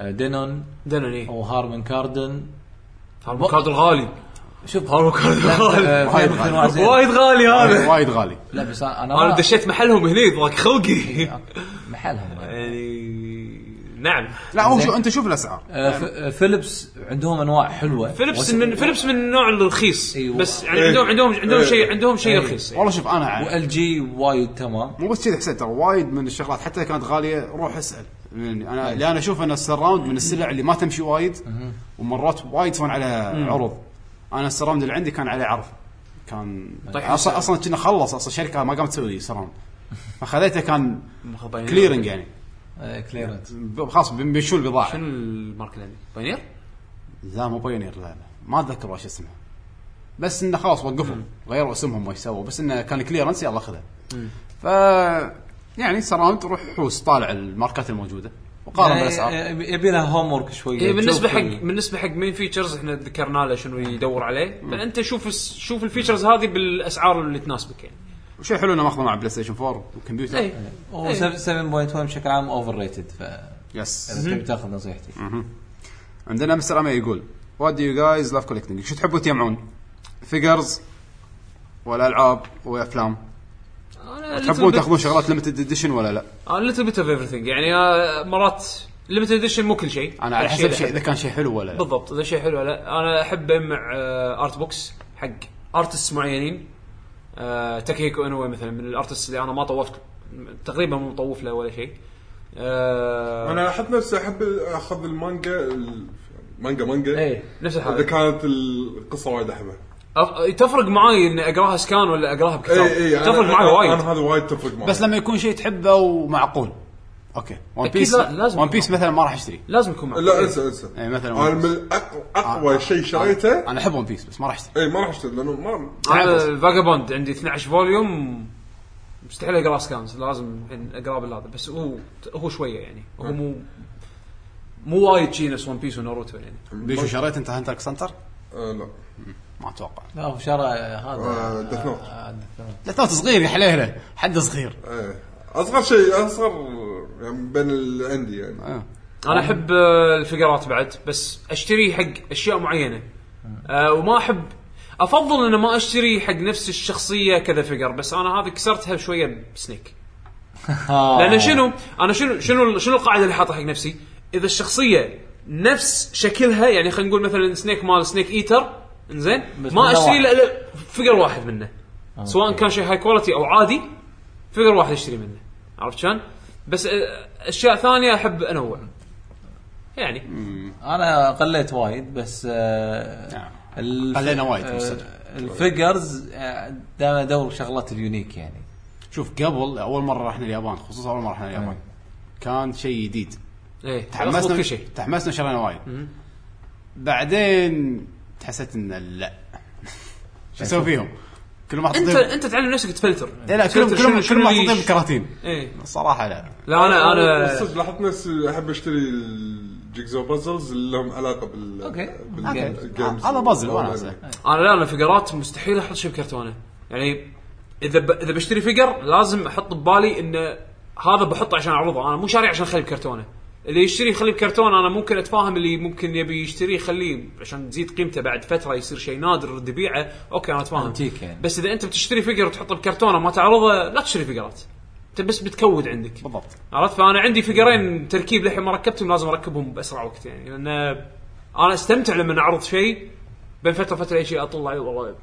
آه، دينون دنن ايه وهارمن كاردن هارمون كارد الغالي شوف هارمون كارد لا، الغالي آه، في أنواع زين. آه. وايد غالي هذا وايد غالي لا بس انا انا ما- آه، دشيت محلهم هني ضاق خلقي إيه. محلهم آه، يعني نعم لا هو شو انت شوف الاسعار آه، ف- آه، فيليبس عندهم انواع حلوه فيليبس وس- من فيليبس من النوع الرخيص أيوة. بس يعني عندهم عندهم عندهم شيء عندهم شيء رخيص يعني. والله شوف انا ع- وال جي وايد تمام مو بس كذا حسين ترى وايد من الشغلات حتى لو كانت غاليه روح اسال يعني انا لان اشوف ان السراوند من السلع اللي ما تمشي وايد ومرات وايد يسوون على عروض انا السراوند اللي عندي كان عليه عرض كان طيب. اصلا اصلا كنا خلص اصلا الشركه ما قامت تسوي سراوند فخذيته كان مخباينين. كليرنج يعني آه، كليرنس ب- خلاص بن- بنشو البضاعه شنو الماركه اللي عندك؟ باينير؟ لا مو بايونير لا لا ما اتذكر وش اسمها بس انه خلاص وقفوا غيروا اسمهم ما سووا بس انه كان كليرنس يلا خذها ف يعني سراوند روح حوس طالع الماركات الموجوده وقارن يعني بالاسعار آه، يبي لها هوم ورك شويه هي بالنسبه تشوف إيه، حق ال- بالنسبه حق مين فيتشرز احنا ذكرنا له شنو يدور عليه فانت شوف الس- شوف الفيتشرز هذه بالاسعار اللي تناسبك يعني إيه. وشيء حلو انه ماخذه مع بلاي ستيشن 4 وكمبيوتر اي هو 7.1 بشكل عام اوفر ريتد ف يس اذا تبي تاخذ نصيحتي عندنا مستر امي يقول وات دو يو جايز لاف كولكتنج شو تحبوا تجمعون؟ فيجرز ولا العاب وافلام تحبون تاخذون شغلات ليمتد اديشن ولا لا؟ ليتل بيت اوف ايفريثينج يعني آه، مرات ليمتد اديشن مو كل شيء انا على الشيء حسب اللي شيء اذا كان شيء حلو ولا لا بالضبط اذا شيء حلو لا انا احب اجمع آه، ارت بوكس حق ارتست معينين آه، تاكيهيكو انوي مثلا من الارتست اللي انا ما طوفت تقريبا مو مطوف له ولا شيء آه، انا احب نفسي احب اخذ المانجا ال- مانجا مانجا ايه نفس اذا الحاله كانت القصه وايد احبها أف- تفرق معاي ان اقراها سكان ولا اقراها بكتاب اي اي تفرق إيه، أنا- معي أنا- وايد انا هذا وايد تفرق معي بس لما يكون شيء تحبه ومعقول اوكي ون أكيد بيس لا- لازم ون بيس مثلا ما راح اشتري لازم يكون معي لا انسى انسى إيه، آه. مثلاً انا واحد. من اقوى, أقوى شيء شريته انا احب ون بيس بس ما راح اشتري اي ما راح اشتري لانه ما هذا فاجابوند عندي 12 فوليوم مستحيل اقرا سكانز لازم الحين اقرا بالهذا بس هو هو شويه يعني نعم. هو مو مو وايد شي نفس ون بيس وناروتو يعني بيشو شريت انت هانتر اكس هانتر؟ آه لا ما اتوقع لا هو شرى هذا آه، Death Note. آه، Death Note. لا ترى صغير يا حليله حد صغير ايه اصغر شيء اصغر يعني بين اللي عندي يعني آه. انا احب آه، الفقرات بعد بس اشتري حق اشياء معينه آه، وما احب افضل انه ما اشتري حق نفس الشخصيه كذا فقر بس انا هذه كسرتها شويه بسنيك آه. لان شنو انا شنو شنو شنو القاعده اللي حاطها حق نفسي؟ اذا الشخصيه نفس شكلها يعني خلينا نقول مثلا سنيك مال سنيك ايتر انزين بس ما منه اشتري واحد. آه، لا لا فقر واحد منه سواء كان شيء هاي كواليتي او عادي فقر واحد اشتري منه عرفت شلون؟ بس آه، اشياء ثانيه احب انوع يعني انا قليت وايد بس آه، نعم. الف- قلينا وايد، آه، صدق. الفيجرز آه، دائما ادور شغلات اليونيك يعني شوف قبل اول مره رحنا اليابان خصوصا اول مره رحنا اليابان كان شيء جديد ايه تحمسنا تحمسنا كل شيء تحمسنا شرينا وايد بعدين تحسيت ان لا شو اسوي فيهم؟ كلهم انت محطوطين انت تعلم نفسك تفلتر إيه لا كلهم تفلتر شنو- كلهم شنو كلهم ليش. محطوطين بكراتين ايه صراحه لا لا انا انا صدق لاحظت نفسي احب اشتري الجيكزو بازلز اللي لهم علاقه بال أوكي. بال- أوكي. بالجيمز هذا بازل وانا والألعاب. أسأل. انا لا انا فقرات مستحيل احط شيء بكرتونه يعني اذا ب... اذا بشتري فيجر لازم احط ببالي انه هذا بحطه عشان اعرضه انا مو شاري عشان اخليه بكرتونه اللي يشتري يخليه بكرتون انا ممكن اتفاهم اللي ممكن يبي يشتريه يخليه عشان تزيد قيمته بعد فتره يصير شيء نادر البيعه اوكي انا اتفاهم أنتيك يعني. بس اذا انت بتشتري فيجر وتحطه بكرتونه ما تعرضه لا تشتري فيجرات انت بس بتكود عندك بالضبط عرفت فانا عندي فيجرين تركيب للحين ما ركبتهم لازم اركبهم باسرع وقت يعني لان انا استمتع لما اعرض شيء بين فتره فتره اي شيء اطلع والله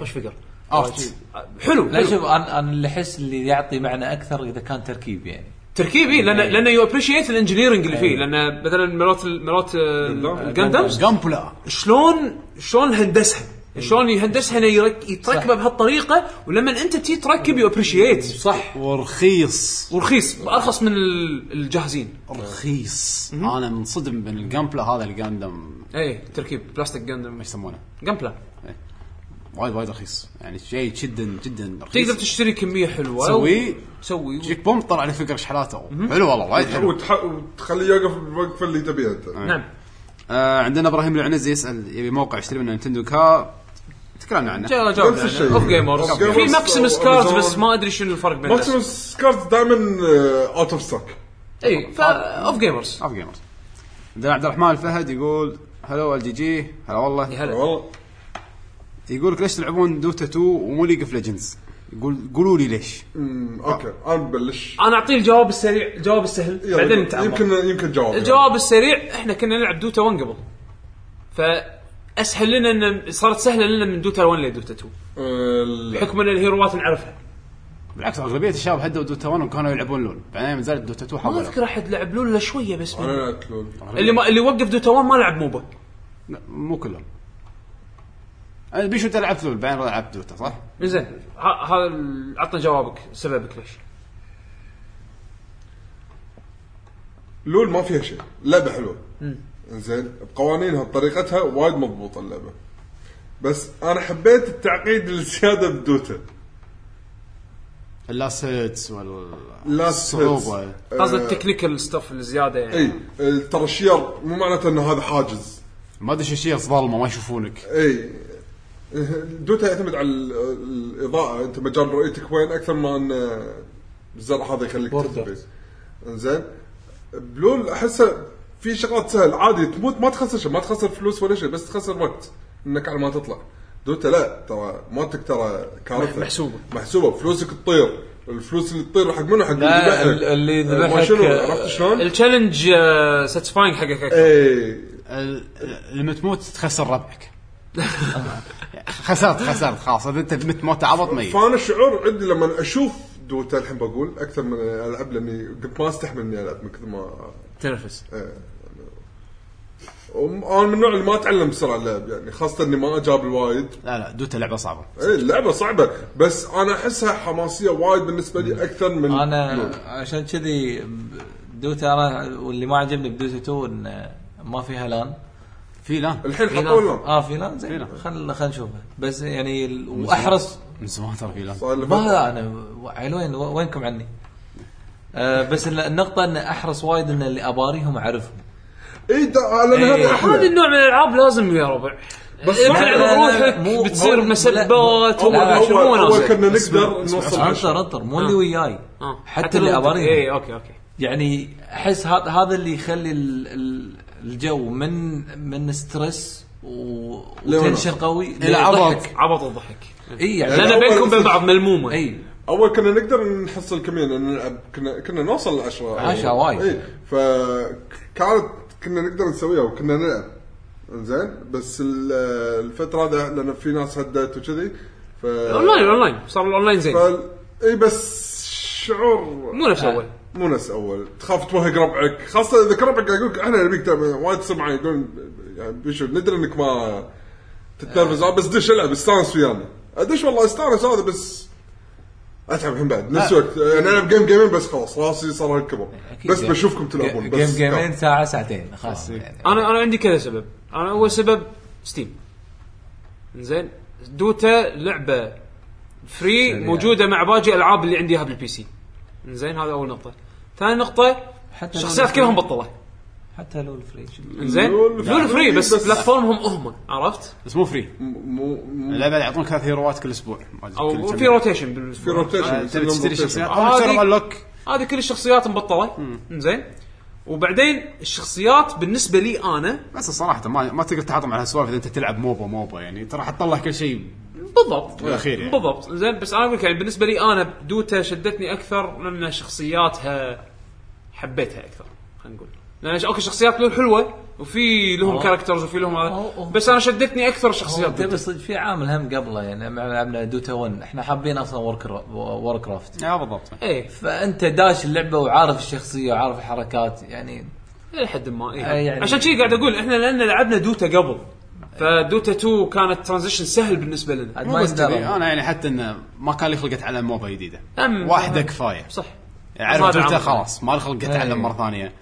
خوش فيجر ارت حلو إيه. لا حلو. شوف انا انا اللي احس اللي يعطي معنى اكثر اذا كان تركيب يعني تركيب اي لان لان يو ابريشيت الانجينيرنج إيه. اللي فيه لان مثلا مرات ال- مرات آه، الجندمز جامبلا شلون شلون هندسها إيه. شلون يهندسها إنه يرك- يتركبه بهالطريقه ولما انت تي تركب يو ابريشيت صح ورخيص ورخيص ارخص من ال- الجاهزين رخيص انا منصدم من الجامبلا هذا الجاندم اي إيه، تركيب بلاستيك جندم ايش يسمونه جمبلا وايد وايد رخيص يعني شيء جدا جدا رخيص تقدر تشتري كميه حلوه تسويه سوي تجيك بوم طلع لي فكره شحالاته حلو والله وايد حلو وتح- وتخليه يوقف بالوقفه اللي تبيها انت نعم آه عندنا ابراهيم العنزي يسال يبي موقع يشتري منه نينتندو كا تكلمنا عنه جا- جاوبنا نفس يعني. الشيء. اوف جيمرز أوف جيمرز في ماكسيمس أو كارز أمازون. بس ما ادري شنو الفرق بين ماكسيموم كارت دائما اوت اوف ستوك اي فا اوف جيمرز اوف جيمرز عندنا عبد الرحمن الفهد يقول هلو ال جي جي هلا والله يا هلا والله يقول لك ليش تلعبون دوتا 2 ومو ليج اوف ليجندز يقول قولوا لي ليش أمم، اوكي آه. انا ببلش انا اعطيه الجواب السريع الجواب السهل يلا، بعدين نتعمق يمكن يمكن جواب يعني. الجواب السريع احنا كنا نلعب دوتا 1 قبل فاسهل لنا ان صارت سهله لنا من دوتا 1 لدوتا 2 آه، لا. بحكم ان الهيروات نعرفها بالعكس اغلبيه الشباب هدوا دوتا 1 وكانوا يلعبون لول بعدين من زادت دوتا 2 ما حولوا اذكر احد لعب لولا شويه بس انا لعبت آه، لول اللي ما اللي وقف دوتا 1 ما لعب موبا لا، مو كلهم انا بيشو انت لعبت لول بعدين لعبت دوتا صح؟ زين ه- هذا ال- عطنا جوابك سببك ليش لول ما فيها شيء لعبه حلوه زين بقوانينها بطريقتها وايد مضبوطه اللعبه بس انا حبيت التعقيد الزياده بدوتا اللاسيتس وال لاست الصعوبة. قصد التكنيكال ستاف الزياده يعني اي آه، ترى الشير مو معناته انه هذا حاجز ما ادري شو شيء ظلمه ما يشوفونك اي دوتا يعتمد على ال- الاضاءه انت مجال رؤيتك وين اكثر ما ان الزرع هذا يخليك تختفي. زين بلول احسه في شغلات سهل عادي تموت ما تخسر شيء ما تخسر فلوس ولا شيء بس تخسر وقت انك على ما تطلع دوتا لا ترى مالتك ترى كارثه محسوبة. محسوبه فلوسك تطير الفلوس اللي تطير حق منو حق اللي لا، ذبحك. ال- اللي آه، ما ذبحك، شنو آه، عرفت شلون؟ التشالنج ساتسفاينج حقك اكثر اي ال- ال- لما تموت تخسر ربعك خسرت خسرت خلاص اذا انت مت موت عبط ميت فانا الشعور عندي لما اشوف دوتا الحين بقول اكثر من العب لاني قلت ما استحمل اني العب من كثر ما تنفس وم- انا من النوع اللي ما اتعلم بسرعه اللعب يعني خاصه اني ما اجاب الوايد لا لا دوتا لعبه صعبه اي اللعبه صعبه بس انا احسها حماسيه وايد بالنسبه لي اكثر من نعم. انا لول. عشان كذي دوتا انا واللي ما عجبني بدوتا 2 انه ما فيها لان في لا الحين حطوا لهم اه في لان في زين لان. خل خل نشوفها بس يعني ال- واحرص من زمان ترى في لا صار لي فترة. ما انا عيلوين وينكم عني؟ آه بس ال- النقطة ان احرص وايد ان اللي اباريهم اعرفهم اي إيه، دا- لان إي. هذا هذا احلى النوع من الالعاب لازم يا ربع بس إيه، لا، تلعب لا، لا، بروحك مو- بتصير مو- مسبات لا، اول لا، لا، شوف، اول وشمونة اول وزين. كنا نقدر نوصل انطر عشرة. انطر مو اللي آه. وياي آه. حتى اللي لو- اباريهم اي اوكي اوكي يعني احس هذا هذا اللي يخلي ال- ال- الجو من من ستريس و- وتنشن لونر. قوي إلى عبط. عبط الضحك اي يعني لا، لان أول بينكم وبين أساس- بعض ملمومه اي اول كنا نقدر نحصل كمية لان نلعب كنا كنا نوصل لعشرة عشرة وايد. اي فكانت كنا نقدر نسويها وكنا نلعب زين بس ال- الفترة هذا لان في ناس هدت وكذي ف اونلاين اونلاين صار الاونلاين زين فال- اي بس شعور مو نفس اول مو نفس اول تخاف توهق ربعك خاصه اذا كان ربعك قاعد يقول لك احنا نبيك تعمل- وايد تصير معي يقول يعني بيشو ندري انك ما تتنرفز آه، بس دش العب استانس ويانا ادش والله استانس هذا بس اتعب الحين بعد نفس الوقت يعني العب جيم جيمين بس خلاص راسي صار الكبر بس جيم- بشوفكم تلعبون جيم بس جيمين ساعة ساعتين خلاص آه. يعني انا انا عندي كذا سبب انا اول سبب ستيم زين دوتا لعبه فري موجوده مع باقي الالعاب اللي عندي اياها بالبي سي زين هذا اول نقطه ثاني نقطه حتى لو الشخصيات نفس- كلهم بطله حتى لو الفري زين لول لول فري فري بس بس- بلاتفورمهم هم عرفت بس مو فري مو مو- اللعبه يعطونك ثلاث هيروات كل اسبوع ما أدري كل او كم في يوم. روتيشن في بالاسبوع آه، روتيشن تبي تشتري شخصيات آه، تشتري هذه- انلوك هذه كل الشخصيات مبطله زين وبعدين الشخصيات بالنسبه لي انا بس صراحه ما ما تقدر تحاطم على هالسوالف اذا انت تلعب موبا موبا يعني ترى حتطلع كل شيء بالضبط بالأخير يعني. بالضبط زين بس انا اقول لك يعني بالنسبه لي انا دوتا شدتني اكثر لان شخصياتها حبيتها اكثر خلينا نقول لان ش- اوكي شخصيات لهم حلوه وفي لهم كاركترز وفي لهم أوه. هذا بس انا شدتني اكثر شخصيات تبي دوتا صدق في عامل هم قبله يعني لما لعبنا دوتا 1 احنا حابين اصلا وور كرافت اه بالضبط ايه فانت داش اللعبه وعارف الشخصيه وعارف الحركات يعني الى حد ما إيه. آه، يعني- عشان كذي قاعد اقول احنا لان لعبنا دوتا قبل فدوتا 2 كانت ترانزيشن سهل بالنسبه لنا عاد مو ما بس كذي يندرى انا يعني حتى انه ما كان لي خلق اتعلم موبا جديده أم- واحده كفايه صح يعني ما عرفت دوتا تعمل. خلاص ما لي خلق اتعلم إيه. مره ثانيه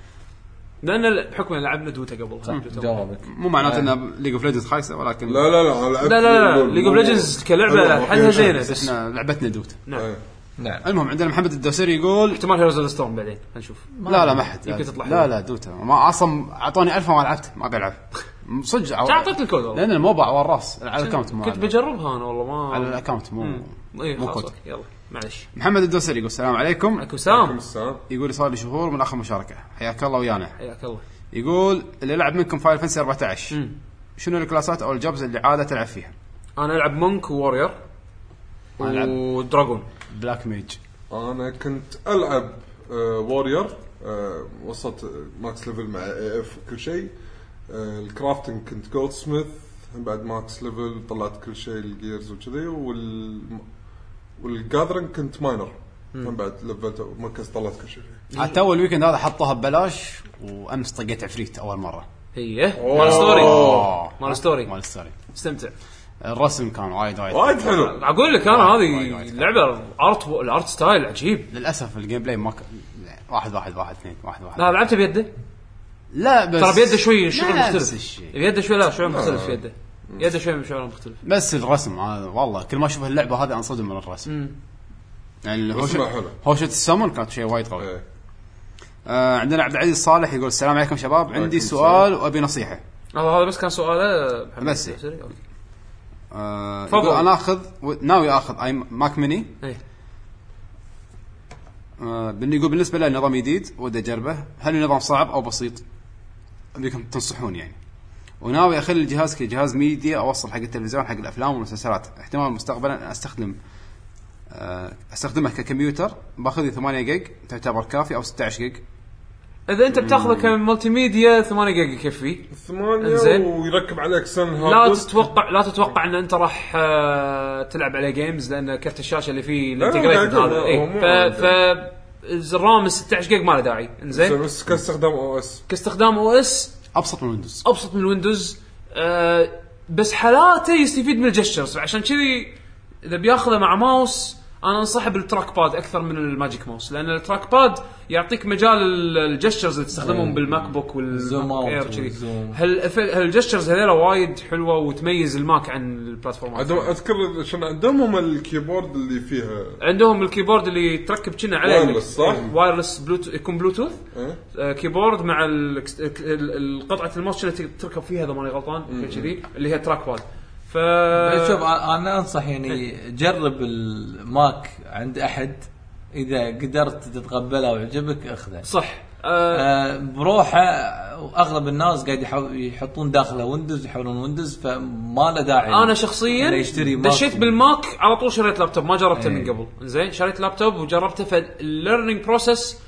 لان ال- بحكم إن لعبنا دوتا قبل صح دوتا قبل. جوابك مو معناته إيه. ان ليج اوف ليجندز خايسه ولكن لا لا لا أنا لعبت لا لا لا لول. ليج اوف مو- ليجندز كلعبه حلوة، حلها أوكي. زينه بس بس احنا لعبتنا دوتا نعم إيه. نعم المهم عندنا محمد الدوسري يقول احتمال هيروز اوف ستورم بعدين هنشوف لا لا ما حد يمكن تطلع لا حلوة. لا دوتا ما اصلا اعطوني ألف وما لعبت ما بلعب صدق عو- أعطيت الكود والله. لان الموبا على الراس على الاكونت مو نعم. كنت على- بجربها انا والله ما على الاكونت مو اي مو إيه، خلاص كود أوكي، يلا معلش محمد الدوسري يقول السلام عليكم عليكم كم سلام الساعة؟ يقول صار لي شهور من اخر مشاركه حياك الله ويانا حياك الله يقول اللي لعب منكم فاير فانسي 14 شنو الكلاسات او الجوبز اللي عاده تلعب فيها؟ انا العب مونك وورير أنا ألعب. ودراجون بلاك ميج انا كنت العب وورير وصلت آه، ماكس ليفل مع اي اف وكل شيء آه، الكرافتنج كنت جولد سميث بعد ماكس ليفل طلعت كل شيء الجيرز وكذي وال والجاذرنج كنت ماينر من بعد لفلت مركز طلعت كل شيء إيه. حتى اول ويكند هذا حطوها ببلاش وامس طقيت عفريت اول مره هي مال ستوري مال مال ستوري الستوري استمتع الرسم كان وايد وايد وايد حلو اقول لك انا وايد- هذه وايد. اللعبه الارت الارت ستايل عجيب للاسف الجيم بلاي ما ك... واحد واحد واحد اثنين واحد واحد لا لعبته بيده لا بس ترى بيده شوي شعور لا، نفس مختلف الشيء. بيده شوي لا شعور مختلف بيده يده شوي شعور مختلف بس الرسم هذا والله كل ما اشوف اللعبه هذه انصدم من الرسم يعني رسمها هوشة حلو. هوشة السمن كانت شيء وايد قوي إيه. آه عندنا عبد العزيز صالح يقول السلام عليكم شباب وعليكم عندي السلام. سؤال وابي نصيحه هذا هذا بس كان سؤاله محمد بس. الدوسري. أوكي. آه تفضل. يقول انا اخذ و- ناوي اخذ اي ماك ميني إيه. آه بن- يقول بالنسبه له نظام جديد ودي اجربه هل النظام صعب او بسيط؟ بكم تنصحون يعني وناوي اخلي الجهاز كجهاز ميديا اوصل حق التلفزيون حق الافلام والمسلسلات احتمال مستقبلا أن استخدم آه، استخدمه ككمبيوتر باخذ لي 8 جيج تعتبر كافي او 16 جيج اذا انت بتاخذه كملتي ميديا 8 جيجا يكفي ثمانية إنزين. ويركب عليك سن لا هاردس تتوقع لا تتوقع ان انت راح آه، تلعب على جيمز لان كرت الشاشه اللي فيه الانتجريتد لا، لا، هذا إيه. لا، إيه، هو مو ف ف الرام 16 جيج ما له داعي انزين بس كاستخدام او اس كاستخدام او اس ابسط من ويندوز ابسط من ويندوز آه بس حالاته يستفيد من الجستشرز عشان كذي اذا بياخذه مع ماوس انا انصحه بالتراك باد اكثر من الماجيك ماوس لان التراك باد يعطيك مجال ال- الجستشرز اللي تستخدمهم بالماك بوك الزوم والزوم أوت اير كذي والزوم. هال هالجستشرز هذيلا وايد حلوه وتميز الماك عن البلاتفورمات عندهم اذكر عشان عندهم هم الكيبورد اللي فيها عندهم الكيبورد اللي تركب كنا عليه إيه، وايرلس، صح؟ وايرلس بلوتوث يكون بلوتوث إيه؟ آه، كيبورد مع ال- ك- ال- ال- قطعه الماوس اللي ت- تركب فيها اذا ماني غلطان كذي اللي هي تراك باد ف أه، شوف آه، أ- انا انصح يعني جرب الماك عند احد اذا قدرت تتقبله ويعجبك اخذه صح آه، آه، بروحه واغلب الناس قاعد يحو- يحطون داخله ويندوز يحولون ويندوز فما له داعي انا شخصيا إنه آه، يشتري ماك. دشيت بالماك على طول شريت لابتوب ما جربته إيه. من قبل زين شريت لابتوب وجربته فالليرنينج بروسس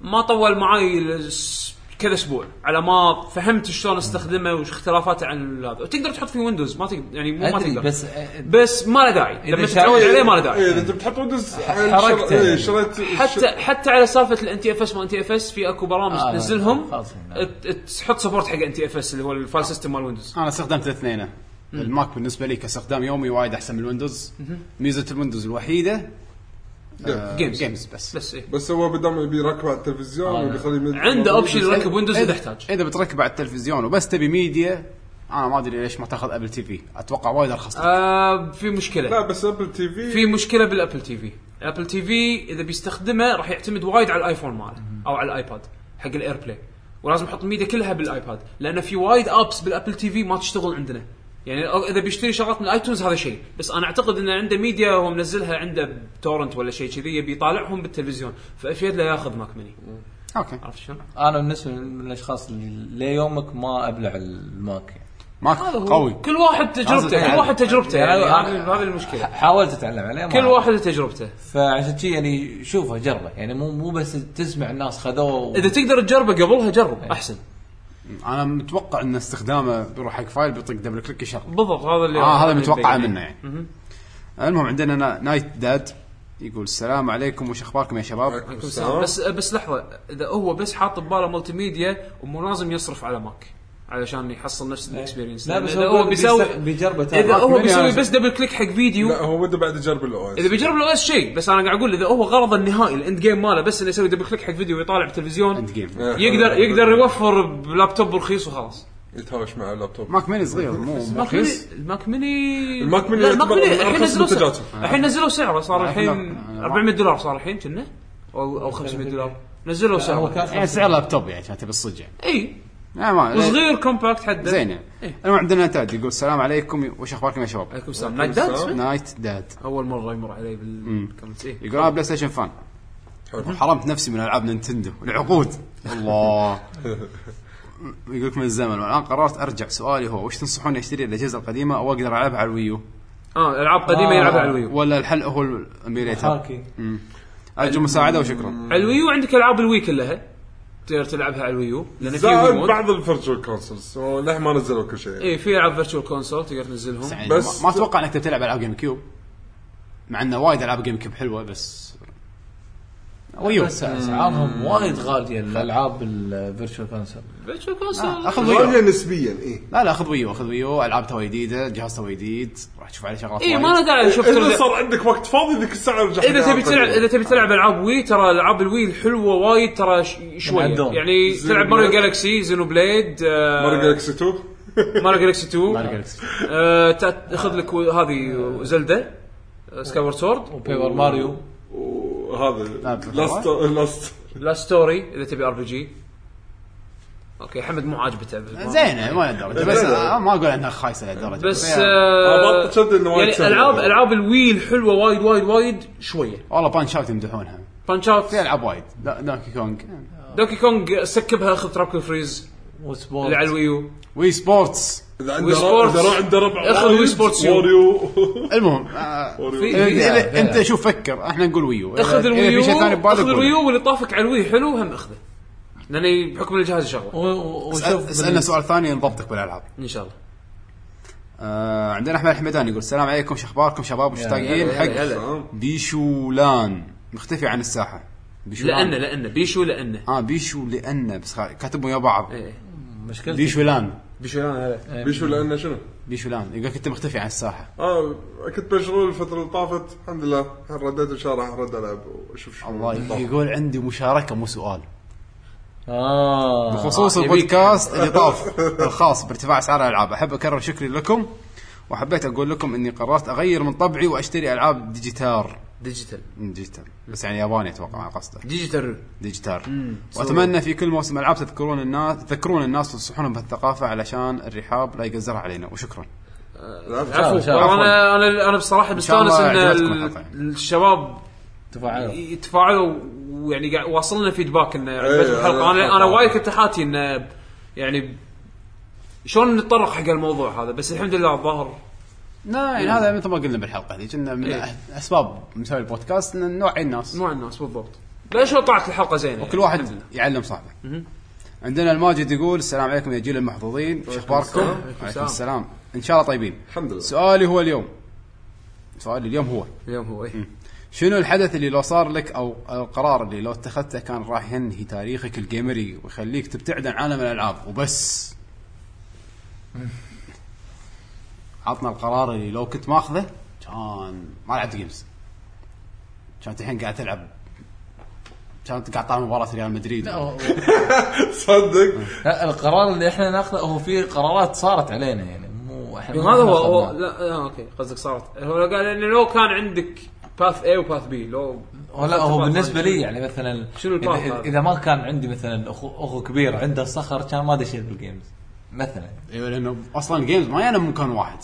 ما طول معي ال- س- كذا اسبوع على ما فهمت شلون استخدمه وش اختلافاته عن هذا وتقدر تحط فيه ويندوز ما تقدر يعني مو ما ادري تقدر بس آه، بس ما له داعي لما شا- تتعود عليه ما له داعي إيه، اذا انت بتحط ويندوز حركته. إيه، شريت حتى حتى على سالفه الان تي اف اس ما ان تي اف اس في اكو برامج آه، تنزلهم خلاص هنا. ت- ت- تحط سبورت حق ان تي اف اس اللي هو الفايل سيستم مال ويندوز انا استخدمت الاثنين الماك بالنسبه لي كاستخدام يومي وايد احسن من الويندوز ميزه الويندوز الوحيده آه، جيمز. جيمز بس بس إيه. بس هو بدام يبي يركب على آه، التلفزيون وبيخليه من- عنده اوبشن إيه، يركب ويندوز اذا احتاج اذا بتركب على التلفزيون وبس تبي ميديا انا ما ادري ليش ما تاخذ ابل تي في اتوقع وايد ارخص لك. آه في لا مشكله بس ابل تي في في مشكله بالابل تي في ابل تي في اذا بيستخدمه راح يعتمد وايد على الايفون ماله او على الايباد حق الاير بلاي ولازم احط الميديا كلها بالايباد لان في وايد ابس بالابل تي في ما تشتغل عندنا يعني أو- اذا بيشتري شغلات من الايتونز هذا شيء بس انا اعتقد انه عنده ميديا هو منزلها عنده تورنت ولا شيء كذي يبي يطالعهم بالتلفزيون فافيد له ياخذ ماك مني اوكي عرفت شلون؟ انا بالنسبه من الاشخاص اللي ليومك ما ابلع الماك يعني. ماك هذا هو قوي كل واحد تجربته لازم كل واحد تجربته يعني يعني هذه هذه المشكله حاولت اتعلم عليه ما كل واحد تجربته فعشان كذي يعني شوفه جربه يعني مو مو بس تسمع الناس خذوه اذا تقدر تجربه قبلها جرب احسن انا متوقع ان استخدامه بيروح حق فايل بيعطيك دبل كليك يشغل بالضبط هذا اللي اه هذا اللي متوقع بيبين. منه يعني المهم عندنا نا- نايت داد يقول السلام عليكم وش اخباركم يا شباب؟ عليكم السلام. بس بس لحظه اذا هو بس حاط بباله ملتي ميديا ومو لازم يصرف على ماك علشان يحصل نفس الاكسبيرينس إيه. لا بس إذا هو بيسوي بيجربه ترى. اذا ماك هو مني بيسوي لازم. بس دبل كليك حق فيديو لا هو وده بعد يجرب الاو اذا اس بيجرب له بس شيء بس انا قاعد اقول اذا هو غرضه النهائي الاند جيم ماله بس انه يسوي دبل كليك حق فيديو ويطالع بالتلفزيون اند جيم يقدر يقدر يوفر بلابتوب رخيص وخلاص يتهاوش مع اللابتوب ماك ميني صغير مو مو الماك رخيص ميني الماك ميني الماك ميني لا، الماك يعتبر من ميني الحين أرخص نزلوا سعره منتجاتهم. الحين نزلوا سعره صار آه، الحين إحنا- 400 دولار صار الحين كنا او او 500 دولار نزلوا هو سعره إيه. كان يعني سعر لابتوب يعني عشان تبي الصج يعني اي آه، ما وصغير كومباكت حده زين يعني المهم عندنا تاد يقول السلام عليكم وش اخباركم يا شباب؟ عليكم السلام نايت داد اسمه؟ نايت داد اول مره يمر علي إيه. بالكومنتس اي يقول انا بلاي ستيشن فان حرمت نفسي من العاب نينتندو العقود الله يقولك من الزمن والان قررت ارجع سؤالي هو وش تنصحوني اشتري الاجهزه القديمه او اقدر العبها على الويو اه العاب قديمه آه. يلعبها على الويو ولا الحل هو الاميريتر حركي ارجو مساعده وشكرا على الويو عندك العاب الوي كلها تقدر تلعبها على الويو لان في وي زائد مود بعض الفيرتشوال كونسولز له ما نزلوا كل شيء اي إيه، في العاب فيرتشوال كونسول تقدر تنزلهم يعني بس- ما- ما اتوقع انك تلعب العاب جيم كيوب مع انه وايد العاب جيم كيوب حلوه بس ويو بس اسعارهم وايد غاليه الالعاب الفيرتشوال كونسل فيرتشوال كونسول آه، اخذ ويو غالية نسبيا اي لا لا اخذ ويو اخذ ويو العاب تو جديده جهاز تو جديد راح تشوف عليه شغلات اي وايد. إيه، آه، ما له داعي شوف اذا صار عندك وقت فاضي ذيك الساعه ارجع اذا حق تبي تلعب العاب اذا تبي تلعب العاب وي ترى العاب الوي الحلوه وايد ترى ش- شويه عندهم. يعني زينو تلعب ماريو بليد. جالكسي زينو بليد ماريو آه، جالكسي 2 ماريو جالكسي 2 ماريو جالكسي. آه، تا- تاخذ لك و- هذه آه، زلدا سكاور سورد بيبر ماريو وهذا لا، لاست لاست لا ستوري اذا تبي ار بي جي اوكي حمد مو عاجبته بال- زينه ما لهالدرجه بس أنا ما اقول انها خايسه لهالدرجه بس يعني آه، أبطل شد إنه وايد يعني سهل. العاب العاب الوي الحلوه وايد وايد وايد شويه والله بانش اوت يمدحونها بانش اوت في العاب وايد دا- دانكي كونج دوكي كونج سكبها اخذ ترابكل فريز اللي على وسبورت الويو وي سبورتس اذا وي عنده ربع سبورتس. اذا عنده ربع اخذ وايد، وي سبورتس يو. واريو المهم آه في- إذا- في- إذا- انت شوف فكر احنا نقول ويو إذا- اخذ إذا الويو إيه، في شيء ثاني ببالك اخذ قول. الويو واللي طافك على الوي حلو هم اخذه لانه بحكم الجهاز شغله و- و- اسأل- وشوف اسالنا سؤال ثاني نضبطك بالالعاب ان شاء الله آه عندنا احمد الحمدان يقول السلام عليكم شو اخباركم شباب وش هلا، تاقين هلا، حق يعني هلا. بيشولان مختفي عن الساحه لانه بيشولان لانه بيشو لانه اه بيشو لانه بس خا- كاتبهم يا بعض إيه. مشكلتي بيشولان بيشو لانه هذا بيشو لانه شنو؟ بيشولان يقول كنت مختفي عن الساحه اه كنت مشغول الفتره اللي طافت الحمد لله الحين رديت ان شاء الله راح ارد العب واشوف شو الله يقول عندي مشاركه مو سؤال اه بخصوص آه، يبيك. البودكاست اللي طاف الخاص بارتفاع اسعار الالعاب احب اكرر شكري لكم وحبيت اقول لكم اني قررت اغير من طبعي واشتري العاب ديجيتار ديجيتال مم، ديجيتال بس يعني ياباني اتوقع أنا قصده ديجيتال ديجيتار واتمنى في كل موسم العاب تذكرون الناس تذكرون الناس وتنصحونهم بهالثقافه علشان الرحاب لا يقزرها علينا وشكرا العب عفو إن شاء الله. انا انا انا بصراحه شاء الله مستانس ان عجبتكم ال- الحلقة يعني. الشباب تفاعلوا يتفاعلوا ويعني قاعد واصلنا فيدباك انه إيه، عجبتهم أنا- الحلقه انا انا أتوقع. وايد كنت حاتي انه يعني شلون نتطرق حق الموضوع هذا بس الحمد لله الظاهر لا يعني هذا مثل ما قلنا بالحلقه هذه كنا من إيه. اسباب مسوي البودكاست ان نوعي الناس نوع الناس بالضبط ليش لو طلعت الحلقه زينه كل الحمد واحد لله. يعلم صاحبه عندنا الماجد يقول السلام عليكم يا جيل المحظوظين شو اخباركم؟ السلام. عليكم السلام ان شاء الله طيبين الحمد لله. سؤالي هو اليوم سؤالي اليوم هو اليوم هو إيه. شنو الحدث اللي لو صار لك او أو القرار اللي لو اتخذته كان راح ينهي تاريخك الجيمري ويخليك تبتعد عن عالم الالعاب وبس عطنا القرار اللي لو كنت ماخذه كان ما لعبت جيمز كانت الحين قاعد تلعب كانت قاعد تطالع مباراه ريال مدريد صدق لا القرار اللي احنا ناخذه هو في قرارات صارت علينا يعني مو احنا ما هذا هو هو ناخذها. لا آه اوكي قصدك صارت هو قال انه لو كان عندك باث اي وباث بي لو ولا هو بالنسبه لي يعني مثلا شنو إذا- الباث إذا, هذا؟ اذا ما كان عندي مثلا اخو اخو كبير عنده صخر كان ما دشيت بالجيمز مثلا ايوه لانه اصلا الجيمز ما يانا مكان واحد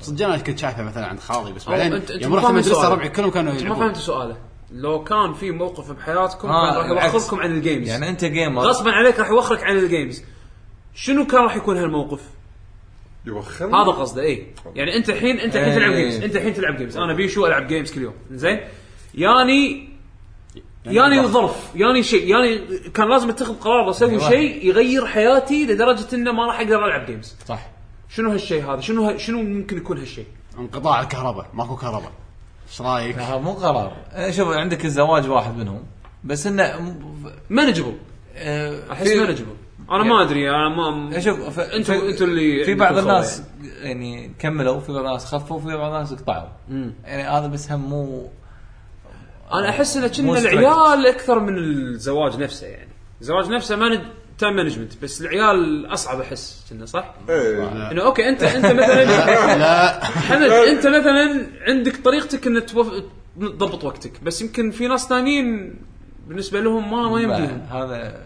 صدق انا كنت شايفه مثلا عند خالي بس أنت- بعدين أنت يوم ما رحت فاهم المدرسه السؤال. ربعي كلهم كانوا يعني انت ما يلعبون فهمت سؤاله لو كان في موقف بحياتكم آه، كان راح بالعكس. يوقفكم عن الجيمز يعني انت جيمر غصبا عليك راح يوخرك عن الجيمز شنو كان راح يكون هالموقف؟ يوخر هذا قصده اي يعني انت الحين انت الحين تلعب إيه. جيمز انت الحين تلعب جيمز انا بيشو العب جيمز كل يوم زين ياني يعني ياني ظرف ياني شيء ياني كان لازم اتخذ قرار اسوي أيوة. شيء يغير حياتي لدرجه انه ما راح اقدر العب جيمز صح شنو هالشيء هذا شنو ه... شنو ممكن يكون هالشيء انقطاع الكهرباء ماكو كهرباء ايش رايك؟ لا، مو قرار آه، شوف عندك الزواج واحد منهم بس انه م- مانجبل آه، احس في- مانجبل انا ما ادري انا ما يعني شوف ف- انتوا في- انتوا اللي في بعض عندكم الناس خبر يعني كملوا في بعض الناس خفوا في بعض الناس قطعوا مم. يعني هذا بس هم مو يعني. انا احس انه مو كنا strict. العيال اكثر من الزواج نفسه يعني الزواج نفسه ما ند... تايم مانجمنت بس العيال اصعب احس كنا صح؟ ايه انه اوكي انت انت مثلا لا حمد انت مثلا عندك طريقتك ان توف... تضبط وقتك بس يمكن في ناس ثانيين بالنسبه لهم ما ما يمديهم هذا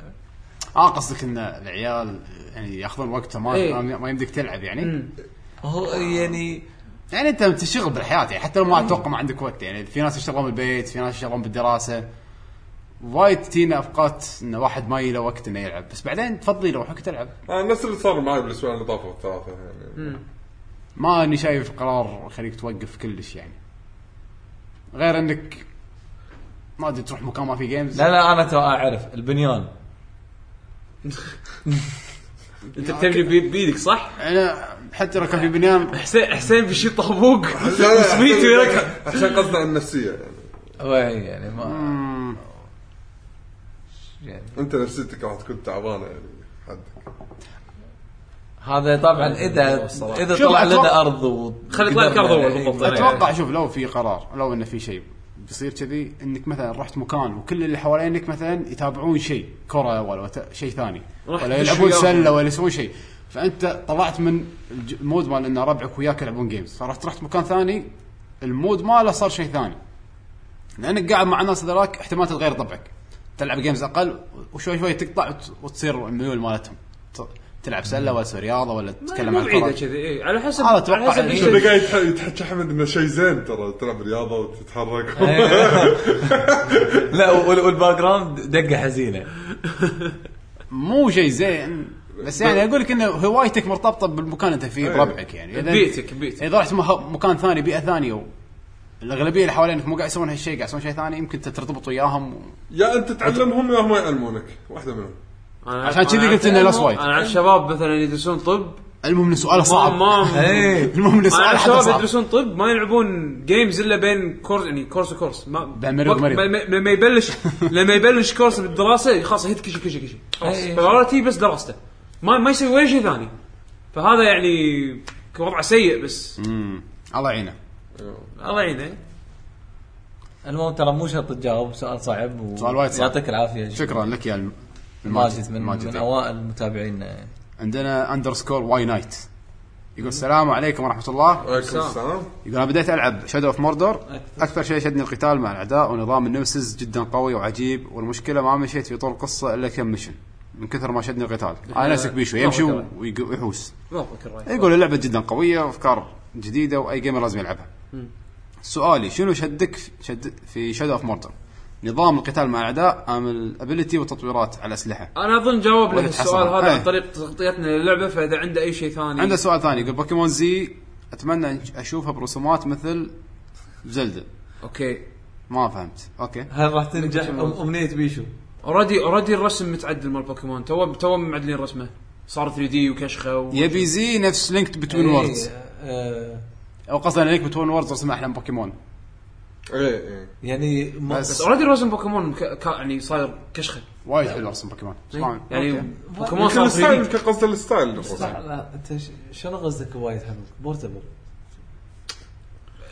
اه قصدك ان العيال يعني ياخذون وقته ما إيه. ما- ما يمديك تلعب يعني هو يعني يعني انت تشتغل بالحياه يعني حتى لو ما اتوقع ما عندك وقت يعني في ناس يشتغلون بالبيت في ناس يشتغلون بالدراسه وايد تجينا اوقات ان واحد ما يله وقت انه يلعب بس بعدين تفضي له روحك تلعب آه، نفس اللي صار معي بالاسبوع اللي طافوا الثلاثه يعني ما اني شايف قرار خليك توقف كلش يعني غير انك ما ادري تروح مكان ما في جيمز لا لا انا تو اعرف البنيان انت بتبني بي- بيدك صح؟ انا حتى لو كان في بنيان حسين حسين بيشيل طابوق لا، لا، سميته عشان- يركع عشان قصدنا عن النفسيه يعني هو يعني ما مم، يعني انت نفسيتك راح تكون تعبانه يعني حدك هذا طبعا اذا اذا شوف، طلع أتوقع- لنا ارض و يعني. خلي يطلع لك أرض أول بالضبط. اتوقع شوف لو في قرار لو انه في شيء بيصير كذي انك مثلا رحت مكان وكل اللي حوالينك مثلا يتابعون شيء كره ولا وت- شيء ثاني راح ولا تدش يلعبون وياهم. سله ولا يسوون شيء فانت طلعت من الج- المود مال ان ربعك وياك يلعبون جيمز فرحت رحت مكان ثاني المود ماله صار شيء ثاني لانك قاعد مع ناس ذراك احتمال تتغير طبعك تلعب جيمز اقل وشوي شوي تقطع وت- وتصير الميول مالتهم ت- تلعب سله ولا تسوي رياضه ولا تتكلم مو عن بعيده الكره كذي إيه، على حسب هذا أتوقع على حسب يعني. إيش انت قاعد يتح- يتحكي احمد انه شيء زين ترى تلعب رياضه وتتحرك إيه. لا وال- والباك جراوند دقه حزينه مو شيء زين بس يعني اقول لك انه هوايتك مرتبطه بالمكان اللي انت فيه إيه. بربعك يعني إذا- بيئتك- بيئتك. اذا رحت مه- مكان ثاني بيئه ثانيه الاغلبيه اللي حوالينك مو قاعد يسوون هالشيء قاعد يسوون شيء ثاني يمكن انت ترتبط وياهم و- يا انت تعلمهم يا هم يعلمونك واحده منهم أنا- عشان كذي أنا قلت إنه أعرف- لا سوايد. انا اعرف شباب مثلا يدرسون طب المهم ان سؤال صعب ما إيه. المهم ان انا سؤال أعرف حتى شباب صعب يدرسون طب ما يلعبون جيمز الا بين كورس يعني كورس وكورس ما بين مريض وقت- ومريض. ما- ما- لما يبلش لما يبلش كورس بالدراسه خلاص هيت كشي كشي كشي خلاص إيه. بريورتي بس دراسته ما ما يسوي ولا شيء ثاني فهذا يعني وضعه سيء بس مم. الله يعينه الله يعينه المهم ترى مو شرط تجاوب سؤال صعب و... سؤال وايد صعب. يعطيك العافيه شكرا لك يا الم- ماجد من, ماجد من إيه. اوائل المتابعين عندنا اندرسكور واي نايت يقول السلام عليكم ورحمه الله وعليكم السلام يقول انا بديت العب شادو اوف موردور اكثر شيء شدني القتال مع الاعداء ونظام النمسز جدا قوي وعجيب والمشكله ما مشيت في طول القصه الا كم مشن من كثر ما شدني القتال انا ناسك بيشو يمشي ويق- ويحوس ما أتذكر رأيي. يقول اللعبه جدا قويه وافكار جديده واي جيمر لازم يلعبها سؤالي شنو شدك في- شد في شادو اوف موردور نظام القتال مع الاعداء ام الابيلتي والتطويرات على الاسلحه انا اظن جاوب له ولا السؤال تحصل. هذا إيه. عن طريق تغطيتنا للعبه فاذا عنده اي شيء ثاني عنده سؤال ثاني يقول بوكيمون زي اتمنى أن اشوفها برسومات مثل زلدة اوكي ما فهمت اوكي هل راح تنجح امنيه بيشو؟ اوريدي اوريدي الرسم متعدل مال بوكيمون تو تو معدلين رسمه صار 3 دي وكشخه و... يبي زي نفس لينك بتوين إيه. ووردز آه او قصدا لينك بتوين ووردز رسم احلام بوكيمون ايه ايه يعني ما- بس بس اوريدي رسم بوكيمون ك... ك... يعني صاير كشخه وايد حلو رسم بوكيمون شلون؟ يعني أوكي. بوكيمون صار يمكن 3 الستايل دي يمكن قصد الستايل صح لا انت ش- شنو قصدك وايد حلو؟ بورتبل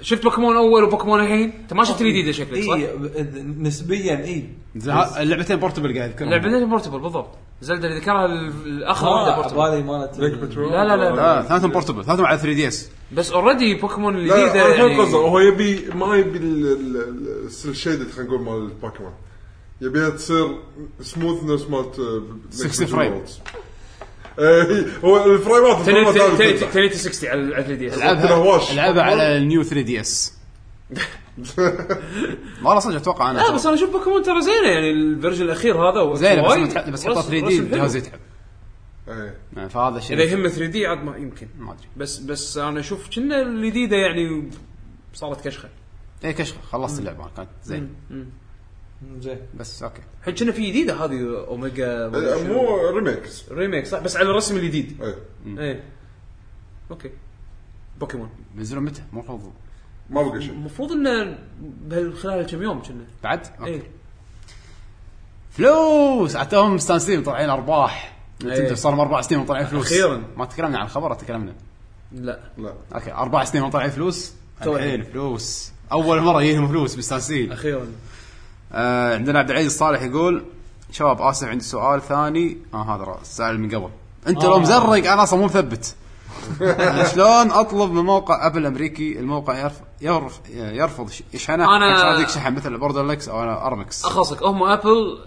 شفت بوكيمون اول وبوكيمون الحين انت ما شفت 3 دي ده شكلك صح؟ إيه، إيه. اي نسبيا اي إيه. إيه، زين، ها- اللعبتين بورتبل قاعد يذكرهم لعبتين بورتبل بالضبط زلدة اللي ذكرها ال- الاخر آه، واحده اه بورتبل. بالي مالت لينك بترول لا لا لا لا ثلاثهم بورتبل ثلاثهم على 3 دي اس بس اوريدي بوكيمون لا الجديده لا، أنا فهمت يعني قصده هو يبي ما يبي الشيدد خلينا نقول مال الباكمان يبيها تصير سموث نفس مالت آه، 60 Ninja frame. Turtles. إيه، هو الفريمات 1080 على ال 3 دي اس العبها بالهواش. العبها على النيو 3 دي اس والله صدق اتوقع انا لا بس انا اشوف بوكيمون ترى زينه يعني الفيرجن الاخير هذا و- زين بس وايد ما تح- بس حطها رسم- 3 دي رسم حلو. الجهاز يتعب إيه. آه، فهذا شيء اذا يهمه 3 دي عاد ما يمكن ما ادري بس بس انا اشوف كنا الجديده يعني صارت كشخه اي كشخه إيه، خلصت اللعبه كانت زين زين بس اوكي الحين كنا في جديده هذه اوميجا آه، مو ريميكس ريميك صح بس على الرسم الجديد إيه. ايه اوكي بوكيمون بينزلون متى؟ مو المفروض ما بقى شيء المفروض انه بهال- خلال كم يوم كنا بعد؟ اوكي ايه فلوس عتاهم مستانسين طالعين ارباح إيه. نتندو صار لهم اربع سنين وطالعين فلوس أخيراً. ما تكلمنا عن الخبر تكلمنا لا لا اوكي اربع سنين وطالعين فلوس تو الحين الحين. فلوس اول مره يجيهم فلوس مستانسين اخيرا آه عندنا عبد العزيز صالح يقول شباب اسف عندي سؤال ثاني اه هذا رأ- السؤال من قبل انت آه. لو مزرق انا اصلا مو مثبت أنا شلون اطلب من موقع ابل الامريكي الموقع يرف يرف يرفض ش- يشحنه أنا- عشان يعطيك شحن مثل بوردر لكس او أنا ارمكس اخلصك هم ابل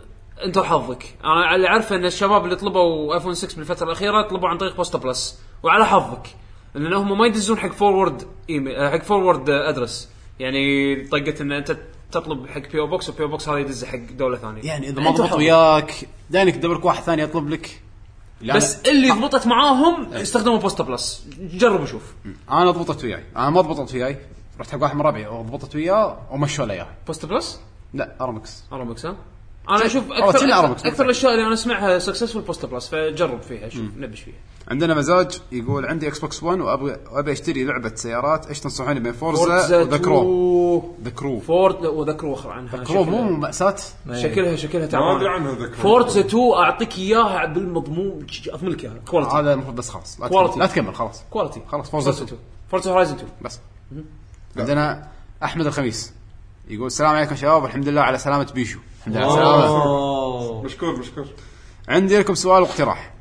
انت وحظك انا اللي اعرفه ان الشباب اللي طلبوا ايفون 6 بالفتره الاخيره طلبوا عن طريق بوستا بلس وعلى حظك لان هم ما يدزون حق فورورد ايميل آه، حق فورورد آه، ادرس يعني طقت ان انت تطلب حق بي او بوكس وبي او بوكس هذا يدزه حق دوله ثانيه يعني اذا ما أنت ضبط وحظك. وياك داينك دبرك واحد ثاني يطلب لك لا، بس اللي ضبطت معاهم استخدموا بوستا بلس جرب وشوف انا ضبطت وياي انا ما ضبطت وياي رحت حق واحد من ربعي وضبطت وياه ومشوا لي اياه بوستا بلس لا ارمكس ارامكس ها انا اشوف والله اكثر كله أرامكس. اكثر, أكثر الاشياء اللي انا اسمعها سكسسفول بوستا بلس فجرب فيها شوف نبش فيها عندنا مزاج يقول عندي اكس بوكس 1 وابغى ابي اشتري لعبه سيارات ايش تنصحوني بين فورزا فورتزا وذا كرو 2. ذا كرو فورد وذكروا اخر عنها كرو شكلها- مو مأساة شكلها شكلها ما ادري تعبان عنها ذكر فورتزا 2 اعطيك اياها بالمضمون اضمن لك اياها كواليتي هذا المفروض بس خلاص لا Quality. تكمل, لا تكمل خلاص كواليتي آه. خلاص، Forza 2. فورتزا هورايزن 2 بس عندنا احمد الخميس يقول السلام عليكم شباب والحمد لله على سلامه بيشو الحمد لله على سلامه اوه مشكور مشكور عندي لكم سؤال واقتراح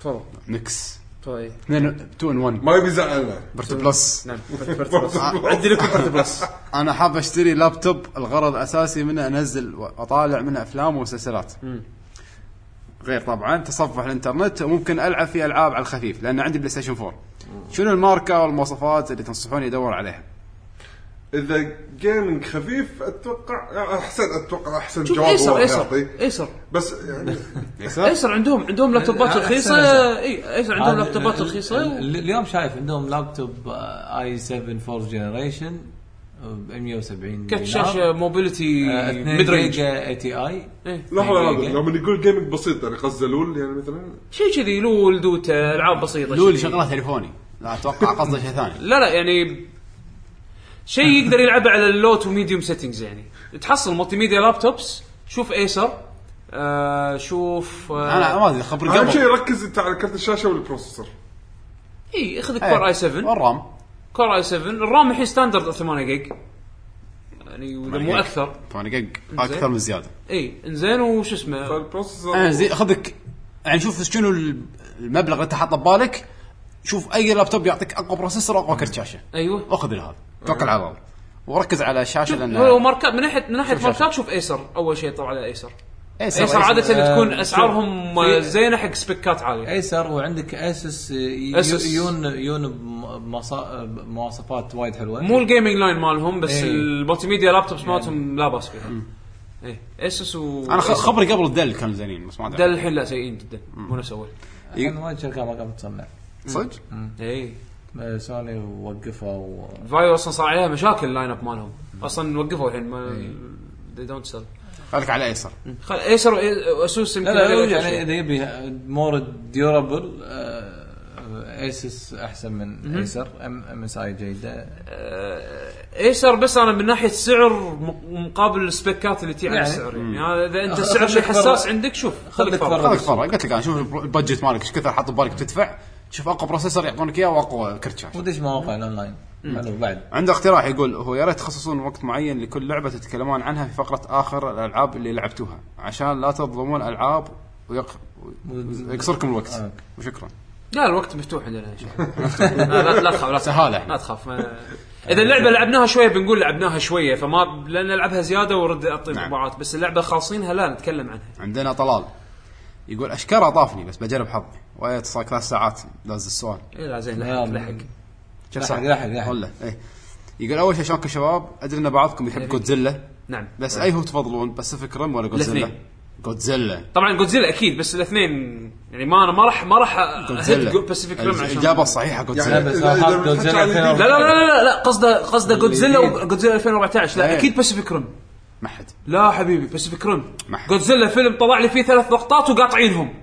تفضل نكس تفضل إيه. 2 2 1 ما يبي يزعلنا برت بلس نعم فرت- فرت بلس. عدي لكم فرت بلس انا حاب اشتري لابتوب الغرض الاساسي منه انزل واطالع منه افلام ومسلسلات غير طبعا تصفح الانترنت وممكن العب في العاب على الخفيف لان عندي بلاي ستيشن 4 شنو الماركه والمواصفات اللي تنصحوني ادور عليها؟ اذا جيمنج خفيف اتوقع يعني احسن اتوقع احسن شوف جواب ايسر هو ايسر يعطي. ايسر بس يعني ايسر عندهم عندهم لابتوبات أحسن رخيصه أحسن. اي ايسر إيه، عندهم لابتوبات رخيصه و- ال- اليوم شايف عندهم آه، لابتوب اي 7 4 جنريشن ب 170 كرت نعم. شاشه موبيلتي آه، ميد ميد رينج رينج اي تي اي إيه. لحظه لحظه جيمنج. لما يقول جيمنج بسيط يعني قصده لول يعني مثلا شيء كذي لول دوتا العاب بسيطه لول شذي. شغله تليفوني لا اتوقع قصده شيء ثاني لا لا يعني آه. شيء يقدر يلعبه على اللو تو ميديوم سيتنجز يعني تحصل مالتي ميديا لابتوبس شوف ايسر آه شوف آه انا ما ادري خبر اهم شيء قبل ركز انت على كرت الشاشه والبروسيسور اي اخذ إيه. كور اي 7 والرام كور اي 7 الرام الحين ستاندرد 8 جيج يعني وإذا مو اكثر 8 جيج اكثر من زياده اي انزين وش اسمه فالبروسيسور انا زي خذك يعني شوف شنو ال- المبلغ اللي انت حاطه ببالك شوف اي لابتوب يعطيك اقوى بروسيسور واقوى كرت شاشه ايوه اخذ هذا توكل على الله وركز على الشاشه شوف لان هو ماركات من ناحيه من ناحيه شوف شاشة. ماركات شوف ايسر اول شيء طلع على ايسر ايسر ايسر عاده إيه. تكون اسعارهم في- زينه حق سبيكات عاليه ايسر وعندك اسس Asus. يون يون بمصا- بمواصفات وايد حلوه مو الجيمنج لاين مالهم بس إيه. المالتي ميديا لابتوبس مالتهم لا باس فيها ايه اسس و انا خ- خبري قبل دل كانوا زينين بس ما ده ادري الحين لا سيئين جدا مو نفس اول الحين وايد شركات ما قامت تصنع صدق؟ اي آه، سوني وقفوا إيه. فايو اصلا صار عليها مشاكل اللاين اب مالهم اصلا وقفوا الحين ما إيه. they don't sell خليك على ايسر خل... ايسر واسوس يمكن لا لا هو أقل يعني شيء. اذا يبي مور ديورابل ايسس احسن آه، من ايسر ام ام اس اي جيده ايسر بس انا من ناحيه سعر م- مقابل السبيكات اللي تي على يعني. السعر يعني اذا انت خ- السعر شيء خليك برا. حساس عندك شوف خليك خليك فرق برا. خليك فرق قلت لك انا شوف البر- البادجت مالك ايش كثر حاط ببالك تدفع شوف اقوى بروسيسور يعطونك اياه واقوى كرت شاشه ودش مواقع الاونلاين حلو بعد عنده اقتراح يقول هو يا ريت تخصصون وقت معين لكل لعبه تتكلمون عنها في فقره اخر الالعاب اللي لعبتوها عشان لا تظلمون العاب ويق- ويقصركم آه. الوقت وشكرا لا الوقت مفتوح عندنا إن شاء الله. لا لا- لا تخاف لا تخاف سهالة لا احنا تخاف ما- اذا اللعبه لعبناها شويه بنقول لعبناها شويه فما لان نلعبها زياده ورد اعطي نعم. انطباعات بس اللعبه خالصينها لا نتكلم عنها عندنا طلال يقول اشكره طافني بس بجرب حظي وايد صار ثلاث ساعات داز السؤال اي إيه، لا زين لا، لحق لحق كيف لحق- صار؟ لحق- لحق. ولا ايه يقول اول شيء شلونكم شباب ادري ان بعضكم يحب جودزيلا نعم بس اي هو تفضلون باسيفيك رم ولا جودزيلا؟ الاثنين. جودزيلا طبعا جودزيلا اكيد بس الاثنين يعني ما انا ما راح ما راح جودزيلا اهد باسيفيك ريم عشان الاجابه الصحيحه يعني جودزيلا بس إذا- إذا حاط بنحكي جوزيلا على فيها- الجديد- لا لا لا لا لا قصده قصده جودزيلا وجودزيلا 2014 لا إيه. اكيد باسيفيك ريم ما حد لا حبيبي باسيفيك ريم ما حد. جودزيلا فيلم طلع لي فيه ثلاث لقطات وقاطعينهم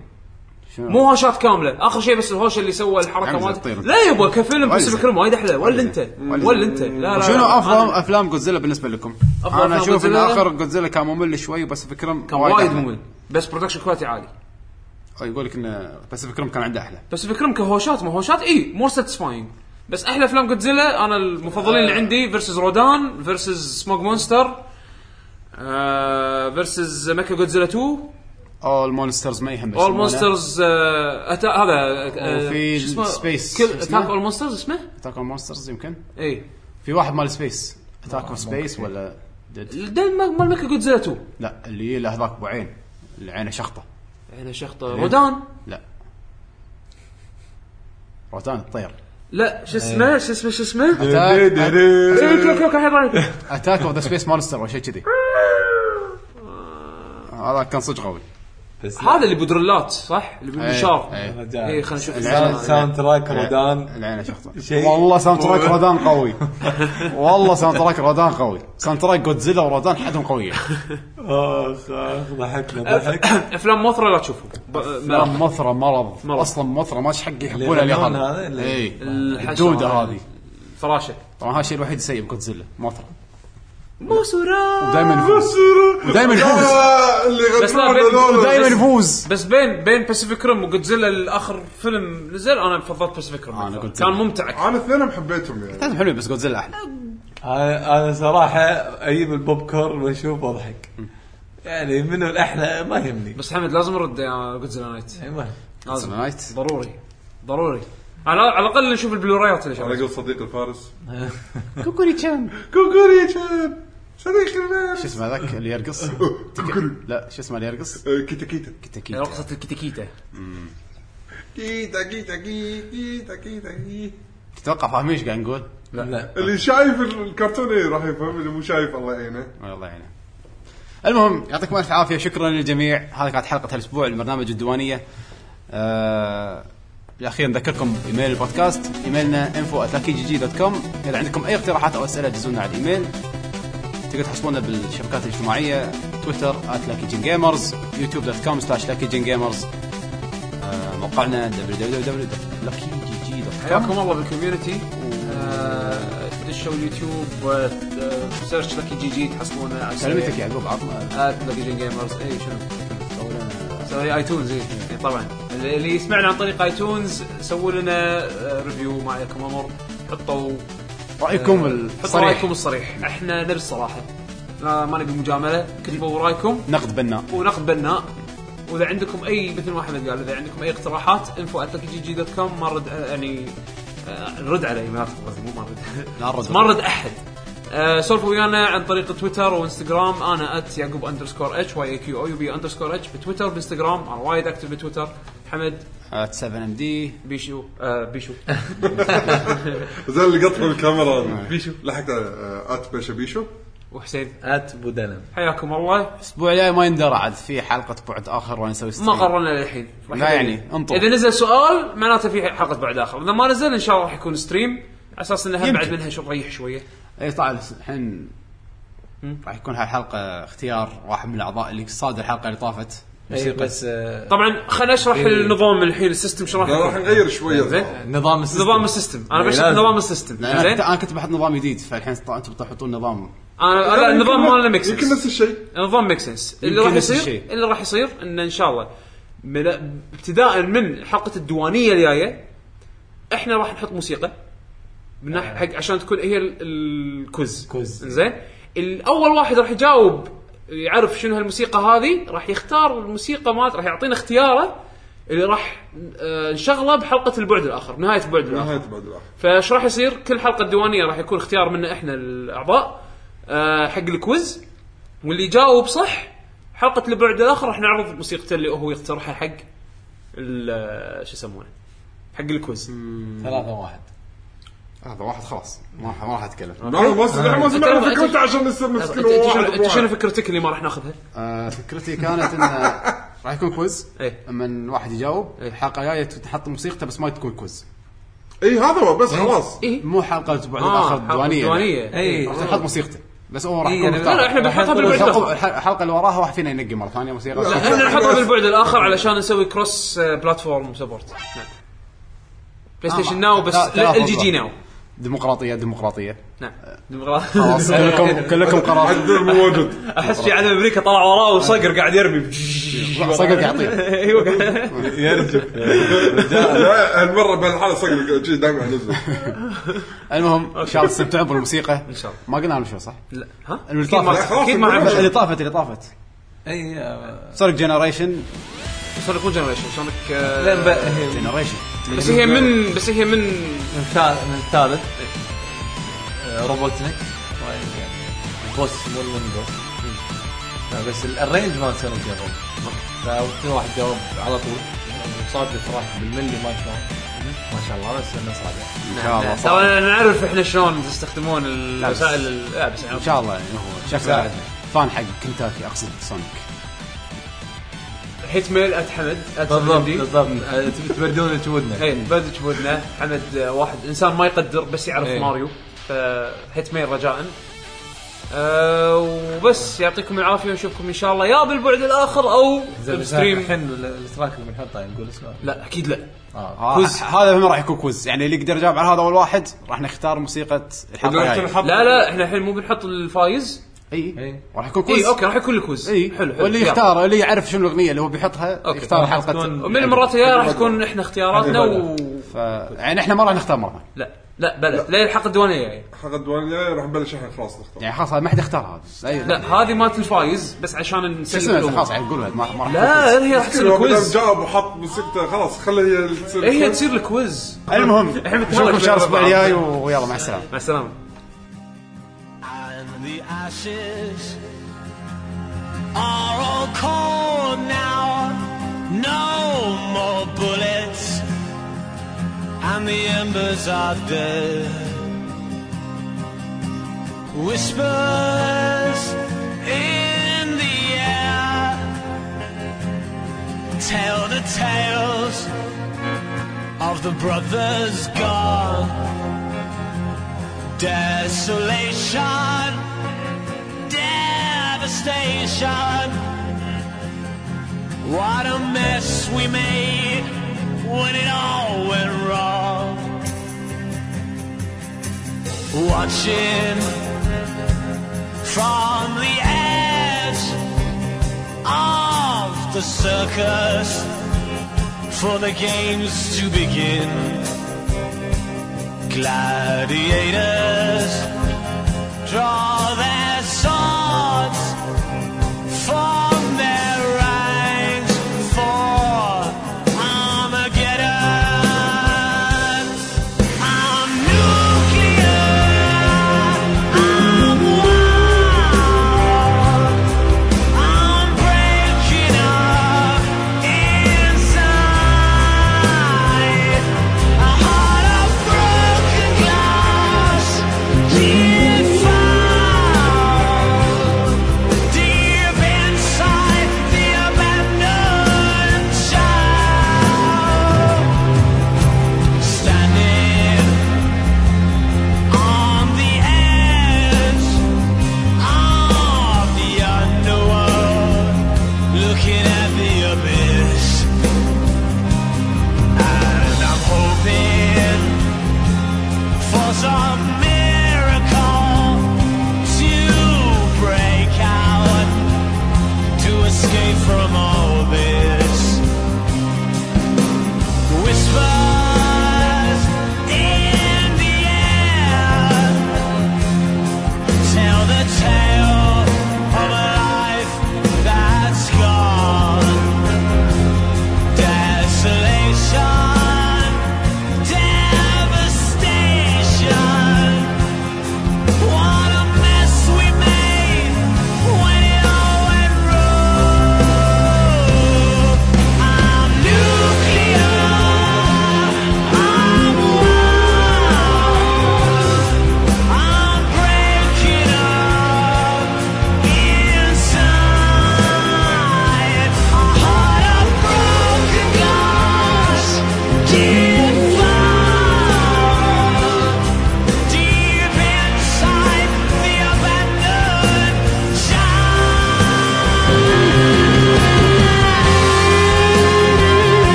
شنو؟ مو هوشات كامله اخر شيء بس الهوشه اللي سوى الحركه عمزة مالته تطير. لا يبا كفيلم ولا باسيفيك زين. ريم وايد احلى ولا زين. انت ولا ولا انت لا لا شنو لا. افضل أنا- افلام جودزيلا بالنسبه لكم؟ أفضل انا أفلام اشوف ان جودزيلا؟ اخر جودزيلا كان ممل شوي باسيفيك رم كان وايد أحلى. ممل بس برودكشن كواليتي عالي أو يقول لك ان باسيفيك رم كان عنده احلى بس فكرهم كهوشات ما هوشات اي مور ساتيسفاينج بس احلى افلام جودزيلا انا المفضلين اللي عندي فيرسز رودان فيرسز سموك مونستر آه، فيرسز ميكا جودزيلا 2 اول مونسترز ما يهم اول مونسترز هذا آه، وفي شو اسمه؟ Space. كل شو اسمه؟ اتاك اول مونسترز اسمه؟ إيه. اتاك اون مونسترز يمكن اي في واحد مال سبيس اتاك اوف آه، سبيس ولا ديد الدين مال- مال ميكا جودزيلا 2 لا اللي له هذاك ابو عين اللي عينه شخطه عينه شخطه رودان لا روتان الطير لا شو إيه. اسمه شو اسمه شو اسمه؟ اتاك كلوك كلوك كلوك الحين رايك. اتاك اوف ذا سبيس مونستر او شيء كذي هذا كان صدق قوي هذا اللي بدرلات صح؟ اللي بالمنشار إيه، إيه. اي خلينا نشوف العين- ساوند- ساوند تراك رودان العين شخطه شيء. والله ساوند تراك رودان قوي والله ساوند تراك رودان قوي ساوند تراك جودزيلا ورودان حدهم قويه اخ اخ آه، ضحكنا ضحك افلام موثره لا تشوفها ب- لا ما- مثرى مرض مرض. اصلا مثرى ما إيش حق يحبونها ليفنون اليابان هذا اللي- اي الحشرة الدوده هذه فراشه طبعا هذا الشيء الوحيد السيء بجودزيلا مثرى موسورا دائما يفوز دائما يفوز آه، اللي بس لا، يغنون بين- هذول. دائما يفوز بس بين بين باسيفيك ريم وجودزيلا الاخر فيلم نزل انا فضلت باسيفيك آه، أنا ريم Godzilla. كان ممتع أكثر. انا اثنينهم حبيتهم يعني لازم حلوين بس جودزيلا احلى انا أنا صراحه اجيب البوب كورن واشوف واضحك يعني منو الاحلى ما يهمني بس حمد لازم نرد يا جودزيلا نايت إيه، يعني ما- جودزيلا لازم نايت ضروري ضروري على على الاقل نشوف البلورايات اللي انا شغلت اقول صديق الفارس كوكوري تشان كوكوري يا شاب صديق الفارس شو اسمه هذاك اللي يرقص لا شو اسمه اللي يرقص آه، كيتا كيتا كتاكيت رقصه الكتكيته كيتا كيتا كيتا كيتا كيتا تتوقع فاهمين ايش قاعد نقول؟ لا اللي شايف الكرتون إيه، راح يفهم اللي مو شايف الله إيه، يعينه الله يعينه المهم يعطيكم الف عافيه شكرا للجميع هذه كانت حلقه هالاسبوع البرنامج الديوانيه آه... الاخير نذكركم ايميل البودكاست ايميلنا info اذا عندكم اي اقتراحات او اسئله دزونا على الايميل تقدر تحصلونا بالشبكات الاجتماعيه تويتر @luckygengamers youtube.com luckygengamers آه... موقعنا www.luckygg.com حياكم الله بالكوميونتي آه، دشوا اليوتيوب آه، سيرش لكي جي جي تحصلون على آه، كلمتك يعقوب عطنا ات لكي جيمرز اي إيه، شنو سوي ايتونز اي إي طبعا اللي إيه، اللي يسمعنا عن طريق ايتونز سووا لنا آه، ريفيو ما عليكم امر حطوا رايكم حطوا الصريح رايكم الصريح احنا نبي الصراحه لا- ما نبي مجامله كتبوا رايكم نقد بناء ونقد بناء واذا عندكم اي مثل ما احمد قال اذا عندكم اي اقتراحات انفو جي جي دوت كوم ما نرد يعني آه، نرد على ايميلاتكم قصدي مو ما نرد لا نرد. ما نرد احد آه، سولفوا ويانا عن طريق تويتر وانستغرام انا ات يعقوب اندرسكور اتش واي كيو او يو بي اندرسكور اتش بتويتر بانستغرام انا وايد اكتب بتويتر حمد ات 7 ام آه، دي بيشو آه بيشو زين اللي قطعوا الكاميرا بيشو لحقت على آه، ات باشا بيشو وحسين ات بودلم حياكم الله الاسبوع الجاي ما يندرى عاد في حلقه بعد اخر وانا اسوي ما قررنا للحين راح لا يدري. يعني، انطر. اذا نزل سؤال معناته في حلقه بعد اخر اذا ما نزل ان شاء الله راح يكون ستريم على اساس انه هم يمكن. بعد منها شو ريح شويه اي طبعا إيه، الحين راح يكون هالحلقه اختيار واحد من الاعضاء اللي صادر الحلقه اللي طافت اي بس آه، طبعا خليني اشرح النظام الحين السيستم شو راح لا، راح يكون نغير آه. شويه آه. زين الظاهر. نظام نظام السيستم السيستم انا إيه، بشرح لازم. نظام السيستم زين لأن انا كنت- انا أنا كنت بحط نظام جديد فالحين طا- انتم بتحطون نظام آه، لا، النظام يمكن- مالنا ميك يمكن نفس سنس الشيء النظام ميك سنس اللي يمكن راح نفس يصير الشيء. اللي راح يصير انه ان شاء الله من ابتداء من حلقه الديوانيه الجايه احنا راح نحط موسيقى من آه. ناحيه حق عشان تكون هي ال- الكوز كوز. زين الاول واحد راح يجاوب يعرف شنو هالموسيقى هذه راح يختار الموسيقى مالت راح يعطينا اختياره اللي راح آه، نشغله بحلقه البعد الاخر نهايه البعد الاخر نهايه بعد الاخر فايش راح يصير؟ كل حلقه الديوانيه راح يكون اختيار منا احنا الاعضاء آه، حق الكويز واللي يجاوب صح حلقه البعد الاخر راح نعرض موسيقته اللي هو يقترحها حق ال- آه، شو يسمونه حق الكويز ثلاثة واحد هذا واحد خلاص ما راح- ما راح اتكلم لا ما استطيع ما سمعنا أنت- أنت- فكرته عشان نصير انت مسكين أنت شنو- واحد أنت شنو بواحد. فكرتك اللي ما راح ناخذها؟ آه، فكرتي كانت انه راح يكون كويز إيه. اما واحد يجاوب إيه. الحلقه الجايه تحط موسيقته بس ما تكون كويز اي هذا هو بس خلاص اي مو حلقه الاسبوع اه الاخر حلقة إيه. الديوانيه ديوانيه إيه. اي راح تحط موسيقته بس هو راح إيه، يكون يعني مختار. لا، احنا بنحطها بالبعد الحلقة- الآخر. الحلقه اللي وراها واحد فينا ينقي مره ثانيه موسيقى لا. إيه. احنا نحطها بالبعد الاخر علشان نسوي كروس آه، بلاتفورم سبورت نعم. بلاي ستيشن آه، ناو بس لا، ثلاث ال جي جي أضلاع. ناو ديمقراطيه ديمقراطيه نعم آه. ديمقراط- خلاص كلكم كلكم قرار عدل موجود احس في عالم امريكا طلع وراه وصقر قاعد يرمي صقر يعطيه ايوه يرجف لا هالمره بهالحاله صدق شي دمع نزل المهم ان شاء الله تستمتعون بالموسيقى ان شاء الله. ما قلنا لهم شو صح؟ لا ها اللي اكيد طافت. ما اكيد ما خلاص، عرفت اللي طافت اللي طافت اي آه، سونيك جنريشن سونيك مو جنريشن سونيك آه، لين بقى هي جنريشن بس هي من بس هي من من الثالث- من الثالث آه، روبوتنيك طيب، يعني بوس مو لينجو آه، بس ال- الرينج ما سنة جرب فكل واحد جاوب على طول صادف راح بالملي ما شاء الله ما شاء الله بس انه صادف ان شاء الله صح. ترى يعني نعرف احنا شلون تستخدمون لا بس. الوسائل ال- آه، بس ان يعني شاء الله يعني هو شكله ساعدنا. فان حق كنتاكي اقصد سونيك هيت ميل ات حمد بالضبط بالضبط آه، تب- تبردون جهودنا اي بدج بودنا حمد آه، واحد انسان ما يقدر بس يعرف إيه. ماريو فهيت ميل رجاء آه، وبس يعطيكم العافيه ونشوفكم ان شاء الله يا بالبعد الاخر او بستريم الحين ال- الاشتراك اللي بنحطه نقول اسمه لا اكيد لا اه آه، كوز. هذا هم راح يكون كوز يعني اللي يقدر يجاوب على هذا اول واحد راح نختار موسيقى الحلقه الجايه لا لا احنا الحين مو بنحط الفايز اي إي. راح يكون كوز اي اوكي راح يكون الكوز اي حلو حلو إيه. واللي يلا. يختار اللي يعرف شنو الاغنيه اللي هو بيحطها أوكي. يختار راح حلقه تكون- ومن المرات الجايه راح يكون احنا اختياراتنا و ف... يعني احنا ما راح نختار مره ثانية. لا لا بلا لا الحق الديوانيه يعني حق الديوان الجاي راح نبلش احنا خلاص نختار يعني خلاص هذا ما حد اختار هذا أي- لا هذه مالت الفايز بس عشان شو اسمه نسلم خلاص يعني قولوا هذا ما ما راح يكون لا كوز. هي راح تصير كويس الكويز جاب وحط موسيقته خلاص خلها هي اللي تصير هي تصير الكويز المهم إحنا نشوفكم ان شاء الله الاسبوع الجاي ويلا مع السلامه مع السلامه and the ashes are all cold now. No more bullets, and the embers are dead. Whispers in the air tell the tales of the brothers gone desolation, devastation. What a mess we made when it all went wrong. Watching from the edge of the circus for the games to begin gladiators draw their swords from their ranks for Armageddon. I'm nuclear. I'm wild. I'm breaking up inside. A heart of broken glass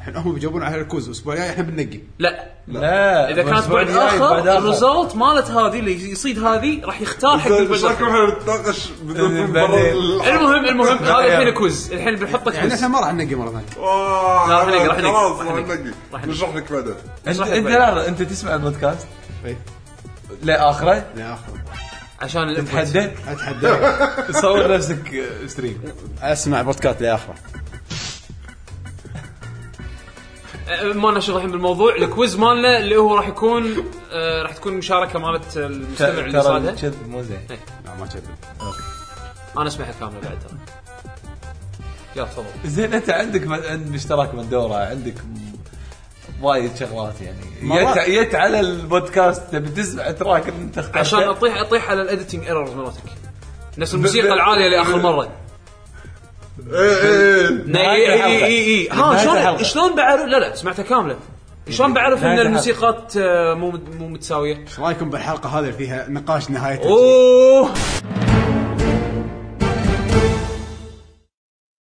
احنا هم بيجاوبون على الكوز الاسبوع الجاي احنا بننقي لا لا اذا كانت بعد اخر الريزلت مالت هذه اللي يصيد هذه راح يختار حق ايش البعد رايكم آخر. احنا نتناقش بدون بعدين. برا المهم المهم هذا الحين كوز الحين بنحطه يعني كوز احنا ما راح ننقي مره ثانيه آه، لا، راح نقرا، راح نقرا، خلاص راح راح نقرا. نقي راح نقرا. نشرح لك بعدين انت راح انت يبين. لا انت تسمع البودكاست إيه. لاخره لا اخر عشان الانفوت. تحدد اتحدى تصور نفسك ستريم اسمع بودكاست لاخره أه، ما لنا شغل الحين بالموضوع الكويز مالنا اللي هو راح يكون آه، راح تكون مشاركه مالت المستمع اللي ترى صادها الكذب مو زين لا ما كذب انا اسمعها كامله بعد ترى يلا تفضل زين انت عندك م- عند اشتراك من دوره عندك م- وايد شغلات يعني مرات. يت, يت على البودكاست تبي تسمع تراك اللي انت اخترته عشان اطيح اطيح على الاديتنج ايرورز مراتك نفس الموسيقى ب- العاليه لاخر مره ايه ايه اي نهاية اي الحلقة. اي اي ها نهاية شلون الحلقة. شلون بعرف لا لا سمعتها كامله شلون بعرف ان نهاية الحلقة. الموسيقات آه، مو مو متساويه ايش رايكم بالحلقه هذه اللي فيها نقاش نهايه اوه